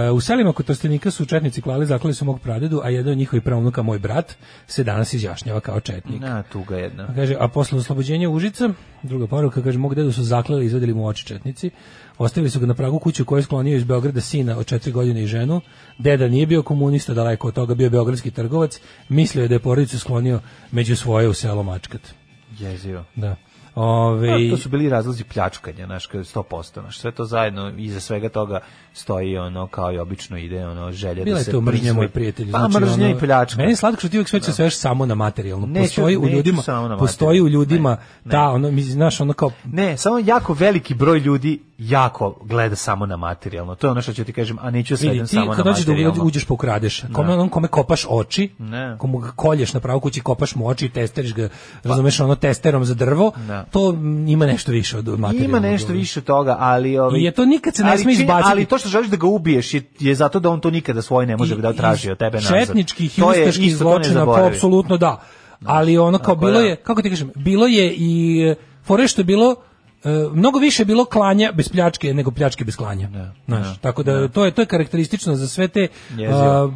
Speaker 7: E, u selima kod Trstenika su četnici klali, zaklali su mog pradedu, a jedan od njihovih pravnuka, moj brat, se danas izjašnjava kao četnik.
Speaker 6: Na, tuga jedna.
Speaker 7: A Kaže, a posle oslobođenja Užica, druga poruka, kaže, mog dedu su zaklali i izvadili mu oči četnici. Ostavili su ga na pragu kuće u kojoj je sklonio iz Beograda sina od četiri godine i ženu. Deda nije bio komunista, daleko od toga bio je beogradski trgovac. Mislio je da je porodicu sklonio među svoje u selo Mačkat.
Speaker 6: Jezivo.
Speaker 7: Da. Ove,
Speaker 6: A, Pa, to su bili razlozi pljačkanja, znaš, kao 100%, znaš, sve to zajedno, iza svega toga stoji ono, kao i obično ide, ono, želja
Speaker 7: Bila
Speaker 6: da
Speaker 7: je
Speaker 6: se...
Speaker 7: to mržnja
Speaker 6: prisvoji-
Speaker 7: moj prijatelj.
Speaker 6: Pa, mržnja i pljačka.
Speaker 7: znači,
Speaker 6: Da.
Speaker 7: Meni je slatko što ti uvijek sve će sveš samo na materijalno.
Speaker 6: Neću-
Speaker 7: Postoji u
Speaker 6: neću
Speaker 7: ljudima,
Speaker 6: samo na
Speaker 7: postoji u
Speaker 6: materijalno.
Speaker 7: ljudima
Speaker 6: Ne,
Speaker 7: ta, ono, mi- znaš, ono kao
Speaker 6: Ne, samo jako veliki broj ljudi jako gleda samo na materijalno. To je ono što ću ti kažem, a neću
Speaker 7: Vidi,
Speaker 6: sedem
Speaker 7: ti
Speaker 6: samo na
Speaker 7: kad dođeš da
Speaker 6: materijalno.
Speaker 7: uđeš pa ukradeš, kome onom kome kopaš oči,
Speaker 6: Ne. Pa-
Speaker 7: komu ga kolješ na pravu kući, kopaš mu oči i testeriš ga, razumeš, ono testerom za drvo,
Speaker 6: Da.
Speaker 7: to m, ima nešto više od materijalnog.
Speaker 6: Ima nešto
Speaker 7: dobro.
Speaker 6: više toga, ali... Ovaj,
Speaker 7: I je to nikad se ne
Speaker 6: ali
Speaker 7: sme
Speaker 6: čini-
Speaker 7: izbaciti.
Speaker 6: Ali to što želiš da ga ubiješ je, je zato da on to nikada svoj ne može
Speaker 7: I-
Speaker 6: da traži od tebe nazad.
Speaker 7: Četničkih i
Speaker 6: To je
Speaker 7: ustaških
Speaker 6: isto, to ne
Speaker 7: zločina, pa
Speaker 6: zaboravi.
Speaker 7: apsolutno da. Ali ono kao
Speaker 6: Tako
Speaker 7: bilo
Speaker 6: da.
Speaker 7: je, kako ti kažem, bilo je i e, fore što je bilo e, mnogo više je bilo klanja bez pljačke nego pljačke bez klanja. Znaš, tako da to je to je karakteristično za sve te
Speaker 6: Jezivo.
Speaker 7: a, b-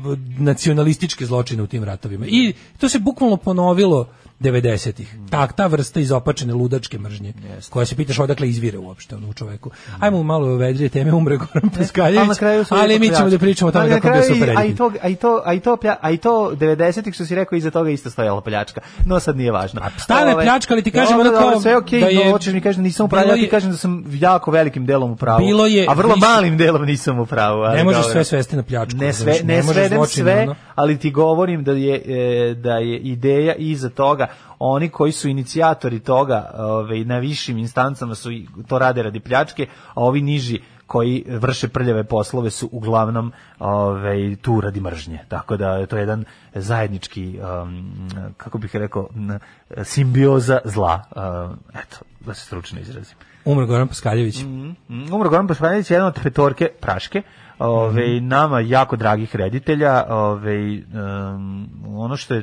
Speaker 7: nacionalističke zločine u tim ratovima. I to se bukvalno ponovilo 90-ih.
Speaker 6: Mm.
Speaker 7: Tak, ta vrsta izopačene ludačke mržnje, koja se pitaš odakle izvire uopšte ono, u čoveku. Ajmo u malo vedrije teme, umre Goran
Speaker 6: Ali
Speaker 7: Paskaljević,
Speaker 6: Pa na kraju su
Speaker 7: ali
Speaker 6: ipak
Speaker 7: mi ćemo da
Speaker 6: pljačke.
Speaker 7: pričamo o tome
Speaker 6: Ali na
Speaker 7: kako je bio
Speaker 6: kraju i-
Speaker 7: super
Speaker 6: A i to, a i to, a i to, plja- a i to 90-ih što si rekao iza toga isto stojala pljačka. No sad nije važno. A
Speaker 7: stane pljačka, ali ti kažem ono kao
Speaker 6: sve okej,
Speaker 7: da
Speaker 6: da
Speaker 7: je-
Speaker 6: je, hoćeš mi kažeš da nisam u pravu,
Speaker 7: bilo
Speaker 6: ja ti
Speaker 7: je-
Speaker 6: kažem da sam jako velikim delom u pravu.
Speaker 7: Bilo je
Speaker 6: a vrlo
Speaker 7: više-
Speaker 6: malim delom nisam u pravu. ali
Speaker 7: Ne možeš
Speaker 6: dobro.
Speaker 7: sve svesti na pljačku.
Speaker 6: Ne sve,
Speaker 7: razumeš,
Speaker 6: ne,
Speaker 7: možeš
Speaker 6: svedem
Speaker 7: zločin,
Speaker 6: sve,
Speaker 7: ono.
Speaker 6: ali ti govorim da je e, da je ideja iza toga oni koji su inicijatori toga, ovaj na višim instancama su i- to rade radi pljačke, a ovi niži koji vrše prljave poslove su uglavnom ovaj tu radi mržnje. Tako da to je jedan zajednički um, kako bih rekao m, simbioza zla. Um, eto, da se stručno izrazim.
Speaker 7: Umro Goran Paskaljević.
Speaker 6: Mm -hmm. Umro Goran Paskaljević je jedan od petorke Praške, ove, mm -hmm. nama jako dragih reditelja. Ove, um, ono što je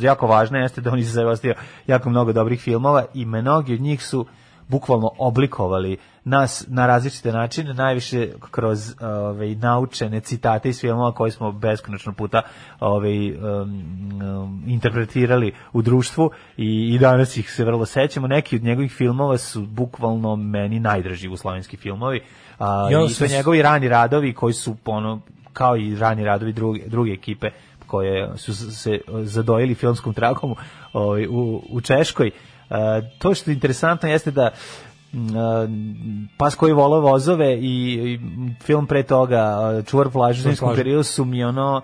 Speaker 6: jako važno jeste da on je zavastio jako mnogo dobrih filmova i mnogi od njih su bukvalno oblikovali nas na različite načine, najviše kroz ove, naučene citate iz filmova koje smo beskonačno puta ove, um, interpretirali u društvu i, i danas ih se vrlo sećamo. Neki od njegovih filmova su bukvalno meni najdraži jugoslovenski filmovi. A,
Speaker 7: Ja
Speaker 6: I to
Speaker 7: sam-
Speaker 6: njegovi rani radovi koji su ono, kao i rani radovi druge, druge ekipe koje su se zadojili filmskom tragom ovaj, u, u Češkoj. E, to što je interesantno jeste da m, e, Pas koji vole vozove i, i film pre toga e, Čuvar plaže u
Speaker 7: Čuvar
Speaker 6: zimskom
Speaker 7: plaže.
Speaker 6: periodu su mi ono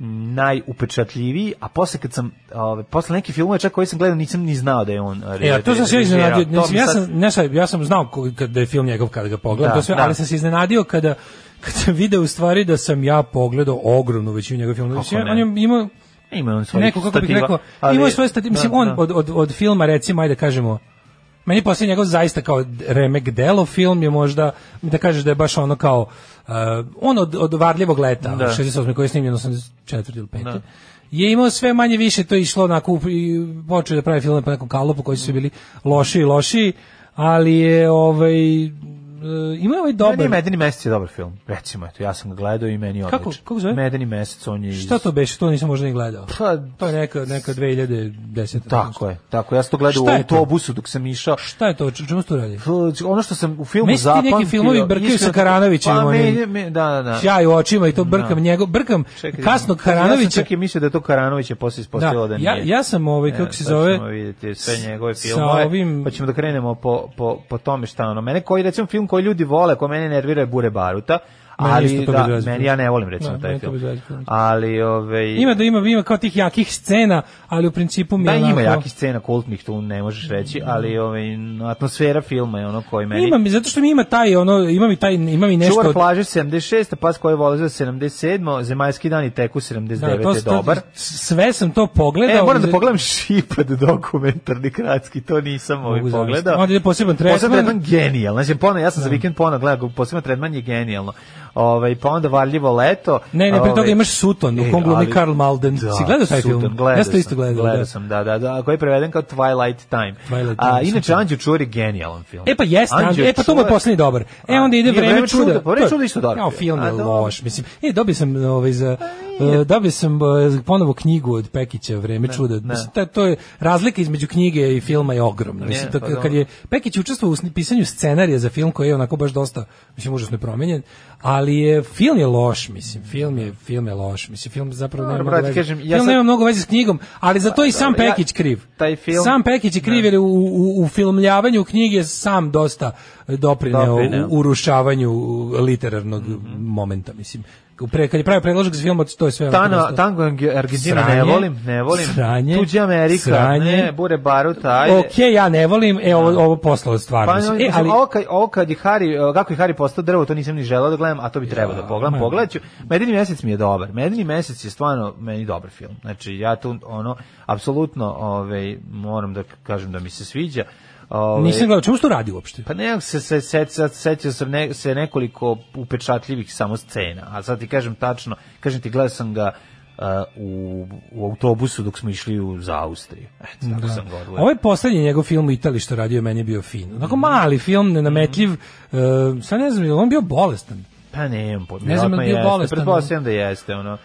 Speaker 6: m, najupečatljiviji, a posle kad sam ovaj, posle nekih filmova čak koji sam gledao nisam ni znao da je on
Speaker 7: E, a to sam se
Speaker 6: režirao.
Speaker 7: iznenadio.
Speaker 6: To
Speaker 7: Mislim,
Speaker 6: mi
Speaker 7: ja
Speaker 6: sad-
Speaker 7: sam, ne sad, ja sam znao ko- kad- da je film njegov kada ga pogledam,
Speaker 6: Da,
Speaker 7: to sve,
Speaker 6: da.
Speaker 7: ali sam se iznenadio kada kad sam video u stvari da sam ja pogledao ogromnu većinu njegovih filmova.
Speaker 6: Kako
Speaker 7: Mislim,
Speaker 6: ne?
Speaker 7: On je imao
Speaker 6: Ima on svojih
Speaker 7: neko, kako bih
Speaker 6: stativa,
Speaker 7: rekao,
Speaker 6: ali-
Speaker 7: imao je svoje stati- mislim,
Speaker 6: da,
Speaker 7: on
Speaker 6: da.
Speaker 7: od, od, od filma, recimo, ajde da kažemo, meni poslije njegov zaista kao remek delo film je možda, da kažeš da je baš ono kao, uh, on od, od varljivog leta,
Speaker 6: Da.
Speaker 7: 68. koji je snimljen 84. ili 5. je imao sve manje više, to je išlo onako, u- i počeo je da pravi filme po nekom kalopu koji su bili loši i loši, ali je ovaj, uh, imao je ovaj dobar...
Speaker 6: Meni je Medeni mesec je dobar film, recimo, eto, ja sam ga gledao i meni je
Speaker 7: Kako-
Speaker 6: odličan.
Speaker 7: kako zove?
Speaker 6: Medeni mesec, on je iz...
Speaker 7: Šta to beše, to nisam možda ni gledao.
Speaker 6: Pa,
Speaker 7: To je neka, neka 2010.
Speaker 6: Tako je, tako je. ja sam to gledao u
Speaker 7: Šta je to?
Speaker 6: autobusu dok sam išao.
Speaker 7: Šta je to, o čemu se tu radi?
Speaker 6: Ono što sam u filmu
Speaker 7: Meni se ti neki
Speaker 6: zapamtio...
Speaker 7: filmovi brkaju sa
Speaker 6: iskreno-
Speaker 7: Karanovićem,
Speaker 6: Pa,
Speaker 7: onim-
Speaker 6: me, me, da, da, da.
Speaker 7: Sjaj u očima i to brkam
Speaker 6: Da.
Speaker 7: njegov, brkam
Speaker 6: Čekaj,
Speaker 7: kasnog
Speaker 6: Ja sam
Speaker 7: Karanovića.
Speaker 6: čak i mislio da je to Karanović je poslije ispostavilo da,
Speaker 7: Da, ja-
Speaker 6: nije.
Speaker 7: ja sam ovaj,
Speaker 6: E,
Speaker 7: kako se
Speaker 6: sad
Speaker 7: zove,
Speaker 6: ćemo vidjeti sve
Speaker 7: s-
Speaker 6: njegove
Speaker 7: sa
Speaker 6: filmove,
Speaker 7: ovim-
Speaker 6: pa ćemo da krenemo po, po, po tome šta ono. Mene koji, recimo, film koji ljudi vole, koji mene nervira je Bure Baruta,
Speaker 7: Meni
Speaker 6: ali
Speaker 7: isto to
Speaker 6: da,
Speaker 7: bez veze.
Speaker 6: meni ja ne volim recimo
Speaker 7: Da,
Speaker 6: taj
Speaker 7: meni to bez
Speaker 6: film.
Speaker 7: veze.
Speaker 6: Ali ovaj
Speaker 7: Ima da ima, ima kao tih jakih scena, ali u principu mi
Speaker 6: Da,
Speaker 7: je
Speaker 6: ima
Speaker 7: onako- Da.
Speaker 6: jakih scena kultnih, tu ne možeš reći, ali ovaj, atmosfera filma je ono koji meni...
Speaker 7: Ima mi, zato što mi ima taj, ono, ima mi taj, ima mi nešto...
Speaker 6: Čuvar
Speaker 7: od-
Speaker 6: plaže 76, pas koje volaze 77, zemaljski dan i teku 79
Speaker 7: Da, to-
Speaker 6: je
Speaker 7: to-
Speaker 6: dobar.
Speaker 7: s- sve sam to pogledao.
Speaker 6: E, moram da
Speaker 7: iz-
Speaker 6: pogledam Šipad dokumentarni kratski, to nisam ovaj
Speaker 7: zamisliti.
Speaker 6: pogledao.
Speaker 7: Onda ide da- poseban
Speaker 6: Poseban
Speaker 7: tretman. Da.
Speaker 6: tretman genijalno. Znači, ponovno, ja sam za vikend ponovno gledao, ga, poseban tretman je genijalno. Ovaj, pa onda Valjivo leto.
Speaker 7: Ne, ne, pre
Speaker 6: ovaj,
Speaker 7: toga imaš Suton, u
Speaker 6: e,
Speaker 7: kom glumi
Speaker 6: ali-
Speaker 7: Karl Malden.
Speaker 6: Da,
Speaker 7: si gledao taj
Speaker 6: Suton,
Speaker 7: film?
Speaker 6: Gledao
Speaker 7: ja sam to isto gledao.
Speaker 6: Gledao
Speaker 7: da.
Speaker 6: sam, da, da, da, koji je preveden kao Twilight Time.
Speaker 7: Twilight
Speaker 6: A,
Speaker 7: Time,
Speaker 6: inače,
Speaker 7: Suton.
Speaker 6: Anđeo Čuvar je genijalan film.
Speaker 7: E pa jeste, Anđe, e pa to mu je
Speaker 6: Čuvar-
Speaker 7: poslednji dobar. E onda ide
Speaker 6: Nije,
Speaker 7: vreme
Speaker 6: Vreme
Speaker 7: čuda.
Speaker 6: čuda, pa Vreme
Speaker 7: To je-
Speaker 6: čuda isto dobar
Speaker 7: Kao
Speaker 6: film.
Speaker 7: film
Speaker 6: A, da. Pa
Speaker 7: je
Speaker 6: dobro.
Speaker 7: loš, mislim. E dobio sam ovaj za e, dobio sam e, ponovo knjigu od Pekića Vreme čuda. Mislim, ta- to je razlika između knjige i filma je ogromna. Mislim
Speaker 6: Je,
Speaker 7: to
Speaker 6: pa
Speaker 7: kad- kad
Speaker 6: dobro.
Speaker 7: je Pekić učestvovao u sni- pisanju scenarija za film koji je onako baš dosta mislim užasno je promenjen, ali je film je loš, mislim. Film je film je loš, mislim. Film zapravo nema
Speaker 6: Dobro,
Speaker 7: mnogo
Speaker 6: brate,
Speaker 7: veze.
Speaker 6: kažem, ja
Speaker 7: Film
Speaker 6: sad-
Speaker 7: nema mnogo veze s knjigom, ali za to i sam
Speaker 6: dobro, ja-
Speaker 7: Pekić kriv.
Speaker 6: taj film-
Speaker 7: Sam Pekić je kriv jer je u, u, u filmljavanju knjige je sam dosta doprineo,
Speaker 6: Doprineo.
Speaker 7: u urušavanju literarnog momenta, mislim. Pre, kad je pravio predložak za film, to je sve... onako
Speaker 6: Tano,
Speaker 7: dosta-
Speaker 6: tango Argentina ne
Speaker 7: Sranje,
Speaker 6: volim, ne volim.
Speaker 7: sranje,
Speaker 6: Tuđi Amerika,
Speaker 7: sranje.
Speaker 6: ne, bure baruta, ajde.
Speaker 7: Ok, ja ne volim, e, ovo, ovo poslalo stvarno.
Speaker 6: Pa,
Speaker 7: mislim.
Speaker 6: mislim,
Speaker 7: e, ali,
Speaker 6: ovo, kad, ovo kad je Harry, e, kako je Harry postao drvo, to nisam ni želeo da gledam, a to bi trebao da pogledam.
Speaker 7: man.
Speaker 6: Pogledat ću. Medeni mesec mi je dobar. Medeni mesec je stvarno meni dobar film. Znači, ja tu, ono, apsolutno, ovaj, moram da kažem da mi se sviđa. Ovaj,
Speaker 7: nisam gledao, čemu se to radi uopšte?
Speaker 6: Pa ne, se, se, se, se, sećao sam ne, se nekoliko upečatljivih samo scena, a sad ti kažem tačno, kažem ti, gledao sam ga uh, u, u autobusu dok smo išli u, za Austriju. Eto, tako sam ga odgledao.
Speaker 7: Ovaj poslednji njegov film u Italiji što je radio meni je bio fin. Onako mali film, nenametljiv,
Speaker 6: Mhm.
Speaker 7: e, sad ne znam, je li on bio bolestan.
Speaker 6: Pa nemam pojma.
Speaker 7: Ne znam je li bio
Speaker 6: vjerojatno jeste,
Speaker 7: bolestan,
Speaker 6: Pretpostavljam da jeste, ono.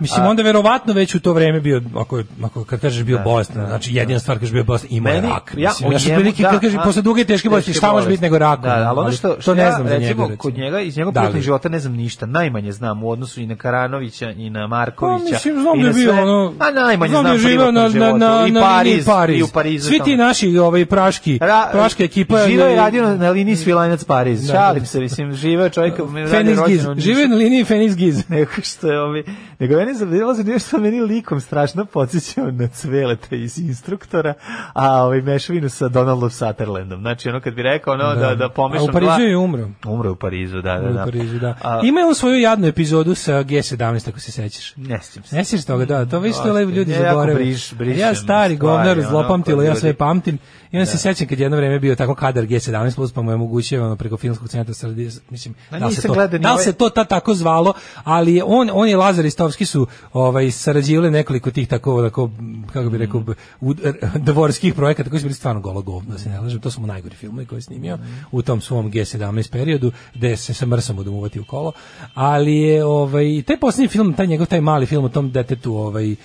Speaker 7: Mislim,
Speaker 6: A- Da,
Speaker 7: onda verovatno već u to vreme bio, ako, je- ako kad kažeš bio bolestan, znači jedina stvar kažeš bio bolestan, imao je
Speaker 6: Meni-
Speaker 7: rak.
Speaker 6: ja,
Speaker 7: Mislim,
Speaker 6: o
Speaker 7: znaš,
Speaker 6: njemu,
Speaker 7: otprilike
Speaker 6: da,
Speaker 7: kad kažeš,
Speaker 6: a,
Speaker 7: posle duge i teške bolesti,
Speaker 6: teške
Speaker 7: šta može biti nego rak?
Speaker 6: Da, da, ali ono što, što
Speaker 7: to ne
Speaker 6: ja,
Speaker 7: znam za
Speaker 6: recimo,
Speaker 7: njega.
Speaker 6: kod
Speaker 7: recimo.
Speaker 6: njega, iz njegovog
Speaker 7: Da,
Speaker 6: privatnog
Speaker 7: ali-
Speaker 6: života ne znam ništa, najmanje znam u odnosu i na Karanovića i na Markovića.
Speaker 7: Pa, mislim, znam
Speaker 6: i
Speaker 7: da
Speaker 6: na
Speaker 7: je bio
Speaker 6: sve.
Speaker 7: ono...
Speaker 6: A najmanje
Speaker 7: znam
Speaker 6: znam,
Speaker 7: da je živeo na,
Speaker 6: privatnom životu.
Speaker 7: na, na,
Speaker 6: I
Speaker 7: na liniji
Speaker 6: Pariz,
Speaker 7: Pariz.
Speaker 6: I u Parizu.
Speaker 7: Svi
Speaker 6: tamo.
Speaker 7: ti naši ovaj, praški,
Speaker 6: Ra-
Speaker 7: praška ekipa... je-
Speaker 6: Živeo je radio na liniji Svilajnac Pariz.
Speaker 7: Da,
Speaker 6: Šalim
Speaker 7: da.
Speaker 6: se, mislim, živeo je čovjek... radio
Speaker 7: Feniks Giz.
Speaker 6: rođendan u Nišu.
Speaker 7: Živeo je na liniji Feniks Giz.
Speaker 6: nego što je ovi, nego je mene zavilaze nešto meni likom strašno podsjećao na Cveleta iz instruktora, a ovaj mešavinu sa Donaldom Sutherlandom. Znači ono kad bi rekao ono da da, da pomešam
Speaker 7: A u Parizu
Speaker 6: dva-
Speaker 7: je umro.
Speaker 6: Umro je u Parizu, da, da, da.
Speaker 7: U Parizu, da.
Speaker 6: A-
Speaker 7: Ima on svoju jadnu epizodu sa G17, ako se sećaš.
Speaker 6: Ne sjećam se.
Speaker 7: Ne sjećaš toga, da. To vi što
Speaker 6: Dosta.
Speaker 7: levi ljudi
Speaker 6: Ja jako
Speaker 7: zaborave.
Speaker 6: briš- brišem
Speaker 7: ja stvari,
Speaker 6: stvari,
Speaker 7: govnar,
Speaker 6: ono,
Speaker 7: zlopamtilo,
Speaker 6: kod
Speaker 7: ja
Speaker 6: ljudi.
Speaker 7: sve pamtim. I onda
Speaker 6: Da.
Speaker 7: se sećam kad jedno vreme bio tako kadar G17+, plus, pa mu je omogućio ono, preko filmskog centra Srbije, mislim,
Speaker 6: Ma
Speaker 7: da li se
Speaker 6: nisam
Speaker 7: to,
Speaker 6: gledao ni
Speaker 7: da li
Speaker 6: ovaj-
Speaker 7: se to ta tako zvalo, ali je on, on i Lazar Istovski su ovaj, sarađivali nekoliko tih tako, tako kako bi
Speaker 6: Mm.
Speaker 7: rekao, u, dvorskih projekata koji su bili stvarno golo govno, da se ne lažem, to su mu najgori filmovi koje je
Speaker 6: Mm.
Speaker 7: snimio u tom svom G17 periodu, gde se sa mrsom odumuvati u kolo, ali je ovaj, taj posljednji film, taj njegov, taj mali film o tom detetu, ovaj, e,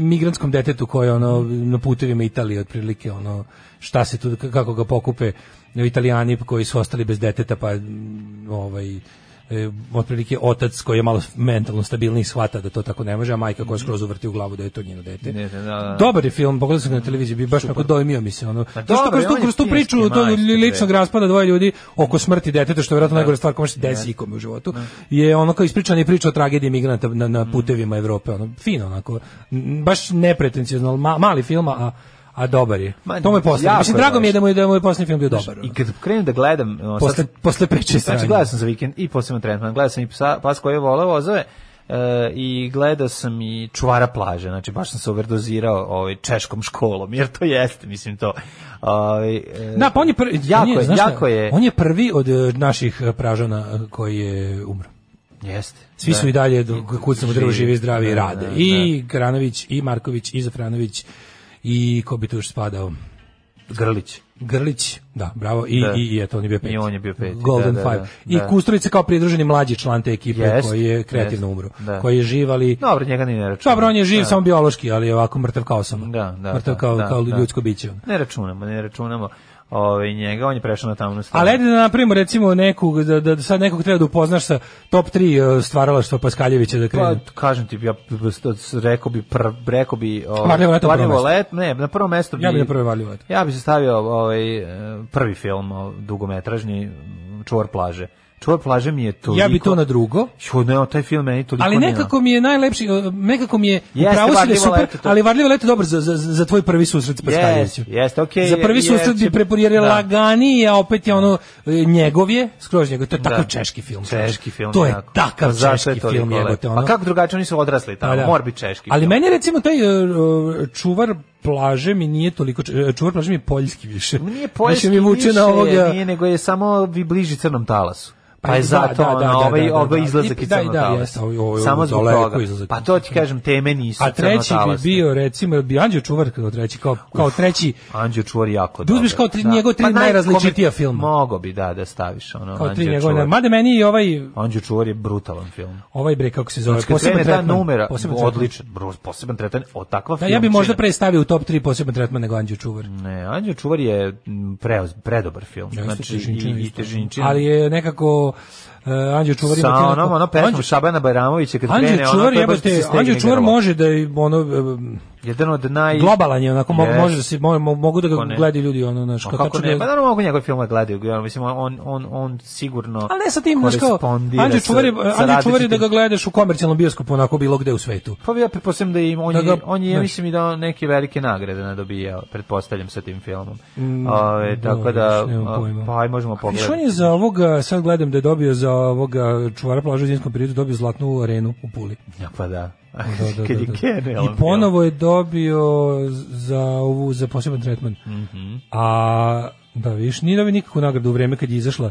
Speaker 7: migrantskom detetu koje ono na putevima Italije otprilike ono šta se tu kako ga pokupe e, Italijani koji su ostali bez deteta pa mm, ovaj e, otprilike otac koji je malo mentalno stabilniji shvata da to tako ne može, a majka koja skroz uvrti u glavu da je to njeno dete.
Speaker 6: Mhm. Ne, ne, da, da.
Speaker 7: Dobar je film, pogledao sam ga na televiziji, bi baš onako dojmio mi se. Ono.
Speaker 6: Pa
Speaker 7: Zato što
Speaker 6: dobro,
Speaker 7: kroz, tu,
Speaker 6: on je
Speaker 7: kroz tu
Speaker 6: filmski
Speaker 7: priču tog
Speaker 6: majstor,
Speaker 7: ličnog
Speaker 6: bre.
Speaker 7: raspada dvoje ljudi oko smrti deteta, što je
Speaker 6: Da.
Speaker 7: vjerojatno najgore stvar koja može se desiti ikome u životu, je ono kao ispričana je priča o tragediji migranata na,
Speaker 6: Mm.
Speaker 7: na putevima Evrope. Ono, fino onako, n- baš nepretencijozno, ali ma- mali film, a, a dobar je.
Speaker 6: Ma,
Speaker 7: to mu je poslednji.
Speaker 6: jako
Speaker 7: Mislim,
Speaker 6: je
Speaker 7: drago mi je
Speaker 6: važno.
Speaker 7: da mu je, da mu je poslednji film bio dobar. ono.
Speaker 6: I kad krenem da gledam... o, sad
Speaker 7: Posle-
Speaker 6: sam-
Speaker 7: posle priče sranje.
Speaker 6: Znači, gledao sam za vikend i posebno tretman. Gledao sam i psa, pas koji je voleo vozove e, i gledao sam i čuvara plaže. Znači, baš sam se overdozirao ovaj, češkom školom, jer to jeste, mislim, to. Ovaj, e,
Speaker 7: Da, pa on je prvi,
Speaker 6: jako,
Speaker 7: on je,
Speaker 6: je,
Speaker 7: znaš šta,
Speaker 6: jako je...
Speaker 7: On je prvi od e, naših e, pražana e, koji je umro.
Speaker 6: Jeste.
Speaker 7: Svi
Speaker 6: Da.
Speaker 7: su i dalje dok- kucamo drvo živi, zdravi
Speaker 6: Da,
Speaker 7: i rade.
Speaker 6: da,
Speaker 7: I Granović, i Marković, i Zafranović, i ko bi tu još spadao?
Speaker 6: Grlić.
Speaker 7: Grlić, da, bravo, i,
Speaker 6: Da.
Speaker 7: i, i eto, on je bio peti.
Speaker 6: I on je bio peti,
Speaker 7: Golden
Speaker 6: da, da,
Speaker 7: Five.
Speaker 6: da, da.
Speaker 7: I Kusturica kao pridruženi mlađi član te ekipe
Speaker 6: Jest,
Speaker 7: koji je kreativno
Speaker 6: jest,
Speaker 7: umro,
Speaker 6: da.
Speaker 7: koji je živ, ali...
Speaker 6: Dobro, njega ni ne računamo.
Speaker 7: Dobro, on je živ,
Speaker 6: Da.
Speaker 7: samo biološki, ali je ovako mrtav kao sam.
Speaker 6: Da, da,
Speaker 7: mrtav
Speaker 6: da,
Speaker 7: kao,
Speaker 6: da,
Speaker 7: kao
Speaker 6: da.
Speaker 7: ljudsko biće.
Speaker 6: Ne računamo, ne računamo ovaj, njega. On je prešao na tamnu stranu.
Speaker 7: Ali ajde da napravimo recimo nekog, da, da sad nekog treba da upoznaš sa top 3 stvaralaštva Paskaljevića da krenu.
Speaker 6: Pa, kažem ti, ja rekao bi, pr, rekao bi... O,
Speaker 7: Varljivo leto na prvo
Speaker 6: Varljivo let-
Speaker 7: mesto.
Speaker 6: ne, na prvo mesto bi...
Speaker 7: Ja bih napravio Varljivo leto.
Speaker 6: Ja bi se stavio ovaj, e, prvi film, o, dugometražni, m, Čuvar plaže. Čuvar plaže mi je toliko...
Speaker 7: Ja bi to na drugo.
Speaker 6: Jo, ne, taj film meni toliko
Speaker 7: Ali
Speaker 6: nije-
Speaker 7: nekako mi je najlepši, e, nekako mi je
Speaker 6: Jeste,
Speaker 7: upravo si da je
Speaker 6: Varljivo
Speaker 7: super,
Speaker 6: leto to.
Speaker 7: ali varljivo leto je dobro za, za, za tvoj prvi susret s Paskaljevićem.
Speaker 6: Jeste, jeste, okej,
Speaker 7: pa Za prvi
Speaker 6: je-
Speaker 7: susret
Speaker 6: je-
Speaker 7: bi preporijeri
Speaker 6: da.
Speaker 7: laganiji, a opet je ono e, njegov je, skroz njegov, to je takav
Speaker 6: Da.
Speaker 7: češki film.
Speaker 6: Češki film.
Speaker 7: To je
Speaker 6: jako.
Speaker 7: takav
Speaker 6: Pa zašto je
Speaker 7: češki
Speaker 6: toliko
Speaker 7: film,
Speaker 6: lep?
Speaker 7: jebote, ono.
Speaker 6: A kako drugačije, oni su odrasli tamo,
Speaker 7: Pa da.
Speaker 6: mora biti češki
Speaker 7: Ali
Speaker 6: film.
Speaker 7: meni je recimo taj e, e, čuvar plaže mi nije toliko č- e, čuvar plaže mi je poljski više. (laughs)
Speaker 6: Nije
Speaker 7: Više
Speaker 6: poljski
Speaker 7: Znači, mi vuče
Speaker 6: više,
Speaker 7: na ovoga.
Speaker 6: nije, nego je samo vi bliži crnom talasu. Pa,
Speaker 7: Pa
Speaker 6: je
Speaker 7: da,
Speaker 6: zato
Speaker 7: da,
Speaker 6: ono,
Speaker 7: da, da,
Speaker 6: ovaj,
Speaker 7: da,
Speaker 6: ovaj
Speaker 7: da.
Speaker 6: izlazak
Speaker 7: I-
Speaker 6: iz
Speaker 7: da, i
Speaker 6: crnog
Speaker 7: da,
Speaker 6: talasa.
Speaker 7: jeste, ovaj- ovaj-
Speaker 6: Samo zbog
Speaker 7: daleko
Speaker 6: toga.
Speaker 7: izlazak.
Speaker 6: Pa to ti kažem, teme nisu
Speaker 7: A treći bi
Speaker 6: crnotalasne.
Speaker 7: bio recimo jel bi Anđeo čuvar kao treći kao kao treći
Speaker 6: Anđeo čuvar jako
Speaker 7: Da
Speaker 6: dobro.
Speaker 7: uzmeš kao tri- njegov tri
Speaker 6: naj-
Speaker 7: najrazličitija
Speaker 6: komi-
Speaker 7: filma.
Speaker 6: Mogo bi, da, da staviš. Ono,
Speaker 7: kao tri
Speaker 6: Anđeo
Speaker 7: njegove.
Speaker 6: čuvar.
Speaker 7: Mada meni i ovaj
Speaker 6: Anđeo čuvar je brutalan film.
Speaker 7: ovaj bre kako se zove,
Speaker 6: Znači, kad
Speaker 7: poseban
Speaker 6: krene ta
Speaker 7: tretman.
Speaker 6: numera,
Speaker 7: poseban tretman.
Speaker 6: odličan, bro, poseban tretan, o takva
Speaker 7: Da,
Speaker 6: film.
Speaker 7: ja bi možda pre stavio u top 3 poseban tretman nego Anđeo čuvar.
Speaker 6: Ne, Anđeo čuvar je mm, preoz, predobar film. znači, i, i težinčina.
Speaker 7: Ali je nekako uh, Anđeo čuvar ima
Speaker 6: sa
Speaker 7: ti onako-
Speaker 6: onom, ono pesmom
Speaker 7: Anđeo-
Speaker 6: Šabana Bajramovića kad
Speaker 7: Anđeo
Speaker 6: krene, ono,
Speaker 7: čuvar
Speaker 6: to je baš da
Speaker 7: jebote,
Speaker 6: se stegne
Speaker 7: Anđeo čuvar
Speaker 6: grlo.
Speaker 7: može da je ono e,
Speaker 6: Jedan od naj...
Speaker 7: globalan je onako mogu
Speaker 6: Yes.
Speaker 7: može da se mo- mo- mogu da ga
Speaker 6: Kako ne?
Speaker 7: gledaju ljudi ono naš
Speaker 6: Ma kako ne,
Speaker 7: da,
Speaker 6: pa naravno mogu njegove filmove gledaju, ja, mislim, on, on, on sigurno
Speaker 7: Ali ne sa tim, znaš kao,
Speaker 6: korespondira
Speaker 7: Anđe
Speaker 6: sa-
Speaker 7: čuvar, je,
Speaker 6: sa
Speaker 7: Anđe čuvar je da
Speaker 6: različitim-
Speaker 7: ga gledaš u komercijalnom bioskopu, onako bilo gde u svetu.
Speaker 6: Pa ja pretpostavljam da im, on,
Speaker 7: Da
Speaker 6: je,
Speaker 7: ga-
Speaker 6: on je, ja
Speaker 7: znaš.
Speaker 6: mislim, i da neke velike nagrade ne dobijao, pretpostavljam sa tim filmom.
Speaker 7: Mm,
Speaker 6: Ove,
Speaker 7: dobro,
Speaker 6: tako da,
Speaker 7: još nemam
Speaker 6: a,
Speaker 7: pojma.
Speaker 6: pa aj možemo
Speaker 7: Viš, on
Speaker 6: pogledati.
Speaker 7: je za ovoga, sad gledam da je dobio za ovoga čuvara plaža u zimskom periodu, dobio zlatnu arenu u Puli.
Speaker 6: Ja, pa da.
Speaker 7: Da, da, da,
Speaker 6: Kad je
Speaker 7: da.
Speaker 6: genijalan
Speaker 7: I ponovo je dobio za ovu, za poseban tretman.
Speaker 6: Mhm.
Speaker 7: A, da, viš, nije dobio nikakvu nagradu u vreme kad je izašla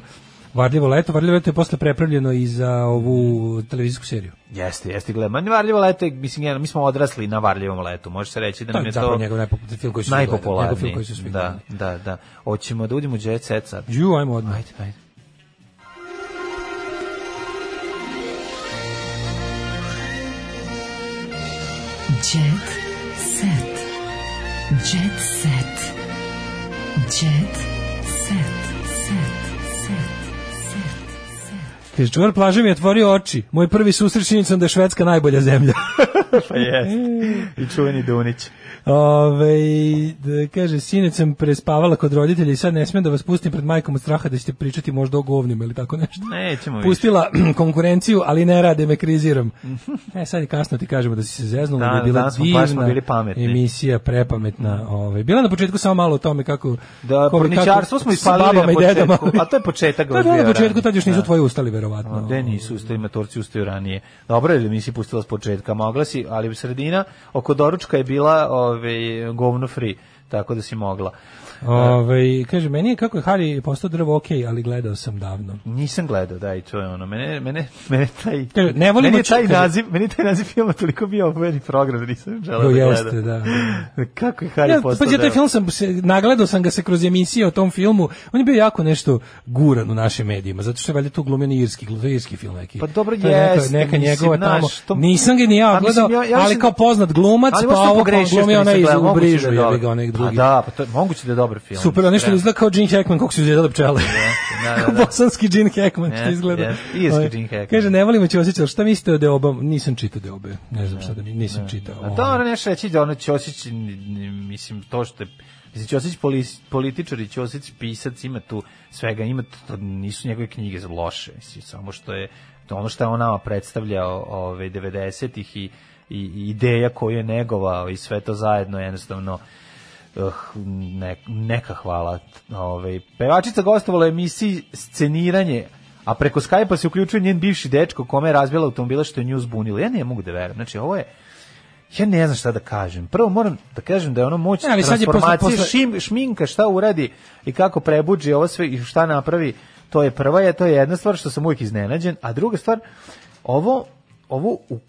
Speaker 7: Varljivo leto. Varljivo leto je posle prepravljeno i za ovu televizijsku seriju.
Speaker 6: film. Jeste, jeste, gledam. Ma, Varljivo leto, je, mislim, generalno, mi smo odrasli na Varljivom letu, može se reći da
Speaker 7: To
Speaker 6: nam
Speaker 7: je
Speaker 6: je
Speaker 7: zapravo
Speaker 6: to...
Speaker 7: njegov najpopularniji film koji su svi gledali. Njegov film
Speaker 6: najpopularniji.
Speaker 7: koji su svi
Speaker 6: Da,
Speaker 7: gledali.
Speaker 6: da, da. Hoćemo da udimo u Jet Set sad.
Speaker 7: Ju, ajmo odmah.
Speaker 6: Ajde, ajde.
Speaker 13: Jet set. Jet set. Jet set. Set. Set. Set. Set.
Speaker 7: Kaže, čuvar plaže mi je otvorio oči. Moj prvi susret s činjenicom da je Švedska najbolja zemlja. (laughs)
Speaker 6: pa jest. I čuveni Dunić.
Speaker 7: Ove, da kaže, sinec sam prespavala kod roditelja i sad ne smijem da vas pustim pred majkom od straha da ćete pričati možda o govnima ili tako nešto.
Speaker 6: Nećemo više.
Speaker 7: Pustila (clears throat) konkurenciju, ali ne rade me
Speaker 6: (laughs)
Speaker 7: kriziram. e, sad je kasno ti kažemo da si se zeznula,
Speaker 6: Da,
Speaker 7: da, je bila
Speaker 6: danas smo
Speaker 7: divna
Speaker 6: baš smo bili pametni.
Speaker 7: emisija, prepametna. Ove. Bila na početku samo malo o tome kako...
Speaker 6: Da,
Speaker 7: kako-
Speaker 6: porničarstvo smo
Speaker 7: sa
Speaker 6: ispalili na
Speaker 7: babama i dedama.
Speaker 6: početku, a to je početak.
Speaker 7: (laughs) Da, da, na početku tad još nisu tvoji ustali, verovatno.
Speaker 6: Gde nisu ustali, matorci ustaju ranije. Dobro je da nisi pustila s početka, mogla si, ali sredina oko doručka je bila ove, govno free, tako da si mogla. da.
Speaker 7: Ove, Ovaj, kaže, meni je kako je Harry postao drvo ok, ali gledao sam davno.
Speaker 6: Nisam gledao, da, i to je ono. Mene, mene, mene taj,
Speaker 7: Kaže, ne volimo
Speaker 6: meni je
Speaker 7: či-
Speaker 6: taj
Speaker 7: kaže-
Speaker 6: naziv, meni je taj naziv filma toliko bio obveni program da nisam želeo
Speaker 7: Jo,
Speaker 6: da
Speaker 7: jeste,
Speaker 6: gledam.
Speaker 7: da.
Speaker 6: Kako je Harry
Speaker 7: Ja,
Speaker 6: postao
Speaker 7: pa ja taj
Speaker 6: deo?
Speaker 7: film sam se, nagledao sam ga se kroz emisije o tom filmu. On je bio jako nešto guran u našim medijima, zato što je valjda tu glumljen irski, glumljen irski film neki.
Speaker 6: Pa dobro
Speaker 7: To je neka-
Speaker 6: jeste,
Speaker 7: neka
Speaker 6: mislim,
Speaker 7: njegova tamo.
Speaker 6: znaš, to-
Speaker 7: Nisam ga ni ja
Speaker 6: A mislim,
Speaker 7: gledao,
Speaker 6: ja- ja
Speaker 7: ali
Speaker 6: mislim-
Speaker 7: kao poznat glumac,
Speaker 6: Ali da
Speaker 7: pa
Speaker 6: možda sam
Speaker 7: ovo kao
Speaker 6: pogrešio što
Speaker 7: glumio
Speaker 6: nisam
Speaker 7: onaj iz
Speaker 6: gledao,
Speaker 7: u
Speaker 6: moguće
Speaker 7: Brižu,
Speaker 6: da je
Speaker 7: je
Speaker 6: dobar.
Speaker 7: ga onaj drugi.
Speaker 6: A da, pa to je, moguće da je dobar film.
Speaker 7: Super, on nešto
Speaker 6: Treba.
Speaker 7: izgleda kao Gene Hackman, kako su izgledali pčele.
Speaker 6: Da, da,
Speaker 7: (laughs) Kao
Speaker 6: da.
Speaker 7: Bosanski Gene Hackman, što
Speaker 6: Jeste,
Speaker 7: izgleda.
Speaker 6: jeste, irski
Speaker 7: Ovaj,
Speaker 6: Gene Hackman.
Speaker 7: Kaže, ne volimo će osjećati, šta mislite o Deobama? Nisam čitao Deobe, ne znam šta da mi, nisam čitao. ovaj
Speaker 6: A to ono nešto reći da ono Ćosić, n- n- mislim, to što je Mislim, Ćosić polis- političar i Ćosić pisac ima tu svega, ima tu, to nisu njegove knjige loše, mislim, samo što je to ono što je on nama predstavljao ove 90-ih i, i, i ideja koju je negovao i sve to zajedno jednostavno uh, ne, neka hvala. Ove, pevačica gostovala u emisiji Sceniranje, a preko Skype-a se uključuje njen bivši dečko kome je razbila automobila što je nju zbunilo. Ja ne mogu da verujem. Znači, ovo je Ja ne znam šta da kažem. Prvo moram da kažem da je ono moć
Speaker 7: Ne, ali sad je posle-
Speaker 6: transformacije,
Speaker 7: posle-
Speaker 6: šim- šminka, šta uradi i kako prebuđi ovo sve i šta napravi, to je prva, je, to je jedna stvar što sam uvijek iznenađen, a druga stvar, ovo, ovo u-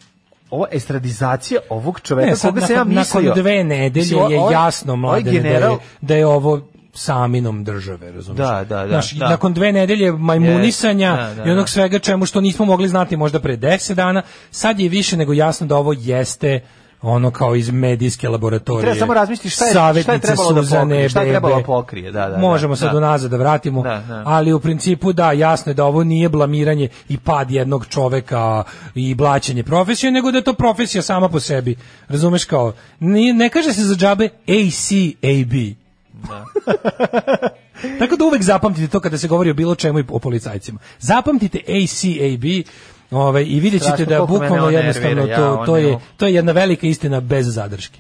Speaker 6: ovo estradizacija ovog čoveka
Speaker 7: Ne, E, sad
Speaker 6: koga se ja
Speaker 7: nakon,
Speaker 6: mislio.
Speaker 7: nakon dve nedelje
Speaker 6: Mislim, o-
Speaker 7: je
Speaker 6: ovaj-
Speaker 7: jasno
Speaker 6: ovaj
Speaker 7: mladene da,
Speaker 6: general-
Speaker 7: je, da je ovo saminom države, razumiješ?
Speaker 6: Da, da, da,
Speaker 7: Znaš,
Speaker 6: da.
Speaker 7: Nakon dve nedelje majmunisanja
Speaker 6: Yes, da, da,
Speaker 7: i onog
Speaker 6: da.
Speaker 7: svega čemu što nismo mogli znati možda pre deset dana, sad je više nego jasno da ovo jeste ono kao iz medijske laboratorije.
Speaker 6: Treba samo razmisliti šta je, šta je
Speaker 7: Savetnice
Speaker 6: trebalo da
Speaker 7: Suzane
Speaker 6: pokrije. Šta je trebalo da
Speaker 7: Bebe.
Speaker 6: pokrije, da, da. da,
Speaker 7: Možemo sad
Speaker 6: da.
Speaker 7: unazad da vratimo,
Speaker 6: Da, da.
Speaker 7: ali u principu da, jasno je da ovo nije blamiranje i pad jednog čoveka i blaćenje profesije, nego da je to profesija sama po sebi. Razumeš kao, nije- ne kaže se za džabe ACAB.
Speaker 6: Da.
Speaker 7: (laughs) Tako da uvek zapamtite to kada se govori o bilo čemu i o policajcima. Zapamtite ACAB ovaj, i vidjet ćete
Speaker 6: Strašno
Speaker 7: da
Speaker 6: koliko mene
Speaker 7: bukvalno
Speaker 6: on
Speaker 7: jednostavno
Speaker 6: nervira, ja,
Speaker 7: to,
Speaker 6: on
Speaker 7: to,
Speaker 6: je
Speaker 7: je,
Speaker 6: ono-
Speaker 7: to je jedna velika istina bez zadrške.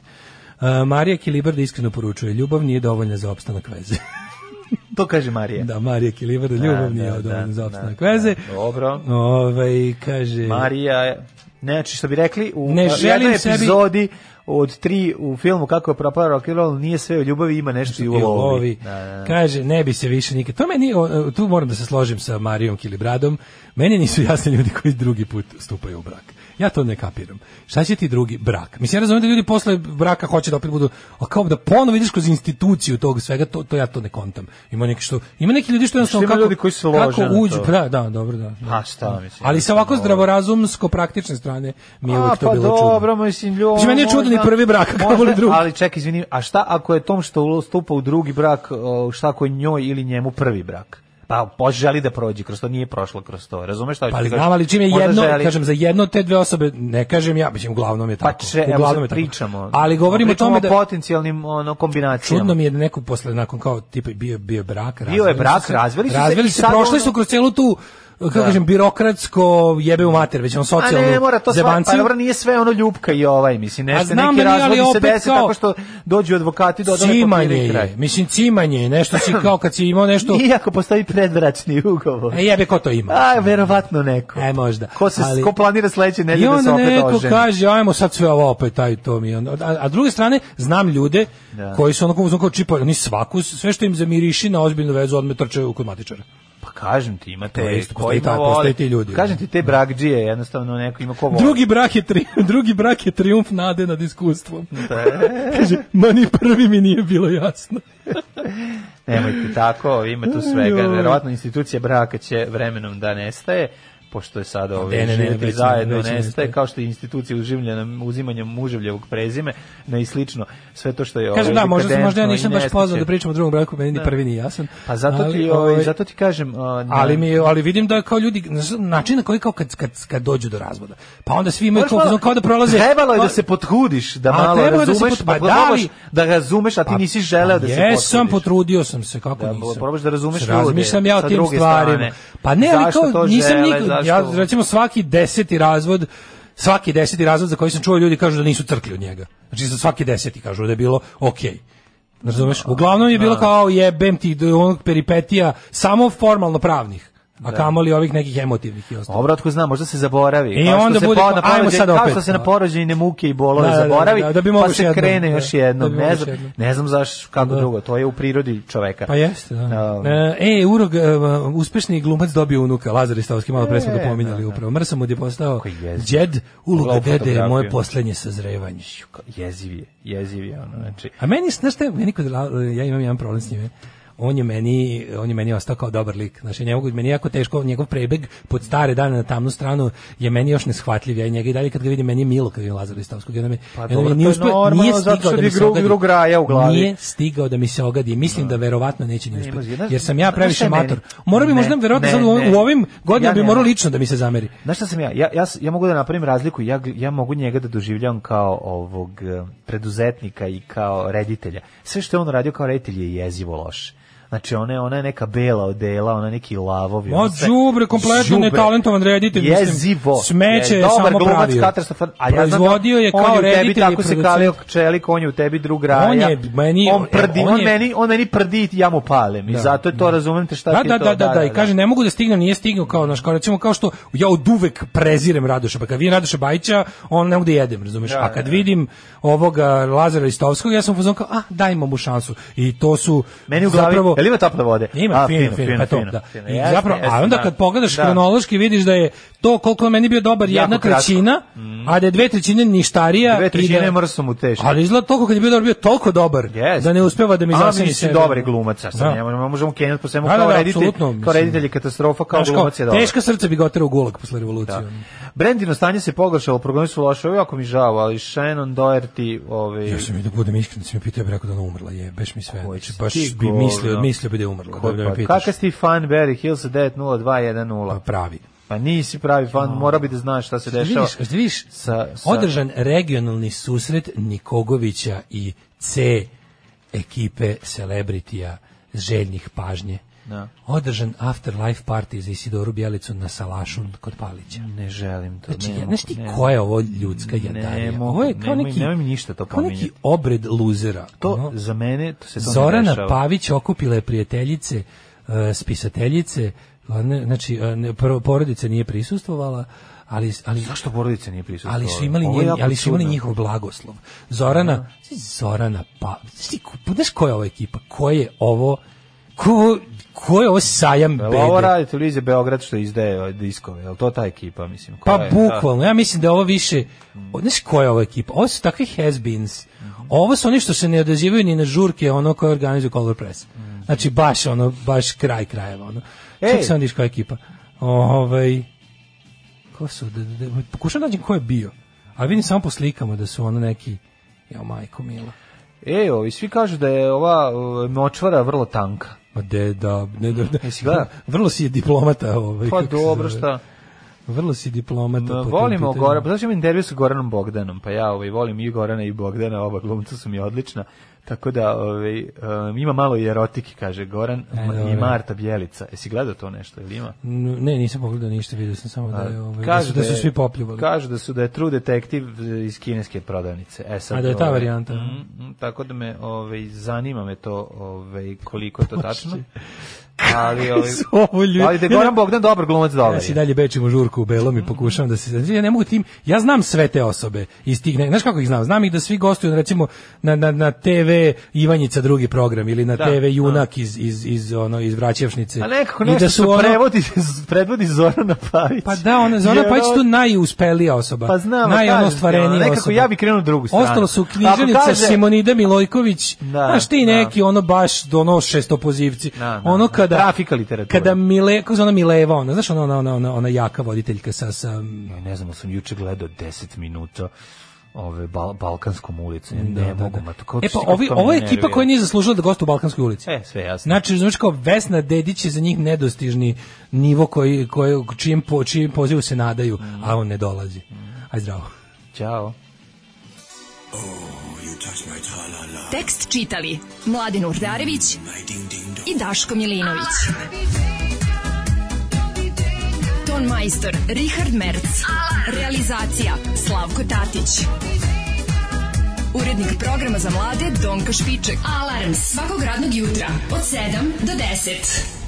Speaker 7: E, Marija Kilibrda iskreno poručuje, ljubav nije dovoljna za opstanak veze.
Speaker 6: To kaže Marija.
Speaker 7: Da, Marija Kilibrda, ljubav
Speaker 6: Da,
Speaker 7: nije
Speaker 6: da,
Speaker 7: dovoljna
Speaker 6: da,
Speaker 7: za opstanak
Speaker 6: da,
Speaker 7: veze.
Speaker 6: da, dobro.
Speaker 7: Ovaj, kaže...
Speaker 6: Marija, je- ne, znači što bi rekli, u
Speaker 7: Ne
Speaker 6: ne
Speaker 7: želim
Speaker 6: jednoj
Speaker 7: sebi-
Speaker 6: epizodi od tri u filmu kako je propao rock and roll, nije sve u ljubavi, ima nešto i u lovi. Da, da, da.
Speaker 7: Kaže, ne bi se više nikad... To meni, o, tu moram da se složim sa Marijom Kilibradom, meni nisu jasni ljudi koji drugi put stupaju u brak. Ja to ne kapiram. Šta će ti drugi brak? Mislim, ja razumijem da ljudi posle braka hoće da opet budu, a kao da ponovo ideš kroz instituciju tog svega, to, to ja to ne kontam. Ima neki što, ima neki ljudi što jednostavno
Speaker 6: ima
Speaker 7: kako,
Speaker 6: ljudi koji se lože
Speaker 7: kako
Speaker 6: na
Speaker 7: uđu,
Speaker 6: to.
Speaker 7: da, da, dobro, da.
Speaker 6: Pa šta, mislim. ovaj.
Speaker 7: Ali sa ovako zdravorazumsko praktične strane mi je
Speaker 6: A,
Speaker 7: uvijek to
Speaker 6: pa
Speaker 7: bilo čudno.
Speaker 6: dobro, mislim, ljubav.
Speaker 7: Mislim, meni je čudan i prvi brak, kako voli drugi.
Speaker 6: Ali ček, izvini, a šta ako je tom što ustupa u drugi brak, o, šta ako je njoj ili njemu prvi brak? Pa pož želi da prođe kroz to, nije prošlo kroz to. Razumeš šta hoću
Speaker 7: Pa
Speaker 6: ti
Speaker 7: ali
Speaker 6: kažem?
Speaker 7: znam, ali čim je
Speaker 6: Možda
Speaker 7: jedno,
Speaker 6: želi-
Speaker 7: kažem, za jedno od te dve osobe, ne kažem ja, mislim, uglavnom je
Speaker 6: Pa
Speaker 7: tako.
Speaker 6: če, evo
Speaker 7: uglavnom
Speaker 6: sad
Speaker 7: je tako.
Speaker 6: pričamo. Pa
Speaker 7: Ali govorimo o
Speaker 6: Pričamo
Speaker 7: tome da
Speaker 6: potencijalnim ono, kombinacijama.
Speaker 7: čudno mi je da neko posle, nakon kao, tipa, bio, bio brak,
Speaker 6: Bio je brak, razveli su se
Speaker 7: razveli
Speaker 6: i
Speaker 7: se,
Speaker 6: sad
Speaker 7: prošli
Speaker 6: ono-
Speaker 7: su kroz celu tu, kako
Speaker 6: Da.
Speaker 7: kažem, birokratsko jebe u mater, već on
Speaker 6: A
Speaker 7: socijalnu
Speaker 6: ne, mora to sva, pa
Speaker 7: zebanciju.
Speaker 6: dobro, nije sve ono ljubka i ovaj, mislim,
Speaker 7: A
Speaker 6: nešto,
Speaker 7: znam
Speaker 6: neki
Speaker 7: da nije, ali
Speaker 6: razvodi se
Speaker 7: opet
Speaker 6: desi
Speaker 7: kao-
Speaker 6: tako što dođu advokati do odale
Speaker 7: Cimanje
Speaker 6: papire i kraj.
Speaker 7: je, mislim cimanje je, nešto si kao kad si imao
Speaker 6: (laughs)
Speaker 7: nešto,
Speaker 6: Iako postoji predbračni ugovor.
Speaker 7: e jebe ko to ima.
Speaker 6: A, verovatno neko.
Speaker 7: E možda.
Speaker 6: Ko, se,
Speaker 7: Ali-
Speaker 6: ko planira sledeće
Speaker 7: I
Speaker 6: nedelje da se
Speaker 7: onda
Speaker 6: opet oženi?
Speaker 7: neko kaže, ajmo sad sve ovo opet, taj to mi. je ono. A, a s druge strane, znam ljude
Speaker 6: Da.
Speaker 7: koji su onako uzmano kao čipa, oni svaku, sve što im zamiriši na ozbiljnu vezu, odme trče kod matičara.
Speaker 6: Pa kažem ti, ima
Speaker 7: To je
Speaker 6: te
Speaker 7: isto,
Speaker 6: koji
Speaker 7: postoji ta-
Speaker 6: ima
Speaker 7: postoje
Speaker 6: voli.
Speaker 7: ti ljudi. da.
Speaker 6: Kažem ti, te brakđije, jednostavno neko ima ko voli.
Speaker 7: Drugi brak je, tri, (laughs) drugi brak je triumf nade nad iskustvom.
Speaker 6: Da.
Speaker 7: (laughs) kaže, ma ni prvi mi nije bilo jasno.
Speaker 6: Nemojte tako, ima tu svega.
Speaker 7: Joj.
Speaker 6: Verovatno institucija braka će vremenom da nestaje. pošto je sada ove
Speaker 7: Ne, ne, ne,
Speaker 6: živjeti
Speaker 7: već ne,
Speaker 6: zajedno
Speaker 7: već ne,
Speaker 6: nestaje,
Speaker 7: ne.
Speaker 6: kao što je institucija uživljena uzimanjem muževljevog prezime, ne i slično, sve to što je
Speaker 7: Kažem
Speaker 6: ovaj,
Speaker 7: da, možda, sam- možda ja
Speaker 6: dekadentno i
Speaker 7: nisam baš pozvan da
Speaker 6: nestaće.
Speaker 7: pričam o drugom braku, meni ni
Speaker 6: Da.
Speaker 7: prvi ni jasan.
Speaker 6: Pa zato ti, ovaj, zato ti kažem, a, na-
Speaker 7: ali mi ali vidim da kao ljudi znaš, način na koji kao kad kad kad dođu do razvoda. Pa onda svi imaju
Speaker 6: Moraš
Speaker 7: kao,
Speaker 6: malo-
Speaker 7: kao da prolaze.
Speaker 6: Trebalo je
Speaker 7: kao-
Speaker 6: da se potrudiš, da
Speaker 7: A,
Speaker 6: malo
Speaker 7: trebalo je da se
Speaker 6: razumeš,
Speaker 7: pot-
Speaker 6: pa
Speaker 7: pa
Speaker 6: probaš
Speaker 7: da li- Pa
Speaker 6: da razumeš, a ti nisi želeo da se potrudiš.
Speaker 7: Jesam, potrudio sam se, kako
Speaker 6: Da,
Speaker 7: nisam.
Speaker 6: probaš da razumeš ljude
Speaker 7: Razmišljam ja o
Speaker 6: sa
Speaker 7: tim
Speaker 6: druge
Speaker 7: stvarima.
Speaker 6: strane.
Speaker 7: Pa ne, ali
Speaker 6: Zašto to
Speaker 7: kao, nisam
Speaker 6: žele,
Speaker 7: nikad, ja,
Speaker 6: zašto-
Speaker 7: recimo svaki deseti razvod, svaki deseti razvod za koji sam čuo ljudi kažu da nisu crkli od njega. Znači za svaki deseti kažu da je bilo okej. Razumeš? Uglavnom je bilo
Speaker 6: Da.
Speaker 7: kao jebem ti do onog peripetija samo formalno pravnih. A
Speaker 6: Da.
Speaker 7: kamoli ovih nekih emotivnih i ostalo.
Speaker 6: Dobro, otko znam, možda se zaboravi.
Speaker 7: I
Speaker 6: Kao što
Speaker 7: onda
Speaker 6: se po-
Speaker 7: bude kao,
Speaker 6: na
Speaker 7: ajmo
Speaker 6: porođaj-
Speaker 7: sad
Speaker 6: Kao
Speaker 7: opet.
Speaker 6: što se na porođajne muke i bolove
Speaker 7: Da, da, da,
Speaker 6: zaboravi,
Speaker 7: da, da bi
Speaker 6: pa
Speaker 7: mogao
Speaker 6: se
Speaker 7: još jednom,
Speaker 6: krene
Speaker 7: da,
Speaker 6: još jednom.
Speaker 7: da bi mogao
Speaker 6: ne,
Speaker 7: još
Speaker 6: znam,
Speaker 7: jednom. Da.
Speaker 6: ne znam zaš kako drugo, to je u prirodi čoveka.
Speaker 7: Pa jeste, da.
Speaker 6: Um,
Speaker 7: E, Urog, e, uspešni glumac dobio unuka, Lazar Istovski, malo pre smo ga
Speaker 6: E,
Speaker 7: pominjali upravo. Mrsam od je postao
Speaker 6: jeziv.
Speaker 7: djed, uloga
Speaker 6: Pogledao
Speaker 7: dede je moje
Speaker 6: fotografiju.
Speaker 7: poslednje sazrevanje.
Speaker 6: Jeziv je, jeziv je. Ono, znači,
Speaker 7: A meni, znaš šta, je, meni kod, La- ja imam jedan problem s njime. On je meni, on je meni ostao kao dobar lik. Znači, njemu, meni je jako teško, njegov prebeg pod stare dane na tamnu stranu je meni još neshvatljiv. Ja i njega i dalje kad ga vidim, meni je milo kad vidim Lazara Istovskog. Pa
Speaker 6: Pa dobro, to je normalno, zato
Speaker 7: da
Speaker 6: što ti drug- drug raja u glavi.
Speaker 7: Nije stigao da mi se ogadi. Mislim da verovatno neće ni
Speaker 6: može,
Speaker 7: uspjeti.
Speaker 6: znaš-
Speaker 7: Jer sam ja
Speaker 6: znaš šta
Speaker 7: previše
Speaker 6: je
Speaker 7: mator.
Speaker 6: meni?
Speaker 7: Morao bi
Speaker 6: Ne,
Speaker 7: možda verovatno
Speaker 6: ne,
Speaker 7: sad u ovim,
Speaker 6: ne.
Speaker 7: u ovim godinama
Speaker 6: Ja
Speaker 7: bi
Speaker 6: ne.
Speaker 7: morao lično da mi se zameri.
Speaker 6: Znaš šta sam ja? Ja, ja, s- ja mogu da napravim razliku. Ja, gl- ja mogu njega da doživljavam kao ovog eh, preduzetnika i kao reditelja. Sve što je on radio kao reditelj je jezivo loše. Znači, ona je, ona je neka bela odela, ona je neki lavovi.
Speaker 7: Ma,
Speaker 6: ono sve-
Speaker 7: đubre, kompletno
Speaker 6: Đubre.
Speaker 7: netalentovan reditelj, mislim,
Speaker 6: Jezivo.
Speaker 7: smeće je
Speaker 6: Dobar
Speaker 7: samo
Speaker 6: glumac,
Speaker 7: pravio.
Speaker 6: katastrofalan, a ja znam da
Speaker 7: Proizvodio je
Speaker 6: on
Speaker 7: kao
Speaker 6: u tebi
Speaker 7: reditelj i
Speaker 6: tako se
Speaker 7: producent.
Speaker 6: kalio čelik, on je u tebi drug raja.
Speaker 7: On je meni- e,
Speaker 6: on prdi,
Speaker 7: on
Speaker 6: on,
Speaker 7: je-
Speaker 6: meni, on meni prdi i ja mu palim. I
Speaker 7: Da,
Speaker 6: zato je to, razumem te šta
Speaker 7: Da,
Speaker 6: ti
Speaker 7: da,
Speaker 6: je to.
Speaker 7: da, da, da, i kaže ne mogu da stignem, nije stigao kao naš kao recimo kao što ja od uvek prezirem Radoša, pa kad vidim Radoša Bajića, on ne mogu da jedem, razumeš?
Speaker 6: Da,
Speaker 7: A kad
Speaker 6: da, da.
Speaker 7: vidim ovoga Lazara Istovskog, ja sam pozvao kao, a dajmo mu šansu. I to su
Speaker 6: Meni u glavi,
Speaker 7: zapravo
Speaker 6: jel ima tople vode?
Speaker 7: Ima
Speaker 6: A,
Speaker 7: fino,
Speaker 6: fino,
Speaker 7: fino, pa to,
Speaker 6: fino,
Speaker 7: da.
Speaker 6: fino.
Speaker 7: I
Speaker 6: Jeste,
Speaker 7: zapravo,
Speaker 6: jeste,
Speaker 7: a onda
Speaker 6: da.
Speaker 7: kad pogledaš
Speaker 6: Da.
Speaker 7: kronološki vidiš da je to koliko je meni bio dobar
Speaker 6: Jako
Speaker 7: jedna
Speaker 6: kratko. Mhm.
Speaker 7: trećina, a da je dve trećine ništarija.
Speaker 6: Dve
Speaker 7: i da-
Speaker 6: trećine mrsom mu teško.
Speaker 7: Ali izgleda toliko kad je bio dobar, bio toliko dobar
Speaker 6: Jeste.
Speaker 7: da ne uspeva da mi
Speaker 6: A,
Speaker 7: zaseni
Speaker 6: mislim,
Speaker 7: sebe.
Speaker 6: dobar je glumac, a sad
Speaker 7: Da.
Speaker 6: ne možemo- možemo kenjati po svemu
Speaker 7: Da, da,
Speaker 6: kao
Speaker 7: da,
Speaker 6: reditelj-
Speaker 7: apsolutno,
Speaker 6: kao
Speaker 7: mislim.
Speaker 6: reditelj je katastrofa, kao
Speaker 7: Znaš kao,
Speaker 6: glumac je dobar. Da.
Speaker 7: Teška srca bi ga oterao u gulag posle revolucije. ono.
Speaker 6: Brendino stanje se pogoršalo, programi su loše, ovo jako mi žao, ali Shannon Doherty, ovaj,
Speaker 7: Ja sam mi da budem iskren, sam mi pitao, ja bih rekao da ona umrla, je, baš mi sve.
Speaker 6: će
Speaker 7: znači Baš
Speaker 6: ti
Speaker 7: bi
Speaker 6: govno?
Speaker 7: mislio, mislio bi da je umrla,
Speaker 6: Ko-
Speaker 7: da, da
Speaker 6: pa,
Speaker 7: me pitaš.
Speaker 6: Kakav si ti fan Barry Hills 90210?
Speaker 7: Pa pravi.
Speaker 6: Pa nisi pravi fan, mora bi da znaš šta se dešava.
Speaker 7: Vidiš, jel vidiš,
Speaker 6: sa, sa-
Speaker 7: održan regionalni susret Nikogovića i C ekipe celebritija željnih pažnje.
Speaker 6: Da.
Speaker 7: Održan afterlife party za Isidoru Bjelicu na Salašu kod Palića.
Speaker 6: Ne želim to.
Speaker 7: Znači,
Speaker 6: ne
Speaker 7: ja,
Speaker 6: mogu,
Speaker 7: znaš ti
Speaker 6: ne
Speaker 7: koja je ovo ljudska jadarija?
Speaker 6: mogu,
Speaker 7: Ovo je kao
Speaker 6: nemoj-
Speaker 7: neki,
Speaker 6: nemoj mi ništa to
Speaker 7: kao neki
Speaker 6: pominjati.
Speaker 7: obred luzera.
Speaker 6: To
Speaker 7: ono.
Speaker 6: za mene to se to ne
Speaker 7: Zorana
Speaker 6: dešava.
Speaker 7: Pavić okupila je prijateljice, e, spisateljice, one- znači e, ne, pro- porodica nije prisustvovala, ali ali
Speaker 6: Zašto porodice nije prisutna?
Speaker 7: ali su imali njen, ali su imali njihov blagoslov. Zorana, Zorana pa, znaš ti ko- znaš koja je ova ekipa? Ko je ovo? Ko, ko je ovo sajam
Speaker 6: Jel ovo
Speaker 7: bede?
Speaker 6: radi televizija Beograd što izdaje ove diskove, jel to ta ekipa, mislim? koja
Speaker 7: Pa
Speaker 6: je,
Speaker 7: bukvalno, ja mislim da je ovo više, o, znaš koja je ova ekipa? Ovo su takvi has-beens. Ovo su oni što se ne odazivaju ni na žurke, ono koje organizuju Color Press. Znači baš ono, baš kraj krajeva. Ono.
Speaker 6: Ej!
Speaker 7: Ček se onda koja je ekipa. Ovaj, ko su, da, da, da, pokušam da nađem ko je bio. A vidim samo po slikama da su ono neki, ja majko mila.
Speaker 6: Da. E, ovi svi kažu da je ova e, močvara vrlo tanka.
Speaker 7: Ma de, da, ne, da, ne.
Speaker 6: Jesi gledao?
Speaker 7: Vrlo si je diplomata. Ovaj,
Speaker 6: Pa
Speaker 7: kako se
Speaker 6: dobro
Speaker 7: zove.
Speaker 6: šta.
Speaker 7: Vrlo si diplomata. po
Speaker 6: Ma,
Speaker 7: tom
Speaker 6: Volimo
Speaker 7: pitanju.
Speaker 6: Gora, pa znaš imam intervju sa Goranom Bogdanom, pa ja ovaj, volim i Gorana i Bogdana, oba glumca su mi odlična. Tako da ovaj, em, ima malo i erotike, kaže Goran, ma- i
Speaker 7: E, dobro.
Speaker 6: Marta Bjelica. Jesi gledao to nešto ili ima?
Speaker 7: N- Ne, nisam pogledao ništa, vidio sam samo da, je, ovaj, da, su, da
Speaker 6: je-
Speaker 7: su svi popljuvali.
Speaker 6: Kažu da su da je True Detective iz kineske prodavnice. E sad,
Speaker 7: A da je ta
Speaker 6: ovaj,
Speaker 7: varijanta.
Speaker 6: mm, mm, tako da me ovaj zanima me to ovaj koliko je to tačno. Ali ovaj
Speaker 7: (laughs) su ovo ljudi?
Speaker 6: Ali da je Goran Bogdan dobar glumac dobar.
Speaker 7: Ja
Speaker 6: da je.
Speaker 7: si dalje bečim u žurku u belom i pokušavam da se... znači, Ja ne mogu tim... Ja znam sve te osobe iz tih... ne- Znaš kako ih znam? Znam ih da svi gostuju recimo na, na, na TV Ivanjica drugi program ili na
Speaker 6: Da,
Speaker 7: TV Junak iz, iz, iz, ono, iz Vraćevšnice.
Speaker 6: A nekako
Speaker 7: I
Speaker 6: nešto
Speaker 7: da
Speaker 6: su
Speaker 7: ono-
Speaker 6: prevodi, predvodi Zorana Pavić.
Speaker 7: Pa da, ona Zorana
Speaker 6: Jer
Speaker 7: Pajić
Speaker 6: on-
Speaker 7: tu najuspelija osoba.
Speaker 6: Pa znam, kažem
Speaker 7: naj
Speaker 6: ti,
Speaker 7: ono
Speaker 6: ono,
Speaker 7: ostvarenija
Speaker 6: nekako
Speaker 7: osoba.
Speaker 6: ja bi krenuo drugu stranu.
Speaker 7: Ostalo su
Speaker 6: Ako
Speaker 7: književnica
Speaker 6: kaže-
Speaker 7: Simonida Milojković,
Speaker 6: Da,
Speaker 7: znaš ti
Speaker 6: da.
Speaker 7: neki ono baš ono šestopozivci.
Speaker 6: Da, da,
Speaker 7: ono
Speaker 6: da.
Speaker 7: kad kada
Speaker 6: trafika literatura.
Speaker 7: Kada Mile, kako se ona Mileva, ona, znaš ona, ona, ona, ona, ona jaka voditeljka sa, sa ja,
Speaker 6: ne znam, ja sam juče gledao 10 minuta ove bal, balkanskom ulicom. Ja ne mogu, Da, ma to kao
Speaker 7: E pa ovi, ovo je ekipa koja nije zaslužila da gostu u Balkanskoj ulici.
Speaker 6: E, sve jasno.
Speaker 7: Znači, znači kao Vesna Dedić je za njih nedostižni nivo koji, koji čim, po, čim pozivu se nadaju,
Speaker 6: Mm.
Speaker 7: a on ne dolazi. Aj zdravo.
Speaker 6: Ćao.
Speaker 9: Tekst čitali Mladin Urdarević i Daško Milinović. Ton majstor Richard Merc. Realizacija Slavko Tatić. Urednik programa za mlade Donka Špiček. Alarms svakog radnog jutra od 7 do 10.